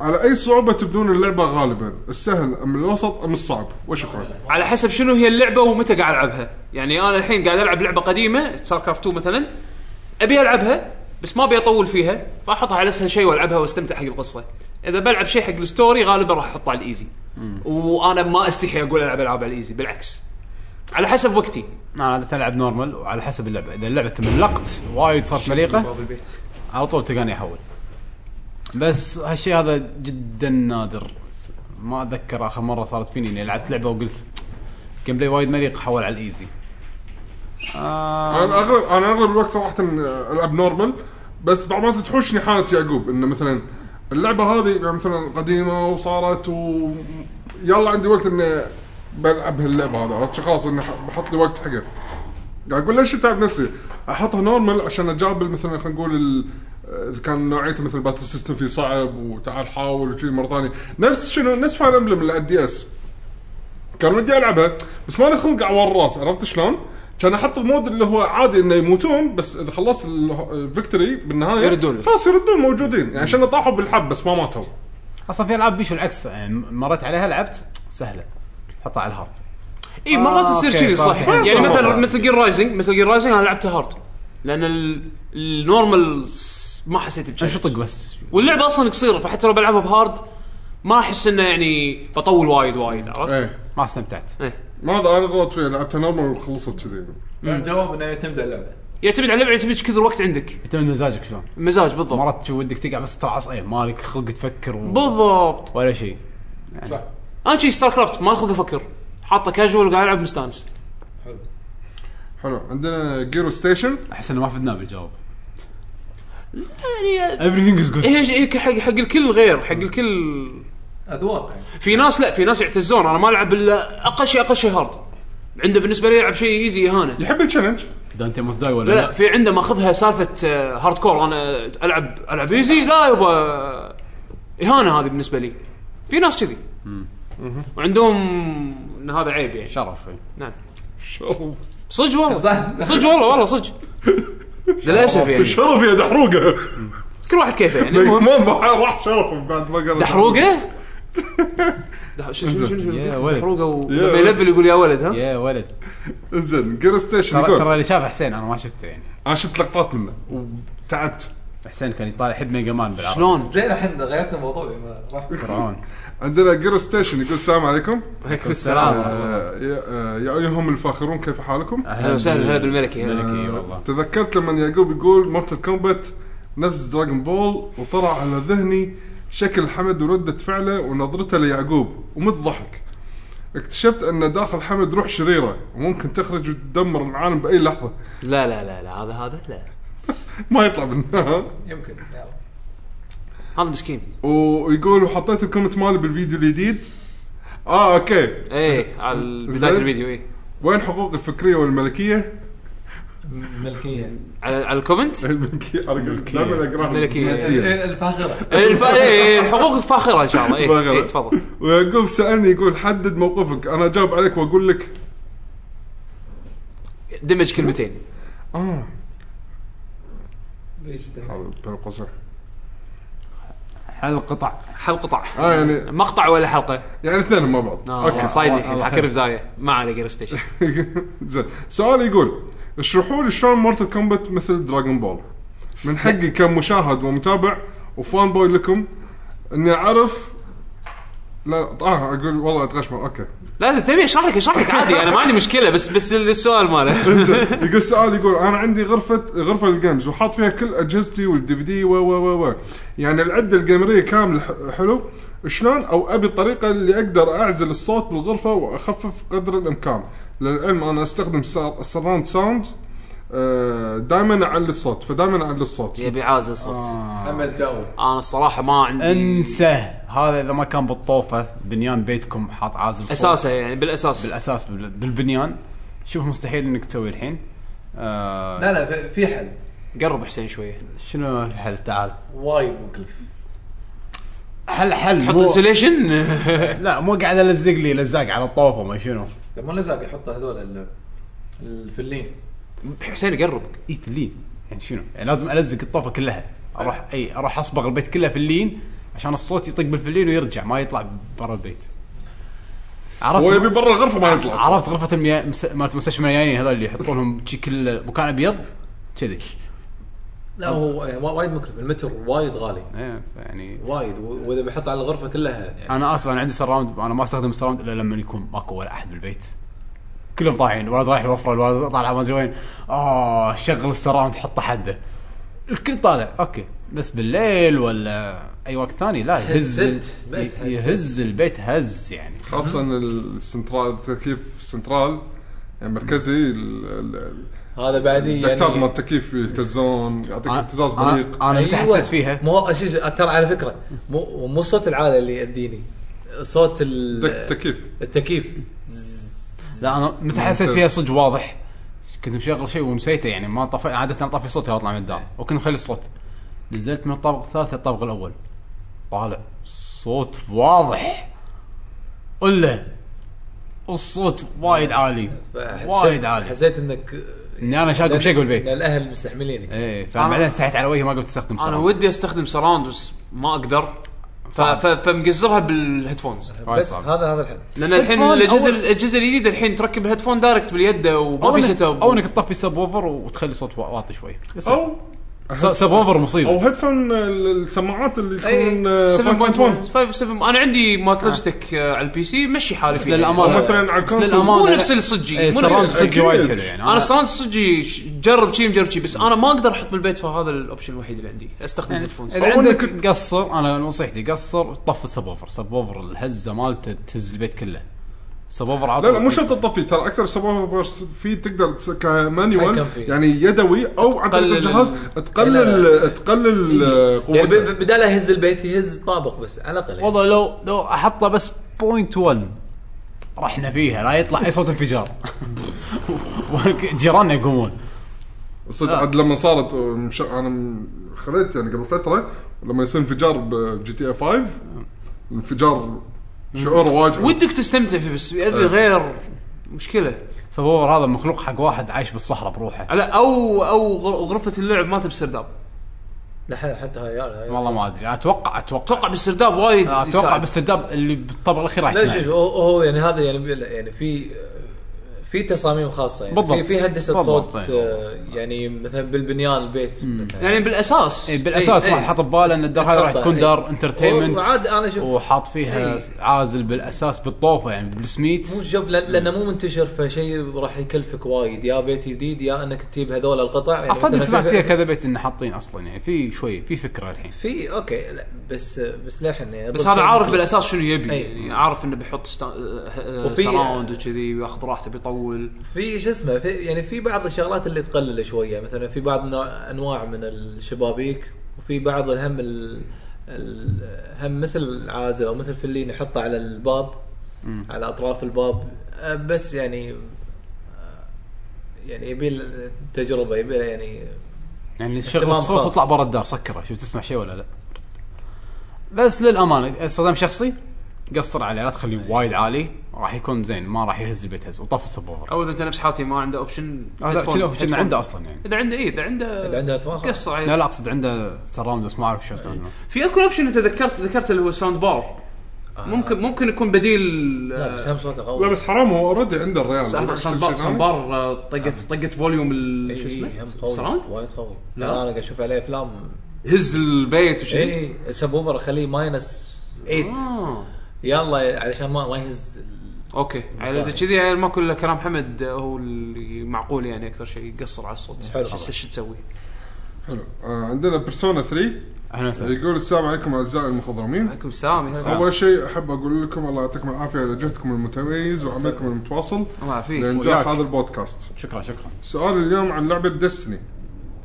S3: على اي صعوبه تبدون اللعبه غالبا؟ السهل ام الوسط ام الصعب؟ وشكرا.
S1: على حسب شنو هي اللعبه ومتى قاعد العبها يعني انا الحين قاعد العب لعبه قديمه ستار كرافت 2 مثلا ابي العبها بس ما ابي اطول فيها فاحطها على اسهل شيء والعبها واستمتع حق القصه اذا بلعب شيء حق الستوري غالبا راح احطه على الايزي وانا ما استحي اقول العب العاب على الايزي بالعكس على حسب وقتي
S2: انا عاده العب نورمال وعلى حسب اللعبه اذا اللعبه تملقت وايد صارت مليقه
S1: باب البيت
S2: على طول تلقاني احول بس هالشيء هذا جدا نادر ما اتذكر اخر مره صارت فيني اني لعبت لعبه وقلت جيم بلاي وايد مليق حول على الايزي
S3: انا اغلب انا اغلب الوقت صراحه آه، العب نورمال بس بعض ما تحوشني حاله يعقوب انه مثلا اللعبه هذه يعني مثلا قديمه وصارت و يلا عندي وقت اني بلعب هاللعبه هذا عرفت شو؟ خلاص انه ح- بحط لي وقت حقه قاعد اقول ليش اتعب نفسي؟ احطها نورمال عشان اجاب مثلا خلينا نقول ال- آه، اذا كان نوعيته مثل باتل سيستم فيه صعب وتعال حاول وشي مره ثانيه نفس شنو نفس فاير امبلم اللي على الدي اس كان ودي العبها بس مالي خلق اعور الراس عرفت شلون؟ كان احط المود اللي هو عادي انه يموتون بس اذا خلصت ال- الفيكتوري بالنهايه
S1: يردون.
S3: خلاص يردون موجودين يعني عشان طاحوا بالحب بس ما ماتوا
S2: اصلا في العاب بيشو العكس يعني مريت عليها لعبت سهله حطها على الهارد
S1: اي مرات
S2: آه،
S1: تصير
S2: أوكي،
S1: كذي صح
S2: صح.
S1: يعني
S2: صح،
S1: مثلا
S2: صح.
S1: مثل جير رايزنج مثل جير رايزنج انا لعبتها هارد لان ال- النورمال س- ما حسيت بشيء
S2: انشطق بس
S1: واللعبه اصلا قصيره فحتى لو بلعبها بهارد ما احس انه يعني بطول وايد وايد عرفت؟
S3: ايه
S2: ما استمتعت
S3: ما هذا انا غلط فيها لعبتها نورمال وخلصت كذي
S6: الجواب انه يعتمد على اللعبه
S1: يعتمد على اللعبه يعتمد إيش كثر وقت عندك
S2: يعتمد مزاجك شلون
S1: مزاج بالضبط
S2: مرات شو ودك تقع بس ترى عصايه مالك خلق تفكر و...
S1: بالضبط
S2: ولا شيء
S1: يعني.
S6: صح
S1: انا شي ستار كرافت ما خلق افكر حاطه كاجوال قاعد العب مستانس
S3: حلو عندنا جيرو ستيشن
S2: احس انه ما فدنا بالجواب
S1: يعني
S2: everything is good
S1: هي هي حق حق الكل غير حق الكل
S6: اذواق يعني
S1: في ناس لا في ناس يعتزون انا ما العب الا اقل شيء اقل شيء هارد عنده بالنسبه لي يلعب شيء ايزي اهانه
S3: يحب التشالنج
S2: دانتي ماست داي ولا
S1: إيه. لا لا
S2: لا
S1: في عنده ماخذها سالفه آه، هارد كور انا العب العب ايزي لا يبا آه، اهانه هذه بالنسبه لي في ناس كذي وعندهم ان هذا عيب يعني
S2: شرف
S1: نعم
S3: شرف
S1: صدق والله
S6: صح
S1: صدق والله والله صدق للاسف يعني
S3: شرف يا دحروقه
S1: كل واحد كيفه يعني المهم
S3: ما ما- راح شرفه بعد ما قال
S1: دحروقه دح- شنو- شنو- شنو-
S2: يا
S1: شنو-
S2: ولد.
S1: دحروقه
S3: يا
S1: ولما
S3: ولد.
S1: يلفل يقول يا ولد ها
S2: يا ولد
S3: انزين جيرو ستيشن
S2: ترى ترى
S3: يقول
S2: اللي شافه حسين انا ما شفته يعني
S3: انا شفت لقطات منه وتعبت
S2: حسين كان يطالع يحب ميجا مان بالعربي
S1: شلون؟
S6: زين الحين غيرت الموضوع إيه، ما راح
S2: فرعون
S3: عندنا جيرو ستيشن يقول السلام عليكم
S1: عليكم
S2: السلام
S3: آه، يا آه، يا ايهم الفاخرون كيف حالكم؟
S1: اهلا وسهلا هلا بالملكي هلا.
S2: ملكي والله
S3: تذكرت لما يعقوب يقول مورتال كومبات نفس دراغون بول وطلع على ذهني شكل حمد وردة فعله ونظرته ليعقوب ومت ضحك اكتشفت ان داخل حمد روح شريره وممكن تخرج وتدمر العالم باي لحظه
S1: لا لا لا لا هذا هذا لا
S3: ما يطلع منها
S6: يمكن يلا
S1: هذا مسكين
S3: ويقول وحطيت الكومنت مالي بالفيديو الجديد اه اوكي
S1: ايه على بدايه إيه، الفيديو ايه
S3: وين حقوق الفكريه والملكيه
S6: ملكيه
S1: على على الكومنت
S3: الملكية انا قلت دائما اقراها
S1: الملكية.
S6: إيه، الفاخره
S1: الف- إيه، حقوقك فاخره ان شاء الله إيه،
S3: فاخرة.
S1: إيه، تفضل
S3: ويعقوب سالني يقول حدد موقفك انا اجاوب عليك واقول لك
S1: دمج كلمتين
S3: اه
S6: ليش ده؟
S3: هذا بين قوسين
S1: آه.
S2: حل القطع
S1: حلقه طع
S2: آه،
S3: اه يعني
S1: مقطع ولا حلقه
S3: يعني الاثنين مع بعض
S1: اوكي
S3: اوكي
S1: صايد
S2: الله-
S1: الحين
S2: الله
S1: حكر
S2: خير.
S1: بزاويه ما على جير ستيشن
S3: زين سؤال يقول اشرحوا لي شلون مورتال كومبات مثل دراغون بول من حقي كمشاهد ومتابع وفان بوي لكم اني اعرف لا لا، اه اقول والله اتغشمر اوكي
S1: لا لا تبي اشرح لك اشرح لك عادي انا ما عندي مشكله بس بس السؤال ماله
S3: زين، يقول السؤال يقول انا عندي غرفه غرفه الجيمز وحاط فيها كل اجهزتي والدي في دي و و و و يعني العده الجيمريه كامله ح- حلو شلون او ابي الطريقه اللي اقدر اعزل الصوت بالغرفه واخفف قدر الامكان للعلم انا استخدم سراوند ساوند دائما اعلي الصوت فدائما اعلي الصوت
S1: يبي عازل صوت
S2: آه.
S6: محمد جاوب
S1: انا الصراحه ما عندي
S2: انسى هذا اذا ما كان بالطوفه بنيان بيتكم حاط عازل صوت.
S1: اساسه يعني بالاساس
S2: بالاساس بال- بالبنيان شوف مستحيل انك تسوي الحين آه
S6: لا لا في- في حل
S1: قرب حسين شويه
S2: شنو الحل تعال
S6: وايد مكلف
S2: حل حل
S1: تحط
S2: مو-
S1: انسليشن
S2: لا مو قاعد الزق لي لزاق على الطوفه ما شنو
S6: لما لزاق يحط هذول ال- الفلين
S1: حسين قرب
S2: ايت اللين يعني شنو يعني لازم الزق الطوفه كلها اروح اي اروح اصبغ البيت كله في اللين عشان الصوت يطق بالفلين ويرجع ما يطلع برا البيت عرفت
S3: هو يبي برا الغرفه ما يطلع الصوت.
S2: عرفت غرفه المياه مس- مالت مستشفى الميايين هذول اللي يحطون لهم شي كل مكان ابيض كذي
S6: لا هو يعني وا- وايد مكلف المتر وايد غالي
S2: إيه، يعني
S6: وايد و- واذا بيحط على الغرفه كلها يعني
S2: انا اصلا عندي سراوند انا ما استخدم سراوند الا لما يكون ماكو ولا احد بالبيت كلهم طالعين الولد رايح الوفره الولد طالع ما ادري وين اه شغل السراوند حطه حده الكل طالع اوكي بس بالليل ولا اي وقت ثاني لا يهز ال-
S6: Headset، بس
S2: ي- يهز البيت هز يعني
S3: خاصه السنترال التكييف السنترال يعني مركزي ال- ال- ال-
S6: هذا بعدي
S3: الدكتور مال
S6: يعني
S3: التكييف يهتزون يعطيك
S2: أنا-
S3: اهتزاز
S2: أنا-
S3: بريق
S2: انا اللي
S6: أيوة.
S2: تحسيت فيها
S6: مو أش- أش- ترى على فكره مو مو الصوت العالي اللي يأذيني صوت ال-
S3: دك- التكييف
S6: التكييف
S2: لا انا متى حسيت فيها صدق واضح كنت مشغل شيء ونسيته يعني ما طفي عاده انا طفي صوتي واطلع من الدار وكنت مخلي الصوت نزلت من الطابق الثالث للطابق الاول طالع صوت واضح قله الصوت وايد عالي
S6: فحس-
S2: وايد عالي
S6: حسيت انك
S2: اني انا شاق بشق
S6: لأن
S2: بالبيت
S6: الاهل مستحملينك
S2: ايه فبعدين استحيت على وجهي ما قمت استخدم
S1: انا
S2: سراوند.
S1: ودي استخدم سراوند بس ما اقدر ف- ف- فمقزرها بالهيدفونز
S2: وايد
S6: بس
S2: صعب.
S6: هذا هذا الحل
S1: لان الحين
S2: هيدفون
S1: الاجهزه
S2: أول-
S1: الاجهزه الجديده الحين تركب هيدفون دايركت باليد وما
S2: او
S1: في
S2: انك-
S1: سيت اب
S2: او انك تطفي سب ووفر وتخلي صوت وا- واطي شوي
S3: او
S2: سب ووفر مصيبه
S3: او هيدفون ال- السماعات اللي
S1: أي،
S3: يكون آه،
S1: 7.1 5 7 انا عندي مات لوجيتك آه، على البي سي مشي حالي فيه
S2: للامانه
S3: أو مثلاً على
S2: بس
S3: الكونسول.
S2: للأمانة
S1: مو
S2: لا.
S1: نفس الصجي
S2: ايه
S1: مو نفس
S2: السراوند
S1: الصجي
S2: صدق وايد حلو يعني
S1: انا الصراحه صجي ش- جرب شي مجرب شي بس انا ما اقدر احط بالبيت فهذا الاوبشن الوحيد اللي عندي استخدم هيدفونز
S2: اذا
S3: أو إنك
S2: يعني عندك قصر انا نصيحتي قصر طف السب اوفر سب اوفر الهزه مالته تهز البيت كله سب اوفر عطل
S3: لا لا مو شرط تطفي ترى اكثر سبب في تقدر تس-
S6: تحكم
S3: كمانيوال
S6: فيه.
S3: يعني يدوي او عن طريق
S1: تقلل
S3: الجهاز
S1: ال-
S3: تقلل تقلل آه،
S6: يعني ب-
S3: قوته
S6: ب- بدال يهز البيت يهز طابق بس على الاقل يعني.
S2: والله لو لو احطه بس بوينت 1 رحنا فيها لا يطلع اي صوت انفجار جيراننا يقومون
S3: صدق عاد لما صارت آه، مش انا م- خذيت يعني قبل فتره لما يصير انفجار بجي تي اي 5 انفجار شعور واجع
S1: ودك تستمتع فيه بس
S2: إيه.
S1: يأذي غير مشكله
S2: سب اوفر هذا مخلوق حق واحد عايش بالصحراء بروحه
S1: على او او غر- غرفه اللعب مالته بالسرداب
S6: لا، حتى هاي هاي-
S2: والله ما ادري اتوقع اتوقع
S1: اتوقع بالسرداب وايد
S2: اتوقع
S1: يساعد.
S2: بالسرداب اللي بالطابق الاخير راح
S6: لا شوف
S2: يسمع.
S6: شوف، هو هو يعني هذا يعني بي- يعني في في تصاميم خاصه يعني
S2: بالضبط.
S6: في في هندسه
S2: بالضبط،
S6: صوت
S2: طيب.
S6: آه، يعني مثلا بالبنيان البيت مثلا
S1: يعني بالاساس
S2: إيه، بالاساس
S1: إيه،
S2: ما
S1: إيه.
S2: حاط بباله ان الدار هاي راح
S6: تحطه،
S2: تكون
S6: إيه.
S2: دار انترتينمنت
S6: وعاد انا شوف
S2: وحاط فيها عازل بالاساس بالطوفه يعني
S6: مو
S2: بالسميت
S6: شوف لأ- لانه مو منتشر فشيء راح يكلفك وايد يا بيت جديد يا انك تجيب هذول القطع يعني
S2: اصدق
S6: مثلاً
S2: سمعت
S6: في-
S2: فيها كذا بيت انه حاطين اصلا يعني في شوي في فكره الحين
S6: في اوكي لا بس بس للحين يعني
S1: بس
S6: ضد
S1: هذا
S6: شيء
S1: عارف
S6: مطلق.
S1: بالاساس شنو يبي
S6: أي.
S1: يعني عارف انه بيحط ستا...
S6: وفي-
S1: سراوند وكذي وياخذ راحته بيطول
S6: في شو اسمه في يعني في بعض الشغلات اللي تقلل شويه مثلا في بعض النوع- انواع من الشبابيك وفي بعض الهم ال ال- هم مثل العازل او مثل فلين يحطه على الباب على اطراف الباب أه، بس يعني أه، يعني يبي له تجربه يبي له يعني
S2: يعني تشغل
S6: اهتمام
S2: الصوت
S6: خاص.
S2: تطلع برا الدار سكره شوف تسمع شيء ولا لا بس للامانه استخدام شخصي قصر عليه لا تخليه وايد عالي راح يكون زين ما راح يهز البيت هز وطف السبوره
S1: او اذا انت نفس حالتي ما عنده اوبشن
S2: لا كنا- كنا عنده اصلا يعني
S1: اذا عنده اي اذا عنده
S6: اذا عنده نعم. اطفال خلاص.
S1: قصر
S2: لا
S1: عليه
S2: لا اقصد عنده سراوند بس ما اعرف شو اسمه
S1: في اكو اوبشن انت ذكرت ذكرت اللي هو ساوند بار ممكن ممكن يكون بديل
S6: آه.
S1: آه،
S6: لا بس هم صوته
S3: لا
S6: قوي
S3: بس حرام هو اوريدي عنده الريال
S1: ساوند بار ساوند بار آه، طقت طقت فوليوم ال-
S6: إي،
S1: شو
S6: إي، إيه، هم
S1: اسمه
S6: قوي
S1: سراوند
S6: وايد قوي
S1: لا.
S6: لا انا قاعد اشوف عليه إيه، افلام
S1: هز البيت وشي
S6: اي إي، سبوفر اخليه ماينس 8
S1: آه.
S6: يلا علشان ما ما يهز ال-
S1: اوكي على اذا كذي يعني ما كل كلام حمد هو اللي معقول يعني اكثر شيء يقصر على الصوت
S6: حلو.
S1: شو شو تسوي؟
S3: حلو آه، عندنا بيرسونا 3
S2: اهلا وسهلا
S3: يقول السلام عليكم اعزائي المخضرمين
S1: عليكم السلام يا هلا.
S3: اول شيء احب اقول لكم الله يعطيكم العافيه على جهدكم المتميز وعملكم المتواصل
S1: الله يعافيك
S3: لانجاح
S2: وياك.
S3: هذا البودكاست
S2: شكرا شكرا
S3: سؤال اليوم عن لعبه ديستني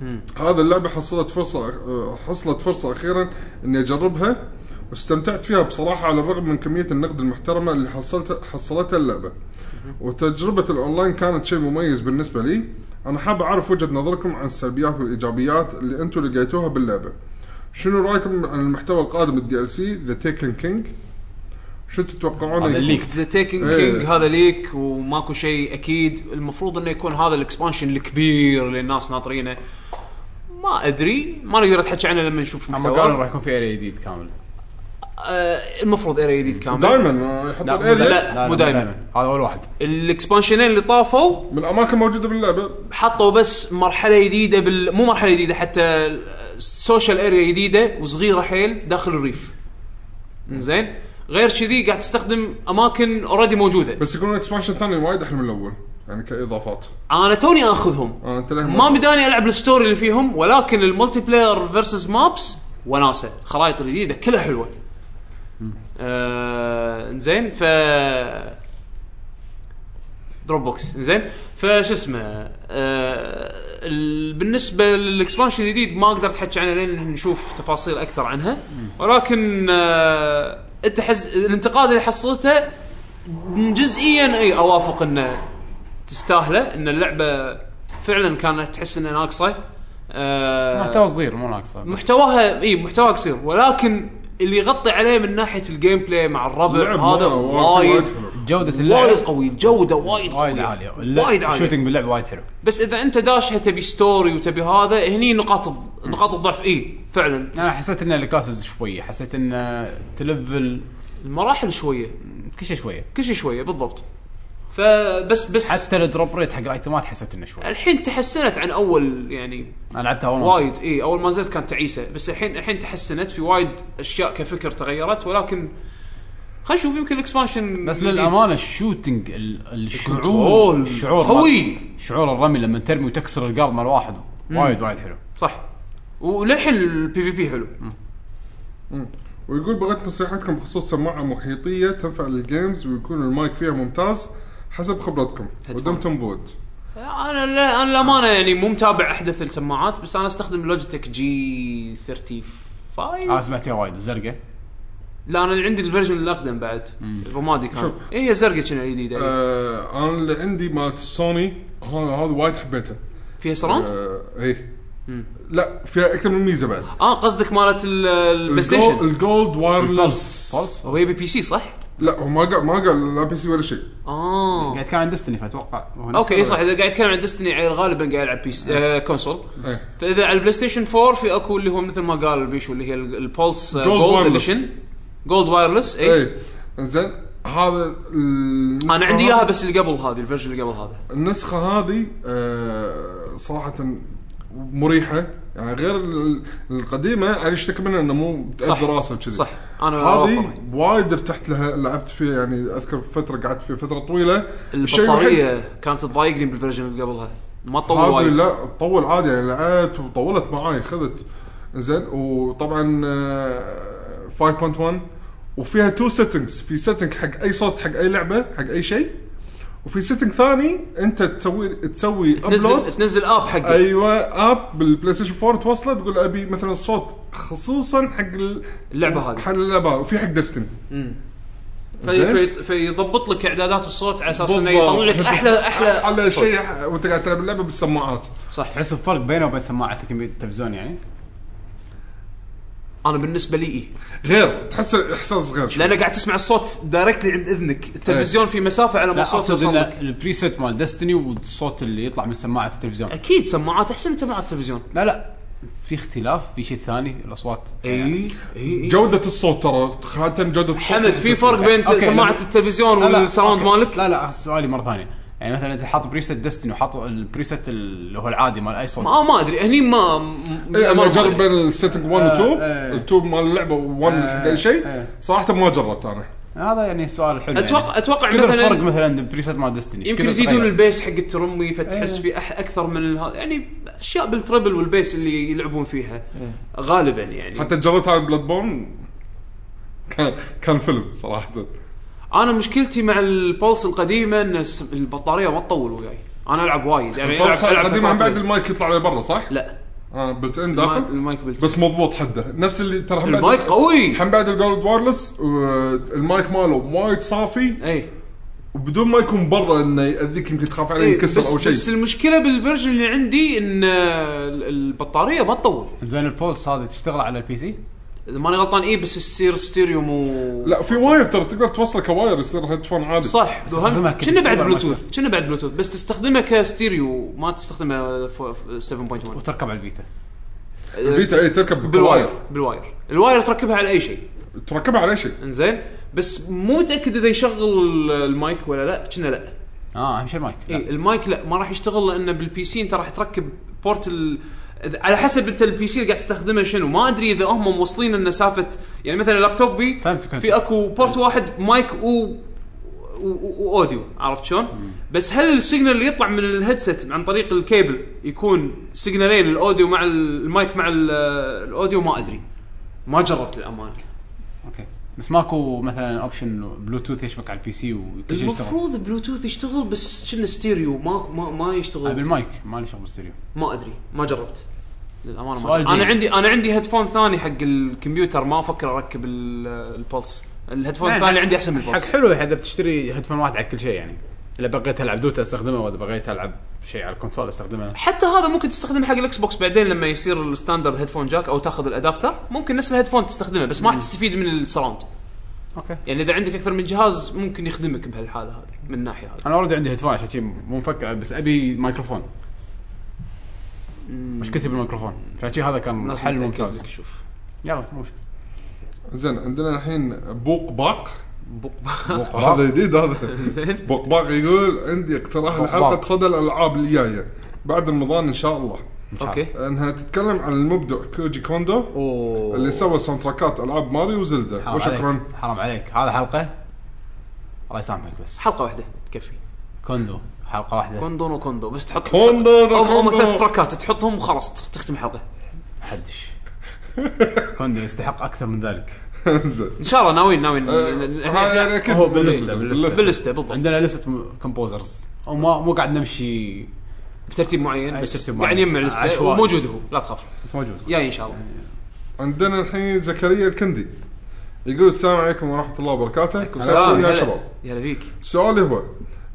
S1: مم.
S3: هذا اللعبه حصلت فرصه آه، حصلت فرصه اخيرا اني اجربها واستمتعت فيها بصراحه على الرغم من كميه النقد المحترمه اللي حصلت حصلتها اللعبه وتجربه الاونلاين كانت شيء مميز بالنسبه لي انا حاب اعرف وجهه نظركم عن السلبيات والايجابيات اللي انتم لقيتوها باللعبه شنو رايكم عن المحتوى القادم الدي ال سي ذا تيكن كينج شو تتوقعون
S2: هذا الليك.
S1: ذا تيكن
S3: إيه.
S1: كينج هذا ليك وماكو شيء اكيد المفروض انه يكون هذا الاكسبانشن الكبير اللي الناس ناطرينه ما ادري ما نقدر نتحكي عنه لما نشوف
S2: اما قالوا
S1: محتوى
S2: راح يكون في E اري جديد كامل
S1: آه المفروض اري جديد كامل
S3: دائما يحطون
S2: مو دايماً.
S3: اريا
S1: لا،
S2: لا،
S1: مو
S2: مو
S1: دايماً.
S2: دايماً. هذا اول واحد
S1: الاكسبانشنين اللي طافوا
S3: من الاماكن موجوده باللعبه
S1: حطوا بس مرحله جديده بال مو مرحله جديده حتى سوشيال اريا جديده وصغيره حيل داخل الريف زين غير كذي قاعد تستخدم اماكن اوريدي موجوده
S3: بس يكون اكسبانشن ثاني وايد احلى من الاول يعني كاضافات
S1: انا توني اخذهم
S3: آه، انت ليه
S1: ما بداني العب الستوري اللي فيهم ولكن الملتي بلاير فيرسز مابس وناسه خرائط الجديده كلها حلوه آه زين ف دروب بوكس زين فش اسمه آه ال- بالنسبه للاكسبانشن الجديد ما قدرت احكي عنه لين نشوف تفاصيل اكثر عنها ولكن آه انت حز... الانتقاد اللي حصلته جزئيا اي اوافق انه تستاهله ان اللعبه فعلا كانت تحس انها ناقصه آه،
S2: محتوى صغير مو ناقصه
S1: محتواها اي محتواها قصير ولكن اللي يغطي عليه من ناحيه الجيم بلاي مع الربع
S3: اللعب
S1: هذا
S3: مرة وايد
S1: وايد
S3: حلو.
S2: جوده
S1: وايد
S2: اللعب
S1: قوي الجوده وايد
S2: وايد
S1: قوية.
S2: عاليه
S1: وايد عاليه
S2: الشوتنج باللعب وايد حلو
S1: بس اذا انت داشها تبي ستوري وتبي هذا هني نقاط الض- نقاط الضعف اي فعلا
S2: انا حسيت ان الكلاسز شويه حسيت ان تلفل
S1: المراحل شويه
S2: كل شيء شويه
S1: كل شيء شويه بالضبط فبس بس
S2: حتى الدروب ريت حق الايتمات حسيت انه شوي
S1: الحين تحسنت عن اول يعني
S2: انا لعبتها اول ما
S1: وايد
S2: نزلت.
S1: اي اول ما نزلت كانت تعيسه بس الحين الحين تحسنت في وايد اشياء كفكر تغيرت ولكن خلينا نشوف يمكن الاكسبانشن
S2: بس
S1: الجديد.
S2: للامانه الشوتنج ال- الشعور
S1: الكنترول
S2: الشعور
S1: قوي.
S2: شعور الرمي لما ترمي وتكسر القرض مال واحد وايد وايد حلو
S1: صح وللحين البي في بي حلو
S3: ويقول بغيت نصيحتكم بخصوص سماعه محيطيه تنفع للجيمز ويكون المايك فيها ممتاز حسب خبرتكم ودمتم بود
S1: انا لا انا للامانه يعني مو متابع احدث السماعات بس انا استخدم لوجيتك جي
S2: انا
S1: 35
S2: سمعت فيها وايد الزرقاء
S1: لا انا عندي الفيرجن الاقدم بعد الرمادي كان
S3: شوف.
S1: اي هي زرقاء كنا E الجديده
S3: آه انا اللي عندي مالت السوني هذا هذا وايد حبيته
S1: فيها سراوند؟
S3: آه ايه لا فيها اكثر من ميزه بعد
S1: اه قصدك مالت ال- البلاي
S3: الجولد-
S1: ستيشن
S3: الجولد وايرلس
S2: فولس
S1: هو يبي بي سي صح؟
S3: لا هو ما قال ما قال لا بي سي ولا شيء
S1: اه
S2: قاعد كان عند ديستني فاتوقع هو نفس
S1: اوكي إي
S2: الوضع.
S1: صح اذا قاعد يتكلم عن ديستني عيل غالبا قاعد يلعب بيس آه كونسول
S3: ايه
S1: فاذا على البلاي ستيشن 4 في اكو اللي هو مثل ما قال بيشو اللي هي ال- آه، البولس
S3: Gold
S1: جولد
S3: wireless.
S1: اديشن جولد وايرلس اي
S3: ايه زين هذا ال-
S1: انا إيه. عندي اياها بس اللي قبل هذه الفيرجن اللي قبل هذا
S3: النسخه هذه آه، صراحه مريحه يعني غير ال- القديمه انا اشتكي منها انه مو
S1: صح.
S3: بتاذي راسه كذي
S1: صح انا
S3: هذه
S1: أوافقك.
S3: وايد ارتحت لها لعبت فيها يعني اذكر فتره قعدت فيها فتره طويله الشيء الوحيد-
S1: البطاريه كانت تضايقني بالفيرجن اللي قبلها ما تطول
S3: هذه
S1: وايد
S3: لا تطول عادي يعني لعبت وطولت معاي خذت زين وطبعا آه، 5.1 وفيها تو سيتنجز في سيتنج حق اي صوت حق اي لعبه حق اي شيء وفي سيتنج ثاني انت تسوي تسوي
S1: تنزل
S3: upload.
S1: تنزل اب حقك
S3: ايوه اب بالبلاي ستيشن 4 توصله تقول ابي مثلا صوت خصوصا حق ال-
S1: اللعبة هذه.
S3: حق اللعبه وفي حق دستن زين.
S1: في في فيضبط لك اعدادات الصوت على اساس انه
S6: بالضبط.
S1: يطلع لك احلى احلى
S3: على شيء وانت قاعد تلعب اللعبه بالسماعات
S1: صح
S2: تحس الفرق بينه وبين سماعه الكمبيوتر التلفزيون يعني
S1: انا بالنسبه لي إيه.
S3: غير تحس احساس غير شوي.
S1: لان قاعد تسمع الصوت دايركتلي عند اذنك التلفزيون في مسافه على ما
S2: إيه. لا
S1: الصوت
S2: اقصد
S1: يوصل
S2: إن
S1: لك
S2: البريسيت مال ديستني والصوت اللي يطلع من سماعه التلفزيون
S1: اكيد سماعات احسن من سماعات التلفزيون
S2: لا لا في اختلاف في شيء ثاني الاصوات
S1: إيه.
S2: إيه،
S1: اي اي
S3: جودة الصوت ترى خاتم جودة الصوت
S1: حمد في فرق بين
S2: أوكي،
S1: سماعه
S2: لما-
S1: التلفزيون
S2: لا، لا،
S1: والساوند
S2: أوكي.
S1: مالك
S2: لا لا سؤالي مره ثانيه يعني مثلا انت حاط بريست ديستني وحاط البريست اللي هو العادي مال اي صوت
S1: ما ما ادري هني ما م-
S3: إيه، انا
S1: ما-
S3: اجرب بين السيتنج 1 و 2
S2: آه، إيه.
S3: ال 2 مال اللعبه و 1
S2: آه،
S3: حق شيء
S2: إيه.
S3: صراحه ما جربت انا
S2: هذا يعني سؤال حلو
S1: اتوقع اتوقع
S2: يعني. كثر الفرق
S1: مثلا
S2: مثلا البريست مال ديستني
S1: يمكن يزيدون البيس حق الترمي فتحس
S2: إيه.
S1: في أح- اكثر من الها- يعني اشياء بالتربل والبيس اللي يلعبون فيها غالبا يعني
S3: إيه. حتى جربت على بلاد بورن كان كان فيلم صراحه
S1: يعني انا مشكلتي مع البولس القديمه ان الس- البطاريه ما تطول وياي انا العب وايد يعني العب
S3: البورصة
S1: ألعب
S3: القديم عن
S1: فترات
S3: بعد
S1: طويلة.
S3: المايك يطلع لبرا صح؟
S1: لا
S3: اه بلت ان
S1: الما-
S3: داخل
S1: المايك بلت
S3: بس مضبوط حده نفس اللي ترى هم بعد-
S1: المايك قوي
S3: هم بعد الجولد وايرلس آه، المايك ماله وايد صافي
S1: اي
S3: وبدون ما يكون برا انه ياذيك يمكن تخاف عليه
S1: إي،
S3: ينكسر
S1: إيه، بس,
S3: او
S1: بس
S3: شيء
S1: المشكله بالفيرجن اللي عندي ان آه، ال- البطاريه ما تطول
S2: زين البولس هذه تشتغل على البي سي؟
S1: اذا ماني غلطان اي بس يصير ستيريو مو
S3: لا في واير ترى تقدر توصله كواير يصير هيدفون عادي
S1: صح
S2: بس استخدمها
S1: وهم-
S2: كده،
S1: كنا بعد
S2: استخدمها
S1: بلوتوث
S2: مثلا.
S1: كنا بعد بلوتوث بس تستخدمه كستيريو ما تستخدمه ف- ف- 7.1
S2: وتركب على البيتا
S3: الفيتا اي إيه، تركب بالواير
S1: بالواير بالواير الواير تركبها على اي شيء
S3: تركبها على أي شيء
S1: انزين بس مو متاكد اذا يشغل المايك ولا لا كنا لا
S2: اه اهم شيء المايك لا.
S1: اي إيه، المايك لا ما راح يشتغل لانه بالبي سي انت راح تركب بورت ال... على حسب انت البي سي اللي قاعد تستخدمه شنو ما ادري اذا هم موصلين انه سافه يعني مثلا اللابتوب بي
S2: فهمت كنت.
S1: في اكو بورت واحد مايك و و- و- واوديو عرفت شلون؟ بس هل السيجنال اللي يطلع من الهيدسет عن طريق الكيبل يكون سيجنالين الاوديو مع المايك مع ال- الاوديو ما ادري ما جربت للامانه
S2: اوكي بس ماكو مثلا اوبشن بلوتوث يشبك على البي سي وكل شيء يشتغل
S1: المفروض بلوتوث يشتغل بس شنو ستيريو ما ما, ما
S2: آه،
S1: يشتغل
S2: بالمايك ما لي شغل بالستريو
S1: ما ادري ما جربت للامانه ما
S2: سؤال
S1: جربت. انا
S2: جيد.
S1: عندي انا عندي هيدفون ثاني حق الكمبيوتر ما افكر اركب ال- البلس الهيدفون
S2: يعني
S1: الثاني اللي عندي احسن من
S2: حق
S1: البلس
S2: حلو اذا بتشتري هيدفون واحد على كل شيء يعني اذا بغيت العب دوتا استخدمه واذا بغيت العب شيء على الكونسول استخدمه
S1: حتى هذا ممكن تستخدمه حق الاكس بوكس بعدين لما يصير الستاندرد هيدفون جاك او تاخذ الادابتر ممكن نفس الهيدفون تستخدمه بس ما راح تستفيد من السراوند
S2: اوكي
S1: يعني اذا عندك اكثر من جهاز ممكن يخدمك بهالحاله هذه من الناحيه هذه
S2: انا اوريدي عندي هيدفون عشان شي مو مفكر بس ابي مايكروفون مشكلتي بالميكروفون فشي هذا كان
S1: لازم
S2: حل
S1: نتأكد
S2: ممتاز
S1: لك، شوف
S2: يلا مو مشكله
S3: زين عندنا الحين بوق باق
S1: بق-
S3: هذا جديد هذا بوق باق يقول عندي اقتراح
S2: بوق
S3: لحلقه
S2: باق.
S3: صدى الالعاب الجايه بعد رمضان ان شاء الله
S1: اوكي
S3: انها تتكلم عن المبدع كوجي كوندو
S2: اوه
S3: اللي سوى ساوند تراكات العاب ماريو وزلدا
S2: حرام عليك
S3: وشكرا
S2: حرام عليك هذا حلقه الله يسامحك بس
S1: حلقه واحده تكفي
S2: كوندو حلقه واحده
S1: كوندون وكوندو بس تحط
S3: كوندو
S1: هم هم
S3: وكوندو.
S1: ثلاث تراكات تحطهم وخلاص تختم الحلقه
S2: محدش كوندو يستحق اكثر من ذلك
S3: زين
S1: ان شاء الله ناويين ناويين
S3: آه، هاي يعني اكيد
S2: هو باللستة، باللستة.
S1: باللسته بالضبط
S2: عندنا لسه كومبوزرز وما مو قاعد نمشي
S1: بترتيب معين
S3: آه،
S2: أي
S1: بس
S2: ترتيب
S1: قاعد
S2: معين.
S1: يجمع لسته
S2: عشوائي.
S1: وموجود هو لا تخاف
S2: بس موجود
S1: جاي ان شاء الله
S3: عندنا الحين زكريا الكندي يقول السلام عليكم ورحمه الله وبركاته
S1: سلام،
S3: يا
S1: هلا.
S3: شباب
S1: يا هلا فيك
S3: سؤالي هو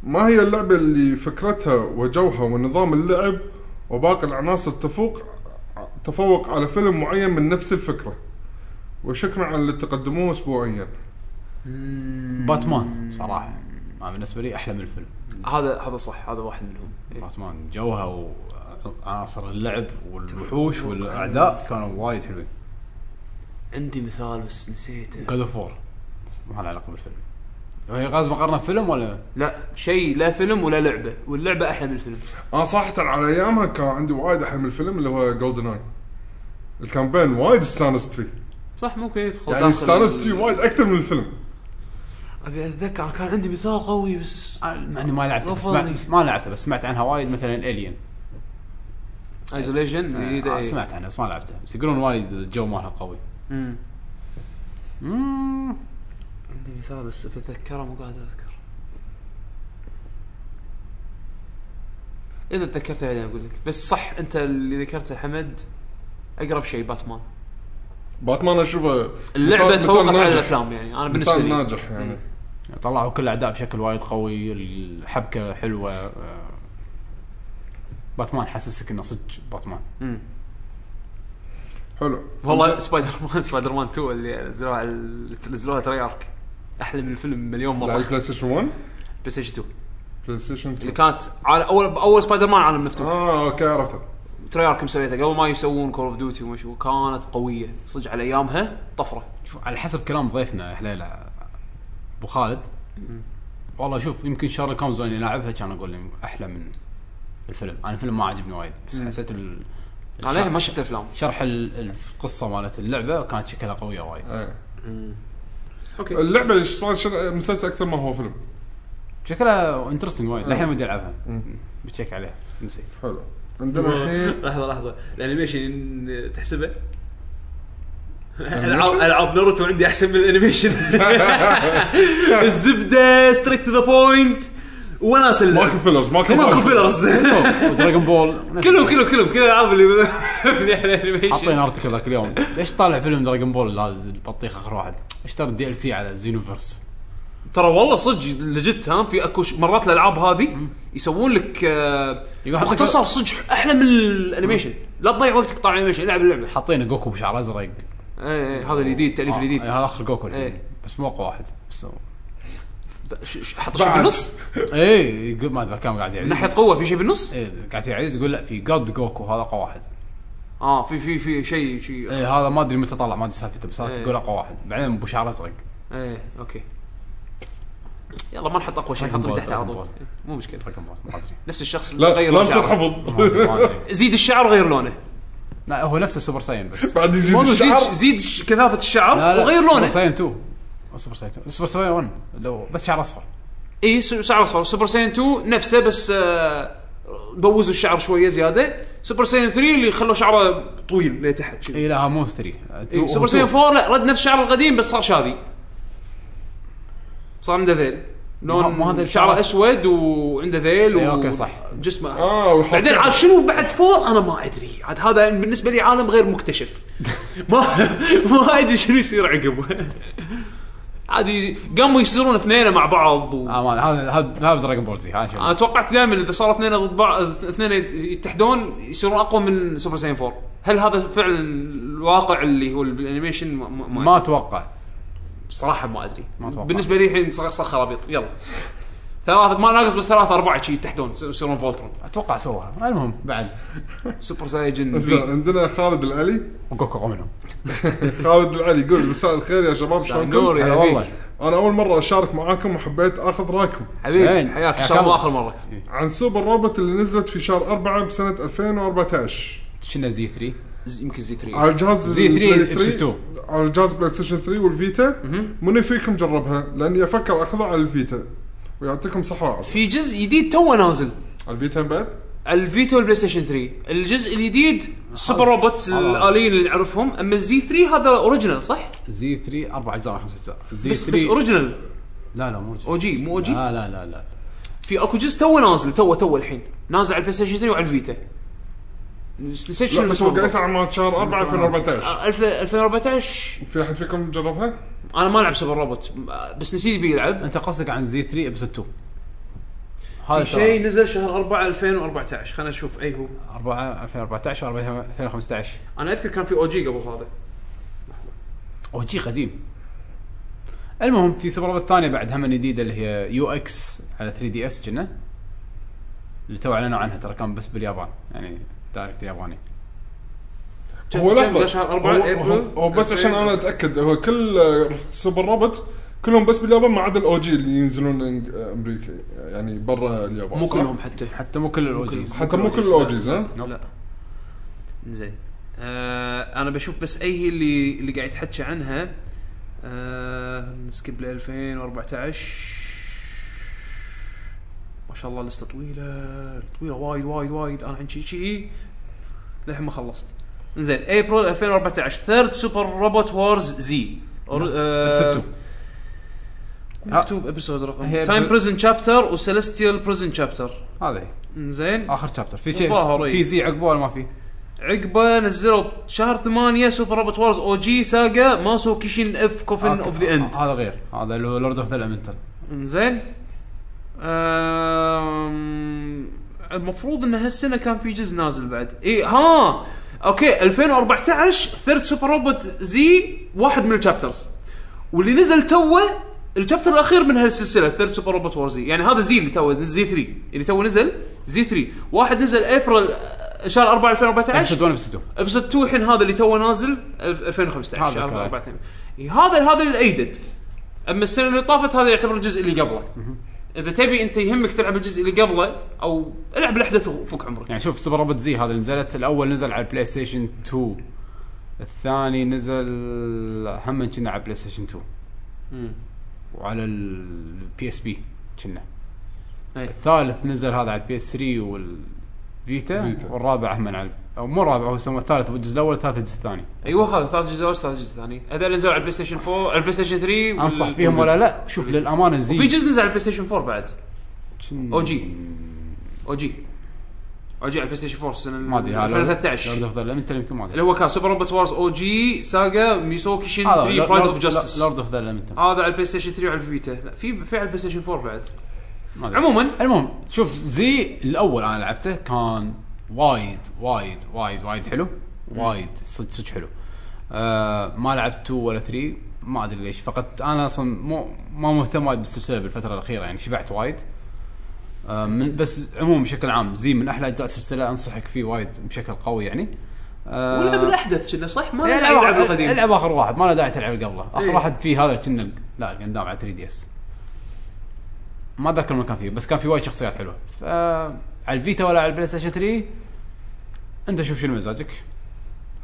S3: ما هي اللعبة اللي فكرتها وجوها ونظام اللعب وباقي العناصر تفوق تفوق على فيلم معين من نفس الفكرة وشكرا على اللي تقدموه اسبوعيا
S2: باتمان صراحه ما بالنسبه لي احلى من الفيلم
S1: هذا هذا صح هذا واحد منهم إيه.
S2: باتمان جوها وعناصر اللعب والوحوش والاعداء كانوا وايد حلوين
S1: عندي مثال بس نسيته
S2: جود اوف وور ما له علاقه بالفيلم هي غاز مقارنه فيلم ولا
S1: لا شيء لا فيلم ولا لعبه واللعبه احلى من الفيلم
S3: انا صراحة على ايامها كان عندي وايد احلى من الفيلم اللي هو جولدن اي الكامبين وايد استانست فيه
S1: صح ممكن يدخل
S3: يعني
S1: داخل
S3: استانست فيه
S1: ال-
S3: وايد اكثر من الفيلم
S1: ابي اتذكر كان عندي مثال قوي
S3: آه.
S1: بس
S2: يعني ما لعبته بس
S1: رفضني.
S2: ما, بس ما لعبته بس سمعت عنها وايد مثلا الين
S1: ايزوليشن جديده
S2: آه
S1: إيه.
S2: سمعت عنها بس ما لعبته بس يقولون وايد الجو مالها قوي
S1: مم.
S2: مم.
S1: عندي مثال بس بتذكره مو قادر اذكر اذا تذكرته بعدين اقول لك بس صح انت اللي ذكرته حمد اقرب شيء باتمان
S3: باتمان اشوفه
S1: اللعبه
S3: مثال- مثال
S1: تفوقت على
S3: ناجح.
S1: الافلام يعني انا بالنسبه
S3: مثال
S1: لي
S3: ناجح يعني
S2: طلعوا كل الاعداء بشكل وايد قوي الحبكه حلوه آه، باتمان حسسك انه صدق باتمان
S3: حلو
S1: والله سبايدر مان سبايدر مان 2 اللي نزلوها على ال- نزلوها تريارك احلى من الفيلم مليون
S3: على
S1: مره
S3: البلاي ستيشن 1
S1: بلاي ستيشن 2
S3: بلاي ستيشن
S1: اللي
S3: 2
S1: كانت على اول اول سبايدر مان عالم مفتوح
S3: اه اوكي عرفته
S1: تريارك مسويتها قبل ما يسوون كول اوف ديوتي وما شو كانت قويه صدق على ايامها طفره
S2: شوف على حسب كلام ضيفنا حليله ابو خالد والله شوف يمكن شارلوك هومز اني لاعبها كان اقول لي احلى من الفيلم انا الفيلم ما عجبني وايد بس حسيت ال...
S1: انا للحين إيه، ما شفت الافلام
S2: شرح ال- القصه مالت اللعبه كانت شكلها قويه وايد
S3: إيه.
S1: اوكي
S3: اللعبه اللي صار شر- مسلسل اكثر ما هو فيلم
S2: شكلها انترستنج وايد للحين ودي العبها بتشيك عليها نسيت
S3: حلو عندنا الحين
S6: لحظه لحظه الانيميشن يعني تحسبه العاب
S3: الأنيميشن؟
S6: العاب ناروتو عندي احسن من الانيميشن الزبده ستريت تو ذا بوينت وناس اللعب.
S3: ماكو فيلرز ماكو
S6: ماكو فيلرز
S2: ودراجون بول
S6: كلهم كلهم كلهم كل الالعاب اللي من يعني
S2: حاطين
S6: الانيميشن
S2: ارتكل ذاك اليوم ليش طالع فيلم دراجون بول هذا البطيخ اخر واحد اشترى الدي ال سي على زينوفيرس
S1: ترى والله صدق لجت ها في اكو ش- مرات الالعاب هذه يسوون لك آه،
S2: يقول حط-
S1: مختصر صدق احلى من الانيميشن لا تضيع وقتك طالع انيميشن العب اللعبه
S2: حاطين جوكو بشعر ازرق
S1: إيه، إيه، هذا الجديد التاليف
S2: آه،
S1: الجديد
S2: هذا اخر جوكو الحين.
S1: إيه.
S2: بس موقع واحد بس هو-
S1: ش- ش- حط شيء بالنص
S2: اي إيه، يقول ما اتذكر كم قاعد
S1: من
S2: يعيد
S1: ناحيه قوه في شيء بالنص
S2: اي قاعد يعيد يقول لا في جود جوكو هذا اقوى واحد
S1: اه في في في شيء شيء
S2: اي هذا ما ادري متى طلع ما ادري سالفته بس هذا
S1: إيه.
S2: يقول اقوى واحد بعدين ابو شعر ازرق
S1: ايه اوكي يلا ما نحط اقوى شيء
S2: دراجون
S1: نحط اللي
S2: بول،
S1: تحت على طول إيه،
S2: دراجون بول.
S1: مو مشكله
S2: دراجون بول، طيب، ما ادري
S1: نفس الشخص اللي
S3: لا
S1: غير
S3: لا تصير
S1: شعره
S3: حفظ
S2: ما ادري
S1: زيد الشعر وغير لونه
S2: لا هو نفسه سوبر ساين بس
S3: بعد يزيد
S1: مو زيد
S3: الشعر
S1: زيد ش- كثافه
S2: لا
S1: الشعر
S2: لا
S1: وغير
S2: سوبر
S1: لونه
S2: ساين 2 مو سوبر ساين 2 سوبر ساين 1 لو بس شعر اصفر
S1: اي إيه، س- شعر اصفر سوبر ساين 2 نفسه بس آه، بوزوا الشعر شويه زياده سوبر ساين 3 اللي خلوا شعره طويل لتحت كذي
S2: اي لا ها مو 3
S1: إيه، سوبر ساين 4 لا رد نفس شعره القديم بس صار شاذي صار عنده ذيل
S2: مو- مو هذا
S1: لون
S2: الشعر
S1: شعره
S2: أصفر.
S1: اسود وعنده ذيل
S2: إيه،
S1: و...
S2: أوكي، صح.
S1: جسمه
S3: اه وحط-
S1: بعدين عاد شنو بعد فور انا ما ادري عاد هذا بالنسبه لي عالم غير مكتشف ما ما ادري شنو يصير عقب عادي قاموا يصيرون اثنين مع بعض و...
S2: اه ما هذا هذا هذا دراجون بول زي هذا
S1: انا
S2: شنو.
S1: توقعت دائما اذا صاروا اثنين ضد بعض اثنين يتحدون يصيرون اقوى من سوبر ساين 4 هل هذا فعلا الواقع اللي هو الانيميشن ما, ما, ما
S2: ما اتوقع
S1: صراحه ما ادري
S2: ما أتوقع.
S1: بالنسبه لي الحين صار صار خرابيط يلا ثلاثة ما ناقص بس ثلاثة أربعة شي تحتون يصيرون فولترون
S2: اتوقع سوها المهم بعد
S1: سوبر سايجن
S3: زين،
S1: في
S3: عندنا خالد العلي
S2: جوكو قومنا
S3: خالد العلي يقول مساء الخير يا شباب
S1: نور
S3: شلونكم؟
S1: يا
S2: هلا
S1: فيك.
S2: والله
S3: انا اول مره اشارك معاكم وحبيت اخذ رايكم
S1: حبيبي
S2: زين.
S1: حياك إن
S2: حياك
S1: شاء الله
S2: الله.
S1: آخر مرة
S3: عن سوبر روبوت اللي نزلت في شهر 4 بسنة 2014
S2: شنو زي 3
S1: ز- يمكن زي 3
S3: على الجهاز
S2: زي
S3: البلاي
S2: 3 إبسي
S3: 3 على الجهاز بلاي ستيشن 3 والفيتا من فيكم جربها لاني افكر اخذها على الفيتا ويعطيكم صحة وعافية
S1: في جزء جديد توه نازل
S3: على الفيتا بعد
S1: على الفيتا والبلاي ستيشن 3 الجزء الجديد سوبر روبوتس الاليين اللي نعرفهم اما الزي 3 هذا اوريجينال صح؟
S2: زي 3 اربع اجزاء ولا خمس اجزاء زي آه.
S1: بس بس
S2: 3
S1: اوريجينال
S2: لا لا مو أوريجينال.
S1: او جي مو او جي
S2: لا لا لا لا
S1: في اكو جزء توه نازل توه توه الحين نازل على البلاي ستيشن 3 وعلى الفيتا نسيت
S3: لا
S1: شنو
S3: بس هو قاعد
S1: بالضبط.
S3: يسأل عن مال شهر 4 2014
S1: ألف- 2014
S3: في احد فيكم جربها؟
S1: انا ما العب سوبر روبوت بس نسيت بي يلعب
S2: انت قصدك عن زي 3 ابسط 2 هذا
S1: شيء نزل شهر 4 2014 خلينا نشوف أيوه. اي هو
S2: 4 2014 و 2015
S1: انا اذكر كان في او جي قبل هذا
S2: او جي قديم المهم في سوبر روبوت ثانيه بعد هم جديده اللي هي يو اكس على 3 دي اس كنا اللي تو اعلنوا عنها ترى كان بس باليابان يعني دايركت ياباني
S1: كان-
S3: هو
S1: كان
S3: لحظة
S1: شهر 4
S3: هو-
S1: ابريل
S3: هو هو بس عشان انا اتاكد هو كل آه، سوبر روبوت كلهم بس باليابان ما عدا الاو جي اللي ينزلون إنج- آه، امريكا يعني برا اليابان
S1: مو
S3: صح؟
S1: كلهم حتى
S2: حتى مو كل الاو جيز
S3: حتى مو كل الاو جيز ها؟
S1: لا زين آه انا بشوف بس اي هي اللي اللي قاعد يتحكى عنها آه نسكب ل 2014 ما شاء الله لسته طويله طويله وايد وايد وايد انا عندي شي شي للحين ما خلصت زين ابريل 2014 ثيرد سوبر روبوت وورز زي نعم.
S2: ابسط 2
S1: آه، مكتوب ابيسود رقم
S2: هي
S1: تايم
S2: episode-
S1: بريزن شابتر وسيلستيال بريزن شابتر
S2: هذا هي
S1: زين
S2: اخر شابتر في شيء
S1: الظاهر إيه.
S2: في زي عقبه ولا ما في؟
S1: عقبه نزلوا شهر ثمانية سوبر روبوت وورز او جي ساجا ماسو كيشين اف كوفن
S2: آه،
S1: اوف ذا اند
S2: هذا غير هذا اللي هو لورد اوف ذا الامنتال
S1: انزين أم... المفروض ان هالسنه كان في جزء نازل بعد اي ها اوكي 2014 ثيرد سوبر روبوت زي واحد من الشابترز واللي نزل توه الشابتر الاخير من هالسلسله ثيرد سوبر روبوت وور زي يعني هذا زي اللي تو زي 3 اللي تو نزل زي 3 واحد نزل ابريل شهر 4 2014
S2: ايبسود 1 ايبسود 2
S1: ابسود 2 الحين هذا اللي توه نازل الف- 2015
S2: هذا
S1: شهر
S2: كان.
S1: 4 إي، هذا هذا الايدد اما السنه اللي طافت هذا يعتبر الجزء اللي قبله اذا تبي انت يهمك تلعب الجزء اللي قبله او العب الاحدث وفك عمرك
S2: يعني شوف سوبر روبوت زي هذا اللي نزلت الاول نزل على البلاي ستيشن 2 الثاني نزل هم كنا على البلاي ستيشن 2 وعلى البي اس بي كنا
S1: أي.
S2: الثالث نزل هذا على البي اس 3 والفيتا
S3: فيتا.
S2: والرابع هم على او مو الرابع هو سموه الثالث الجزء الاول الثالث الجزء الثاني
S1: ايوه هذا ثالث جزء اول ثالث جزء ثاني هذول اللي نزلوا على البلاي ستيشن 4 على البلاي ستيشن 3 وال-
S2: انصح فيهم ولا لا شوف للامانه زي
S1: وفي جزء نزل على البلاي ستيشن 4 بعد
S2: شن-
S1: او جي او جي او جي على البلاي ستيشن 4 السنه
S2: ما ادري هذا
S1: 2013
S2: لورد اوف ذا انت يمكن ما
S1: اللي
S2: ادري
S1: هو كان سوبر روبوت وارز او جي ساجا ميسوكي شين 3 برايد اوف جاستس
S2: لورد اوف ذا انت
S1: هذا على البلاي ستيشن 3 وعلى الفيتا لا في في على البلاي ستيشن 4 بعد
S2: ما أدري.
S1: عموما
S2: المهم شوف زي الاول انا لعبته كان وايد وايد وايد وايد حلو وايد صدق صدق حلو آه ما لعبت 2 ولا 3 ما ادري ليش فقط انا اصلا مو ما مهتم وايد بالسلسله بالفتره الاخيره يعني شبعت وايد آه من بس عموما بشكل عام زي من احلى اجزاء السلسله انصحك فيه وايد بشكل قوي يعني آه
S1: واللعب الاحدث كنا صح ما
S2: العب
S1: نلعب اللعب القديم
S2: العب اخر واحد ما له داعي تلعب قبله اخر
S1: يعني إيه.
S2: واحد فيه هذا كنا لا قدام على 3 دي اس ما اتذكر من كان فيه بس كان في وايد شخصيات حلوه ف على الفيتا ولا على البلاي ستيشن 3 انت شوف شنو مزاجك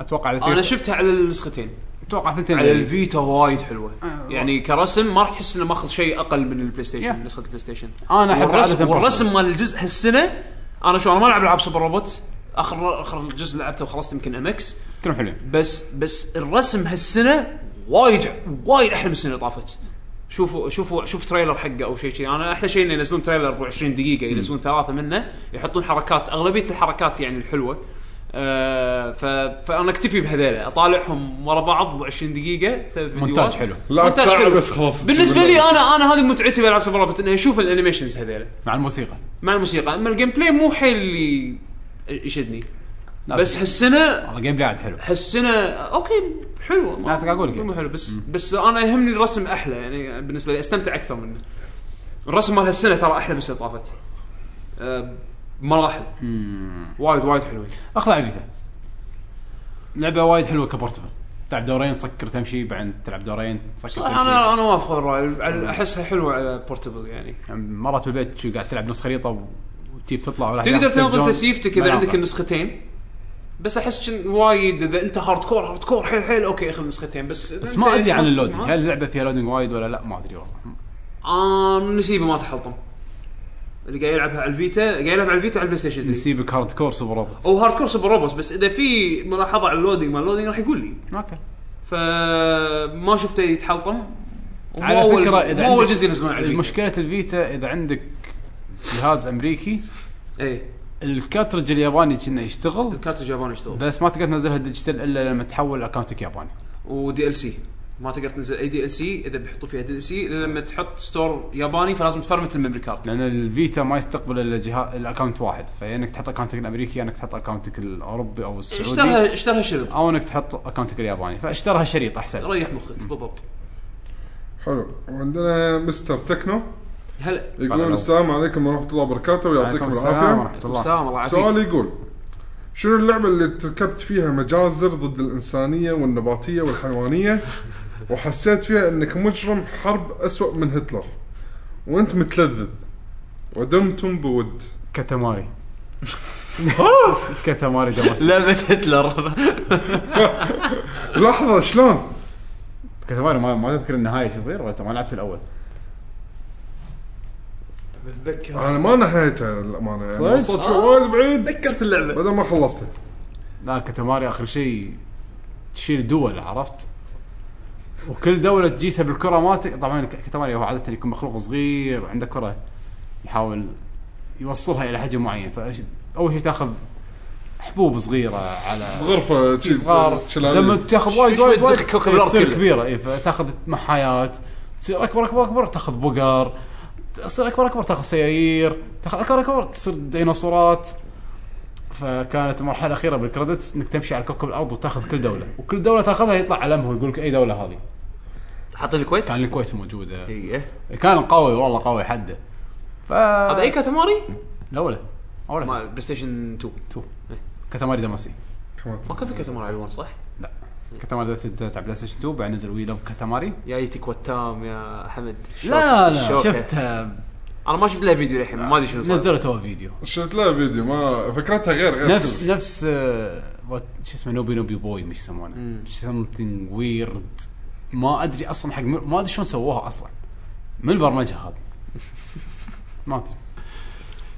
S2: اتوقع على
S1: انا
S2: الثيرد-
S1: شفتها على النسختين
S2: اتوقع ثنتين
S1: على
S2: يعني.
S1: الفيتا وايد حلوه
S2: آه.
S1: يعني كرسم ما راح تحس انه ماخذ شيء اقل من البلاي
S2: Yeah.
S1: ستيشن نسخه البلاي ستيشن
S2: انا احب
S1: والرسم
S2: عادة
S1: والرسم مال الجزء هالسنه انا شو انا ما العب العاب سوبر روبوت اخر اخر جزء لعبته وخلصت يمكن ام اكس
S2: كلهم حلوين
S1: بس بس الرسم هالسنه وايد وايد احلى من السنه اللي طافت شوفوا شوفوا شوف تريلر حقه او شيء كذي انا احلى شيء انه ينزلون تريلر ابو 20 دقيقه ينزلون ثلاثه منه يحطون حركات اغلبيه الحركات يعني الحلوه آه ف... فانا اكتفي بهذيلا اطالعهم ورا بعض ابو 20 دقيقه ثلاث فيديوهات
S2: مونتاج حلو.
S3: لا
S1: مونتاج
S3: تساعد
S1: حلو.
S3: بس خلاص
S1: بالنسبه لي انا انا هذه متعتي بالعاب سوبر روبوت اني اشوف الانيميشنز هذيلا
S2: مع الموسيقى
S1: مع الموسيقى اما الجيم بلاي مو حيل اللي يشدني
S2: لا
S1: بس هالسنه
S2: والله جيم بلاي عاد حلو
S1: هالسنه اوكي حلو
S2: لا، أنا قاعد أقول لك.
S1: مو حلو بس بس انا يهمني الرسم احلى يعني بالنسبه لي استمتع اكثر منه الرسم مال هالسنه ترى احلى من السنه اللي طافت أه، مراحل وايد وايد حلوين
S2: اخلع الفيتا لعبه وايد حلوه كبورتبل تلعب دورين تسكر تمشي بعدين تلعب دورين تسكر
S1: صح
S2: تمشي.
S1: انا انا وافق الراي على- احسها حلوه على بورتبل يعني
S2: مرات بالبيت شو قاعد تلعب نص خريطه وتجيب تطلع ولا
S1: تقدر تنقل تسييفتك اذا عندك النسختين بس احس شن- وايد اذا انت هارد كور هارد كور حيل حيل اوكي اخذ نسختين بس
S2: بس ما ادري عن اللودنج هل اللعبه فيها لودنج وايد ولا لا ما ادري والله
S1: آه نسيبه ما تحلطم اللي قاعد يلعبها على الفيتا قاعد يلعب على الفيتا على البلاي ستيشن 3
S2: نسيبك هارد كور سوبر روبوت
S1: او هارد كور سوبر روبوت بس اذا في ملاحظه على اللودينج مال اللودينج راح يقول لي
S2: اوكي
S1: فما شفته يتحلطم ومو
S2: على
S1: أول-
S2: فكره اذا
S1: مو اول
S2: عندك-
S1: جزء ينزلون على الفيتا
S2: مشكله الفيتا اذا عندك جهاز امريكي
S1: اي
S2: الكاترج الياباني كنا يشتغل
S1: إيه. الكارت الياباني يشتغل
S2: بس ما تقدر تنزلها ديجيتال الا لما تحول اكونتك ياباني
S1: ودي ال سي ما تقدر تنزل اي دي ال سي اذا بيحطوا فيها دي ال سي لما تحط ستور ياباني فلازم تفرمت الميموري كارت
S2: لان الفيتا ما يستقبل الا جهاز الاكونت واحد فانك تحط اكونتك الامريكي انك تحط اكونتك الاوروبي او السعودي
S1: اشترها اشترها شريط
S2: او انك تحط اكونتك الياباني فاشترها شريط احسن
S1: ريح مخك بالضبط
S3: حلو وعندنا مستر تكنو
S1: هلا
S2: هلا.
S3: يقول السلام عليكم ورحمه الله وبركاته ويعطيكم
S2: السلام
S3: العافيه
S2: ورحمه الله
S1: سلام الله يعافيك
S3: سؤال يقول شنو اللعبه اللي ارتكبت فيها مجازر ضد الانسانيه والنباتيه والحيوانيه وحسيت فيها انك مجرم حرب اسوأ من هتلر وانت متلذذ ودمتم بود
S2: كتماري كتماري دمس
S4: لعبه هتلر
S3: لحظه شلون؟
S2: كتماري ما, ما تذكر النهايه شو يصير ولا أنت ما لعبت الاول
S6: بتذكر
S3: انا ما نهيتها للامانه يعني
S2: صدق؟
S3: وصلت فيها وايد بعيد
S6: تذكرت اللعبه
S3: بدل ما خلصتها
S2: لا كتماري اخر شيء تشيل دول عرفت وكل دوله تجيسها بالكره مالتك طبعا ك- كتماري هو عاده يكون مخلوق صغير وعنده كره يحاول يوصلها الى حجم معين فاول شيء تاخذ حبوب صغيره على
S3: بغرفه شي
S2: صغار
S3: شلالية.
S2: لما تاخذ وايد
S1: شوي
S2: وايد
S1: تزخ
S2: وايد
S1: كوكب الأرض
S2: تصير إيه،
S1: كله.
S2: كبيره اي فتاخذ محايات تصير اكبر اكبر اكبر تاخذ بقر تصير اكبر اكبر تاخذ سيايير تاخذ اكبر اكبر تصير ديناصورات فكانت المرحله الاخيره بالكريدتس انك تمشي على كوكب الارض وتاخذ كل دوله وكل دوله تاخذها يطلع علمها ويقول لك اي دوله هذه
S1: حاطين الكويت؟
S2: كان الكويت موجوده
S1: ايه
S2: كان قوي والله قوي حده ف
S1: هذا اي كاتاماري؟
S2: الاولى
S1: مال
S2: اولى
S1: بلاي ستيشن 2
S2: تو كاتاماري داماسي
S1: ما كان في كاتاماري على 1 صح؟
S2: لا كاتاماري داماسي تبع بلاي ستيشن 2 بعد نزل وي لوف كاتاماري
S1: يا يتك وتام يا حمد
S2: لا لا
S1: الشوكة.
S2: شفتها
S1: انا ما شفت لها فيديو للحين ما ادري شنو صار
S2: نزلوا تو فيديو
S3: شفت لها فيديو ما فكرتها غير غير
S2: نفس نفس آه، وات- شو اسمه نوبي نوبي بوي مش يسمونه something ويرد ما ادري اصلا حق م- ما ادري شلون سووها اصلا من البرمجه هذه ما ادري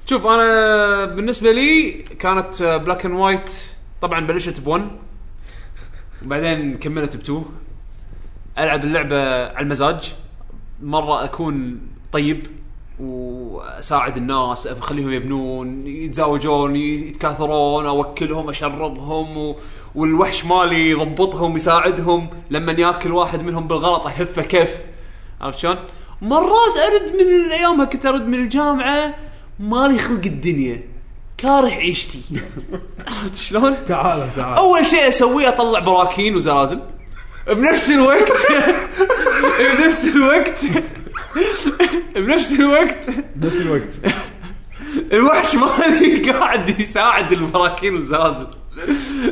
S1: شوف انا بالنسبه لي كانت بلاك اند وايت طبعا بلشت ب 1 وبعدين كملت ب 2 العب اللعبه على المزاج مره اكون طيب واساعد الناس اخليهم يبنون يتزاوجون يتكاثرون اوكلهم اشربهم و... والوحش مالي يضبطهم يساعدهم لما ياكل واحد منهم بالغلط احفه كيف عرفت شلون؟ مرات ارد من ايامها كنت ارد من الجامعه مالي خلق الدنيا كاره عيشتي عرفت شلون؟
S2: تعال تعال
S1: اول شيء اسويه اطلع براكين وزلازل بنفس الوقت بنفس الوقت بنفس الوقت
S2: نفس الوقت
S1: الوحش مالي قاعد يساعد البراكين والزلازل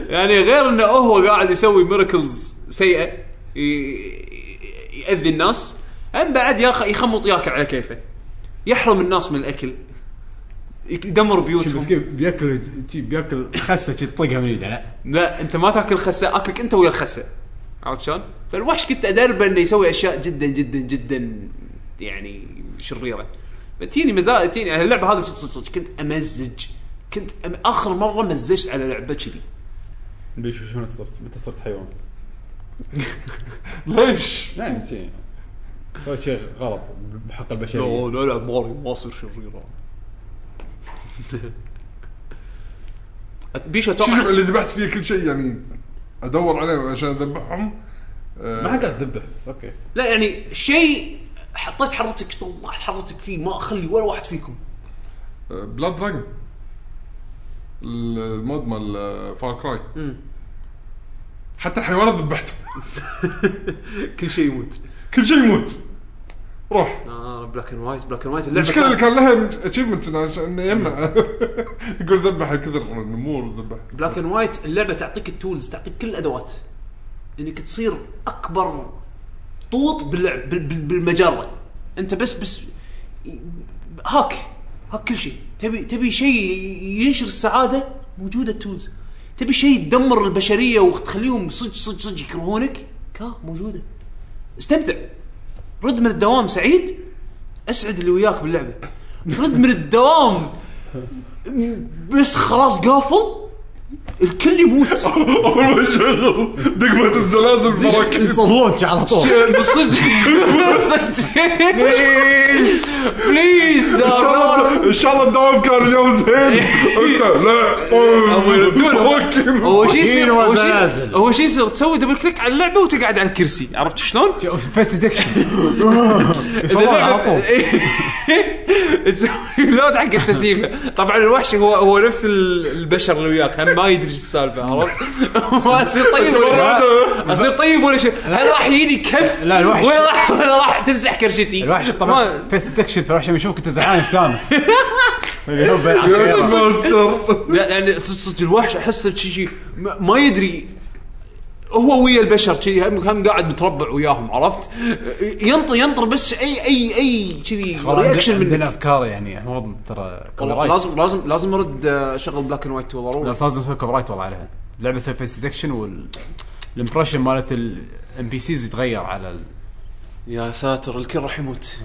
S1: يعني غير انه هو قاعد يسوي ميركلز سيئه ي- ي- ياذي الناس هم بعد ياخ- يخمط ياكل على كيفه يحرم الناس من الاكل يدمر بيوتهم
S2: بياكل بياكل خسه تطقها من يده لا
S1: لا انت ما تاكل خسه اكلك انت ويا الخسه عرفت شلون؟ فالوحش كنت ادربه انه يسوي اشياء جدا جدا جدا يعني شريره فتيني مزاج تيني يعني اللعبه هذه صدق صدق صدق كنت امزج كنت أم... اخر مره مزجت على لعبه كذي
S2: ليش شلون صرت متى صرت حيوان؟
S1: ليش؟
S2: يعني شيء سويت شيء غلط بحق
S1: لا
S2: البشريه
S1: لا لا ماري ما اصير شريره بيشو
S3: شوف شوف
S1: اتوقع
S3: اللي ذبحت فيه كل شيء يعني ادور عليهم عشان اذبحهم آه،
S2: ما حد قاعد تذبح بس اوكي
S1: لا يعني شيء حطيت حرتك طلعت حرتك فيه ما اخلي ولا واحد فيكم
S3: آه، بلاد دراجون المود مال آه، فار كراي حتى الحيوانات ذبحتهم
S1: كل شيء يموت
S3: كل شيء يموت روح
S1: اه بلاك اند وايت بلاك اند وايت اللعبه
S3: المشكله اللي
S1: كانت-
S3: كان لها اتشيفمنت انه يمنع يقول ذبح الكثر النمور وذبح
S1: بلاك اند وايت اللعبه تعطيك التولز تعطيك كل الادوات انك تصير اكبر طوط باللعب بال- بال- بالمجره انت بس بس هاك هاك كل شيء تبي تبي شيء ينشر السعاده موجوده التولز تبي شيء يدمر البشريه وتخليهم صدق صدق صدق يكرهونك كا موجوده استمتع رد من الدوام سعيد اسعد اللي وياك باللعبه رد من الدوام بس خلاص قافل الكل يموت
S3: اول ما يشغل دقمه الزلازل براكين
S2: يصلونك على طول
S1: بصدق بصدق بليز بليز
S3: ان شاء الله ان شاء الله الدوام كان اليوم زين انت لا
S1: أو يردون.
S3: براكين
S1: هو شي يصير
S2: كثير
S1: هو شي-
S2: وزلازل.
S1: هو شي يصير تسوي دبل كليك على اللعبه وتقعد على الكرسي عرفت شلون؟
S2: فيس ديكشن يصلون على طول
S1: تسوي لود حق التسييفه طبعا الوحش هو هو نفس ال- البشر اللي وياك هم ما يدري ايش السالفه عرفت؟ ما اصير طيب ولا اصير طيب ولا شيء هل راح يجيني كف؟
S2: لا، الوحش-
S1: ولا راح ولا راح تمسح كرشتي
S2: الوحش
S1: ما-
S2: طبعا فيس ديكشن فالوحش لما يشوفك انت زعلان يستانس اللي هو بين عشرة.
S3: ماستر
S1: لا يعني صدق صدق الوحش احسه شي شي ما ما يدري هو ويا البشر كذي هم هم قاعد متربع وياهم عرفت؟ ينطر ينطر بس اي اي اي كذي
S2: والله
S1: رياكشن
S2: عندنا- عندنا
S1: من
S2: افكار يعني المفروض ترى
S1: والله
S2: كوبي رايت
S1: لازم لازم لازم آه، ارد اشغل بلاك اند وايت
S2: لا،
S1: ضروري
S2: بس لازم تسوي كوبي رايت والله عليها اللعبه تسوي فيس ديكشن وال الامبرشن مالت الام بي سيز يتغير على ال-
S1: يا ساتر الكل راح يموت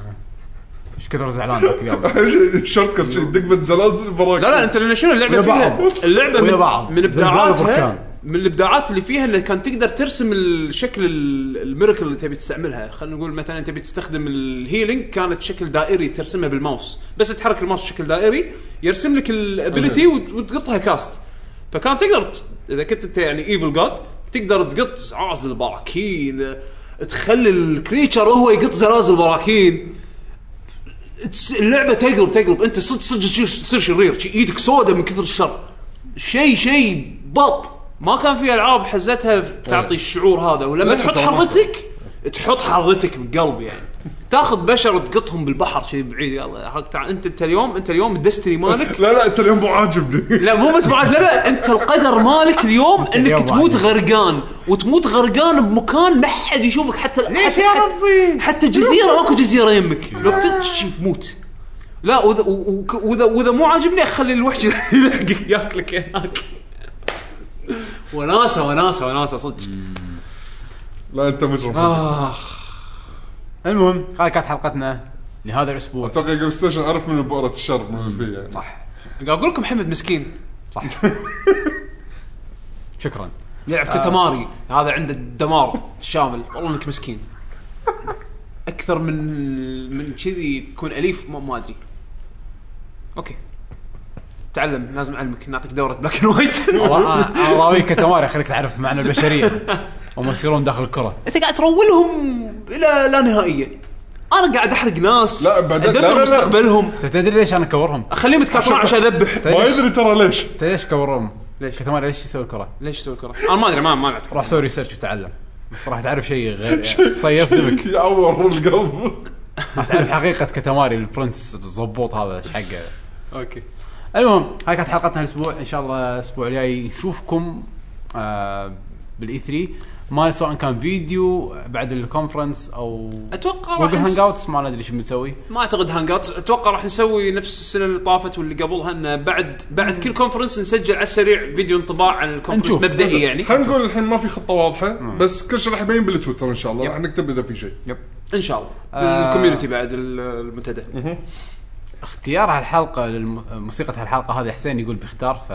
S2: ايش كثر زعلان ذاك اليوم
S3: شورت كت شيء دقمه زلازل براكين
S1: لا لا انت لان شنو اللعبه
S2: ويا
S1: فيها
S2: بعض.
S1: اللعبه
S2: ويا
S1: من,
S2: بعض.
S1: من
S2: زلزال وبركان.
S1: ابداعاتها من الابداعات اللي فيها انه كان تقدر ترسم الشكل ال- الميركل اللي تبي تستعملها خلينا نقول مثلا تبي تستخدم الهيلينج كانت شكل دائري ترسمه بالماوس بس تحرك الماوس بشكل دائري يرسم لك الابيلتي وتقطها كاست فكان تقدر ت- اذا كنت انت يعني ايفل جاد تقدر تقط زعازل براكين تخلي الكريتشر هو يقط زلازل براكين تس- اللعبه تقلب تقلب انت صدق صدق تصير- تصير شرير شي ايدك سودة من كثر الشر شيء شيء بط ما كان في العاب حزتها تعطي الشعور هذا ولما
S9: لا
S1: تحط
S9: تحطها مرة.
S1: حرتك تحط حرتك بقلب يعني تاخذ بشر تقطهم بالبحر شيء بعيد يلا حق تعال انت انت اليوم انت اليوم الدستني مالك
S3: لا لا انت اليوم مو عاجبني
S1: لا مو بس بعد لا لا انت القدر مالك اليوم
S2: اليوم
S1: انك تموت
S2: بعد.
S1: غرقان وتموت غرقان بمكان ما حد يشوفك حتى ليش
S2: يا ربي؟
S1: حتى جزيره ماكو جزيره يمك لو بتشي موت لا واذا وك- واذا واذا مو عاجبني اخلي الوحش يلحقك ياكلك هناك وناسه وناسه وناسه صدق
S3: لا انت مجرم
S1: اخ
S2: المهم هاي كانت حلقتنا لهذا الاسبوع
S3: اتوقع جيم ستيشن عرف من بؤره الشر من اللي فيه يعني صح
S1: قاعد اقول لكم محمد مسكين
S2: صح شكرا
S1: يلعب كتماري هذا عنده الدمار الشامل والله انك مسكين اكثر من من كذي تكون اليف ما, ما ادري اوكي تعلم لازم اعلمك نعطيك دوره بلاك اند وايت
S2: الله يراويك كتماري خليك تعرف معنى البشريه هم يصيرون داخل الكره
S1: انت قاعد ترولهم الى لا نهائيه انا قاعد احرق ناس
S3: لا، بعدين- لا،
S1: ادبر
S3: لا، لا.
S1: مستقبلهم
S2: انت تدري ليش انا اكورهم؟
S1: اخليهم يتكاثرون عشان اذبح
S2: تدري
S3: ما
S2: ليش-
S3: يدري ترى ليش
S2: تدري ليش كورهم؟
S1: ليش؟
S2: كتماري ليش يسوي الكره؟
S1: ليش تسوي كره؟ انا ما ادري ما ما لعبت كرة.
S2: روح سوي ريسيرش وتعلم بس راح تعرف شيء غير سيصدمك
S3: يعور القلب
S2: راح تعرف حقيقه كتماري البرنس الزبوط هذا ايش حقه
S1: اوكي
S2: المهم هاي كانت حلقتنا الاسبوع ان شاء الله الاسبوع الجاي نشوفكم آه بالاي 3 ما سواء كان فيديو بعد الكونفرنس او
S1: اتوقع راح
S2: جوجل
S1: نس-
S2: هانج اوتس ما ندري شو بنسوي
S1: ما اعتقد هانج اوت اتوقع راح نسوي نفس السنه اللي طافت واللي قبلها انه بعد بعد كل كونفرنس نسجل على السريع فيديو انطباع عن الكونفرنس
S2: نشوف.
S1: مبدئي يعني
S3: خلينا نقول الحين ما في خطه واضحه بس كل شيء راح يبين بالتويتر ان شاء الله راح نكتب اذا في شيء
S1: ان شاء الله
S2: آه.
S1: الكوميونتي بعد ال- المنتدى
S2: اختيار هالحلقه للم- موسيقى هالحلقه هذه حسين يقول بيختار ف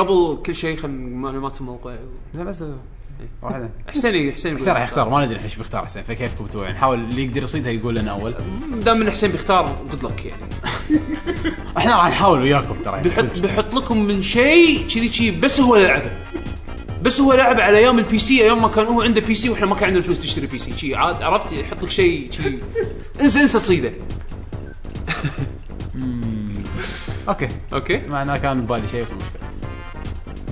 S1: قبل كل شيء خلينا معلومات الموقع
S2: لا بس واحده
S1: حسين حسين
S2: حسين راح يختار ما ندري ايش بيختار حسين فكيفكم انتم يعني نحاول اللي يقدر يصيدها يقول لنا اول
S1: دام ان حسين بيختار جود لك يعني
S2: احنا راح نحاول وياكم ترى
S1: بيحط
S2: صدق.
S1: بيحط لكم من شيء كذي كذي بس هو لعبه بس هو لعب على ايام البي سي ايام ما كان هو عنده بي سي واحنا ما كان عندنا فلوس تشتري بي سي شي عاد عرفت يحط لك شيء شي انسى انسى تصيده
S2: اوكي
S1: اوكي
S2: مع انه كان ببالي شيء بس مو مشكله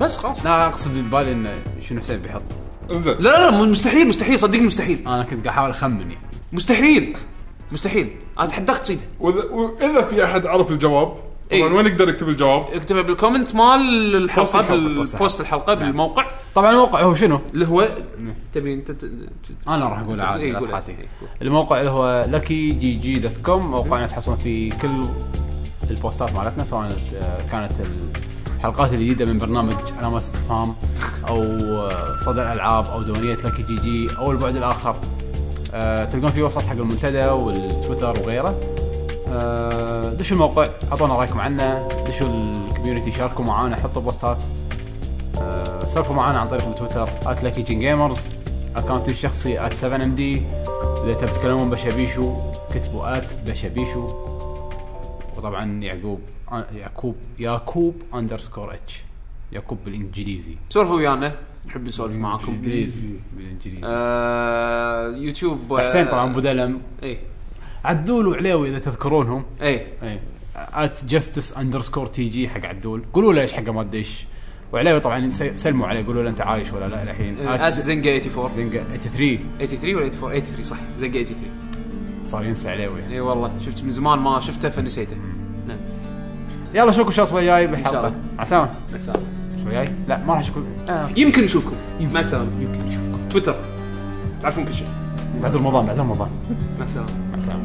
S1: بس خلاص
S2: لا اقصد ببالي انه شنو حسين بيحط
S3: انزين
S1: لا لا لا مستحيل مستحيل صدقني مستحيل
S2: انا كنت قاعد احاول اخمن يعني.
S1: مستحيل مستحيل انا اتحداك تصيده
S3: واذا وإذا في احد عرف الجواب
S1: إيه.
S3: طبعا وين يقدر يكتب الجواب؟
S1: اكتبها بالكومنت مال
S2: بوست
S1: الحلقه
S2: الحلقة، بوست الحلقة.
S1: بالبوست الحلقه بالموقع
S2: طبعا الموقع هو شنو؟
S1: اللي هو تبي انت ت- ت-
S2: انا راح اقول عادي
S1: إيه،
S2: لا
S1: قول
S2: تخاطي.
S1: عادي. إيه، قول.
S2: الموقع اللي هو لكي جي جي دوت كوم موقعنا تحصلون فيه كل البوستات مالتنا سواء آه، كانت الحلقات الجديده من برنامج علامات استفهام او آه، صدى الالعاب او ديوانيه لكي جي جي او البعد الاخر آه، تلقون فيه وسط حق المنتدى والتويتر وغيره آه، دشوا الموقع اعطونا رايكم عنه دشوا الكوميونتي شاركوا معانا حطوا بوستات آه، سولفوا معنا عن طريق التويتر @lucky جين جيمرز اكونتي الشخصي @7md اذا تبي تتكلمون بشبيشو كتبوا @بشبيشو وطبعا يعقوب آه، يعقوب يعقوب اندرسكور اتش يعقوب بالانجليزي
S1: سولفوا ويانا نحب نسولف معاكم
S2: بالانجليزي
S1: آه يوتيوب آه، إيه،
S2: حسين طبعا ابو دلم
S1: اي
S2: عدول وعليوي اذا تذكرونهم
S1: اي
S2: اي ات جستس اندرسكور تي جي حق عدول قولوا له ايش حقه ما ادش وعليوي طبعا سي- سلموا عليه قولوا له انت عايش ولا لا الحين
S1: ات زنجا 84
S2: زنقه 83
S1: 83 ولا 84 83 صح زنجا 83
S2: صار ينسى عليوي
S1: اي إيه والله شفت من زمان ما شفته فنسيته نعم
S2: يلا نشوفكم الشهر الاسبوع الجاي بالحلقه
S1: الله.
S2: مع السلامه الاسبوع الجاي لا ما راح اشوفكم آه.
S1: يمكن نشوفكم مع السلامه يمكن نشوفكم تويتر تعرفون كل شيء
S2: بعد رمضان بعد رمضان
S1: مع السلامه
S2: مع السلامه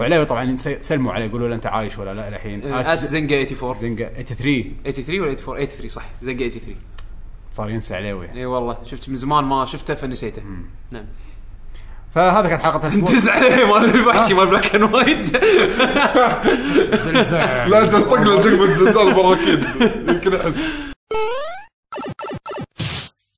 S2: عليه طبعا س- سلموا عليه يقولوا له انت عايش ولا لا الحين
S1: ات زنجا 84
S2: زنقه 83
S1: 83 ولا 84 83 صح زنجا 83
S2: صار ينسى عليه
S1: اي إيه والله شفت من زمان ما شفته فنسيته نعم
S2: فهذا كانت حلقه الاسبوع
S1: دز عليه مال الوحشي مال بلاك اند وايت
S2: زلزال.
S3: لا انت طق له زقمه زلزال براكين يمكن احس